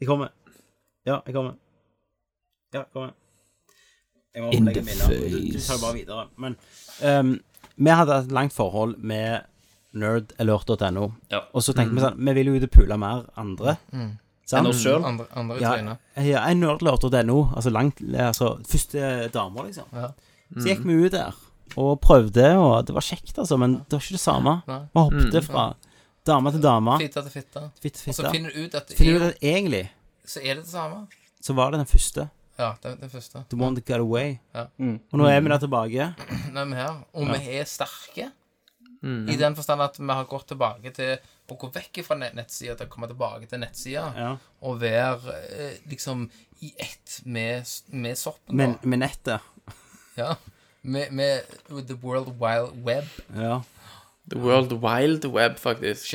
Speaker 5: Jeg kommer. Ja, jeg kommer. Ja, jeg kommer. Jeg må In the face. Du tar bare videre. Men ehm, vi hadde et langt forhold med nerdalert.no,
Speaker 9: Ja. Mm.
Speaker 5: og så tenkte vi sånn Vi vil jo ut og pule mer andre. Sant?
Speaker 6: Andre, andre i
Speaker 5: Ja,
Speaker 6: trynet.
Speaker 5: ja jeg nerdlørte .no, altså langt altså, Første damer, liksom. Så gikk vi ut der og prøvde, og det var kjekt, altså, men det var ikke det samme.
Speaker 6: Nei.
Speaker 5: Vi hoppet fra dame til dame.
Speaker 6: Fitte til fitte.
Speaker 5: Fitt,
Speaker 6: Og så
Speaker 5: fitte.
Speaker 6: finner du ut at det
Speaker 5: Finner du ut
Speaker 6: er,
Speaker 5: at egentlig
Speaker 6: så er det det samme.
Speaker 5: så var det den første.
Speaker 6: Ja, det, det første.
Speaker 5: The one that got away.
Speaker 6: Ja.
Speaker 5: Og nå er vi der tilbake.
Speaker 6: Nei, vi er her. Og vi er sterke.
Speaker 5: Mm.
Speaker 6: I den forstand at vi har gått tilbake til å gå vekk fra nettsida til å komme tilbake til nettsida.
Speaker 5: Ja.
Speaker 6: Og være eh, liksom i ett med, s- med soppen.
Speaker 5: Med,
Speaker 6: da.
Speaker 5: med nettet.
Speaker 6: Ja. Med, med The World Wild Web-kjeften.
Speaker 5: Ja.
Speaker 7: The World Wild Web, faktisk.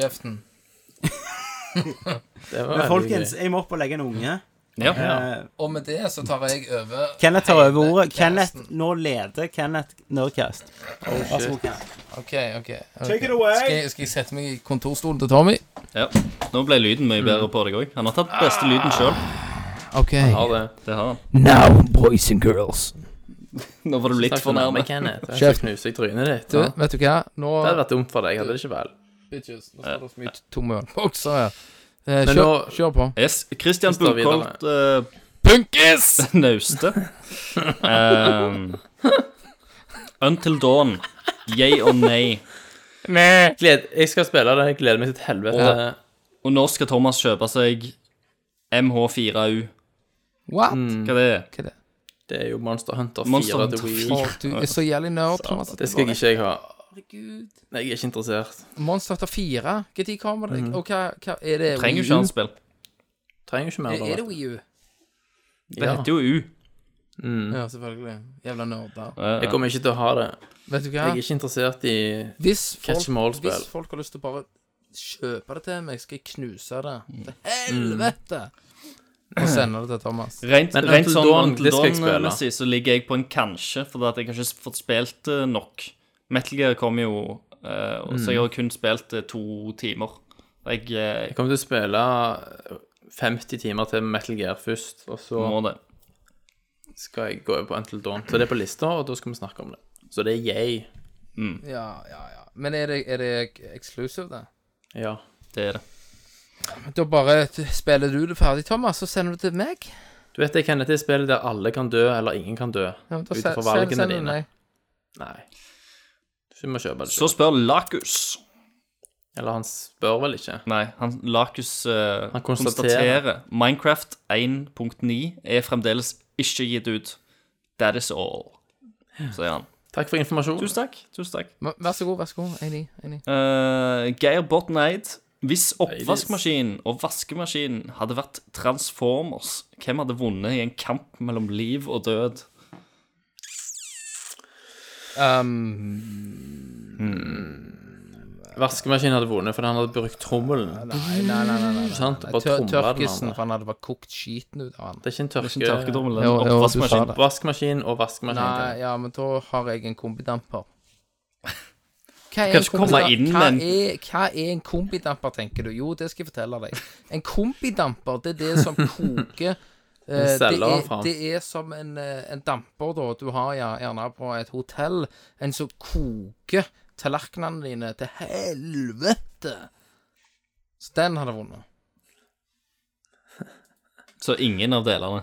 Speaker 7: Det var
Speaker 5: Men
Speaker 7: veldig
Speaker 5: folkens,
Speaker 7: gøy.
Speaker 5: jeg må opp og legge en unge.
Speaker 9: Ja.
Speaker 5: Eh,
Speaker 6: Og med det så tar jeg over
Speaker 5: Kenneth tar
Speaker 6: hele
Speaker 5: over ordet.
Speaker 6: casten.
Speaker 5: Kenneth, nå leder Kenneth Nerdcast. Vær så god, Kenneth.
Speaker 6: OK, OK. Take it away. Skal jeg, skal jeg sette meg i kontorstolen til Tommy?
Speaker 9: Ja. Nå ble lyden mye bedre på deg òg. Han har tatt beste lyden sjøl.
Speaker 6: OK.
Speaker 7: Ha det.
Speaker 9: Det har han.
Speaker 6: Now, boys and girls.
Speaker 9: Nå var du litt
Speaker 7: Takk
Speaker 9: for
Speaker 7: for
Speaker 9: nærme.
Speaker 7: nærmet, Kenneth. Jeg
Speaker 6: Kjeft.
Speaker 7: skal knuse i trynet ditt.
Speaker 6: Du,
Speaker 7: Ja.
Speaker 6: vet du hva? Nå
Speaker 7: Det hadde vært dumt for deg, hadde det ikke vel?
Speaker 6: Bitches. Nå står det så mye tomme ølbokser her. Eh, kjør,
Speaker 7: Men nå-
Speaker 6: kjør på.
Speaker 9: Yes. Christian
Speaker 7: står videre.
Speaker 9: Bukkholt eh,
Speaker 6: Punkis!
Speaker 9: Nauste. Um, Until Dawn. Yay og nei.
Speaker 7: Gled, jeg skal spille det. Jeg gleder meg til et helvete.
Speaker 9: Ja. Og når skal Thomas kjøpe seg MH4U?
Speaker 6: What?
Speaker 7: Mm.
Speaker 9: Hva det er
Speaker 6: Hva er det?
Speaker 7: Det er jo Monster Hunter 4
Speaker 9: Monster
Speaker 7: til
Speaker 9: Hunter
Speaker 7: Wii.
Speaker 6: Å, du er så jævlig nerd, Thomas.
Speaker 7: Det skal jeg ikke jeg ha.
Speaker 6: Herregud.
Speaker 7: Nei, jeg er ikke interessert.
Speaker 6: Monster Hunter 4? Når kommer
Speaker 7: Mhm.
Speaker 6: det? Og hva, hva er det?
Speaker 9: Trenger jo
Speaker 6: Wii U?
Speaker 9: ikke annet spill.
Speaker 7: Trenger ikke mer
Speaker 6: Er,
Speaker 7: av
Speaker 6: er
Speaker 7: det.
Speaker 6: det Wii U?
Speaker 9: Det heter jo U.
Speaker 6: Ja, selvfølgelig. Jævla nerder.
Speaker 9: Eh,
Speaker 7: Jeg kommer ikke til å ha det.
Speaker 6: Vet du hva?
Speaker 7: Jeg er ikke interessert i
Speaker 6: Hvis
Speaker 7: Catch
Speaker 6: folk,
Speaker 7: them all-spill.
Speaker 6: hvis folk har lyst til å bare kjøpe det til meg, skal jeg knuse det.
Speaker 7: Mm.
Speaker 6: Til helvete! Og sende det til Thomas.
Speaker 9: Rent,
Speaker 7: Men
Speaker 9: rent
Speaker 7: Until
Speaker 9: sånn
Speaker 7: Dawn,
Speaker 9: Until
Speaker 7: det skal jeg spille.
Speaker 9: Dawn-messig så ligger jeg på en kanskje, for at jeg har ikke fått spilt eh, nok. Metal Gear kom jo, eh, og
Speaker 7: Mm.
Speaker 9: så jeg har kun spilt eh, to timer. Jeg eh,
Speaker 7: Jeg kommer til å spille 50 timer til Metal Gear først, og så
Speaker 9: må det.
Speaker 7: skal jeg gå over på Until Dawn. Så det er på lista, og da skal vi snakke om det. Så det er yay.
Speaker 6: Ja, ja, ja. Men er det, er det exclusive, det?
Speaker 7: Ja.
Speaker 9: Det er det.
Speaker 6: Da bare t- spiller du det ferdig, Thomas, så sender du det til meg.
Speaker 7: Du vet det, Kenneth, det spillet der alle kan dø, eller ingen kan dø.
Speaker 6: Ja, men da
Speaker 7: Ut
Speaker 6: se-
Speaker 7: ifra
Speaker 6: send-
Speaker 7: valgene
Speaker 6: sender du meg.
Speaker 7: dine. Nei. Så vi må kjøpe det.
Speaker 9: Så
Speaker 7: selv.
Speaker 9: spør Lakus.
Speaker 7: Eller han spør vel ikke.
Speaker 9: Nei, han, Lakus eh,
Speaker 7: Han konstaterer.
Speaker 9: konstaterer Minecraft 1.9 er fremdeles ikke gitt ut. That is all, sier han.
Speaker 7: Takk for informasjonen.
Speaker 9: Tusen takk. Tusen takk.
Speaker 6: Men Vær så god, vær så god. Enig. enig.
Speaker 9: Eh, Geir Botten Eid. Hvis oppvaskmaskinen og vaskemaskinen hadde vært Transformers, hvem hadde vunnet i en kamp mellom liv og død?
Speaker 6: Um,
Speaker 7: Vaskemaskinen hadde vunnet, for han hadde brukt trommelen.
Speaker 6: nei, nei, nei. nei, nei.
Speaker 7: Sant? Og bare
Speaker 6: Tør,
Speaker 7: trommet den
Speaker 6: tørkesen,
Speaker 7: andre.
Speaker 6: for han hadde bare kokt skiten ut av han.
Speaker 7: Det er ikke en
Speaker 9: Det er ikke en
Speaker 7: tørke.
Speaker 9: tørketrommel, det
Speaker 6: Jo,
Speaker 9: er
Speaker 6: jo,
Speaker 9: en
Speaker 6: du sa
Speaker 9: oppvaskmaskin.
Speaker 6: det.
Speaker 7: Vaskemaskin og vaskemaskin.
Speaker 6: Nei, ja, men da har jeg en kombidamper. Hva
Speaker 9: kan ikke komme
Speaker 6: kombidam-
Speaker 9: inn
Speaker 6: hva,
Speaker 9: med en-
Speaker 6: er, hva er en kombidamper, tenker du? Jo, det skal jeg fortelle deg. En kombidamper, det er det som koker eh, det,
Speaker 7: selger den
Speaker 6: er,
Speaker 7: fram.
Speaker 6: det er som en, eh, en damper da, du har ja, gjerne på et hotell. En som koker tallerkenene dine til helvete. Så den hadde vunnet.
Speaker 9: Så ingen av delene.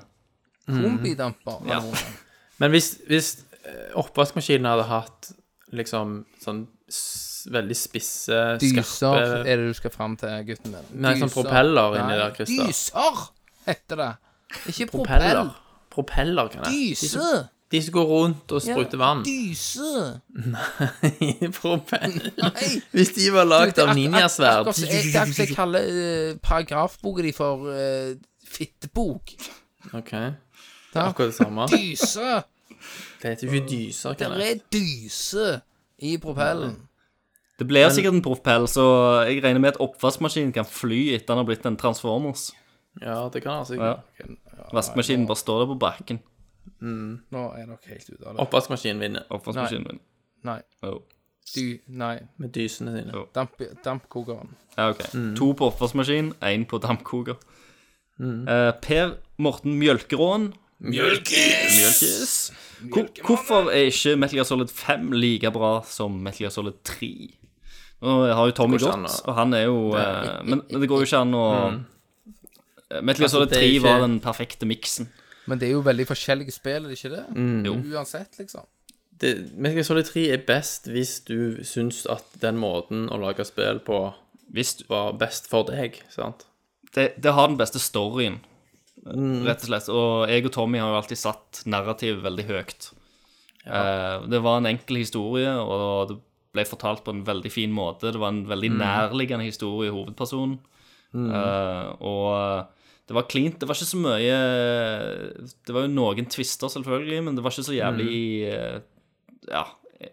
Speaker 6: Kombidamper hadde
Speaker 9: Mhm. Ja.
Speaker 6: vunnet.
Speaker 7: Men hvis, hvis eh, oppvaskmaskinen hadde hatt liksom sånn s veldig spisse,
Speaker 6: Dyser
Speaker 7: skarpe
Speaker 6: er det du skal fram til, gutten min.
Speaker 7: Nei, sånn
Speaker 6: Dyser.
Speaker 7: propeller inni
Speaker 6: Nei,
Speaker 7: der, Christer.
Speaker 6: Dyser heter det. Ikke propell.
Speaker 7: Propeller. Propeller, kan jeg.
Speaker 6: Dyse.
Speaker 7: De som går rundt og spruter vann.
Speaker 6: Dyse.
Speaker 7: Propeller.
Speaker 6: Nei.
Speaker 7: Hvis de var
Speaker 6: du, det
Speaker 7: lagd
Speaker 6: er
Speaker 7: av
Speaker 6: akkurat-
Speaker 7: ninjasverd.
Speaker 6: akkurat som jeg- Det er akkurat som jeg kaller eh, paragrafboka di for eh, fittebok.
Speaker 7: OK. Det er akkurat det samme.
Speaker 6: Dyse.
Speaker 7: Det heter jo ikke dyser,
Speaker 6: Det
Speaker 7: kan jeg.
Speaker 6: er dyse i propellen.
Speaker 9: Det blir sikkert en propell, så jeg regner med at oppvaskmaskinen kan fly etter den har blitt en Transformers.
Speaker 7: Ja, det kan altså han
Speaker 9: Ja.
Speaker 7: sikkert.
Speaker 9: Vaskemaskinen bare står der på bakken.
Speaker 6: Nå er dere helt ute av det.
Speaker 7: Oppvaskmaskinen vinner
Speaker 9: Oppvaskmaskinen min.
Speaker 6: Nei.
Speaker 9: Oh.
Speaker 6: Du, nei.
Speaker 7: med dysene sine.
Speaker 6: Damp, dampkokeren.
Speaker 9: Ja, ok. To på oppvaskmaskin, én på dampkoker.
Speaker 7: Mm.
Speaker 9: Eh, per Morten Mjølkeråen. Mjølkis! Hvor, hvorfor er ikke Metal Gear Solid 5 like bra som Metal Gear Solid 3? Nå har jo Tommy
Speaker 7: ikke an
Speaker 9: gått,
Speaker 7: å-
Speaker 9: og han er jo eh, men, men det går jo ikke an å Metal Gear
Speaker 7: Altså,
Speaker 9: Solid
Speaker 7: det er
Speaker 9: 3
Speaker 7: ikke-
Speaker 9: var den perfekte miksen.
Speaker 6: Men det er jo veldig forskjellige spill, er det ikke det?
Speaker 7: Mm.
Speaker 6: Uansett, liksom.
Speaker 7: Det, Metal Gear Solid 3 er best hvis du syns at den måten å lage spill på
Speaker 9: Hvis du-
Speaker 7: var best for deg, sant?
Speaker 9: det, det har den beste storyen, rett og slett. Og jeg og Tommy har jo alltid satt narrativet veldig høyt. Eh, det var en enkel historie, og det ble fortalt på en veldig fin måte. Det var en veldig nærliggende historie i hovedpersonen. Eh, og det var cleant. Det var ikke så mye eh, Det var jo noen tvister, selvfølgelig, men det var ikke så jævlig eh, Ja,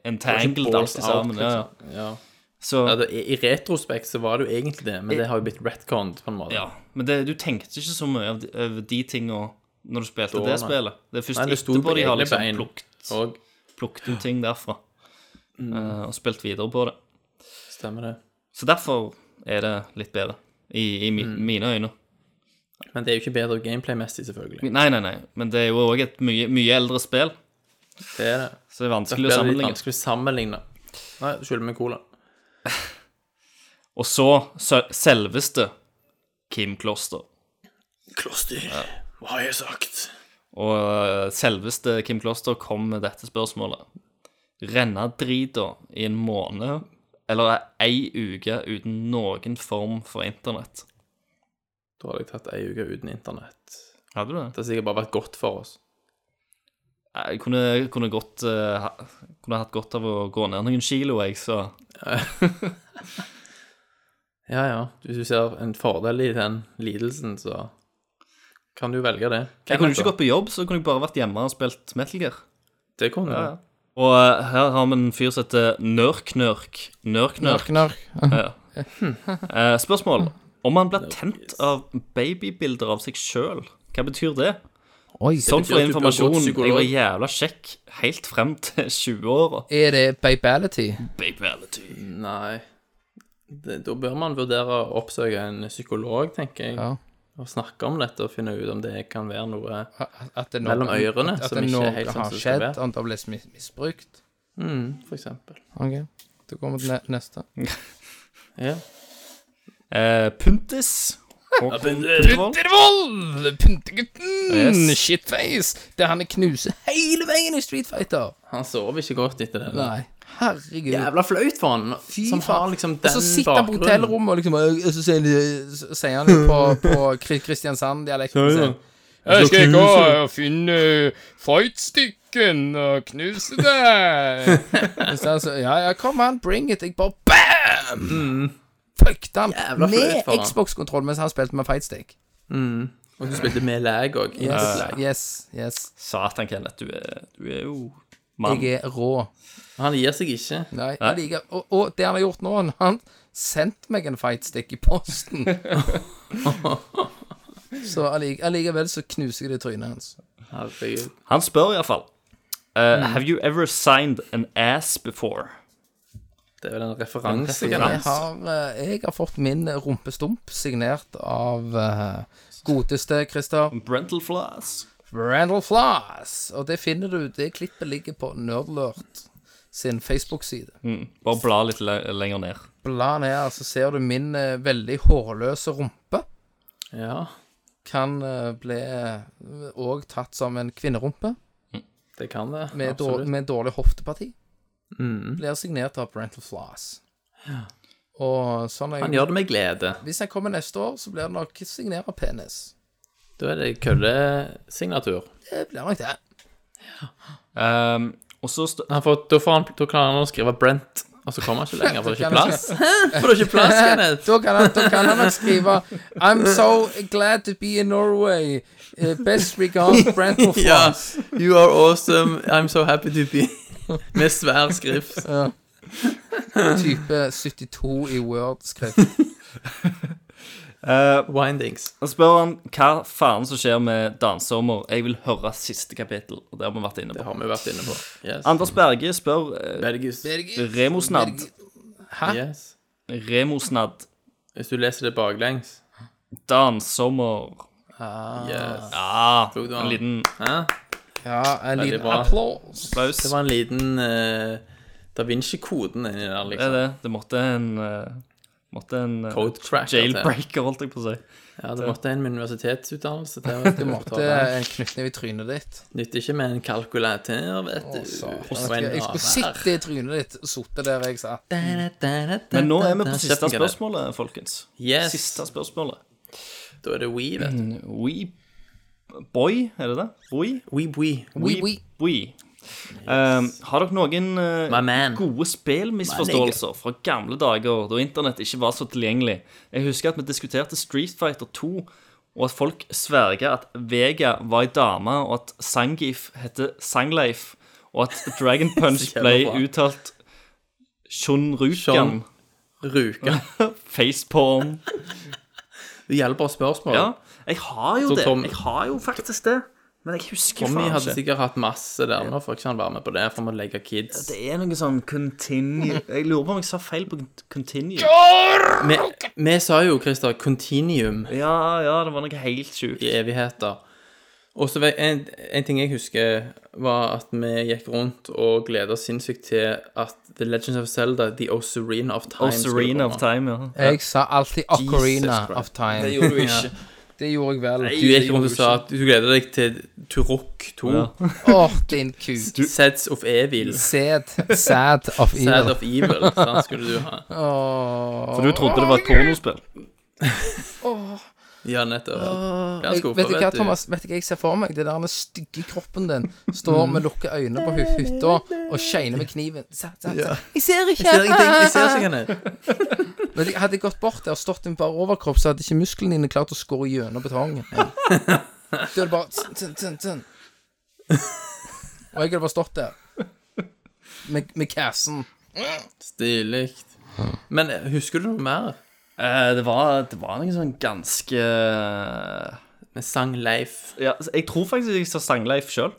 Speaker 9: entangled alt i altså, sammen. Ja, ja.
Speaker 7: ja.
Speaker 9: Så,
Speaker 7: liksom. Ja, det, I i retrospekt så var det jo egentlig det, men det har jo blitt retconned på en måte.
Speaker 9: Ja, men det, du tenkte ikke så mye av de- over de tinga når du spilte
Speaker 7: Da,
Speaker 9: det
Speaker 7: nei.
Speaker 9: spillet. Det er først
Speaker 7: Nei, det sto
Speaker 9: etterpå
Speaker 7: på
Speaker 9: de har
Speaker 7: egne
Speaker 9: liksom
Speaker 7: bein.
Speaker 9: plukt,
Speaker 7: Og Mm.
Speaker 9: plukt ut ting derfra. eh, og spilt videre på det.
Speaker 7: stemmer det.
Speaker 9: Så derfor er det litt bedre, i, i mi,
Speaker 7: Mm.
Speaker 9: mine øyne.
Speaker 7: Men det er jo ikke bedre gameplay-messig, selvfølgelig.
Speaker 9: Nei, nei, nei, men det er jo òg et mye, mye eldre spill,
Speaker 7: Det er det.
Speaker 9: så det er
Speaker 7: Det
Speaker 9: vanskelig å
Speaker 7: blir litt
Speaker 9: sammenligne.
Speaker 7: vanskelig å sammenligne. Nei, skylder meg cola.
Speaker 9: Og så sø- selveste Kim Kloster.
Speaker 7: Kloster, hva har jeg sagt?
Speaker 9: Og eh, selveste Kim Kloster kom med dette spørsmålet. Renne drita i en måned eller ei uke uten noen form for internett?
Speaker 7: Da hadde jeg tatt ei uke uten internett.
Speaker 9: Hadde du det?
Speaker 7: Det har sikkert bare vært godt for oss.
Speaker 9: Jeg kunne, kunne, godt, eh, ha- kunne hatt godt av å gå ned noen kilo, jeg, så
Speaker 7: Ja, ja. Hvis du ser en fordel i den lidelsen, så kan du velge det.
Speaker 9: Jeg kunne jo ikke gått på jobb, så kunne jeg bare vært hjemme og spilt Metal Gear.
Speaker 7: Det kunne du.
Speaker 9: Og eh, her har vi en fyr som heter Nørk-Nørk. Nørk-Nørk.
Speaker 6: Knark.
Speaker 9: Eh, spørsmål. Om man blir tent av babybilder av seg sjøl, hva betyr det?
Speaker 6: Oi.
Speaker 9: Sånn for
Speaker 7: betyr at du bør gå til
Speaker 9: informasjon, jeg
Speaker 7: psykolog.
Speaker 9: var jævla kjekk helt frem til 20-åra.
Speaker 6: Er det babality?
Speaker 9: Babality.
Speaker 7: Nei. Det, da bør man vurdere å oppsøke en psykolog, tenker jeg.
Speaker 6: Ja.
Speaker 7: Og snakke om dette og finne ut om det kan være noe
Speaker 6: At det
Speaker 7: Mellom ørene,
Speaker 6: at, at
Speaker 7: som
Speaker 6: det
Speaker 7: ikke er
Speaker 6: noe
Speaker 7: helt sånn som
Speaker 6: har
Speaker 7: det skal
Speaker 6: skjedd,
Speaker 7: være.
Speaker 6: at det har blitt mis- misbrukt.
Speaker 7: mm, for eksempel.
Speaker 6: Ok, da går vi til ne- neste.
Speaker 7: Ja.
Speaker 9: Eh, Puntis. Og Puntervold.
Speaker 6: Puntervold! Puntegutten!
Speaker 9: Yes.
Speaker 6: Shitface! Der han knuser hele veien i Street Fighter.
Speaker 7: Han sover ikke godt etter det.
Speaker 6: Nei, herregud.
Speaker 7: Jævla flaut for han,
Speaker 6: Fy
Speaker 7: som har
Speaker 6: faen.
Speaker 7: liksom
Speaker 6: Og
Speaker 7: den
Speaker 6: så sitter han på hotellrommet, og liksom, og så sier han- så sier han jo på, på Kri- Kristiansand-dialekten sin Jeg skal gå og finne øh, fightstykken og knuse deg. Så han så, ja, ja, kom an, bring it. Jeg bare bam! Fuckte han
Speaker 7: Jævla flaut
Speaker 6: med
Speaker 7: for han.
Speaker 6: Xbox-kontroll mens han spilte med fightstick.
Speaker 7: Og du spilte med lag òg.
Speaker 6: Yes, yes, yes.
Speaker 9: Satan, Kenneth, du er, du er jo mann.
Speaker 6: Jeg er rå.
Speaker 7: Han gir seg ikke.
Speaker 6: Nei, jeg liker og, og det han har gjort nå, han- han sendte meg en fightstick i posten. så allike- allikevel så knuser jeg det i trynet hans.
Speaker 7: Herregud.
Speaker 9: Han spør iallfall.
Speaker 7: Mm.
Speaker 9: Uh, have you ever signed an ass before?
Speaker 7: Det er vel en referanse.
Speaker 6: Jeg
Speaker 7: kan jeg si.
Speaker 6: har, eh, jeg har fått min rumpestump signert av eh, godeste Christer
Speaker 9: Brental Floss.
Speaker 6: Randall Floss. Og det finner du, det klippet ligger på Nerdlurt sin Facebook-side.
Speaker 9: Mm, Bare bla litt le lenger ned.
Speaker 6: Bla ned, her, så ser du min eh, veldig hårløse rumpe.
Speaker 7: Ja,
Speaker 6: Kan eh, bli òg tatt som en kvinnerumpe.
Speaker 7: det kan det.
Speaker 6: med, dår,
Speaker 7: absolutt. Mm.
Speaker 6: med dårlig hofteparti. Blir signert av Brental Floss. Og sånn er
Speaker 7: Han
Speaker 6: jo
Speaker 7: gjør det med glede.
Speaker 6: Hvis han kommer neste år, så blir det nok signert av penis.
Speaker 7: Da er det køddesignatur.
Speaker 6: Det blir nok det.
Speaker 9: Um, og så st
Speaker 7: Han får, da, får han, da klarer han å skrive Brent, og så kommer han ikke lenger, for det er
Speaker 6: Kan
Speaker 7: ikke
Speaker 6: han
Speaker 7: plass. For det er ikke plass, Kenneth.
Speaker 6: Da kan han, da kan han nok skrive I'm so glad to be in Norway. Eh, Best regards Brental
Speaker 7: Ja.
Speaker 6: Floss.
Speaker 7: You are awesome. I'm so happy to be Med svær skrift.
Speaker 6: Type 72 i Word-skrift.
Speaker 9: Eh,
Speaker 7: Windings.
Speaker 9: han spør han hva faen som skjer med Dansommer. Jeg vil høre siste kapittel. Og det har vi vært inne
Speaker 7: Det
Speaker 9: på.
Speaker 7: har vi vært inne på. Yes.
Speaker 9: Anders Berge spør eh,
Speaker 7: Bergus.
Speaker 9: Remosnad.
Speaker 7: Yes.
Speaker 9: Remosnad.
Speaker 7: Hvis du leser det baklengs
Speaker 9: Dansommer.
Speaker 6: Ah.
Speaker 7: Yes.
Speaker 9: Ja,
Speaker 7: Tok du
Speaker 9: en
Speaker 7: han?
Speaker 9: liten
Speaker 7: Hæ?
Speaker 6: Ja, en
Speaker 7: Veldig
Speaker 6: liten
Speaker 7: bra.
Speaker 6: applaus.
Speaker 9: applaus.
Speaker 7: Det var en liten eh, Da Vinci-koden inni der,
Speaker 9: Det er
Speaker 7: liksom.
Speaker 9: det. Det måtte en eh, Måtte en eh,
Speaker 7: Code tracker til.
Speaker 9: jailbreaker, holdt jeg på å si.
Speaker 7: Ja, det måtte en med universitetsutdannelse til. vet Du måtte
Speaker 6: Det er en knyttneve i trynet ditt.
Speaker 7: Nytter ikke med en kalkulator, vet du. Og en
Speaker 6: Jeg skulle
Speaker 7: haver.
Speaker 6: sitte i trynet ditt og sitte der jeg sa.
Speaker 9: Men nå er vi på siste
Speaker 7: Kjeften,
Speaker 9: spørsmålet, folkens.
Speaker 7: Yes.
Speaker 9: Siste spørsmålet.
Speaker 7: Da er det We, vet du.
Speaker 9: We Boy, er det det? Boy?
Speaker 7: We, we.
Speaker 6: Oui, oui.
Speaker 9: Boy. Ehm, har dere noen eh,
Speaker 7: My man.
Speaker 9: gode spillmisforståelser fra gamle dager da internett ikke var så tilgjengelig? Jeg husker at vi diskuterte Street Fighter 2, og at folk sverga at Vega var ei dame, og at Sangif heter Sangleif, og at Dragon Punch
Speaker 7: Så
Speaker 9: ble
Speaker 7: jævla bra.
Speaker 9: uttalt Shunrukan.
Speaker 7: Shun- Ruka.
Speaker 9: Faceporn.
Speaker 7: Det gjelder bare spørsmål.
Speaker 9: Ja, jeg har jo
Speaker 7: Så
Speaker 9: det.
Speaker 7: Tom-
Speaker 9: Jeg har jo faktisk det. Men jeg husker
Speaker 7: Tommy
Speaker 9: faen
Speaker 7: hadde
Speaker 9: ikke.
Speaker 7: sikkert hatt masse der. Nå får ikke han være med på det, for han må legge kids.
Speaker 9: Det er noe sånn continue Jeg lurer på om jeg sa feil på continue.
Speaker 7: Vi, vi sa jo, Christer, continuum
Speaker 9: Ja, ja, det var noe helt sjukt.
Speaker 7: i evigheter. Og så vet- en, en ting jeg husker, var at vi gikk rundt og gleda oss sinnssykt til at The Legends of Zelda, The Ocarina of Time
Speaker 9: Og Serena of Time, ja.
Speaker 6: Jeg sa alltid Ocarina
Speaker 7: Christ.
Speaker 6: of Time.
Speaker 7: gjorde du ikke.
Speaker 6: Det gjorde jeg vel.
Speaker 7: Du gikk rundt og sa at du gleda deg til Turok 2.
Speaker 6: Åh, din kuk.
Speaker 7: Sets of Evil.
Speaker 6: Sad. Sad of
Speaker 7: Sad
Speaker 6: evil.
Speaker 7: of Evil, sant, skulle du ha.
Speaker 6: Åh.
Speaker 9: For du trodde det var et pornospill?
Speaker 7: Ja, nettopp.
Speaker 6: Jeg,
Speaker 7: Ganske
Speaker 6: vet du hva,
Speaker 7: uforventet.
Speaker 6: Thomas? Vet du hva jeg ser for meg? Det der med stygge kroppen din står
Speaker 7: Mm.
Speaker 6: med lukka øyne på hu- hytta og shiner med kniven. Sa, sa, sa. Jeg ser ikke!
Speaker 7: Jeg ser ingenting. Jeg ser ikke henne.
Speaker 6: Vet du, hadde jeg gått bort der og stått med bare overkropp, så hadde ikke musklene dine klart å skåre gjennom betongen. Du hadde bare tn, tn, tn, tn. Og jeg hadde bare stått der. Med, med cassen.
Speaker 7: Stilig. Men husker du noe mer?
Speaker 9: Eh, det, var, det var noe sånn ganske eh, ja,
Speaker 7: Med sang Leif.
Speaker 9: altså, Jeg tror faktisk jeg sa Sangleif sjøl.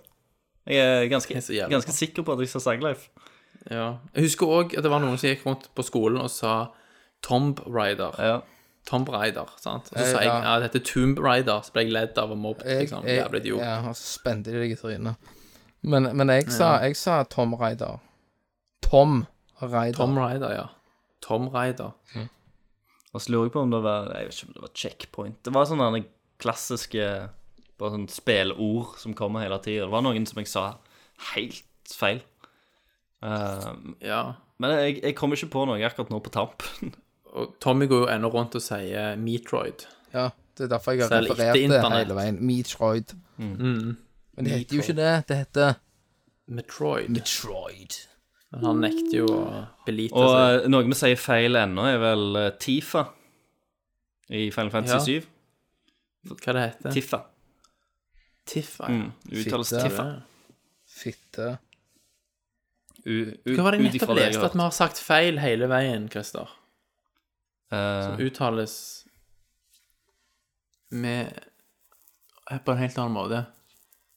Speaker 9: Jeg er ganske,
Speaker 7: er så jævlig
Speaker 9: ganske sikker på at jeg sa Sangleif.
Speaker 7: Ja. Jeg husker òg at det var noen som gikk rundt på skolen og sa Tomb Rider.
Speaker 9: Ja.
Speaker 7: Tomb Rider, sant? Og så
Speaker 6: Eh,
Speaker 7: sa jeg
Speaker 6: ja.
Speaker 7: ja, det heter Tomb Rider, så ble jeg ledd av og mobbet.
Speaker 6: Jeg,
Speaker 7: Liksom.
Speaker 6: jeg,
Speaker 7: Jævla idiot.
Speaker 6: ja, og så spente de deg i trynet. Men, men jeg, sa, jeg sa Tom Raider. Tom Raider.
Speaker 7: Tom Rider, ja. Tom Rider.
Speaker 9: Og så lurer jeg på om det var Jeg vet ikke om det var checkpoint. Det var sånne der klassiske bare sånn spillord som kommer hele tida. Det var noen som jeg sa helt feil. Eh,
Speaker 7: Ja.
Speaker 9: men jeg, jeg kom ikke på noe akkurat nå på tampen.
Speaker 7: Og Tommy går jo ennå rundt og sier Metroid.
Speaker 6: Ja, det er derfor jeg har
Speaker 7: Selv ikke
Speaker 6: referert det
Speaker 7: internett. Mm.
Speaker 6: hele veien. Metroid. Men det heter jo ikke det. Det heter
Speaker 7: Metroid. Men han nekter jo å belite
Speaker 9: Og
Speaker 7: seg.
Speaker 9: eh, noe vi sier feil ennå, er vel eh, Tifa i Final Fantasy 7. eh,
Speaker 7: Hva det heter
Speaker 9: Tifa.
Speaker 7: Tiffa.
Speaker 9: Mm. Uttales
Speaker 6: Fitte.
Speaker 9: Tifa.
Speaker 6: fitte.
Speaker 9: U- u-
Speaker 7: Hva var det jeg
Speaker 9: Ut ifra
Speaker 7: nettopp
Speaker 9: det jeg
Speaker 7: leste
Speaker 9: har
Speaker 7: at vi har sagt feil hele veien, Christer?
Speaker 9: hørt. Eh,
Speaker 7: uttales med eh, på en helt annen måte.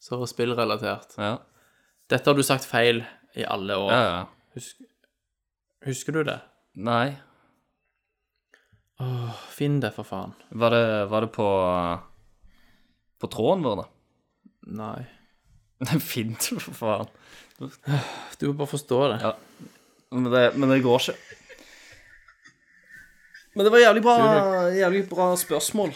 Speaker 7: Så spillrelatert.
Speaker 9: ja.
Speaker 7: Dette har du sagt feil i alle år.
Speaker 9: ja, ja.
Speaker 7: Husk, husker du det?
Speaker 9: Nei.
Speaker 7: Finn det, for faen.
Speaker 9: Var det, var det på På tråden vår, da?
Speaker 7: Nei.
Speaker 9: Nei, Fint, for faen.
Speaker 7: Du må bare forstå det.
Speaker 9: Ja. Men det, men det går ikke. Men det var jævlig bra, jævlig bra spørsmål.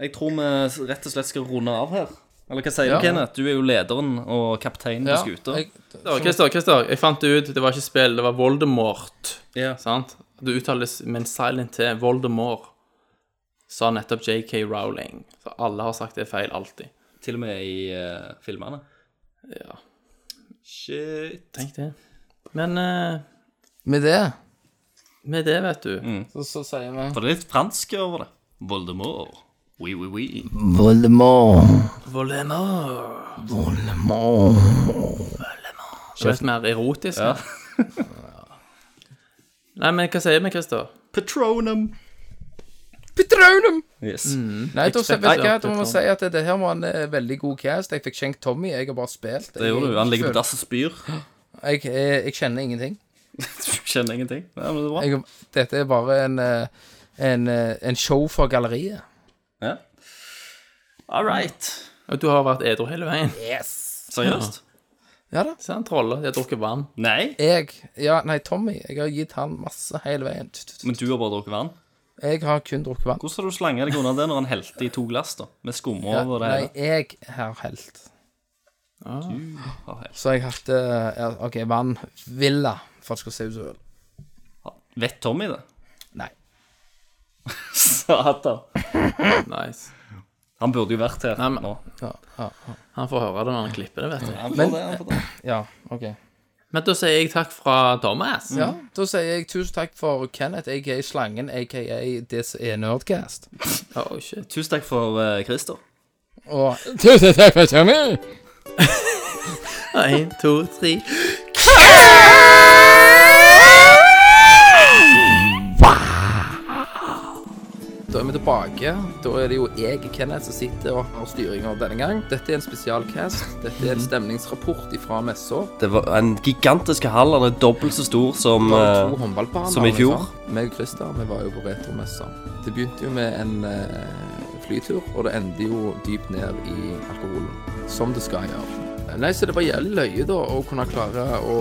Speaker 9: Jeg tror vi rett og slett skal runde av her. Eller hva sier
Speaker 6: Ja.
Speaker 9: du, Kenneth? Du er jo lederen og kapteinen på skuta.
Speaker 6: jeg,
Speaker 7: Ja, Christer, Christer, jeg fant det ut. Det var ikke spill, det var Voldemort.
Speaker 9: Ja.
Speaker 7: Sant? Det uttales med en silent T. Voldemort, sa nettopp JK Rowling. Så alle har sagt det feil alltid.
Speaker 9: Til og med i eh, filmene.
Speaker 7: Ja,
Speaker 9: Shit.
Speaker 7: tenk det. Men eh,
Speaker 6: med det
Speaker 7: med det, vet du
Speaker 9: Mm.
Speaker 6: så, så sier vi
Speaker 9: Var det litt fransk over det? Voldemort. Oui, oui, oui.
Speaker 6: Voldemort.
Speaker 7: Voldemort. Det er litt mer erotisk. Nei, men hva sier vi, Christer?
Speaker 9: Patronum.
Speaker 6: Petroleum!
Speaker 15: Yes.
Speaker 6: Nei, da vet
Speaker 15: Nei,
Speaker 6: du hva, da må jeg si at det her var en eh, veldig god cast. Jeg fikk skjenkt Tommy, jeg har bare spilt.
Speaker 15: Det gjorde du. Han ligger på dass og spyr.
Speaker 6: Jeg, eh, jeg, jeg kjenner ingenting.
Speaker 15: Kjenner ingenting. Ja, men det er bra.
Speaker 6: Jeg, dette er bare en, eh, en, eh, en show for galleriet.
Speaker 15: All right.
Speaker 7: Og du har vært edru hele veien.
Speaker 15: Seriøst?
Speaker 6: Ja da.
Speaker 7: Se, han troller. De har drukket vann.
Speaker 15: Nei.
Speaker 6: Jeg Ja, nei, Tommy. Jeg har gitt han masse hele veien.
Speaker 15: Men du har bare drukket vann?
Speaker 6: Jeg har kun drukket vann.
Speaker 15: Hvordan har du slanget deg unna det når han helte i to glass, da? Med skummer
Speaker 6: Ja,
Speaker 15: over det
Speaker 6: nei,
Speaker 15: hele?
Speaker 6: jeg har helt.
Speaker 15: Har Ah, helt-
Speaker 6: Så jeg hatt eh, ja, OK, vann. Villa, for at det skal se ut som øl.
Speaker 15: Vet Tommy det?
Speaker 6: Nei.
Speaker 15: Satan.
Speaker 7: Nice.
Speaker 15: Han burde jo vært her
Speaker 7: Nei, men-
Speaker 15: nå.
Speaker 6: Ja, ja,
Speaker 7: Han får høre det når han klipper det, vet du.
Speaker 15: Han får
Speaker 6: Men-
Speaker 15: det, han får det.
Speaker 6: ja, OK.
Speaker 7: Men da sier jeg takk fra Thomas.
Speaker 6: Ja, da sier jeg tusen takk for Kenneth, aka Slangen, aka det som er Nerdcast.
Speaker 7: Oh, shit.
Speaker 15: Tusen takk for eh, Christer.
Speaker 6: Og tusen takk for Tommy!
Speaker 7: En, to, tre.
Speaker 6: Da er vi tilbake. Da er det jo jeg, Kenneth, som sitter og har styringa denne gang. Dette er en spesialcast. Dette er en stemningsrapport ifra messa.
Speaker 9: Det var en gigantisk hall. Han er dobbelt så stor som
Speaker 6: Det var
Speaker 9: eh,
Speaker 6: to håndballbaner.
Speaker 9: som i fjor.
Speaker 6: liksom. Meg og Christer, vi var jo på retromessa. Det begynte jo med en eh, flytur, og det endte jo dypt ned i alkoholen. Som det skal gjøre. Nei, så det var jævlig løye, da, å kunne klare å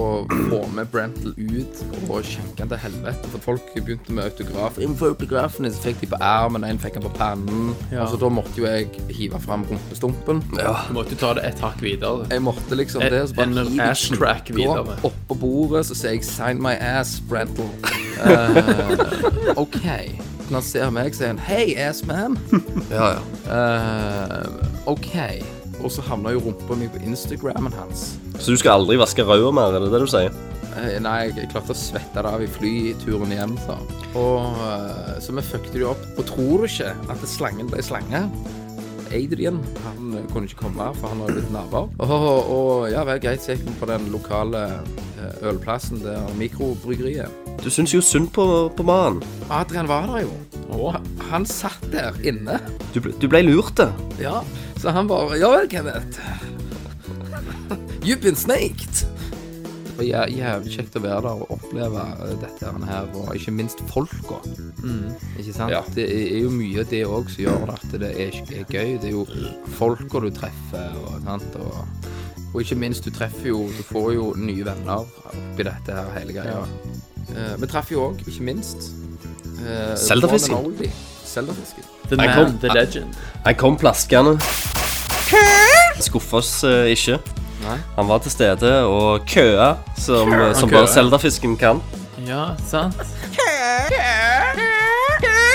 Speaker 6: få med Brentel ut og skjenke han til helvete. For folk begynte med autograf. Jeg må få autografen din, så fikk de på armen, en fikk han på pannen. Og så da måtte jo jeg hive fram rumpestumpen.
Speaker 7: Du måtte ta det et hakk videre.
Speaker 6: Jeg måtte liksom det. Så bare
Speaker 7: En- en
Speaker 6: hiv
Speaker 7: ass crack
Speaker 6: gå
Speaker 7: videre.
Speaker 6: Opp på bordet, så sier jeg 'sign my ass, Brental'. Eh, OK. Når han ser meg, sier han 'hei, ass man'.
Speaker 9: Ja, ja.
Speaker 6: Eh, OK. Og så havna jo rumpa mi på Instagrammen hans.
Speaker 9: Så du skal aldri vaske røda mer, er det det du sier?
Speaker 6: Eh, nei, jeg klarte å svette det av i flyturen hjem. Så, og, eh, så vi fucket det jo opp. Og tror du ikke at slangen ble slange? Adrian han eh, kunne ikke komme, for han var blitt naboer. Og, og, og ja vel, greit, så gikk vi på den lokale eh, ølplassen der mikrobryggeriet
Speaker 9: Du syns jo synd på, på mannen.
Speaker 6: Adrian var der jo. Han, han satt der inne.
Speaker 9: Du, ble- du ble lurt, det.
Speaker 6: Ja, så han bare Ja vel, Kenneth. You've been snaked. Det var jæ- jævlig kjekt å være der og oppleve eh, dette her, og ikke minst folka. Ikke sant? Det er jo mye av det òg som gjør det at det er, er gøy. Det er jo folka du treffer, og sant. Og, og ikke minst, du treffer jo Du får jo nye venner oppi dette her hele greia. Eh, vi traff jo òg, ikke minst eh,
Speaker 9: Seldafisken.
Speaker 6: one and only Seldafisken.
Speaker 7: The
Speaker 9: Jeg
Speaker 7: man,
Speaker 9: kom-
Speaker 7: the legend.
Speaker 9: Han kom plaskende. Skuffa oss eh, ikke.
Speaker 6: Nei.
Speaker 9: Han var til stede og køa, som, som
Speaker 7: køa.
Speaker 9: bare Zelda-fisken kan.
Speaker 7: Ja, sant?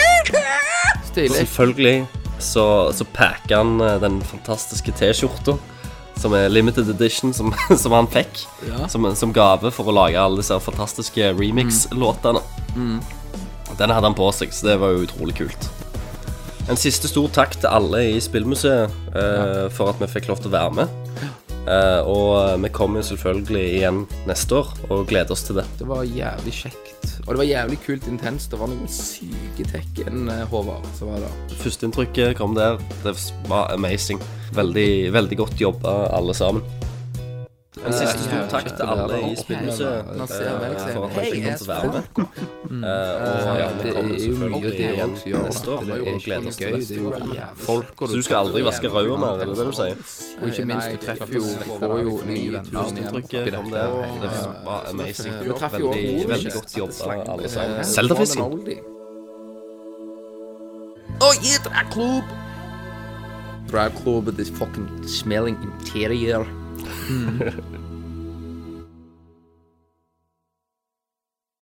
Speaker 9: Og
Speaker 6: Stilig.
Speaker 9: selvfølgelig så, så packer han eh, den fantastiske T-skjorta, som er limited edition, som, som han fikk som, som gave for å lage alle disse fantastiske remix-låtene. Den hadde han på seg, så det var jo utrolig kult. En siste stor takk til alle i Spillmuseet eh, for at vi fikk lov til å være med. Eh, og vi kommer jo selvfølgelig igjen neste år og gleder oss til det.
Speaker 6: Det var jævlig kjekt. Og det var jævlig kult intenst. Det var noen syke tekken, eh, Håvard, som var der.
Speaker 9: Førsteinntrykket kom der. Det var amazing. Veldig, veldig godt jobba, alle sammen. En
Speaker 6: Eh,
Speaker 9: siste stor takk til alle i Spillmuseet
Speaker 6: Man ser meg,
Speaker 9: eh,
Speaker 6: ser
Speaker 9: for at
Speaker 6: meg.
Speaker 9: jeg fikk lov til å være med. Eh, Og ja, vi
Speaker 6: Mm. Det
Speaker 9: kommer
Speaker 6: er jo mye
Speaker 9: selvfølgelig
Speaker 6: det
Speaker 9: igjen
Speaker 6: òg som gjør det
Speaker 9: neste år
Speaker 6: er
Speaker 9: og gleder oss til
Speaker 6: gøy. Det er
Speaker 9: det.
Speaker 6: jo jævlig folk og
Speaker 9: Så du skal aldri vaske røda mer, er det det du sier?
Speaker 6: Og ikke minst, du treffer jo får jo nye venner igjen.
Speaker 9: Førsteinntrykket kom der. Det var amazing.
Speaker 6: Vi traff jo
Speaker 9: Veldig,
Speaker 6: også
Speaker 9: veldig godt jobba, alle sammen.
Speaker 6: Å,
Speaker 9: Zelda-fisken.
Speaker 6: gi drag club! Drag club with this fucking smelling interior.